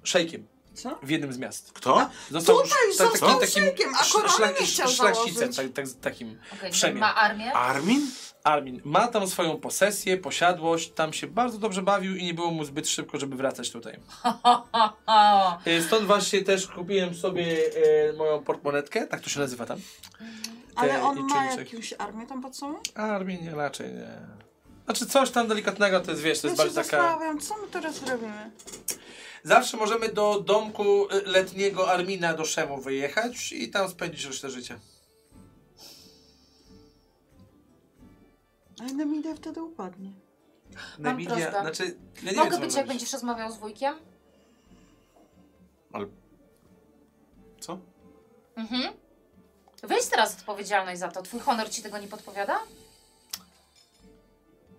S1: Szejkiem.
S5: Co?
S1: W jednym z miast.
S4: Kto?
S1: Został
S5: Tutaj
S1: sz- ta-
S5: został szejkiem, a
S1: sz-
S5: koronę
S1: szlak-
S5: nie chciał
S1: sz- szlachcicem, tak,
S5: założyć.
S1: tak, takim
S6: Okej,
S1: Przemian.
S6: ma armię.
S4: Armin?
S1: Armin. Ma tam swoją posesję, posiadłość, tam się bardzo dobrze bawił i nie było mu zbyt szybko, żeby wracać tutaj.
S6: O,
S1: Y, Stąd właśnie też kupiłem sobie y, moją portmonetkę, tak to się nazywa tam.
S5: Ale
S1: Te- i
S5: on ma
S1: czujniczek.
S5: jakąś armię tam pod sobą?
S1: Armin nie, raczej nie. Znaczy coś tam delikatnego, to jest wiesz, to
S5: Ja
S1: jest
S5: się
S1: bardziej taka...
S5: zastanawiam, co my teraz robimy?
S1: Zawsze możemy do domku y, letniego Armina do Szemu wyjechać i tam spędzić resztę życia.
S5: A Nemidia wtedy upadnie.
S6: Mam prośbę.
S1: znaczy... Ja nie
S6: mogę
S1: wiem, co mam
S6: być, jak
S1: robić.
S6: będziesz rozmawiał z wujkiem?
S4: Co?
S6: Mhm. Weź teraz odpowiedzialność za to. Twój honor ci tego nie podpowiada?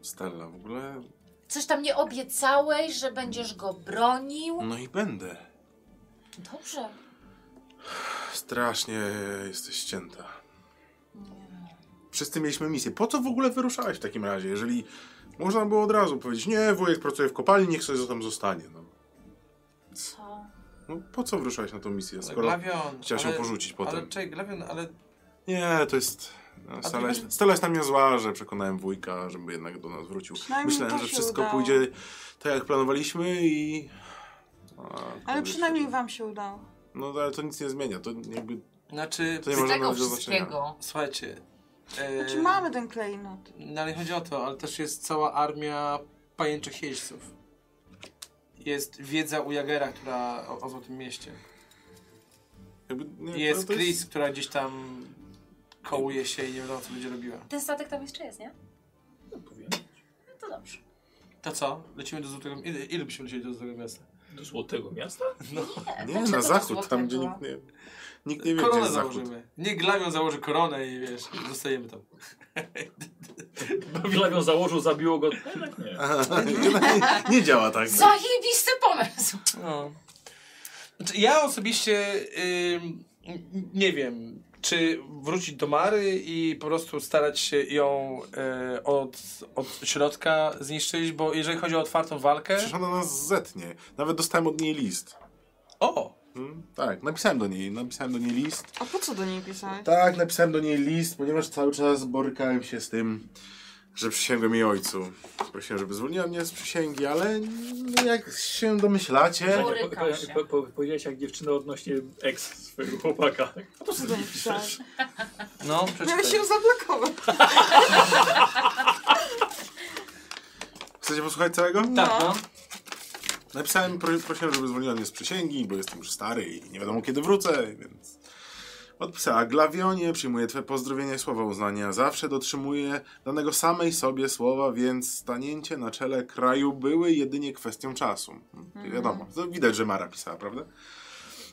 S4: Stella, w ogóle...
S6: Coś tam nie obiecałeś, że będziesz go bronił?
S4: No i będę.
S6: Dobrze.
S4: Strasznie jesteś ścięta. Wszyscy mieliśmy misję. Po co w ogóle wyruszałeś w takim razie, jeżeli można było od razu powiedzieć, nie, wujek pracuje w kopalni, niech sobie tam zostanie. No,
S6: Co?
S4: no po co wyruszałeś na tą misję,
S1: Ale
S4: skoro...
S1: Glawion,
S4: chciała się
S1: ale-
S4: porzucić potem.
S1: Ale czekaj, Glawion, ale
S4: Nie, to jest... No, Stella, jest, Stella jest na mnie zła, że przekonałem wujka, żeby jednak do nas wrócił.
S5: Przynajmniej
S4: Myślałem,
S5: to
S4: że
S5: się
S4: wszystko
S5: udało.
S4: pójdzie tak, jak planowaliśmy i... A,
S5: Ale
S4: kurde,
S5: przynajmniej
S4: się-
S5: wam się udało.
S4: No ale to nic nie zmienia, to jakby...
S1: Znaczy,
S4: To nie
S6: Z
S4: może
S6: tego
S4: nawet do znaczenia.
S6: wszystkiego.
S1: słuchajcie. E,
S5: Znaczy mamy ten klejnot.
S1: No ale nie chodzi o to, ale też jest cała armia pajęczych jeźdźców. Jest wiedza u Jagera, która o, o Złotym Mieście.
S4: jakby nie,
S1: Jest
S4: to- to
S1: Chris, która gdzieś tam kołuje się i nie wiadomo, co będzie robiła.
S6: Ten statek tam jeszcze jest, nie?
S2: no, powiem.
S6: No to dobrze.
S1: To co? Lecimy do Złotego Miasta. Ile, ile byśmy lecieli do Złotego Miasta?
S2: Do złotego (laughs) miasta?
S4: Nie,
S6: dlaczego
S4: na
S6: to
S4: zachód,
S6: złotego?
S4: tam gdzie nikt nie, nikt nie wie, gdzie
S1: Koronę
S4: jest zachód.
S1: założymy. Nie Glawion założy koronę i wiesz, zostajemy tam.
S2: Glawion założył, zabiło go. No Jednak nie.
S4: Aha, (laughs) nie, nie, nie działa tak.
S6: Zajebisty pomysł!
S1: No. Znaczy, ja osobiście ym, n- nie wiem, czy wrócić do Mary i po prostu starać się ją y, od, od środka zniszczyć, bo jeżeli chodzi o otwartą walkę.
S4: Przecież ona nas zetnie. Nawet dostałem od niej list.
S1: O!
S4: Hmm? Tak, napisałem do niej, napisałem do niej list.
S5: A po co do niej pisałeś?
S4: Tak, napisałem do niej list, ponieważ cały czas borykałem się z tym, że przysięgłem jej ojcu. Prosiłem, żeby zwolniła mnie z przysięgi, ale jak się domyślacie...
S6: Bory- Borykam
S2: Po-
S6: się.
S2: po- po- Powiedziałeś jak dziewczyna odnośnie ex swojego chłopaka.
S5: A po co do niej pisałeś?
S1: No,
S5: Miałeś się
S4: tak.
S1: przeczytaj.
S5: zablokować.
S4: Chcecie posłuchać całego?
S1: Tak, no.
S4: Napisałem, pro, prosiłem, żeby zwolniła mnie z przysięgi, bo jestem już stary i nie wiadomo kiedy wrócę, więc... Odpisała, Glawionie, przyjmuję Twe pozdrowienia i słowa uznania. Zawsze dotrzymuję danego samej sobie słowa, więc stanięcie na czele kraju były jedynie kwestią czasu. Wiadomo, to widać, że Mara pisała, prawda?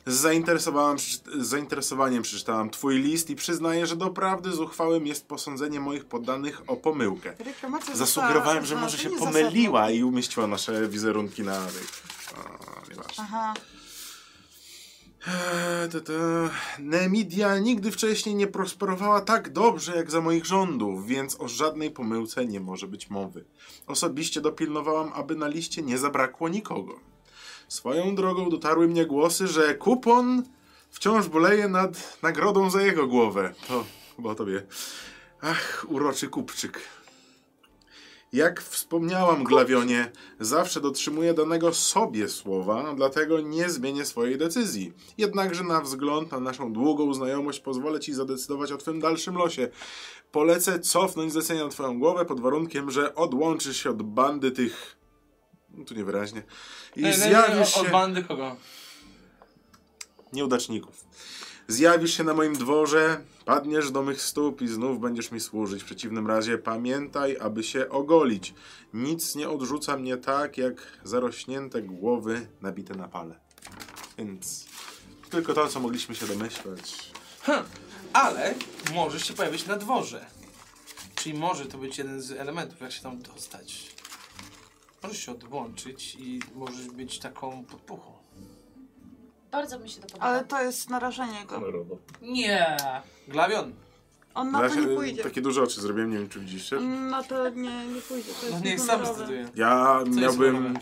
S4: Z zainteresowałem- z zainteresowaniem przeczytałam Twój list i przyznaję, że doprawdy zuchwałym jest posądzenie moich poddanych o pomyłkę.
S5: Reklamacja
S4: Zasugerowałem,
S5: została-
S4: że może
S5: to
S4: się
S5: nie
S4: pomyliła i umieściła nasze wizerunki na. A,
S5: zasadne.
S4: nieważne.
S5: Aha.
S4: Eee, te, te. Nemidia nigdy wcześniej nie prosperowała tak dobrze jak za moich rządów, więc o żadnej pomyłce nie może być mowy. Osobiście dopilnowałam, aby na liście nie zabrakło nikogo. Swoją drogą dotarły mnie głosy, że kupon wciąż boleje nad nagrodą za jego głowę. To chyba o tobie. Ach, uroczy kupczyk. Jak wspomniałam, Glawionie, zawsze dotrzymuję danego sobie słowa, dlatego nie zmienię swojej decyzji. Jednakże na wzgląd na naszą długą znajomość pozwolę ci zadecydować o twym dalszym losie. Polecę cofnąć zlecenie na twoją głowę pod warunkiem, że odłączysz się od bandy tych... No, tu niewyraźnie. I
S1: E, e, e,
S4: zjawisz
S1: o-
S4: się...
S1: Od bandy kogo?
S4: nieudaczników. Zjawisz się na moim dworze, padniesz do mych stóp i znów będziesz mi służyć. W przeciwnym razie pamiętaj, aby się ogolić. Nic nie odrzuca mnie tak, jak zarośnięte głowy nabite na pale. Więc tylko to, co mogliśmy się domyślać.
S5: No,
S1: Hm. Ale możesz się pojawić na dworze. Czyli może to być jeden z elementów, jak się tam dostać. Możesz się odłączyć i możesz być taką podpuchą.
S6: Bardzo mi się to podoba.
S5: Ale to jest narażenie go.
S2: Narodo.
S6: Nie.
S1: Glawion,
S5: On na to
S4: Zaś-
S5: nie pójdzie. Mm.
S4: Takie duże oczy zrobiłem, nie wiem czy widzieliście.
S5: On na to nie, nie pójdzie. To jest
S1: no niech sam
S5: niehonorowe.
S1: zdecyduje.
S4: Ja
S1: Co jest
S4: miałbym
S1: honorowe?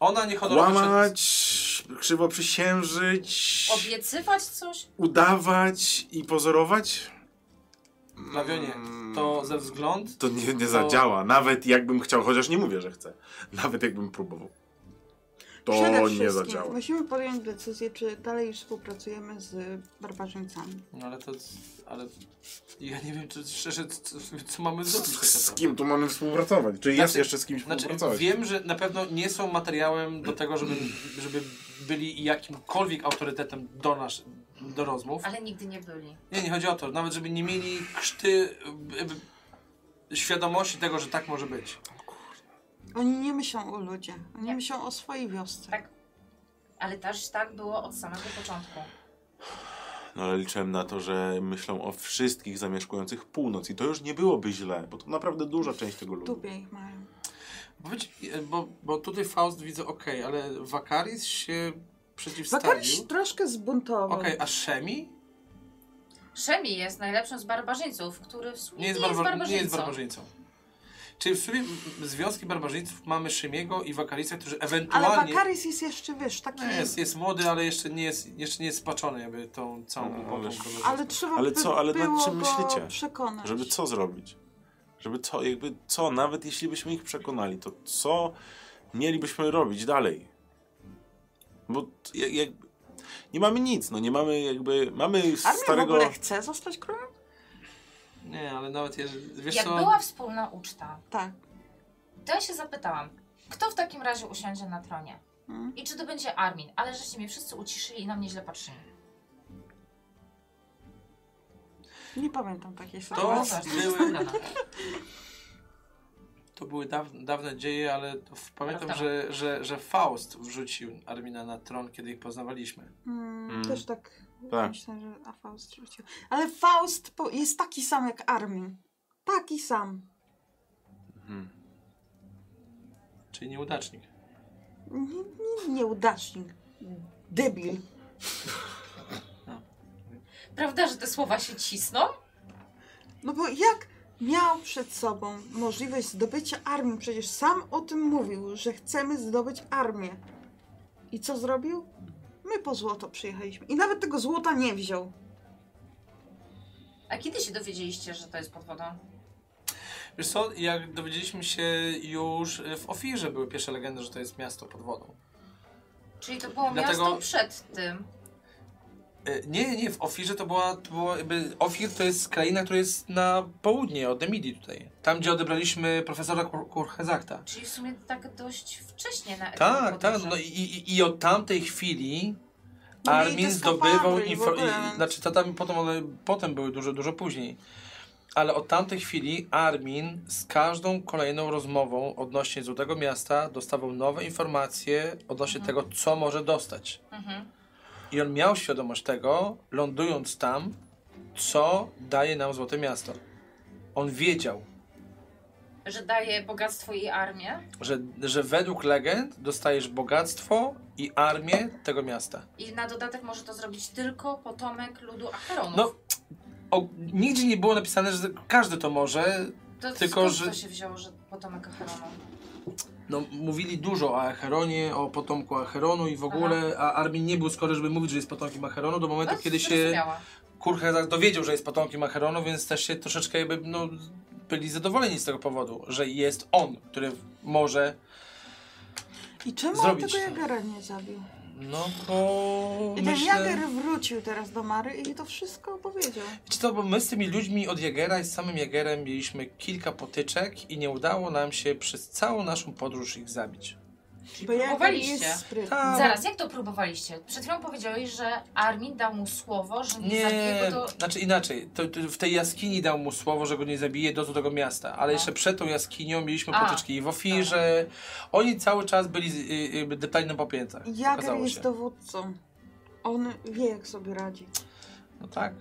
S1: Ona nie honorowa.
S4: kłamać, krzywo przysiężyć,
S6: Obiecywać coś?
S4: udawać i pozorować?
S1: Glawionie, to ze wzgląd
S4: To nie, nie
S5: No.
S1: To-
S4: zadziała, nawet jakbym chciał, chociaż nie mówię, że chcę. Nawet jakbym próbował.
S5: Przede
S4: To nie
S5: wszystkim
S4: zadziała.
S5: Musimy podjąć decyzję, czy dalej współpracujemy z barbarzyńcami.
S1: No ale to. Ale. Ja nie wiem, czy szczerze, co, co mamy zrobić. tak
S4: Z
S1: naprawdę.
S4: kim tu mamy współpracować? Czy jest
S1: Znaczy-
S4: jeszcze z kimś
S1: Znaczy,
S4: współpracować?
S1: wiem, że na pewno nie są materiałem do tego, żeby, żeby byli jakimkolwiek autorytetem do nas, do rozmów.
S6: Ale nigdy nie byli.
S1: Nie, nie chodzi o to. Nawet, żeby nie mieli krzty y, y, świadomości tego, że tak może być.
S5: Oni nie myślą o ludzie, oni
S6: Nie.
S5: myślą o swojej wiosce.
S6: Tak. Ale też tak było od samego początku.
S4: No ale liczyłem na to, że myślą o wszystkich zamieszkujących północ i to już nie byłoby źle, bo to naprawdę duża część tego
S5: W
S4: ludu.
S5: dupie ich mają.
S1: Bo, być, y, bo, bo tutaj Faust widzę ok, ale Wakaris się przeciwstawił.
S5: Zakariś
S1: Okej,
S5: troszkę zbuntował.
S1: a Szemi?
S6: Szemi jest najlepszym z barbarzyńców, który w sumie
S1: Nie jest, barbar- nie jest barbarzyńcą. Czyli w sumie m, związki barbarzyńców mamy Szymiego i Wakarisa, którzy
S5: Ale
S1: ewentualnie...
S5: Bakaris jest jeszcze, wiesz, taki...
S1: Nie, Jest, jest młody, ale jeszcze nie jest, jeszcze nie jest spaczony jakby tą całą
S4: No,
S1: głupotą.
S4: ale-
S1: którą-
S5: Ale trzeba
S4: Ale
S5: by
S4: co, ale nad
S5: było go
S4: czym myślicie?
S5: przekonać.
S4: Żeby co zrobić? Żeby co, jakby co, nawet jeśli byśmy ich przekonali, to co mielibyśmy robić dalej? Bo t- jak, jak, nie mamy nic, no nie mamy jakby, mamy
S5: Armia w
S4: starego...
S5: ogóle chce zostać królem?
S1: Nie, ale nawet jeżeli... Wiesz
S6: Jak
S1: co?
S6: była wspólna uczta,
S5: Tak.
S6: to ja się zapytałam, kto w takim razie usiądzie na tronie?
S5: Mm.
S6: I czy to będzie Armin? Ale żeście mnie wszyscy uciszyli i na mnie źle patrzyli.
S5: Nie pamiętam takiej
S1: To
S5: sytuacji.
S1: były, to były dawne, dawne dzieje, ale to w, pamiętam,
S6: Prawda.
S1: że, że, że Faust wrzucił Armina na tron, kiedy ich poznawaliśmy.
S5: Mm,
S4: Mm.
S5: Też tak,
S4: Tak.
S5: myślę, że a Faust rzucił. Ale Faust po, jest taki sam jak Armin. Taki sam.
S8: Hmm.
S4: Mhm.
S1: Czyli nieudacznik.
S5: Nie, nie, nieudacznik. Debil.
S6: Prawda, że te słowa się cisną?
S5: No bo jak miał przed sobą możliwość zdobycia armii? Przecież sam o tym mówił, że chcemy zdobyć armię. I co zrobił? My po złoto przyjechaliśmy. I nawet tego złota nie wziął.
S6: A kiedy się dowiedzieliście, że to jest pod wodą?
S1: Wiesz co, jak dowiedzieliśmy się już e, w Ofirze były pierwsze legendy, że to jest miasto pod wodą.
S6: Czyli to było
S1: Dlatego-
S6: miasto przed tym.
S1: E, Nie, nie, w Ofirze to była, to była jakby, Ofir to jest kraina, która jest na południe od Emilii tutaj. Tam, gdzie odebraliśmy profesora Kur- Kurhezakta.
S6: Czyli w sumie tak dość wcześnie na etapie
S1: Tak, tak,
S6: podróży.
S1: no i, i, i od tamtej chwili
S5: No mieli
S1: Armin
S5: te
S1: zdobywał
S5: skafandry i w
S1: info-
S5: ogóle.
S1: i, i, znaczy to tam potem, one, potem były dużo, dużo później. Ale od tamtej chwili Armin z każdą kolejną rozmową odnośnie Złotego Miasta dostawał nowe informacje odnośnie
S5: Mhm.
S1: tego, co może dostać.
S6: Mhm.
S1: I on miał świadomość tego, lądując tam, co daje nam Złote Miasto. On wiedział,
S6: Że daje bogactwo i armię
S1: że, że według legend dostajesz bogactwo i armię tego miasta.
S6: i na dodatek może to zrobić tylko potomek ludu Acheronów.
S1: No, o, nigdzie nie było napisane, że każdy to może.
S6: to
S1: tylko,
S6: skąd
S1: że-
S6: to się wzięło, że potomek Acheronów?
S1: No, mówili dużo o Acheronie, o potomku Acheronu i w ogóle, a Armin nie był skory, żeby mówić, że jest potomkiem Acheronu do momentu,
S6: No,
S1: kiedy się
S6: zrozumiała.
S1: Kurhezak dowiedział, że jest potomkiem Acheronu, więc też się troszeczkę jakby, no, byli zadowoleni z tego powodu, że jest on, który może,
S5: I czemu
S1: Zrobić
S5: on
S1: to.
S5: tego Jagera nie zabił?
S1: no, bo
S5: I ten Jager wrócił teraz do Mary i to wszystko opowiedział.
S1: Czy to, bo my z tymi ludźmi od Jagera i z samym Jagerem mieliśmy kilka potyczek i nie udało nam się przez całą naszą podróż ich zabić.
S5: Bo ja
S6: próbowaliście.
S5: jest sprytny.
S1: Tak.
S6: Zaraz, jak to próbowaliście? Przed chwilą powiedziałeś, że Armin dał mu słowo, że nie, zabije
S1: Nie,
S6: go do...
S1: znaczy inaczej. To, to w tej jaskini dał mu słowo, że go nie zabije do tego miasta, ale
S6: No.
S1: jeszcze przed tą jaskinią mieliśmy
S6: A.
S1: potyczki i w ofirze. Oni cały czas byli z- y, y, deptani na popiętach.
S5: Jager
S1: Okazało
S5: jest
S1: się.
S5: dowódcą. On wie, jak sobie radzi.
S1: No tak.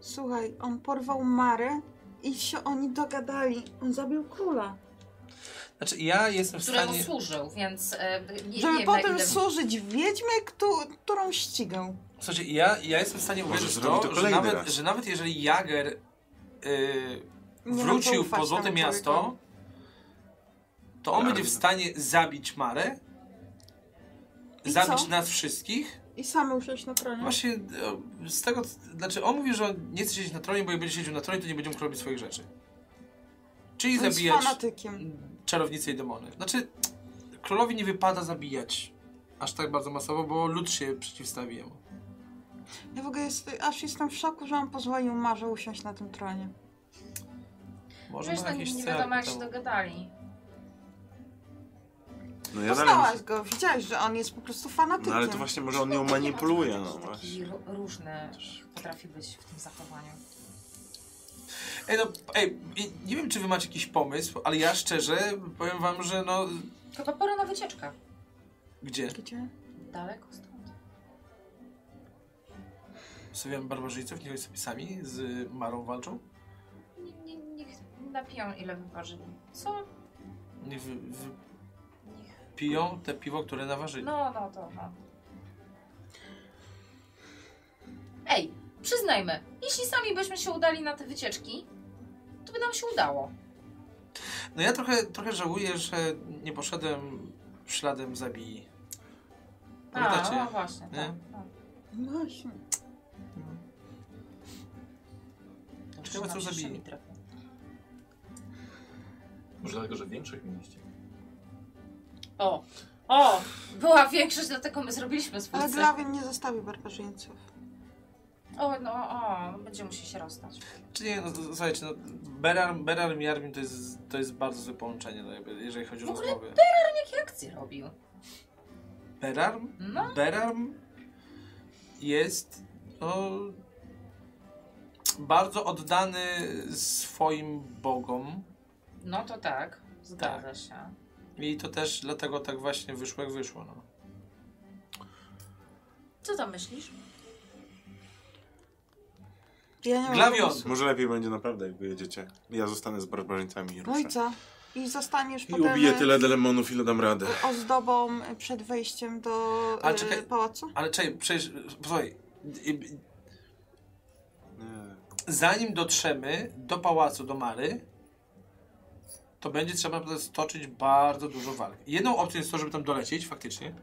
S5: Słuchaj, on porwał Marę i się oni dogadali. On zabił króla.
S1: Znaczy ja jestem w
S6: któremu
S1: stanie...
S6: służył, więc e, nie,
S5: Żeby
S6: nie
S5: potem
S6: ile...
S5: służyć wiedźmie, któ którą ścigał.
S1: Słuchajcie, ja, ja jestem w stanie
S4: Może
S1: uwierzyć w
S4: zrobi
S1: to,
S4: to
S1: że
S4: kolejny
S1: nawet,
S4: raz.
S1: że nawet jeżeli Jager y,
S5: Nie mam
S1: wrócił
S5: zaufać
S1: po Złote
S5: temu
S1: Miasto,
S5: człowiekowi.
S1: to on
S4: Ja
S1: będzie w
S4: widzę.
S1: stanie zabić Marę,
S5: I
S1: zabić
S5: co?
S1: nas wszystkich.
S5: I sam usiąść na tronie.
S1: No Właśnie e, z tego, c- znaczy on mówi, że on nie chce siedzieć na tronie, bo jak będzie siedział na tronie, to nie będzie mógł robić swoich rzeczy. Czyli
S5: On jest
S1: zabijać
S5: fanatykiem.
S1: czarownice i demony. Znaczy, królowi nie wypada zabijać aż tak bardzo masowo, bo lud się przeciwstawi jemu.
S5: Ja w ogóle jest, aż jestem w szoku, że on pozwolił Marze usiąść na tym tronie.
S1: Może
S6: Wiesz,
S1: ma
S6: no,
S1: jakieś
S6: nie
S1: cele
S6: wiadomo jak
S1: ku
S6: się
S1: temu.
S6: dogadali.
S8: No ja dalej.
S5: Poznałaś
S8: myślę-
S5: go, widziałeś, że on jest po prostu fanatykiem.
S8: No ale to właśnie może on nią manipuluje, no
S6: taki,
S8: właśnie.
S6: taki ró- różny potrafi być w tym zachowaniu.
S1: Ej, no, ej, i- nie wiem, czy wy macie jakiś pomysł, ale ja szczerze powiem wam, że no,
S6: Tylko pora na wycieczkę.
S1: gdzie?
S5: Gdzie?
S6: Daleko stąd.
S1: Stawiam barbarzyńców, niech oni sobie sami z Marą walczą.
S6: Nie, nie, niech napiją ile wyważyli. Co?
S1: Niech wy, wy
S6: Niech...
S1: piją te piwo, które naważyli.
S6: No, no, to no. Ej, przyznajmy, jeśli sami byśmy się udali na te wycieczki, to by nam się udało.
S1: No ja trochę, trochę żałuję, że nie poszedłem śladem zabij. Pamiętacie?
S6: A, no właśnie,
S1: nie?
S6: tak. tak.
S5: Właśnie.
S6: To
S1: Ciekawe,
S6: nam
S1: co
S6: się
S1: zabije.
S6: szymi trafią.
S2: Może dlatego, że większość mieści.
S6: O, o, była większość, dlatego my zrobiliśmy
S5: Ale
S6: spółce.
S5: Glawin nie zostawi barbarzyńców.
S6: O, no, o, będzie musiał się rozstać.
S1: Czy nie, no, z- słuchajcie, no, Berar, Berar i Armin to jest, to jest bardzo złe połączenie, no, jakby, jeżeli chodzi o
S6: W ogóle
S1: rozmowy.
S6: Jakie akcje robił?
S1: Berarm?
S6: No,
S1: Berarm jest no, bardzo oddany swoim bogom
S6: no to tak, zgadza się.
S1: i to też dlatego tak właśnie wyszło jak wyszło. No.
S6: Co tam myślisz?
S5: Ja nie mam
S1: Glawion!
S8: Może lepiej będzie naprawdę, jak wyjedziecie. Ja zostanę z barbarzyńcami i
S5: No i
S8: ruszę.
S5: co? I zostaniesz
S8: I
S5: potem
S8: ubiję tyle delemonów, ile dam radę.
S5: e, ozdobą e, przed wejściem do
S1: Ale
S5: e,
S1: czekaj.
S5: pałacu?
S1: Ale czekaj, przecież, słuchaj, i- i-
S8: Nie.
S1: zanim dotrzemy do pałacu, do Mary, to będzie trzeba naprawdę stoczyć bardzo dużo walk. Jedną opcją jest to, żeby tam dolecieć faktycznie.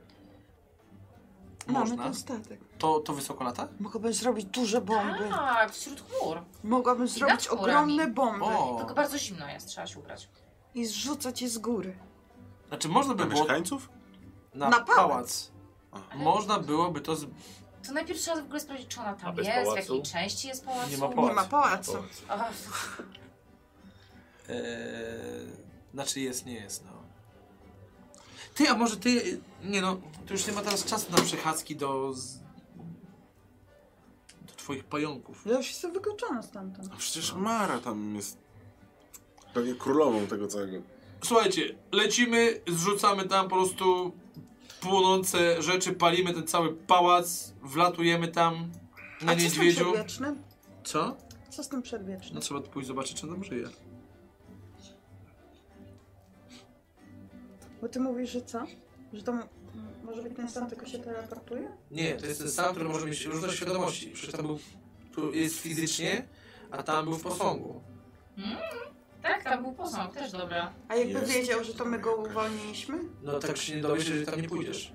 S5: Mamy
S1: Można.
S5: ten statek.
S1: To, to wysoko lata?
S5: Mogłabym zrobić duże bomby.
S6: Tak, wśród chmur.
S5: Mogłabym zrobić
S6: nad górami.
S5: ogromne bomby
S1: O!
S6: Tylko bardzo zimno jest, trzeba się ubrać.
S5: i zrzucać je z góry.
S1: Znaczy można by
S8: Na
S1: było
S8: mieszkańców?
S1: na,
S5: Na
S1: pałac.
S5: pałac.
S6: Ale
S1: Można byłoby to z...
S6: To najpierw trzeba w ogóle sprawdzić, czy ona
S2: A
S6: tam
S2: bez
S6: jest, w
S2: pałacu?
S6: jakiej części jest pałacu.
S1: Nie ma
S5: Nie
S1: pałacu.
S5: ma pałacu.
S6: Ach,
S1: Eee, znaczy jest, nie jest, no. Ty, a może ty... Nie no, to już nie ma teraz czasu na przechadzki do... Z... Do twoich pająków.
S5: Ja już jestem wykluczona stamtąd.
S8: A No przecież Mara tam jest prawie królową tego całego.
S1: Słuchajcie, lecimy, zrzucamy tam po prostu płonące rzeczy, palimy ten cały pałac, wlatujemy tam na
S5: A co z tym
S1: niedźwiedziu.
S5: przedwiecznym?
S1: Co?
S5: Co z tym
S1: No
S5: przedwiecznym?
S1: trzeba tu pójść zobaczyć, czy on tam żyje.
S5: Bo ty mówisz, że co? Że to m- może być ten sam, tylko się teleportuje?
S1: Nie, to jest ten sam, który może mieć różne świadomości. Przecież tam był, tu jest fizycznie, a tam był w posągu.
S6: tak, tam był posąg, też dobra.
S5: A jakby
S8: Jest.
S5: wiedział, że to my go uwolniliśmy?
S1: No tak się nie dowiesz, że tam nie pójdziesz.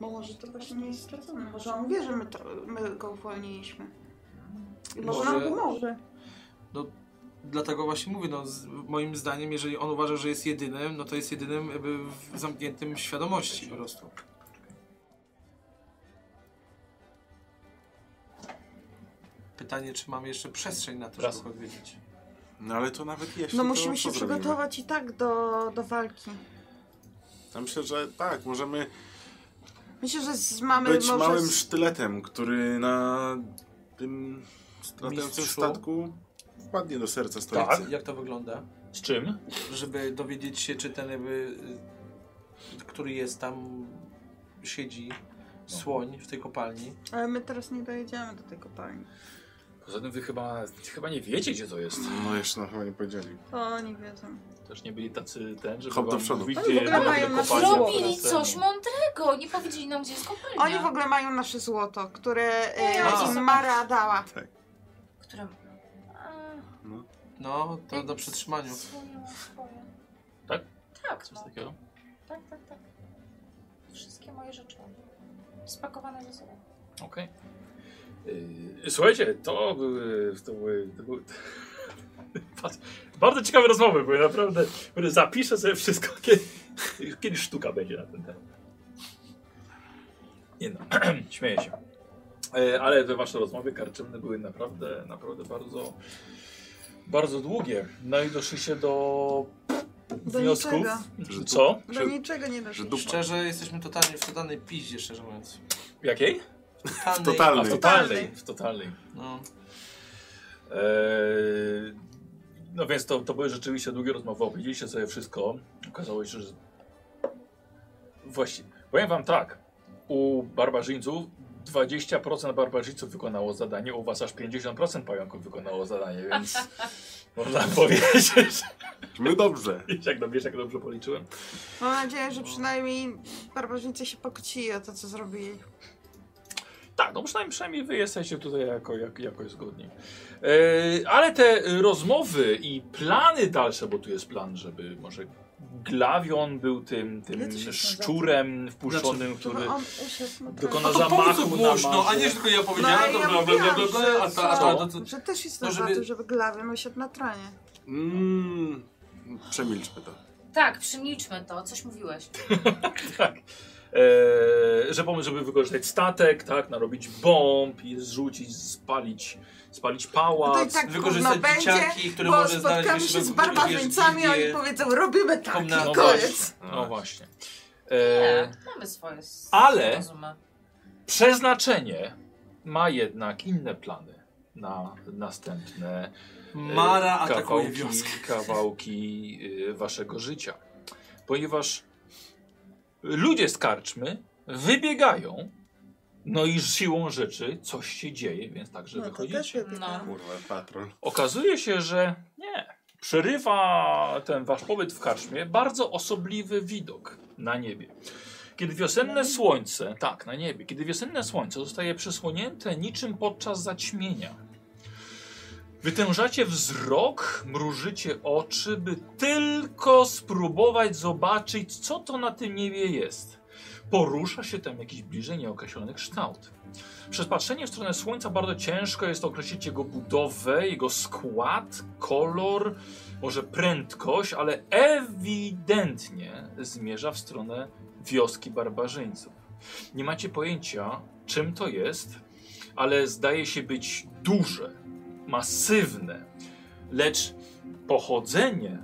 S5: Bo może to właśnie nie jest stracone. Może on wie, że my, to, my go uwolniliśmy. I może,
S1: Może-
S5: nam pomoże.
S1: Dlatego właśnie mówię, no z, moim zdaniem, jeżeli on uważa, że jest jedynym, no to jest jedynym jakby w zamkniętym w świadomości po prostu. Pytanie, czy mamy jeszcze przestrzeń na to,
S2: Raz.
S1: żeby go odwiedzić.
S8: No ale to nawet jeszcze.
S5: No
S8: to
S5: musimy
S8: co
S5: się
S8: zrobimy?
S5: przygotować i tak do, do walki.
S8: Ja myślę, że tak, możemy
S5: Myślę, że z mamy
S8: być
S5: może
S8: małym
S5: z...
S8: sztyletem, który na tym latającym
S1: Mistrzu?
S8: statku wpadnie do serca
S2: Tak.
S8: stolicy.
S1: Jak to wygląda?
S2: Z czym?
S1: Żeby dowiedzieć się, czy ten jakby, y, który jest tam, siedzi słoń w tej kopalni.
S5: Ale my teraz nie dojedziemy do tej kopalni.
S2: Poza tym wy chyba, chyba nie wiecie, gdzie to jest.
S8: No jeszcze nam chyba nie powiedzieli.
S5: To oni wiedzą.
S2: Też nie byli tacy ten, że
S8: Hop do przodu.
S2: Mówić,
S5: Oni w
S2: gdzie
S5: ogóle mają
S2: będą
S5: na
S2: kopalnie.
S6: Zrobili
S2: Ten-
S6: coś mądrego, nie powiedzieli nam, gdzie jest kopalnia.
S5: Oni w ogóle mają nasze złoto, które e,
S1: A.
S5: im Mara dała.
S6: Które... A,
S1: No, to do przetrzymaniu.
S6: swoją, swoją.
S2: Tak?
S6: Tak,
S2: Coś
S6: no.
S2: takiego.
S6: Tak, tak, tak. Wszystkie moje rzeczy. Spakowane ze sobą.
S2: Okej. Yy, Słuchajcie, to były, to były, to były (laughs) Patrz, bardzo ciekawe rozmowy, bo ja naprawdę mówię, zapiszę sobie wszystko, kiedy, kiedyś sztuka będzie na ten temat. Nie no, (clears throat) śmieję się. Yy, Ale te wasze rozmowy karczymne były naprawdę, naprawdę bardzo, bardzo długie. No i doszliście do,
S5: Do
S2: wniosków.
S5: niczego.
S8: Że
S2: Co?
S5: Do niczego nie doszło.
S8: że dupa.
S1: Szczerze, jesteśmy totalnie w totalnej piździe, szczerze mówiąc.
S2: Jakiej?
S1: Totalnej,
S2: A, w
S8: Totalny.
S2: totalnej, w totalnej.
S1: No,
S2: Eee, No więc to, to były rzeczywiście długie rozmowy. Opowiedzieliście sobie wszystko. Okazało się, że. Właściwie. Powiem Wam tak. U barbarzyńców 20% barbarzyńców wykonało zadanie, u Was aż 50% pająków wykonało zadanie, więc można powiedzieć, (laughs) że
S8: My dobrze.
S2: jak, do- wiesz, jak dobrze policzyłem.
S5: Mam nadzieję, że przynajmniej barbarzyńcy się pokłócili o to, co zrobili.
S2: Tak, no przynajmniej, przynajmniej wy jesteście tutaj jako, jak, jakoś zgodni. Yy, ale te y, rozmowy i plany dalsze, bo tu jest plan, żeby może Glawion był tym,
S5: Ile
S2: tym
S5: to się Znaczy,
S2: szczurem wpuszczonym,
S5: Żeby
S2: który...
S5: on usiadł na
S2: Dokonał-
S5: trawie.
S2: No zamachu na
S1: głośno, a
S2: masie.
S1: nie, że tylko ja
S5: No,
S1: powiedziałem,
S5: ale
S1: to bla,
S5: ja
S1: bla, bla,
S5: mówiłam,
S1: bla, bla, a
S5: że,
S1: ta, a ta, to,
S5: że, że też jestem
S1: no,
S5: no,
S1: żeby-
S5: za to, żeby glawion usiadł na tronie.
S8: Mm, przemilczmy to.
S6: Tak, przymilczmy to, coś mówiłeś.
S2: (laughs) Tak. Eee, że pomysł, żeby wykorzystać statek, tak, narobić bomb i zrzucić, spalić, spalić pałac.
S5: to i tak
S1: wykorzystać
S5: gówno
S1: dzieciaki,
S5: będzie,
S1: które
S5: bo
S1: może znaleźć
S5: spotkamy
S1: jeszcze
S5: się z
S1: we- wiesz,
S5: barbarzyńcami, a oni
S1: gdzie-
S5: powiedzą, robimy tak
S1: Komna-
S5: i
S1: no
S5: koniec.
S2: No właśnie. Eee,
S6: Nie, mamy swoje s-
S2: Ale-
S6: rozumy.
S2: przeznaczenie ma jednak inne plany na następne
S1: Mara
S2: e,
S1: atakuje wioskę.
S2: kawałki e, waszego życia. Ponieważ ludzie z karczmy wybiegają, no i siłą rzeczy coś się dzieje, więc tak, także
S5: No to też
S2: wychodzicie.
S5: lepiej.
S6: No.
S5: tak.
S8: Kurwa, patrol.
S2: Okazuje się, że nie. Przerywa ten wasz pobyt w karczmie bardzo osobliwy widok na niebie. Kiedy wiosenne słońce, tak, na niebie, kiedy wiosenne słońce zostaje przysłonięte niczym podczas zaćmienia. Wytężacie wzrok, mrużycie oczy, by tylko spróbować zobaczyć, co to na tym niebie jest. Porusza się tam jakiś bliżej nieokreślony kształt. Przez patrzenie w stronę słońca bardzo ciężko jest określić jego budowę, jego skład, kolor, może prędkość, ale ewidentnie zmierza w stronę wioski barbarzyńców. Nie macie pojęcia, czym to jest, ale zdaje się być duże, masywne, lecz pochodzenie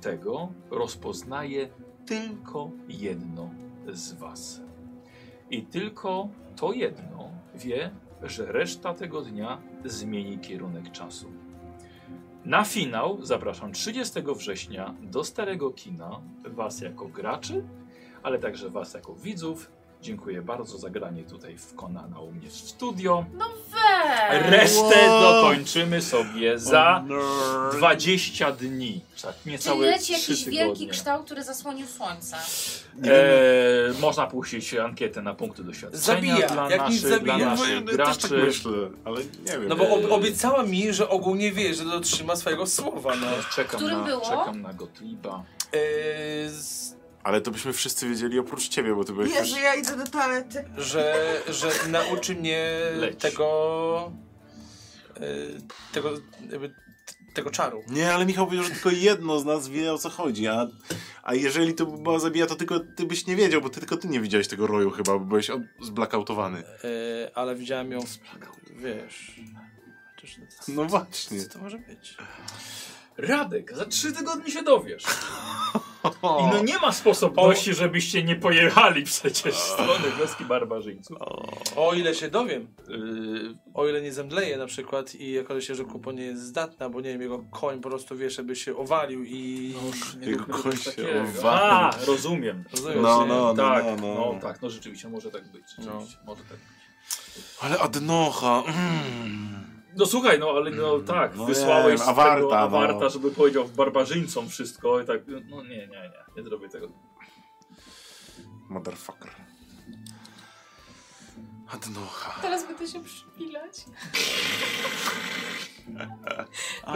S2: tego rozpoznaje tylko jedno z Was. I tylko to jedno wie, że reszta tego dnia zmieni kierunek czasu. Na finał zapraszam 30 września do Starego Kina Was jako graczy, ale także Was jako widzów. Dziękuję bardzo za granie tutaj w Konana u mnie w studio.
S6: Weź!
S2: Resztę
S8: Wow.
S2: dokończymy sobie za
S8: Nerd.
S2: 20 dni. Tak,
S6: Czyli
S2: niecałe
S6: leci
S2: 3
S6: jakiś
S2: tygodnie.
S6: wielki kształt, który zasłonił słońce.
S8: E,
S2: Eee, można puścić ankietę na punkty doświadczenia
S1: Zabija,
S2: dla
S1: jak
S2: naszych,
S1: nic zabija.
S2: dla
S1: Ja
S2: naszych
S8: Też tak
S2: graczy.
S8: myślę, ale nie wiem.
S1: No bo ob obiecała mi, że ogólnie wie, że dotrzyma swojego słowa. No.
S2: Czekam
S6: Którym
S2: na,
S6: było?
S2: czekam na Gottlieba.
S1: Yy, z,
S8: Ale to byśmy wszyscy wiedzieli oprócz ciebie, bo ty
S4: No.
S8: byłeś...
S5: Jezu, ja idę do toalety.
S1: że, że nauczy mnie
S2: Leć.
S1: tego. Yy, tego. Jakby, t- tego czaru.
S8: Nie, ale Michał powiedział, że tylko jedno z nas wie o co chodzi, a, a jeżeli to była zabija, to tylko ty byś nie wiedział, bo ty tylko ty nie widziałeś tego roju chyba, bo byłeś od- zblackoutowany.
S1: Yy, ale widziałem ją. w- Wiesz. Chociaż,
S8: No właśnie.
S1: Co to może być?
S2: Radek, za trzy tygodnie się dowiesz. I no nie ma sposobności, żebyście nie pojechali przecież w stronę wioski barbarzyńców.
S1: O ile się dowiem, y, o ile nie zemdleję na przykład i okaże się, że kupo nie jest zdatna, bo nie wiem, jego koń po prostu wiesz, żeby się owalił i...
S2: Nie
S4: Jego
S2: róbmy
S4: koń
S2: czegoś
S4: się
S2: takiego.
S4: owalił.
S2: A, rozumiem.
S1: Rozumiesz,
S4: No,
S1: nie?
S4: no, no,
S2: tak,
S4: no, no.
S2: tak, no rzeczywiście może tak być. Rzeczywiście, może tak.
S4: Ale Adnocha. Mm.
S2: No słuchaj, no ale no tak,
S4: No
S2: wysłałeś
S4: wiem,
S2: nie,
S4: awarta,
S2: tego awarta,
S4: no.
S2: żeby powiedział barbarzyńcom wszystko i tak, no nie, nie, nie, nie zrobię tego.
S4: Motherfucker. Adnocha.
S6: Teraz będę się przypilać.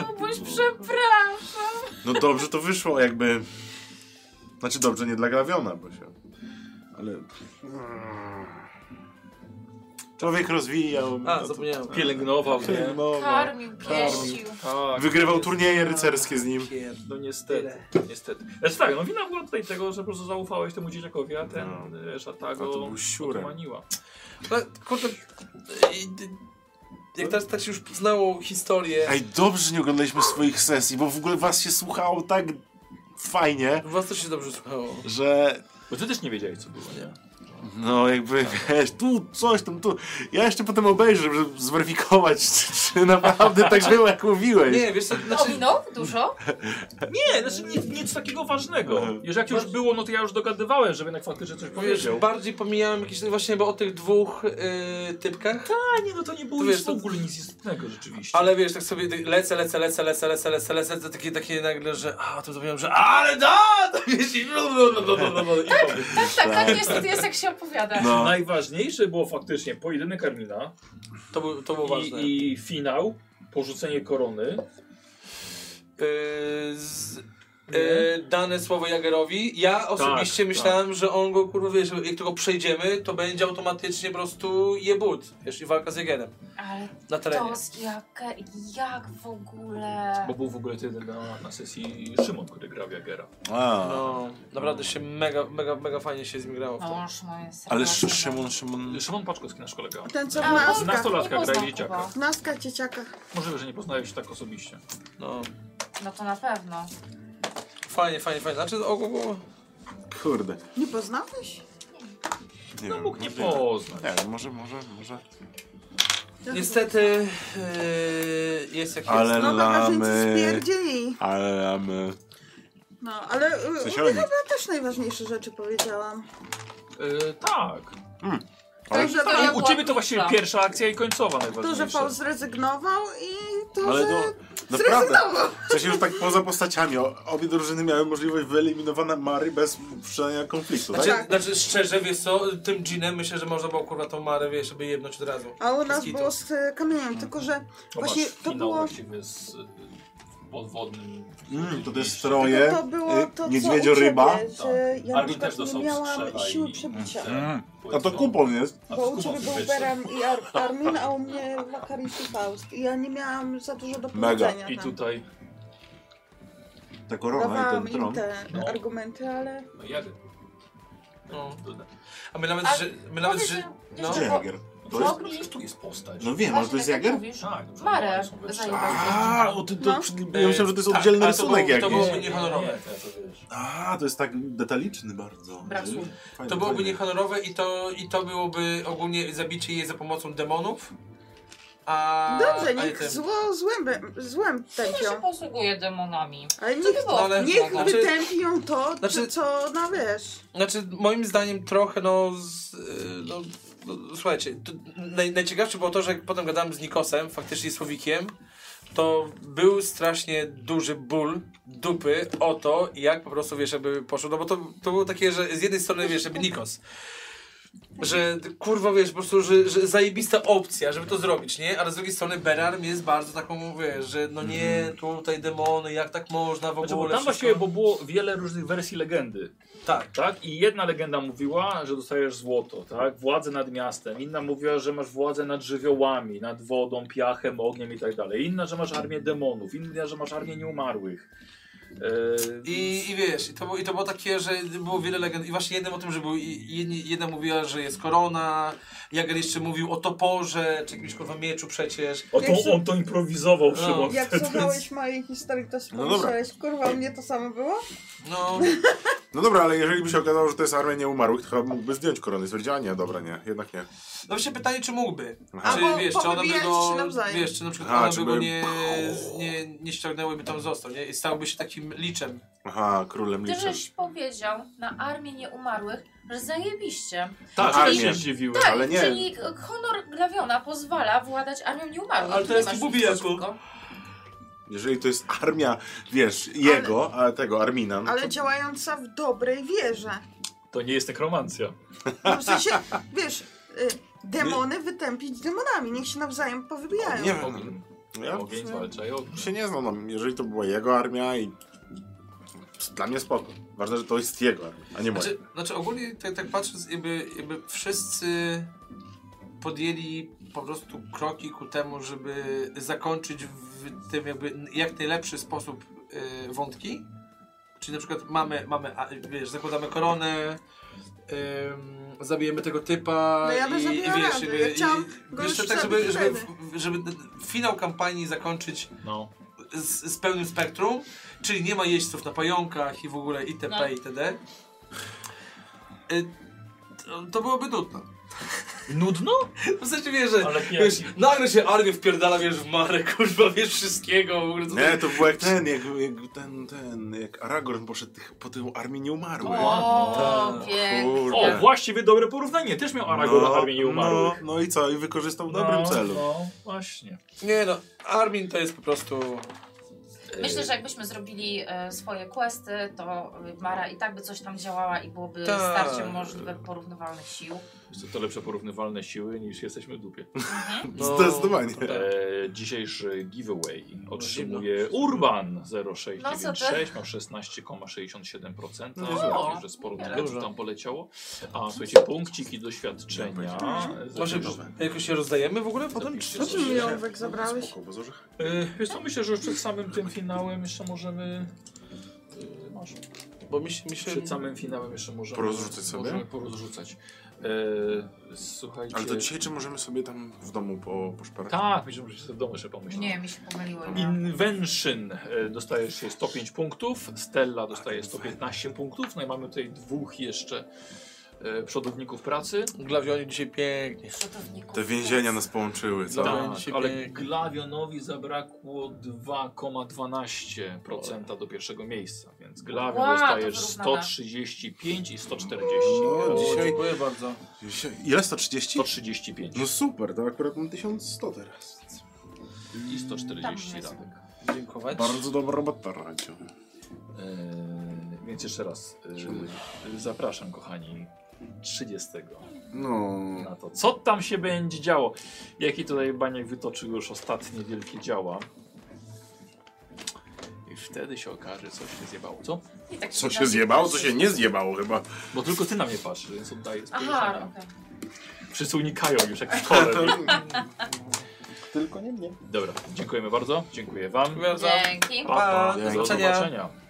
S6: Kubuś, przepraszam.
S4: No dobrze to wyszło, jakby. Znaczy dobrze nie dla Grawiona, bo się. Ale. Człowiek rozwijał.
S1: A, zapomniałem.
S2: Pielęgnował, nie?
S4: Filmował.
S6: Karmił, pieścił.
S2: Tak.
S4: Wygrywał turnieje rycerskie z nim.
S1: Pierd-
S2: No niestety, niestety. Znaczy tak, no wina była tutaj tego, że po prostu zaufałeś temu dzieciakowi, a ten
S4: No.
S2: no.
S4: A
S2: szatago
S4: to był siurem.
S2: otumaniła.
S1: Ale, Kurde, i- d- jak teraz tak się już znało historię,
S4: Ej, dobrze że nie oglądaliśmy swoich sesji, bo w ogóle was się słuchało tak fajnie,
S1: was też się dobrze słuchało.
S4: że
S2: Bo ty też nie wiedziałeś co było, nie?
S4: no jakby wiesz, tu coś tam, tu. Ja jeszcze potem obejrzę, żeby zweryfikować, czy, czy naprawdę tak było, jak mówiłeś.
S1: Nie, wiesz co, znaczy...
S6: Ominął dużo?
S2: Nie, znaczy nic, nic takiego ważnego.
S4: Mhm.
S2: Jeżeli jak już było, no to ja już dogadywałem, że jednak faktycznie coś
S1: Wiesz,
S2: powiedział.
S1: bardziej pomijałem jakieś właśnie bo o tych dwóch y, typkach.
S2: A nie, no to nie było
S1: To
S2: nic
S1: wiesz,
S2: w
S1: to-
S2: ogóle nic istotnego rzeczywiście.
S1: Ale wiesz, tak sobie ty- lecę, lecę, lecę, lecę, lecę, lecę, lecę, to takie, takie nagle, że a, o tym zapomniałem, że ale da, to wiesz,
S2: (laughs)
S1: i tak.
S6: Tak, tak, tak niestety jest jak się opowiada.
S4: No.
S2: Najważniejsze było faktycznie pojedynek Armina
S1: To, był- to było ważne.
S2: i, i finał, porzucenie korony.
S1: Y, z, y, dane słowo Jagerowi, ja osobiście
S2: Tak,
S1: myślałem, że on go, kurwa, wiesz, jak tylko przejdziemy, to będzie automatycznie po prostu jebut, wiesz, i walka z Jagerem
S6: Ale
S1: na terenie.
S6: to z jak, jak w ogóle...
S2: Bo był w ogóle wtedy na, na sesji Szymon, który grał Jagera.
S4: A.
S1: No, naprawdę się mega, mega, mega fajnie się zmigrało w to.
S6: Mąż moje serce.
S4: Ale Sz- Szymon, Szymon.
S2: Szymon Paczkowski, nasz kolega.
S5: Ten co w
S6: A,
S2: Z
S5: naskach,
S6: Polska.
S2: nastolatka
S6: Nie
S2: gra
S6: poznam
S2: dzieciaka.
S6: chyba.
S5: w naskach dzieciakach.
S2: Możliwe, że nie poznałeś tak osobiście.
S1: No,
S6: No to na pewno.
S1: fajnie, fajnie, fajnie. Znaczy, o, o, o,
S4: Kurde.
S5: Nie poznałeś?
S4: Nie
S2: No
S4: wiem,
S2: mógł nie
S4: może-
S2: poznać.
S4: Nie, no może, może, może.
S1: niestety y, jest jak jest.
S4: Ale
S5: No barbarzyńcy
S4: lamy.
S5: spierdzieli.
S4: Ale lamy.
S5: No, ale y, u mnie
S4: Coś oni.
S5: chyba też najważniejsze rzeczy powiedziałam.
S2: Yy, tak.
S5: To, że,
S6: to
S5: Paul-
S6: ja-
S2: U ciebie to właściwie pierwsza akcja i końcowa
S5: to, że
S2: najważniejsza.
S5: Paul zrezygnował i to,
S4: Ale
S5: że...
S4: no, naprawdę.
S5: Zrezygnował!
S4: W sensie już tak poza postaciami. o- Obie drużyny miały możliwość wyeliminowania Mary bez przynajmniej konfliktu, tak?
S1: Znaczy,
S5: tak.
S1: znaczy szczerze, wiesz co, tym dżinem myślę, że można było kurwa tą Marę, wiesz, żeby jednąć od razu.
S5: A u
S1: Bez
S5: nas
S1: kitu.
S5: było z y, kamieniem, tylko że
S2: Zobacz,
S5: właśnie to
S2: finał
S5: było...
S2: właściwie z y, podwodnym...
S4: Mm, to też
S5: Tylko
S4: stroje.
S5: to było to,
S4: y,
S5: co
S4: niedźwiedzio
S5: u ciebie,
S4: ryba.
S5: że ja na
S2: Armin
S5: przykład
S2: też dostał
S5: nie miałam
S2: strzela
S5: siły
S2: i-
S5: przebicia.
S4: Mm. A to kupon jest.
S2: A
S5: Bo
S2: z
S5: u ciebie
S2: Kubą
S5: był
S2: wyszedł.
S5: Beram i Ar Armin, a u mnie Makarius i Faust. I ja nie miałam za dużo do
S4: Mega.
S5: powiedzenia.
S2: no. I
S5: tam.
S2: tutaj...
S4: Ta korona i
S5: Dawałam
S4: ten
S5: im
S4: tron.
S5: te
S2: No.
S5: argumenty, ale...
S2: No jadę.
S1: No.
S2: Doda-
S1: A my nawet,
S6: A
S1: że, my nawet,
S6: powiedz,
S1: że,
S6: że-
S1: no.
S4: Gdzie Jager?
S2: To jest, przecież tu jest postać.
S4: No wiem, ale to jest
S6: Właśnie tak jak
S4: Jager?
S6: mówisz.
S1: No.
S2: Tak, dobrze,
S6: Marę
S2: są we trzech.
S6: zajebał.
S4: A, o ty, to,
S5: No.
S4: ja myślałem, że to jest
S1: Tak,
S4: oddzielny
S1: ale to
S4: rysunek
S1: było- to
S4: jakiś.
S1: było-
S2: Nie,
S1: niehonorowe.
S2: nie, to ja to wiesz.
S4: A, to jest tak detaliczny bardzo.
S6: Brak słów.
S4: Fajnie,
S1: To byłoby
S4: fajnie.
S1: niehonorowe i to, i to byłoby ogólnie zabicie jej za pomocą demonów. A,
S5: Dobrze,
S1: a
S5: niech
S1: tym-
S5: zło złem, złem
S6: Ja się
S5: tępią.
S6: posługuje demonami.
S5: Ale
S6: Co
S5: niech,
S6: to
S1: No,
S6: było?
S1: ale-
S5: niech
S1: Znaczy-
S5: wytępią to,
S1: Znaczy-
S5: co na wiesz.
S1: Znaczy, moim zdaniem trochę, no, z, y, no, no słuchajcie, to, naj, najciekawsze było to, że jak potem gadałem z Nikosem, faktycznie Słowikiem, to był strasznie duży ból dupy o to, jak po prostu, wiesz, żeby poszło, no bo to, to było takie, że z jednej strony, wiesz, żeby Nikos, że kurwa, wiesz, po prostu, że, że zajebista opcja, żeby to zrobić, nie? Ale z drugiej strony Berarm jest bardzo taką, wiesz, że no nie, tutaj demony, jak tak można w ogóle,
S2: Mhm. Znaczy, bo tam
S1: wszystko.
S2: właściwie bo było wiele różnych wersji legendy,
S1: Tak,
S2: tak? I jedna legenda mówiła, że dostajesz złoto, tak? Władzę nad miastem. Inna mówiła, że masz władzę nad żywiołami, nad wodą, piachem, ogniem i tak dalej. Inna, że masz armię demonów. Inna, że masz armię nieumarłych. E,
S1: I, I wiesz, i to, było- i to było takie, że było wiele legend. I właśnie jednym o tym, że był. i- jedni- Jedna mówiła, że jest korona, Jager jeszcze mówił o toporze, czy jakimś kurwa mieczu przecież.
S2: E,
S7: O to,
S5: Jak są-
S7: on to improwizował,
S1: No.
S7: Szymon.
S5: Jak
S7: wtedy.
S5: słuchałeś mojej historii, to
S4: No dobra.
S5: pomyślałeś, kurwa, u mnie to samo było?
S1: No,
S4: No dobra, ale jeżeli by się okazało, że to jest armia nieumarłych, to chyba mógłby zdjąć koronę i stwierdzić, a nie, dobra, nie, jednak nie.
S1: no właśnie pytanie, czy mógłby.
S4: Aha.
S1: Czy
S5: Albo
S1: wiesz, czy ona by
S5: powybijać
S1: go.
S5: się nawzajem.
S1: Wiesz, czy na przykład
S4: Aha,
S1: ona
S4: czy
S1: by go
S4: by-
S1: nie, nie, nie ściągnęły, by tam został, nie? I stałby się takim liczem.
S4: Aha, królem
S6: Ty
S4: liczę.
S6: żeś powiedział na armii nieumarłych, że zajebiście.
S2: tak,
S4: Armię.
S2: ale się zdziwiłem.
S6: Tak,
S4: ale nie.
S6: czyli honor Glawiona pozwala władać armią nieumarłych.
S1: Ale to
S6: Tu
S1: jest
S6: nie masz
S1: i
S6: nic
S1: Bubijaku.
S6: przeciwko.
S4: Jeżeli to jest armia, wiesz, jego, a tego, Armina, no
S5: Ale
S4: to...
S5: działająca w dobrej wierze.
S2: To nie jest nekromancja.
S5: No w sensie, wiesz, y, demony wytępić demonami, niech się nawzajem powybijają.
S4: Nie wiem,
S2: Ogień.
S4: ja
S2: Ogień zwalcza i ogień.
S4: się nie znam, no, jeżeli to była jego armia i... Dla mnie spoko. Ważne, że to jest jego armia, a nie moja.
S1: Znaczy, znaczy ogólnie tak, tak patrząc, jakby, jakby wszyscy podjęli po prostu kroki ku temu, żeby zakończyć w tym jakby jak najlepszy sposób y, wątki. Czyli na przykład mamy, mamy a, wiesz, zakładamy koronę, ym, zabijemy tego typa
S5: No ja bym
S1: i, i
S5: zabiła
S1: wiesz,
S5: Randy,
S1: jakby,
S5: ja
S1: i-
S5: chciałam
S1: i,
S5: go
S1: wiesz,
S5: już
S1: tak, żeby,
S5: zabić
S1: żeby,
S5: wtedy.
S1: w- żeby ten finał kampanii zakończyć
S2: No.
S1: z, z pełnym spektrum, czyli nie ma jeźdźców na pająkach i w ogóle itp.
S6: No.
S1: itd. Y, To, to byłoby nudno.
S2: Nudno?
S1: W sensie wiesz, że
S7: Ale
S1: wiesz,
S7: pięknie.
S1: nagle się armię wpierdala, wiesz, w marę, kurwa, wiesz wszystkiego, w ogóle co
S4: Nie, to był jak ten, jak, jak ten, ten, jak Aragorn poszedł tych, po tę armię nieumarłych.
S6: O, pięknie.
S2: O,
S4: Kurde.
S2: właściwie dobre porównanie. Też miał Aragorn na armię nieumarłych.
S4: No, no i co? I wykorzystał w dobrym
S2: no,
S4: celu.
S2: No, właśnie.
S1: Nie no, Armin to jest po prostu...
S6: Myślę, że jakbyśmy zrobili e, swoje questy, to e, Mara i tak by coś tam działała i byłoby
S1: Tak.
S6: starcie możliwe porównywalnych sił.
S2: Jest E, to- to lepsze porównywalne siły niż jesteśmy w dupie.
S1: No, tak.
S4: Zdecydowanie.
S6: Tak.
S2: E, dzisiejszy giveaway otrzymuje Urban0696.
S6: No co ty?
S2: ma 16,67%.
S4: No,
S2: No,
S6: no.
S2: że sporo
S6: Niewiele.
S2: punktów tam poleciło. A słuchajcie, punkciki doświadczenia. E,
S1: Może
S2: Zapiszę-
S1: jakoś się rozdajemy w ogóle potem?
S2: Zapiszcie
S1: Czy-
S2: sobie.
S5: Ty mi jąbek zabrałeś.
S4: No, Spoko, bo z orzech-
S2: E, Wiesz co, myślę, że już przed samym tym finałem jeszcze możemy... e, Masz.
S1: Bo mi się... Mi się...
S2: Przed samym finałem jeszcze możemy...
S4: Porozrzucać sobie?
S2: Możemy porozrzucać. E, słuchajcie...
S4: Ale to dzisiaj czy możemy sobie tam w domu po, poszperać?
S2: Tak, myślę, że się w domu jeszcze pomyśleć.
S6: Nie, mi się pomyliło. imię.
S2: Invention e, dostajesz się 105 punktów, Stella dostaje 115 punktów, no i mamy tutaj dwóch jeszcze e, przodowników pracy.
S1: Glawioni dzisiaj pięknie.
S6: Przodowników.
S4: Te więzienia no, nas połączyły, co?
S1: Dobra.
S2: Tak,
S1: będzie
S2: ale
S1: pięknie.
S2: Glawionowi zabrakło 2,12% do pierwszego miejsca, więc Glawion
S6: Wow, to
S2: dostajesz
S6: wyrównane.
S2: 135 i 140.
S4: O,
S1: O,
S4: No, dzisiaj-
S1: dziękuję bardzo.
S4: Ile? 130?
S2: 135
S4: No super, to akurat mam 1100 teraz.
S2: i 140
S6: Tam jest.
S2: radek.
S1: Dziękować.
S4: Bardzo dobra robota, Radziu.
S2: E, więc jeszcze raz e, zapraszam kochani 30
S4: No,
S2: na to, co tam się będzie działo. Jaki tutaj Baniek wytoczył już ostatnie wielkie działa. I wtedy się okaże, co się zjebało. Co?
S6: I tak
S4: co się
S6: inaczej
S4: zjebało, co
S6: patrzy.
S4: się nie zjebało chyba.
S2: Bo tylko ty na mnie patrzysz, więc oddaję
S6: Aha,
S2: spojrzenia.
S6: okej.
S2: Wszyscy unikają już jak w szkole.
S4: (laughs) Tylko nie mnie.
S2: Dobra, dziękujemy bardzo. Dziękuję wam.
S1: Dziękuję bardzo.
S6: Dzięki.
S2: Pa, pa.
S1: Do
S2: Do
S1: zobaczenia.
S2: zobaczenia.